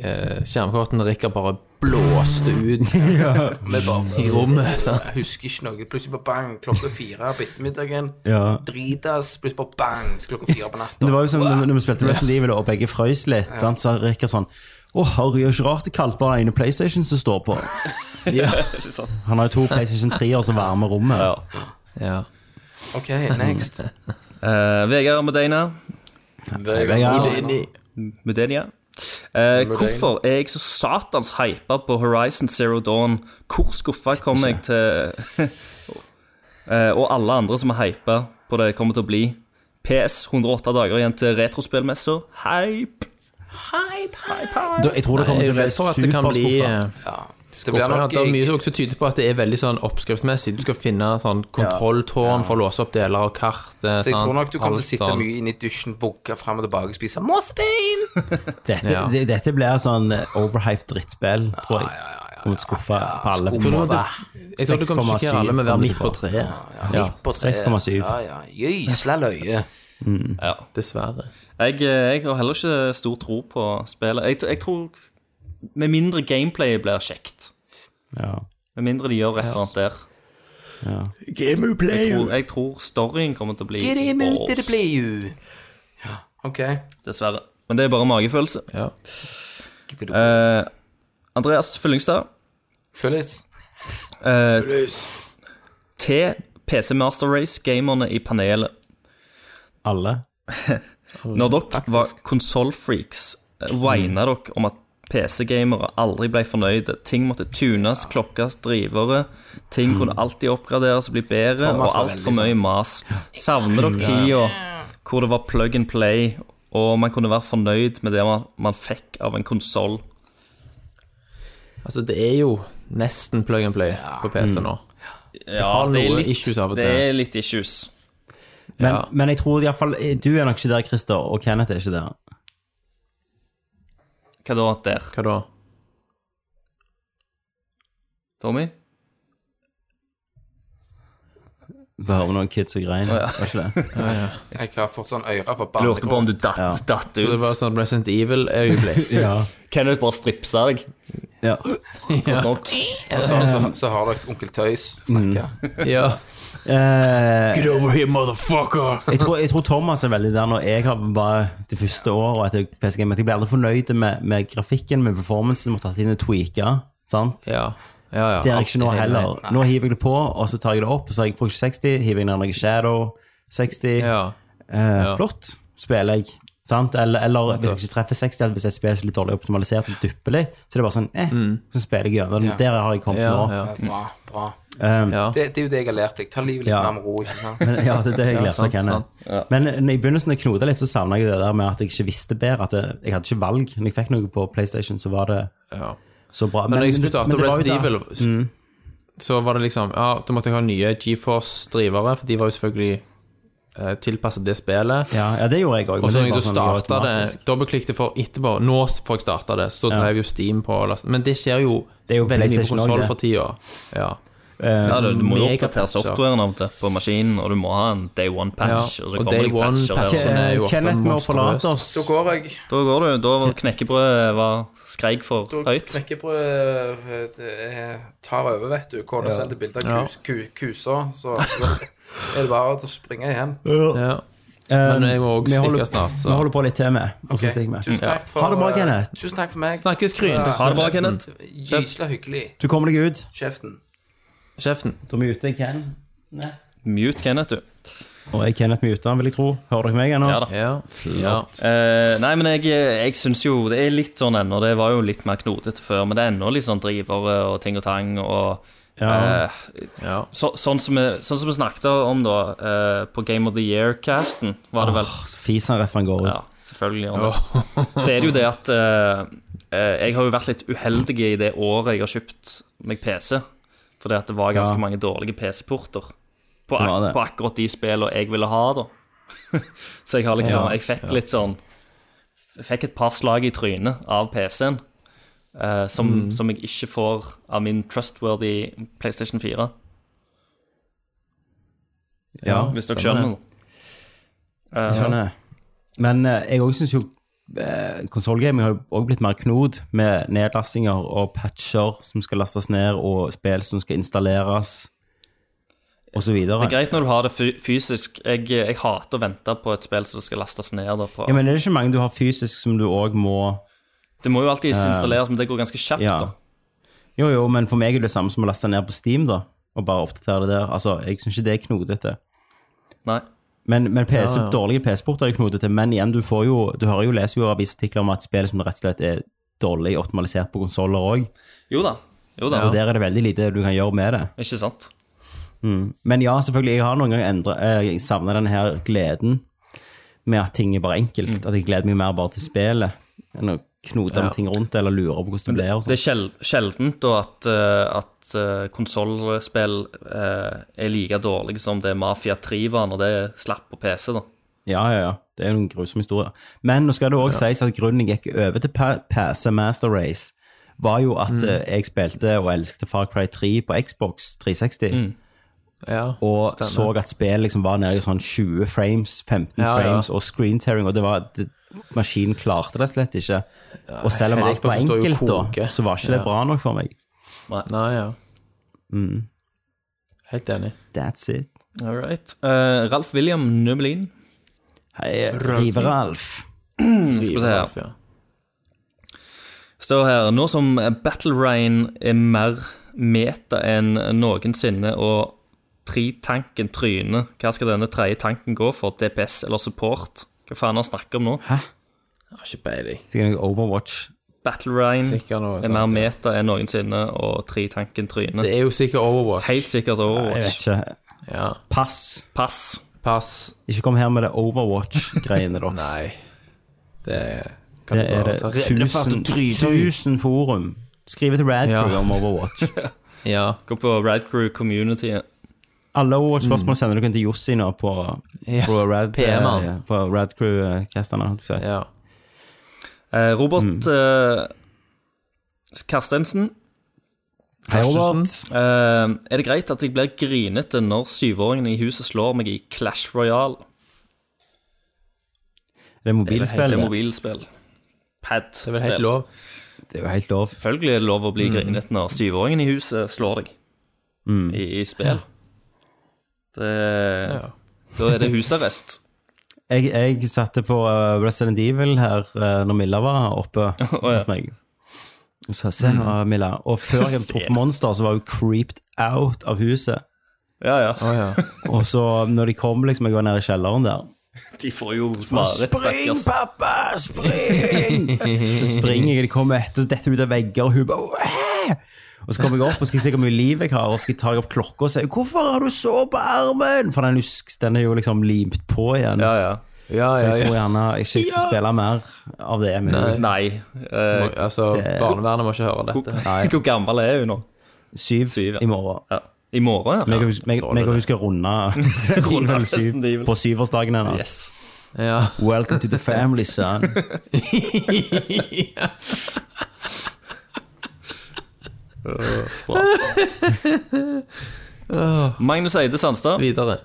Speaker 4: eh, skjermkortene Rikard bare blåste ut
Speaker 6: Vi bare
Speaker 4: i rommet. sant?
Speaker 6: Jeg husker ikke noe. Plutselig bare bang, klokka fire på ettermiddagen.
Speaker 3: Ja.
Speaker 6: Dritas. Plutselig bare bang, så klokka fire på natta.
Speaker 3: Det var jo sånn, når- når vi spilte Resident Evil, og begge frøys litt, sant, så sa Rikard sånn Å, herregud, det er ikke rart det er kaldt bare ene PlayStation som står på.
Speaker 4: Ja.
Speaker 3: Han har jo to PlayStation 3-er som varmer rommet.
Speaker 4: [laughs] ja.
Speaker 6: Ok, next.
Speaker 5: Eh, Vegard Medina.
Speaker 3: Vegard.
Speaker 5: Medenia. Eh, hvorfor er jeg så satans hypa på Horizon Zero Dawn? Hvor skuffa kommer jeg til [laughs] Eh, Og alle andre som er hypa på det kommer til å bli. PS 108 dager igjen til retrospillmessa. Hype!
Speaker 3: Da- Jeg tror det kommer
Speaker 4: Jeg
Speaker 3: til å bli
Speaker 4: er redd for at det kan bli
Speaker 3: superskuffa.
Speaker 4: eh,
Speaker 6: Det blir
Speaker 4: Hvorfor?
Speaker 6: nok
Speaker 4: Det er mye
Speaker 6: jeg,
Speaker 4: som også tyder på at det er veldig sånn oppskriftsmessig. Du skal finne sånn kontrolltårn for å låse opp deler av kartet.
Speaker 6: så jeg
Speaker 4: sant?
Speaker 6: tror nok du kommer til å
Speaker 4: Alt
Speaker 6: sitte
Speaker 4: sånn.
Speaker 6: mye inne i dusjen, vugge fram og tilbake, spise
Speaker 4: [laughs]
Speaker 6: mosbein.
Speaker 3: Dette,
Speaker 4: Ja.
Speaker 3: det, dette blir sånn eh, overhyped drittspill, tror jeg. Kommer til å skuffe på alle.
Speaker 4: Jeg tror det- Jeg tror du kommer til å sjokkere alle med å være midt på treet. Ja,
Speaker 6: På tre.
Speaker 3: 6,7.
Speaker 6: Ja, ja. Gysla løye.
Speaker 4: dessverre.
Speaker 5: Jeg, eh, jeg har heller ikke stor tro på spillet. Jeg, t- jeg tror Med mindre gameplayet blir kjekt.
Speaker 3: Ja.
Speaker 5: Med mindre de gjør et eller annet der. Jeg tror, jeg tror storyen kommer til å bli
Speaker 6: Get him
Speaker 5: Åh,
Speaker 6: ut, det blir jo. Ja, ok.
Speaker 5: Dessverre. Men det er bare magefølelse.
Speaker 4: Ja.
Speaker 5: Eh, Andreas Fyllingstad.
Speaker 6: Fyllis.
Speaker 5: Eh, til PC Master Race-gamerne i panelet.
Speaker 3: Alle.
Speaker 5: Når dere var konsollfreaks, eh,
Speaker 6: Mm.
Speaker 5: whina dere om at PC-gamere aldri ble fornøyde. Ting måtte tunes, klokkes, drivere. Ting kunne alltid oppgraderes og bli bedre, og
Speaker 6: Mm. Thomas var
Speaker 5: altfor
Speaker 6: veldig sånn.
Speaker 5: mye mas. Savner dere tida hvor det var plug and play, og man kunne være fornøyd med det man, man fikk av en konsoll?
Speaker 4: Altså, det er jo nesten plug and play på PC nå.
Speaker 5: Ja,
Speaker 4: det er noe issues av og
Speaker 5: det
Speaker 4: til.
Speaker 5: er litt issues.
Speaker 3: Men,
Speaker 4: Ja.
Speaker 3: men jeg tror iallfall eh, Du er nok ikke der, Christer, og Kenneth er ikke der.
Speaker 5: Hva da der,
Speaker 4: Hva da?
Speaker 5: Tommy?
Speaker 3: Vi hører noen kids og greier.
Speaker 5: ja.
Speaker 3: Var ikke
Speaker 4: [laughs]
Speaker 3: det?
Speaker 6: Jeg har fått sånn øre for
Speaker 5: Jeg lurte på om
Speaker 6: barnekår.
Speaker 5: du datt,
Speaker 3: Ja.
Speaker 5: datt
Speaker 4: Så det
Speaker 5: ut.
Speaker 4: var sånn Resident [laughs] Evil-øyeblikk.
Speaker 3: Ja.
Speaker 5: Kenneth bare stripsa deg.
Speaker 3: ja.
Speaker 5: Godt nok.
Speaker 8: [laughs]
Speaker 6: Og så, så, så har dere onkel Tøys snakke.
Speaker 4: ja.
Speaker 3: Eh,
Speaker 4: Get over here, motherfucker!
Speaker 3: jeg, tror, jeg tror Thomas er veldig der når jeg har bare det første året etter PC Game. at Jeg blir aldri fornøyd med, med grafikken, med performancen. Måtte hatt inn og tweaka. Sant?
Speaker 4: Ja, ja. ja.
Speaker 3: Det er jeg ikke nå
Speaker 4: Alt
Speaker 3: heller. Nå hiver jeg det på, og så tar jeg det opp, og så har jeg får ikke 60, hiver jeg ned noe Shadow 60.
Speaker 4: Ja.
Speaker 3: Eh,
Speaker 4: Ja.
Speaker 3: Flott, spiller jeg. Sant? Eller, eller hvis jeg ikke treffer 60, eller hvis et spill er litt dårlig optimalisert og dupper litt, så er det bare sånn eh, Så spiller jeg gjennom. den. Der har jeg kommet
Speaker 4: Mm. Ja,
Speaker 3: nå.
Speaker 4: ja.
Speaker 6: Bra, bra.
Speaker 3: Um,
Speaker 4: ja.
Speaker 6: Det, det er jo det jeg har lært deg. Ta livet litt
Speaker 3: Ja.
Speaker 6: mer med ro. ikke sant?
Speaker 3: [laughs] Men, ja, det er det jeg
Speaker 4: Ja,
Speaker 3: lærte av
Speaker 4: sant,
Speaker 3: Kenneth. Men når jeg i begynnelsen jeg knota litt, så savna jeg det der med at jeg ikke visste bedre. At jeg, jeg hadde ikke valg. Når jeg fikk noe på PlayStation, så var det
Speaker 4: ja.
Speaker 3: så bra.
Speaker 4: Men, jeg skulle
Speaker 3: det-
Speaker 4: starte
Speaker 3: men det var jo Mm. der-
Speaker 4: Resident Evil, så, så var det liksom Ja, da måtte jeg ha nye GeForce-drivere, for de var jo selvfølgelig eh, tilpasset det spillet.
Speaker 3: Ja, ja, det sånn gjorde jeg òg.
Speaker 4: Og så når jeg da starta det, dobbeltklikket for etterpå Nå får jeg starta det, så
Speaker 3: Ja.
Speaker 4: drev jo Steam på og lastet- Men det skjer jo,
Speaker 3: Det er jo
Speaker 4: veldig mye på
Speaker 3: PlayStation også,
Speaker 4: konsoll
Speaker 3: det.
Speaker 4: for tida. Ja.
Speaker 3: eh,
Speaker 5: Ja, du, du må jo
Speaker 4: Megapatcher.
Speaker 5: oppdatere softwaren av og til på maskinen, og du må ha en day one-patch.
Speaker 4: Ja,
Speaker 5: Og, så
Speaker 4: og
Speaker 5: kommer
Speaker 4: day
Speaker 5: det patcher
Speaker 4: one-patch.
Speaker 5: der, og-
Speaker 4: Sånn er jo ofte
Speaker 3: Kenneth må
Speaker 4: monstrøst.
Speaker 3: forlate oss.
Speaker 6: Da går jeg.
Speaker 5: Da går du. Da var knekkebrødet var skreik for
Speaker 6: Da
Speaker 5: høyt.
Speaker 6: knekkebrød det er- tar over, vet du. Kona sendte bilder av kus, ku, kuser, så er det bare å springe hjem.
Speaker 4: ja.
Speaker 3: Um,
Speaker 4: Men jeg må også
Speaker 3: vi holder-
Speaker 4: stikke snart, så-
Speaker 3: Vi holder på litt til med, og så
Speaker 6: Ok,
Speaker 3: stikker vi.
Speaker 6: Tusen takk for eh,
Speaker 3: Ha det bra, Kenneth.
Speaker 6: Tusen takk for meg.
Speaker 4: Snakkes, Kryn.
Speaker 6: Ja.
Speaker 5: Ha det bra, Kenneth.
Speaker 6: Gysla hyggelig.
Speaker 3: Du kommer deg ut.
Speaker 6: Kjeften.
Speaker 4: Kjeften.
Speaker 3: Da er vi ute, Ken.
Speaker 5: Mute Kenneth, du.
Speaker 3: Og jeg Kenneth muta, vil jeg tro. Hører dere meg ennå?
Speaker 5: Ja da.
Speaker 4: Ja. ja.
Speaker 5: Eh, nei, men jeg, jeg syns jo det er litt sånn ennå. Det var jo litt mer knotete før, men det er ennå litt sånn drivere og ting og tang. og...
Speaker 3: Ja.
Speaker 5: eh,
Speaker 4: ja.
Speaker 5: så, sånn, som vi, sånn som vi snakket om da eh, på Game of the Year-casten, var det vel.
Speaker 3: Åh, Så fiser ref han går ut.
Speaker 5: Ja, selvfølgelig. gjør det. Så er det jo det at eh, eh, jeg har jo vært litt uheldig i det året jeg har kjøpt meg PC. Fordi at det var ganske
Speaker 3: Ja.
Speaker 5: mange dårlige PC-porter på,
Speaker 3: Det var
Speaker 5: ak
Speaker 3: det.
Speaker 5: på akkurat de spillene jeg ville ha, da. [laughs] Så jeg har liksom Jeg fikk litt sånn Jeg fikk et par slag i trynet av PC-en. eh, som,
Speaker 3: Mm.
Speaker 5: som jeg ikke får av min trustworthy PlayStation 4,
Speaker 3: Ja,
Speaker 5: hvis dere skjønner.
Speaker 3: jeg skjønner. Men eh, jeg òg syns jo eh, konsollgaming har jo også blitt mer knod, med nedlastinger og patcher som skal lastes ned, og spill som skal installeres, og så videre.
Speaker 5: Det er greit når du har det fy- fysisk. Jeg, jeg hater å vente på et spill som skal lastes ned. Da, på.
Speaker 3: Ja, men er det ikke mange du har fysisk som du òg må
Speaker 5: det må jo alltid installeres, men det går ganske kjapt.
Speaker 3: Ja.
Speaker 5: da
Speaker 3: Jo, jo, men for meg er det samme som å laste ned på Steam, da, og bare oppdatere det der. Altså, jeg syns ikke det er knodete.
Speaker 5: Nei.
Speaker 3: Men, men PC, dårlige PC-porter er jo knotete. Men igjen, du, får jo, du hører jo, leser jo avisartikler om at spill som rett og slett er dårlig optimalisert på konsoller òg.
Speaker 5: Jo da. Jo da.
Speaker 3: Og der er det veldig lite du kan gjøre med det. Mm.
Speaker 5: Ikke sant?
Speaker 3: Men ja, selvfølgelig, jeg har noen ganger endret, eh, jeg savna den her gleden med at ting er bare enkelt. At jeg gleder meg mer bare til spillet enn å knote med ting rundt eller lure på hvordan det blir. og sånn.
Speaker 5: Det
Speaker 3: sånt.
Speaker 5: er sjel sjeldent da at, uh, at eh, konsollspill eh, er like dårlige som det Mafia 3 var når det slapp på PC. da
Speaker 3: Ja, ja, ja. Det er jo en grusom historie. Men nå skal det òg sies at grunnen jeg gikk over til pa- PC Master Race, var jo
Speaker 4: Mm.
Speaker 3: at eh, jeg spilte og elsket Far Cry 3 på Xbox 360.
Speaker 4: ja.
Speaker 3: og
Speaker 4: Mm. Stemmer.
Speaker 3: så at spillet liksom var nede i sånn 20 frames, 15
Speaker 4: Ja, ja.
Speaker 3: frames og screen tearing, og det var det, Maskinen klarte det slett ikke. og selv om
Speaker 4: hele
Speaker 3: alt var
Speaker 4: Xboxen står jo
Speaker 3: enkelt, da,
Speaker 4: koke.
Speaker 3: så var ikke det
Speaker 4: Ja.
Speaker 3: bra nok for meg. Mm.
Speaker 4: Nei, ja. Helt enig.
Speaker 3: That's it.
Speaker 5: All right. Eh, Ralf William Nublin.
Speaker 3: Hei, Rive-Ralf.
Speaker 5: Skal vi se her. Står her Nå som Battle Rain er mer meta enn noensinne, og tritanken tryner, hva skal denne tredje tanken gå for? DPS eller support? Hva faen han snakker om nå?
Speaker 4: Har ikke peiling.
Speaker 3: Sikkert noe Overwatch.
Speaker 5: Battle Rain
Speaker 4: Sikkert noe
Speaker 5: er mer
Speaker 4: sånt, ja.
Speaker 5: meta enn noensinne, og tritanken tryner.
Speaker 4: Det er jo sikkert Overwatch.
Speaker 5: Helt sikkert
Speaker 3: Jeg vet
Speaker 5: Overwatch.
Speaker 3: ikke.
Speaker 4: Ja.
Speaker 3: Pass.
Speaker 5: Pass.
Speaker 4: Pass.
Speaker 3: Ikke kom her med det
Speaker 4: [laughs]
Speaker 3: Overwatch-greiene deres.
Speaker 4: Nei. Det er- kan
Speaker 3: Det
Speaker 4: du
Speaker 3: er
Speaker 4: bare
Speaker 3: det
Speaker 4: ta-
Speaker 3: tusen, tusen forum. Skriv til Radcrew
Speaker 4: Ja.
Speaker 3: om Overwatch.
Speaker 4: Ja.
Speaker 5: Gå på Radcrew Community.
Speaker 3: Alle Overwatch-spørsmål sender du kun til Jossi nå på,
Speaker 4: Mm. Ja.
Speaker 3: på Rad-
Speaker 4: PM-en.
Speaker 3: eh, på Radcrew-casterne. holdt jeg på å si.
Speaker 4: ja.
Speaker 5: Eh, Robert eh, Karstensen.
Speaker 3: Hei, Robert.
Speaker 4: Karstensen.
Speaker 5: Eh, er det greit at jeg blir grinete når syvåringen i huset slår meg i Clash Royale?
Speaker 3: Det er
Speaker 5: Det
Speaker 3: mobilspill.
Speaker 5: er
Speaker 3: Det,
Speaker 5: mobilspill.
Speaker 4: Det er vel helt
Speaker 5: Pad-spill.
Speaker 4: lov.
Speaker 3: det er jo helt lov.
Speaker 5: Selvfølgelig er det lov å bli grinete når syvåringen i huset slår deg
Speaker 3: Mm.
Speaker 5: i, i spill. Det,
Speaker 4: Ja.
Speaker 5: Da er det husarrest.
Speaker 3: Jeg, jeg satte på eh, Resident Evil her eh, når Milla var
Speaker 4: [laughs]
Speaker 3: oppe
Speaker 5: ja.
Speaker 3: hos meg. Så se nå,
Speaker 4: Mm.
Speaker 3: Milla. Og før
Speaker 4: [laughs]
Speaker 3: jeg hadde
Speaker 5: Se.
Speaker 3: truffet monster, så var hun creeped out av huset.
Speaker 5: Ja, ja.
Speaker 4: Å ja.
Speaker 3: Og så når de kom, liksom, jeg var nede i kjelleren der
Speaker 5: De får jo mareritt, stakkars.
Speaker 3: pappa! Spring! [laughs] så springer jeg, de kommer etter, så detter hun ut av vegger, og hun bare «Åh!» Og så kommer jeg opp og skal se hvor mye liv jeg har, og skal ta opp klokka og si 'Hvorfor har du så på armen?' For den, husk- den er jo liksom limt på igjen.
Speaker 5: Ja, ja.
Speaker 4: Ja,
Speaker 3: Så
Speaker 4: ja,
Speaker 3: jeg
Speaker 4: ja.
Speaker 3: tror gjerne ikke jeg skal spille mer av det. Men
Speaker 5: Nei. eh,
Speaker 4: Må- Altså, barnevernet må ikke høre dette. Nei.
Speaker 5: hvor gammel er hun nå?
Speaker 3: syv,
Speaker 5: Syv, ja.
Speaker 3: i morgen.
Speaker 5: Ja. I morgen, ja.
Speaker 3: Meg og hus- meg- meg og hun skal runde
Speaker 5: Runde
Speaker 3: runde
Speaker 5: Resident
Speaker 3: syv
Speaker 5: Evil.
Speaker 3: på syvårsdagen hennes.
Speaker 5: Yes.
Speaker 4: Ja.
Speaker 3: Welcome to the family, son.
Speaker 5: Magnus Eide Sandstad.
Speaker 4: Videre.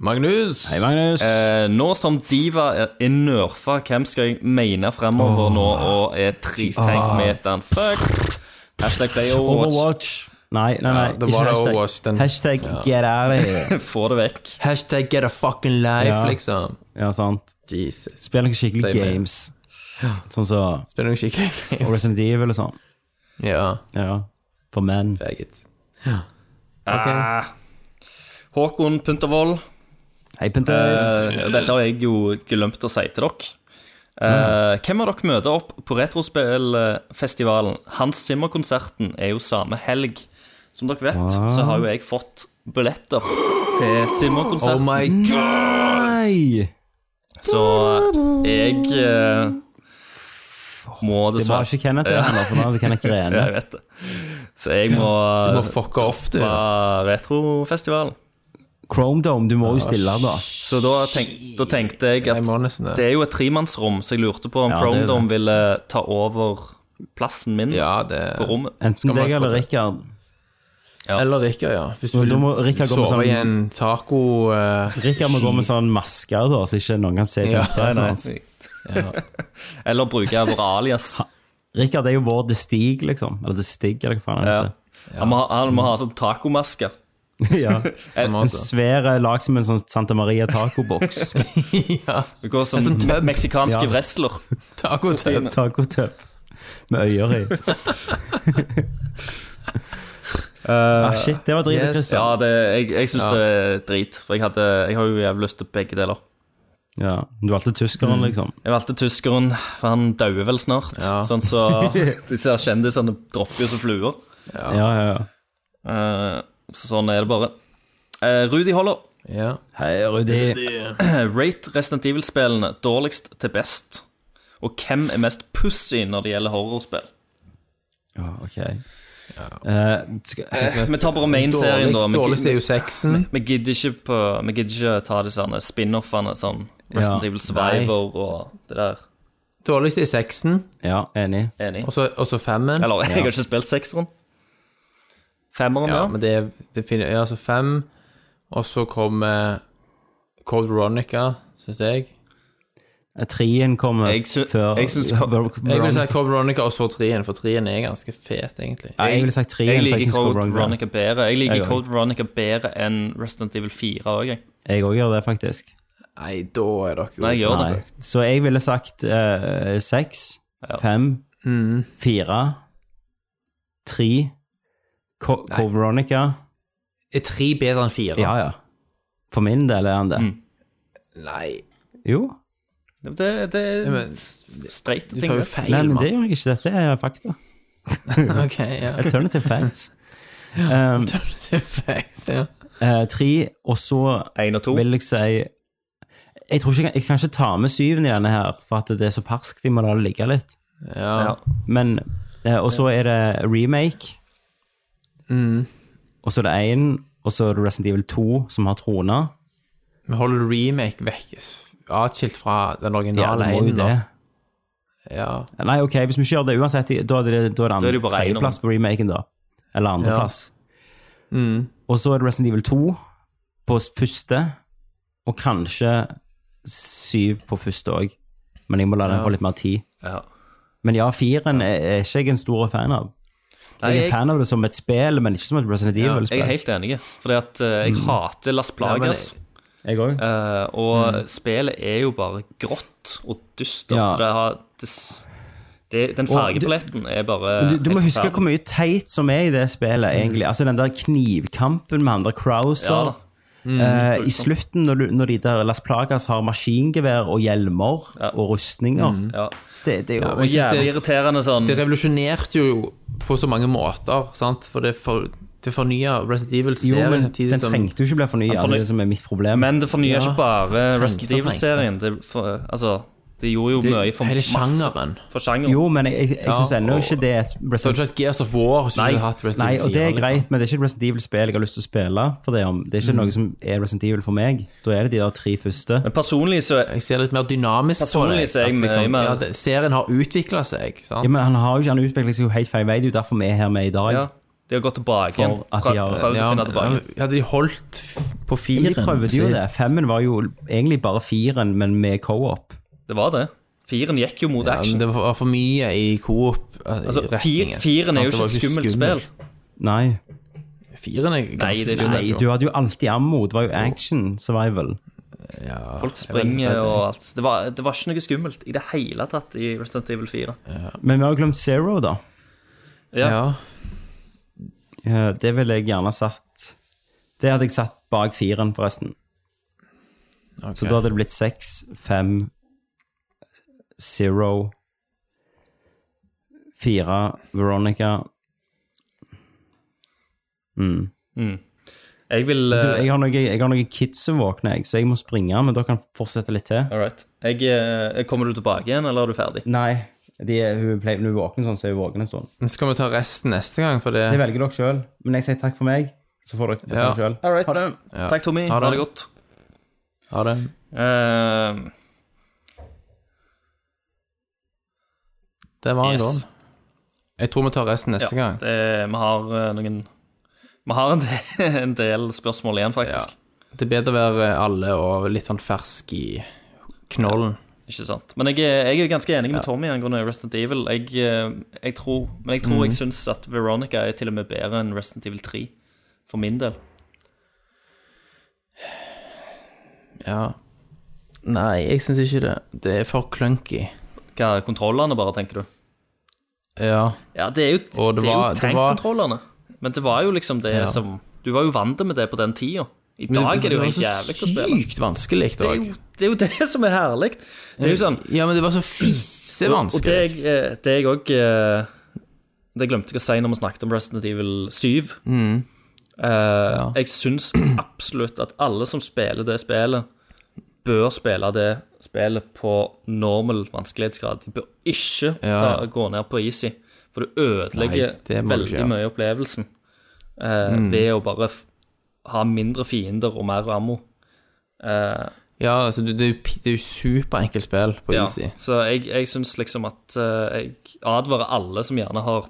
Speaker 4: Magnus!
Speaker 3: Hei, Magnus.
Speaker 5: Eh, nå som Diva er, er nerfa, hvem skal jeg mene fremover nå og er tritank-meteren? Fuck! Hashtag play Overwatch.
Speaker 3: Overwatch. Nei, nei, nei.
Speaker 4: Ja, det
Speaker 3: ikke
Speaker 4: var det
Speaker 3: hashtag.
Speaker 4: Overwatch, den-
Speaker 3: hashtag get out of here.
Speaker 5: [laughs] Få det vekk.
Speaker 4: Hashtag get a fucking life,
Speaker 3: Ja.
Speaker 4: liksom.
Speaker 3: Ja, sant.
Speaker 4: Jesus.
Speaker 3: Spill noen skikkelige
Speaker 4: Same.
Speaker 3: games. Sånn som så,
Speaker 4: Spiller noen skikkelig [laughs] games.
Speaker 3: Resident Evil og sånn.
Speaker 4: Ja,
Speaker 3: Ja. For menn.
Speaker 4: faggot.
Speaker 5: Ah. Håkon Puntervold.
Speaker 3: Hei, Pentes.
Speaker 5: Eh, dette har jeg jo glemt å si til dere. Eh, hvem av dere møter opp på Retrospillfestivalen? Hans Zimmer-konserten er jo samme helg. Som dere vet, så har jo jeg fått billetter til
Speaker 4: Oh
Speaker 5: Zimmer-konserten.
Speaker 4: my god!
Speaker 3: Nei!
Speaker 5: så jeg eh,
Speaker 3: Det
Speaker 5: må
Speaker 3: var
Speaker 5: dessverre
Speaker 3: ikke Kenneth, det, heller, for nå hadde Kenneth
Speaker 5: Ja,
Speaker 3: grene.
Speaker 5: jeg vet det. Så jeg må,
Speaker 4: Du må fucke off, du.
Speaker 5: på retrofestivalen.
Speaker 3: Chrome Dome, du må jo stille, da.
Speaker 5: Så da, tenk, da tenkte jeg
Speaker 4: Jeg
Speaker 5: at
Speaker 4: må nesten
Speaker 5: Det
Speaker 4: det.
Speaker 5: er jo et tremannsrom, så jeg lurte på om
Speaker 3: Ja,
Speaker 5: ja,
Speaker 3: det er det.
Speaker 5: Chromedome ville ta over plassen min
Speaker 4: Ja, det
Speaker 5: på rommet.
Speaker 3: Enten
Speaker 4: Skal man
Speaker 3: deg
Speaker 4: få
Speaker 3: eller
Speaker 4: til?
Speaker 3: Rikard.
Speaker 4: Eller Rikard, ja. Hvis du
Speaker 3: Men da må Rikard gå med
Speaker 4: sove i
Speaker 3: sånn-
Speaker 4: en taco eh,
Speaker 3: Rikard må gå med sånn maske, da, så ikke noen kan se
Speaker 4: [laughs] Ja,
Speaker 3: karakteren hans.
Speaker 5: Eller bruke vår alias.
Speaker 3: [laughs] Rikard er jo vår The Stig, liksom. Eller The Stig, eller hva faen han
Speaker 5: Ja.
Speaker 3: heter.
Speaker 5: Han, må ha, han må ha sånn tacomaske.
Speaker 4: [laughs]
Speaker 3: Ja.
Speaker 4: på en
Speaker 3: En
Speaker 4: måte.
Speaker 3: svær lag som en sånn Santa Maria
Speaker 4: [laughs]
Speaker 3: tacoboks.
Speaker 5: Vi går som
Speaker 4: sånn
Speaker 5: me- meksikanske
Speaker 3: Ja.
Speaker 5: wrestler.
Speaker 4: Tacotøp.
Speaker 3: Tacotøp med øyer [laughs] i. ah, shit, det var dritt,
Speaker 4: yes.
Speaker 3: Christian.
Speaker 5: Ja, det, jeg, jeg syns det er drit, for jeg, hadde, jeg har jo jævlig lyst til begge deler.
Speaker 3: Ja, du valgte tyskeren, liksom.
Speaker 5: Jeg valgte tyskeren, for han dauer vel snart.
Speaker 4: Ja.
Speaker 5: [laughs] Sånn så
Speaker 4: [laughs]
Speaker 5: disse her kjendisene dropper jo som fluer.
Speaker 3: Ja, ja, ja.
Speaker 5: Eh, så sånn er det bare. Eh, Rudi Holler.
Speaker 4: Ja.
Speaker 3: Hei, Rudi.
Speaker 5: Rate Resident Evil-spillene dårligst til best. Og hvem er mest pussy når det gjelder horrorspill?
Speaker 3: Ja, ok. Eh, skal,
Speaker 5: Vi tar bare main-serien, da.
Speaker 4: Dårligst,
Speaker 5: Vi-
Speaker 4: dårligst er jo sexen.
Speaker 5: Vi gidder ikke, på, vi gidder ikke ta de sånne spin-offene, sånn Resident
Speaker 3: Ja.
Speaker 5: Evil Survivor og det der.
Speaker 4: Dårligst er sexen,
Speaker 3: ja, enig.
Speaker 5: Enig.
Speaker 4: og så- og så femmen.
Speaker 5: Eller, jeg har ikke spilt sekseren. Femmeren,
Speaker 4: Ja,
Speaker 5: ja.
Speaker 4: men det, er- det finner Ja, altså fem, og så kommer Cold Veronica, syns jeg.
Speaker 3: Eh, Trien kommer
Speaker 5: Jeg sy-
Speaker 3: før
Speaker 5: jeg syns-
Speaker 3: Ver- Ver-
Speaker 4: Jeg vil si
Speaker 3: Veronica-
Speaker 4: Cold Veronica og så trien, for trien er ganske fet, egentlig.
Speaker 3: Ja, jeg ville sagt trien,
Speaker 5: Jeg
Speaker 3: for jeg
Speaker 5: liker
Speaker 3: syns Code
Speaker 5: Code
Speaker 3: Veronica-
Speaker 5: Veronica bedre. Jeg liker
Speaker 3: Jeg
Speaker 5: Code Veronica bedre enn Resident Evil 4 òg, jeg.
Speaker 3: Jeg òg gjør det, faktisk.
Speaker 4: Nei, da er dere jo
Speaker 5: Nei, jeg gjør det.
Speaker 3: Nei. Så jeg ville sagt eh, seks, fem, fire, tre, Co Co Veronica
Speaker 4: Er tre bedre enn fire?
Speaker 3: Ja, ja. For min del er han det.
Speaker 4: Mm. Nei,
Speaker 3: Jo.
Speaker 5: Det, det er
Speaker 4: men
Speaker 5: streite
Speaker 4: du
Speaker 5: ting.
Speaker 4: tar jo
Speaker 5: det.
Speaker 4: feil,
Speaker 3: Eh, Nei, men
Speaker 4: mann.
Speaker 3: det gjør jeg ikke. Dette er fakta.
Speaker 4: Ok, ja.
Speaker 3: [laughs] Alternative
Speaker 4: [laughs]
Speaker 3: facts. Um,
Speaker 4: Det er feil, ja.
Speaker 3: eh, tre, og så
Speaker 5: Én og to.
Speaker 3: vil jeg si jeg, tror ikke, jeg- jeg kan ikke ta med syven i denne her, for at det er så ferskt. Vi må la det ligge litt.
Speaker 4: Ja.
Speaker 3: Men, eh, og så er det remake.
Speaker 4: Mm.
Speaker 3: Og så er det én, og så er det Resident Evil 2, som har trona.
Speaker 4: Vi holder remake vekk, s- atskilt fra den
Speaker 3: Ja,
Speaker 4: originale
Speaker 3: det må jo
Speaker 4: enen, da.
Speaker 3: det.
Speaker 4: Ja,
Speaker 3: Nei, ok, hvis vi ikke gjør det uansett, da er det, da er det,
Speaker 5: Da er det
Speaker 3: andre
Speaker 5: jo bare én om-
Speaker 3: tredjeplass på remaken, da. Eller andreplass.
Speaker 4: Mm.
Speaker 3: Og så er det Resident Evil 2 på s- første, og kanskje syv på første òg. Men jeg må la den få litt mer tid.
Speaker 5: Ja.
Speaker 3: Men ja, firen er, er ikke jeg en stor fan av.
Speaker 5: Nei,
Speaker 3: jeg er
Speaker 5: jeg-
Speaker 3: fan av det som et spill, men ikke som et Resident
Speaker 5: Jeg
Speaker 3: Evil-spill.
Speaker 5: er helt enig. Fordi at eh,
Speaker 4: Mm.
Speaker 5: jeg hater Las Plagas.
Speaker 3: Jeg òg.
Speaker 5: eh, og spillet er jo bare grått og dystert.
Speaker 3: Ja.
Speaker 5: Det har, det, s- det, den
Speaker 3: Og du-
Speaker 5: fargepaletten er bare
Speaker 3: Du, du må
Speaker 5: helt
Speaker 3: huske hvor mmye teit som er i det spillet, egentlig. Altså den der knivkampen med andre
Speaker 5: Ja
Speaker 3: Crowser.
Speaker 5: da.
Speaker 3: eh, I slutten, når, du, når de der Las Plagas har maskingevær og hjelmer og rustninger
Speaker 5: Ja.
Speaker 3: det, det er jo
Speaker 4: men jeg synes
Speaker 5: Jævlig
Speaker 4: det-
Speaker 5: irriterende sånn.
Speaker 4: Det revolusjonerte jo på så mange måter, sant? For det, for, det fornya Resident
Speaker 3: Jo,
Speaker 4: Evil-serien
Speaker 3: men
Speaker 4: samtidig
Speaker 3: den
Speaker 4: liksom som
Speaker 3: trengte jo ikke bli fornya, det
Speaker 5: forny-
Speaker 3: er det som er mitt problem.
Speaker 5: Men det fornyer
Speaker 4: Ja.
Speaker 5: ikke bare Resident
Speaker 4: trengte.
Speaker 5: Evil-serien. Det, for- altså, det gjorde jo mye for
Speaker 4: hele
Speaker 5: masse-
Speaker 4: sjangeren.
Speaker 5: For sjangeren.
Speaker 3: jo, men jeg, jeg, jeg syns ennå
Speaker 4: og-
Speaker 3: ikke det er et
Speaker 4: Så
Speaker 3: Resident
Speaker 4: hadde du ikke hatt Gears of War hvis du
Speaker 5: Nei.
Speaker 4: ikke hadde hatt Resident
Speaker 3: Nei,
Speaker 4: Evil liksom.
Speaker 3: og det er
Speaker 4: 4,
Speaker 3: greit, men det er ikke et Resident Evil-spill jeg har lyst til å spille. For det, er om, det er ikke noe som er Resident Evil for meg. Da er det de der tre første.
Speaker 5: Men personlig så
Speaker 4: Liksom. Jeg ser litt mer dynamisk
Speaker 5: Personlig så er jeg
Speaker 4: at liksom,
Speaker 5: mye mer-
Speaker 4: ja, det, serien har utvikla seg, sant?
Speaker 3: Ja, men han, har jo ikke, han utvikler seg jo helt feil vei, det er jo derfor vi er her med i dag.
Speaker 5: ja, De har gått tilbake
Speaker 3: For
Speaker 5: igjen.
Speaker 3: at
Speaker 5: Prøv-
Speaker 3: de har-
Speaker 5: Prøvd å
Speaker 4: Ja,
Speaker 5: finne tilbake.
Speaker 4: ja, hadde de holdt f- på
Speaker 3: Men
Speaker 4: firen
Speaker 3: de prøvde jo det. Femmen var jo egentlig bare firen, men med co-op.
Speaker 5: Det var det. Firen gikk jo mot
Speaker 4: Ja, men
Speaker 5: action.
Speaker 4: det var for mye i coop.
Speaker 5: Altså, fir, firen er jo ikke et skummelt spill.
Speaker 3: Nei.
Speaker 4: Firen er ganske
Speaker 5: Nei, det er ikke
Speaker 4: skummel.
Speaker 5: det.
Speaker 3: Nei, du hadde jo alltid ammo. Det var jo action survival.
Speaker 5: Folk springer og alt. Det var, det var ikke noe skummelt i det hele tatt i Resident Evil 4.
Speaker 3: Men vi har jo glemt Zero, da.
Speaker 5: Ja.
Speaker 4: Ja.
Speaker 3: Eh, Det ville jeg gjerne satt Det hadde jeg satt bak firen, forresten.
Speaker 4: ok.
Speaker 3: Så da hadde det blitt seks, fem, zero, fire, Veronica
Speaker 5: Jeg vil
Speaker 3: Du,
Speaker 5: eh,
Speaker 3: jeg har noen noe kids som våkner, jeg, så jeg må springe, men dere kan fortsette litt til.
Speaker 5: All right. Jeg, eh, kommer du tilbake igjen, eller er du ferdig?
Speaker 3: Nei, de, er- hun, ble, hun er våken sånn, så er hun våken en stund.
Speaker 4: Men så kan vi ta resten neste gang, for
Speaker 3: Det
Speaker 4: det
Speaker 3: velger dere sjøl, men jeg sier takk for meg, så får dere
Speaker 4: Ja.
Speaker 3: bestemme selv
Speaker 5: All right.
Speaker 3: Ha det.
Speaker 5: Takk, Tommy.
Speaker 4: Ha
Speaker 5: Ha
Speaker 4: det.
Speaker 5: det, godt.
Speaker 4: Ha det.
Speaker 5: Eh,
Speaker 4: Det var en
Speaker 5: Yes.
Speaker 4: gang. Jeg tror vi tar resten neste
Speaker 5: ja,
Speaker 4: gang.
Speaker 5: det, vi har eh, noen Vi har en del, [laughs] en del spørsmål igjen, faktisk.
Speaker 4: Det er bedre å være alle og litt sånn fersk i knollen.
Speaker 5: Ikke sant? Men jeg, er- jeg er ganske enig med Tommy angående Resident Evil. Jeg, eh, jeg tror, men jeg tror jeg syns at Veronica er til og med bedre enn Resident Evil 3, for min del.
Speaker 4: Ja. Nei, jeg syns ikke det. Det er for clunky.
Speaker 5: Hva er kontrollene, bare, tenker du?
Speaker 4: Ja.
Speaker 5: Ja, det er jo,
Speaker 4: Og det
Speaker 5: det
Speaker 4: var- det
Speaker 5: er jo
Speaker 4: var-
Speaker 5: tankkontrollene. Men det var jo liksom det
Speaker 4: Ja.
Speaker 5: som Du var jo vant med det på den tida. I
Speaker 4: Men
Speaker 5: dag er det jo
Speaker 4: var
Speaker 5: helt jævlig å
Speaker 4: så
Speaker 5: spille.
Speaker 4: sykt vanskelig
Speaker 5: Det er,
Speaker 4: òg.
Speaker 5: jo, det er jo [laughs] det som er herlig. Det er jo sånn
Speaker 4: Ja, men det var så
Speaker 5: Og det
Speaker 4: fisevanskelig.
Speaker 5: jeg, eh, det jeg òg Det glemte jeg å si når vi snakket om Resident Evil 7.
Speaker 4: Mm.
Speaker 5: Eh, Jeg syns absolutt at alle som spiller det spillet, bør spille det spillet på normal vanskelighetsgrad. De bør ikke ta,
Speaker 4: Ja.
Speaker 5: gå ned på easy, for du
Speaker 4: Nei,
Speaker 5: ødelegger
Speaker 4: det må du ikke
Speaker 5: veldig
Speaker 4: gjøre. Mm.
Speaker 5: mye av opplevelsen eh, ved å bare f ha mindre fiender og mer ammo. Eh,
Speaker 4: Ja, altså, det, det er jo pi- det er jo superenkelt spill på
Speaker 5: Ja,
Speaker 4: Easy.
Speaker 5: så jeg, jeg syns liksom at eh, Jeg advarer alle som gjerne har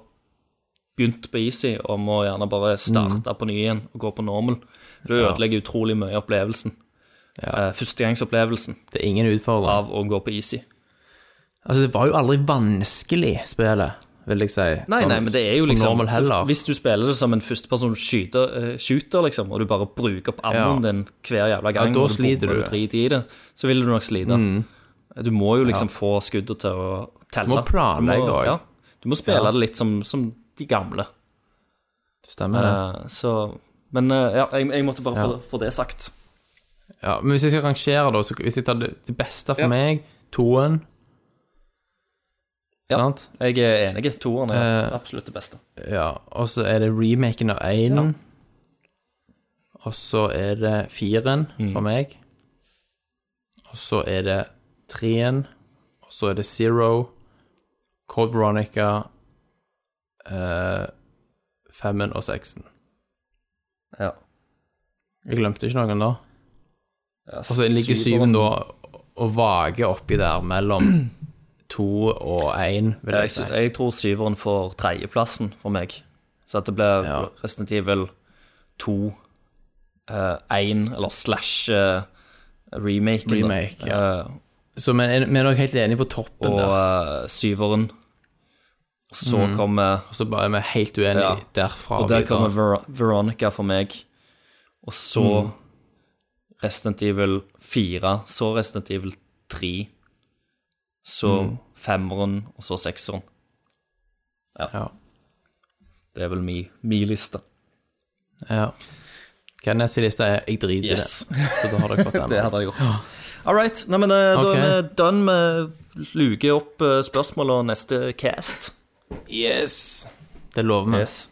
Speaker 5: begynt på Easy, om å gjerne bare
Speaker 4: Mm.
Speaker 5: starte på ny igjen og gå på normal. For det ødelegger utrolig mye opplevelsen. Eh, førstegangsopplevelsen
Speaker 4: Det er ingen utfordring.
Speaker 5: av å gå på Easy.
Speaker 4: Altså, det var jo aldri vanskelig, spillet. vil jeg si.
Speaker 5: Nei,
Speaker 4: Sånn
Speaker 5: nei, men det er jo liksom
Speaker 4: normal heller.
Speaker 5: Hvis du spiller det som en førsteperson skyter, eh, shooter, liksom, og du bare bruker opp ammoen din hver jævla gang,
Speaker 4: Ja, da
Speaker 5: og
Speaker 4: sliter
Speaker 5: bomber
Speaker 4: du. Mm.
Speaker 5: og driter i det, så vil du nok slite. Du må jo liksom få skuddet til å telle.
Speaker 4: Du må planlegge
Speaker 5: Du må-
Speaker 4: også.
Speaker 5: ja. Du må spille det litt som, som de gamle.
Speaker 4: Stemmer det.
Speaker 5: Eh, Så Men eh, ja, jeg, jeg måtte bare få, få det sagt.
Speaker 4: Ja, men hvis jeg skal rangere, da, så hvis jeg tar det, det beste for meg, toen
Speaker 5: Ja.
Speaker 4: Sant?
Speaker 5: Jeg er enig. Toeren er
Speaker 4: Eh.
Speaker 5: absolutt det beste.
Speaker 4: Ja, og så er det remaken av Einen. Og så er det firen for meg. Og så er det treen. Og så er det Zero, Cold Veronica, eh, femmen og seksen.
Speaker 5: Ja.
Speaker 4: Jeg glemte ikke noen da. Og så Altså, ligger
Speaker 5: syveren-
Speaker 4: syven da og vager oppi der mellom [clears throat] to og én, vil
Speaker 5: Jeg,
Speaker 4: jeg si.
Speaker 5: sy- jeg tror syveren får tredjeplassen for meg. Så at det blir
Speaker 4: Ja.
Speaker 5: Resident Evil 2, én, eh, eller slash eh, remaken. da.
Speaker 4: Remake,
Speaker 5: Eh,
Speaker 4: Så men er- vi er nok helt enige på toppen
Speaker 5: og
Speaker 4: der. Mhm.
Speaker 5: eh, syveren. Og så kommer
Speaker 4: Og så bare er vi helt uenige
Speaker 5: Ja.
Speaker 4: derfra.
Speaker 5: Og der
Speaker 4: videre.
Speaker 5: kommer Ver Veronica for meg. Og så
Speaker 4: Mm.
Speaker 5: Resident Evil 4, så Resident Evil 3, så
Speaker 4: Mm.
Speaker 5: femmeren, og så sekseren.
Speaker 4: ja.
Speaker 5: Det er vel mi, mi liste.
Speaker 4: ja. Hva er neste liste? er? Jeg driter
Speaker 5: Yes.
Speaker 4: i det. Så da har dere
Speaker 5: [laughs]
Speaker 4: fått den.
Speaker 5: Det hadde jeg gjort. All right. Nei, men eh, da
Speaker 4: Ok.
Speaker 5: er vi done med å luke opp eh, spørsmål og neste cast.
Speaker 4: Yes! Det lover vi.
Speaker 5: Yes.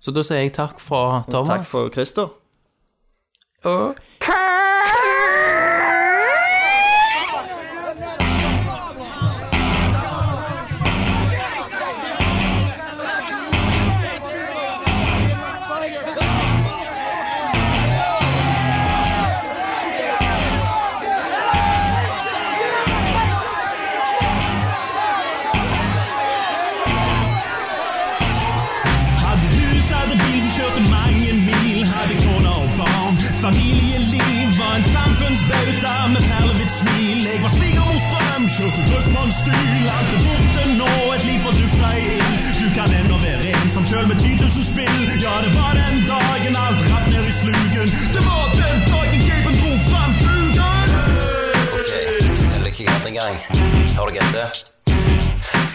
Speaker 4: Så da sier jeg takk fra Thomas.
Speaker 5: Takk for Christer.
Speaker 9: Hadde hus, hadde bil som kjørte mange mil. Hadde kone og barn. Familieliv var en samfunnsbauta med perlevitt smil. Jeg var svigermors drøm, kjørte drøssmannsstil. Alt er borte nå, et liv fordufta i ild. Du kan ennå være en som sjøl med 10 000 spill. Ja, det var den dagen alt ratt ned i slugen. Det var den dagen Gaben drog fram kuken.
Speaker 10: Fortell
Speaker 3: er
Speaker 10: deg hva jeg hadde en gang. Hører dere etter?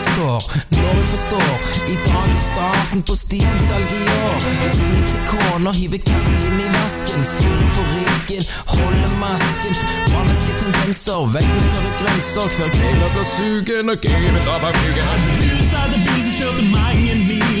Speaker 11: jeg står, når jeg forstår I dag er starten på stilsalg i år Jeg finner til kona, hiver kaffen i vasken Fyrer på ryggen, holder masken Maniske tendenser, vekk med større grenser Hver kveld blir sugen og gamet av av kuken
Speaker 9: Hadde hus, hadde bil som kjørte mange mil.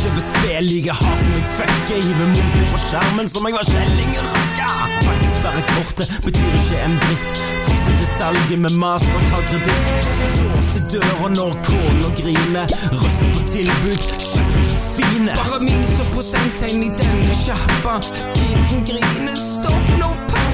Speaker 11: kjøper spill, liker har som jeg fucker Hiver munker på skjermen som jeg var kjelling i røkka Faktisk bare kortet betyr ikke en dritt Fortsetter salget med mastercard-kreditt Låser døra når kona griner Røster på tilbud, kjøpt fine Bare minus og prosenttegn i denne kjappa Kitten griner, stopp nå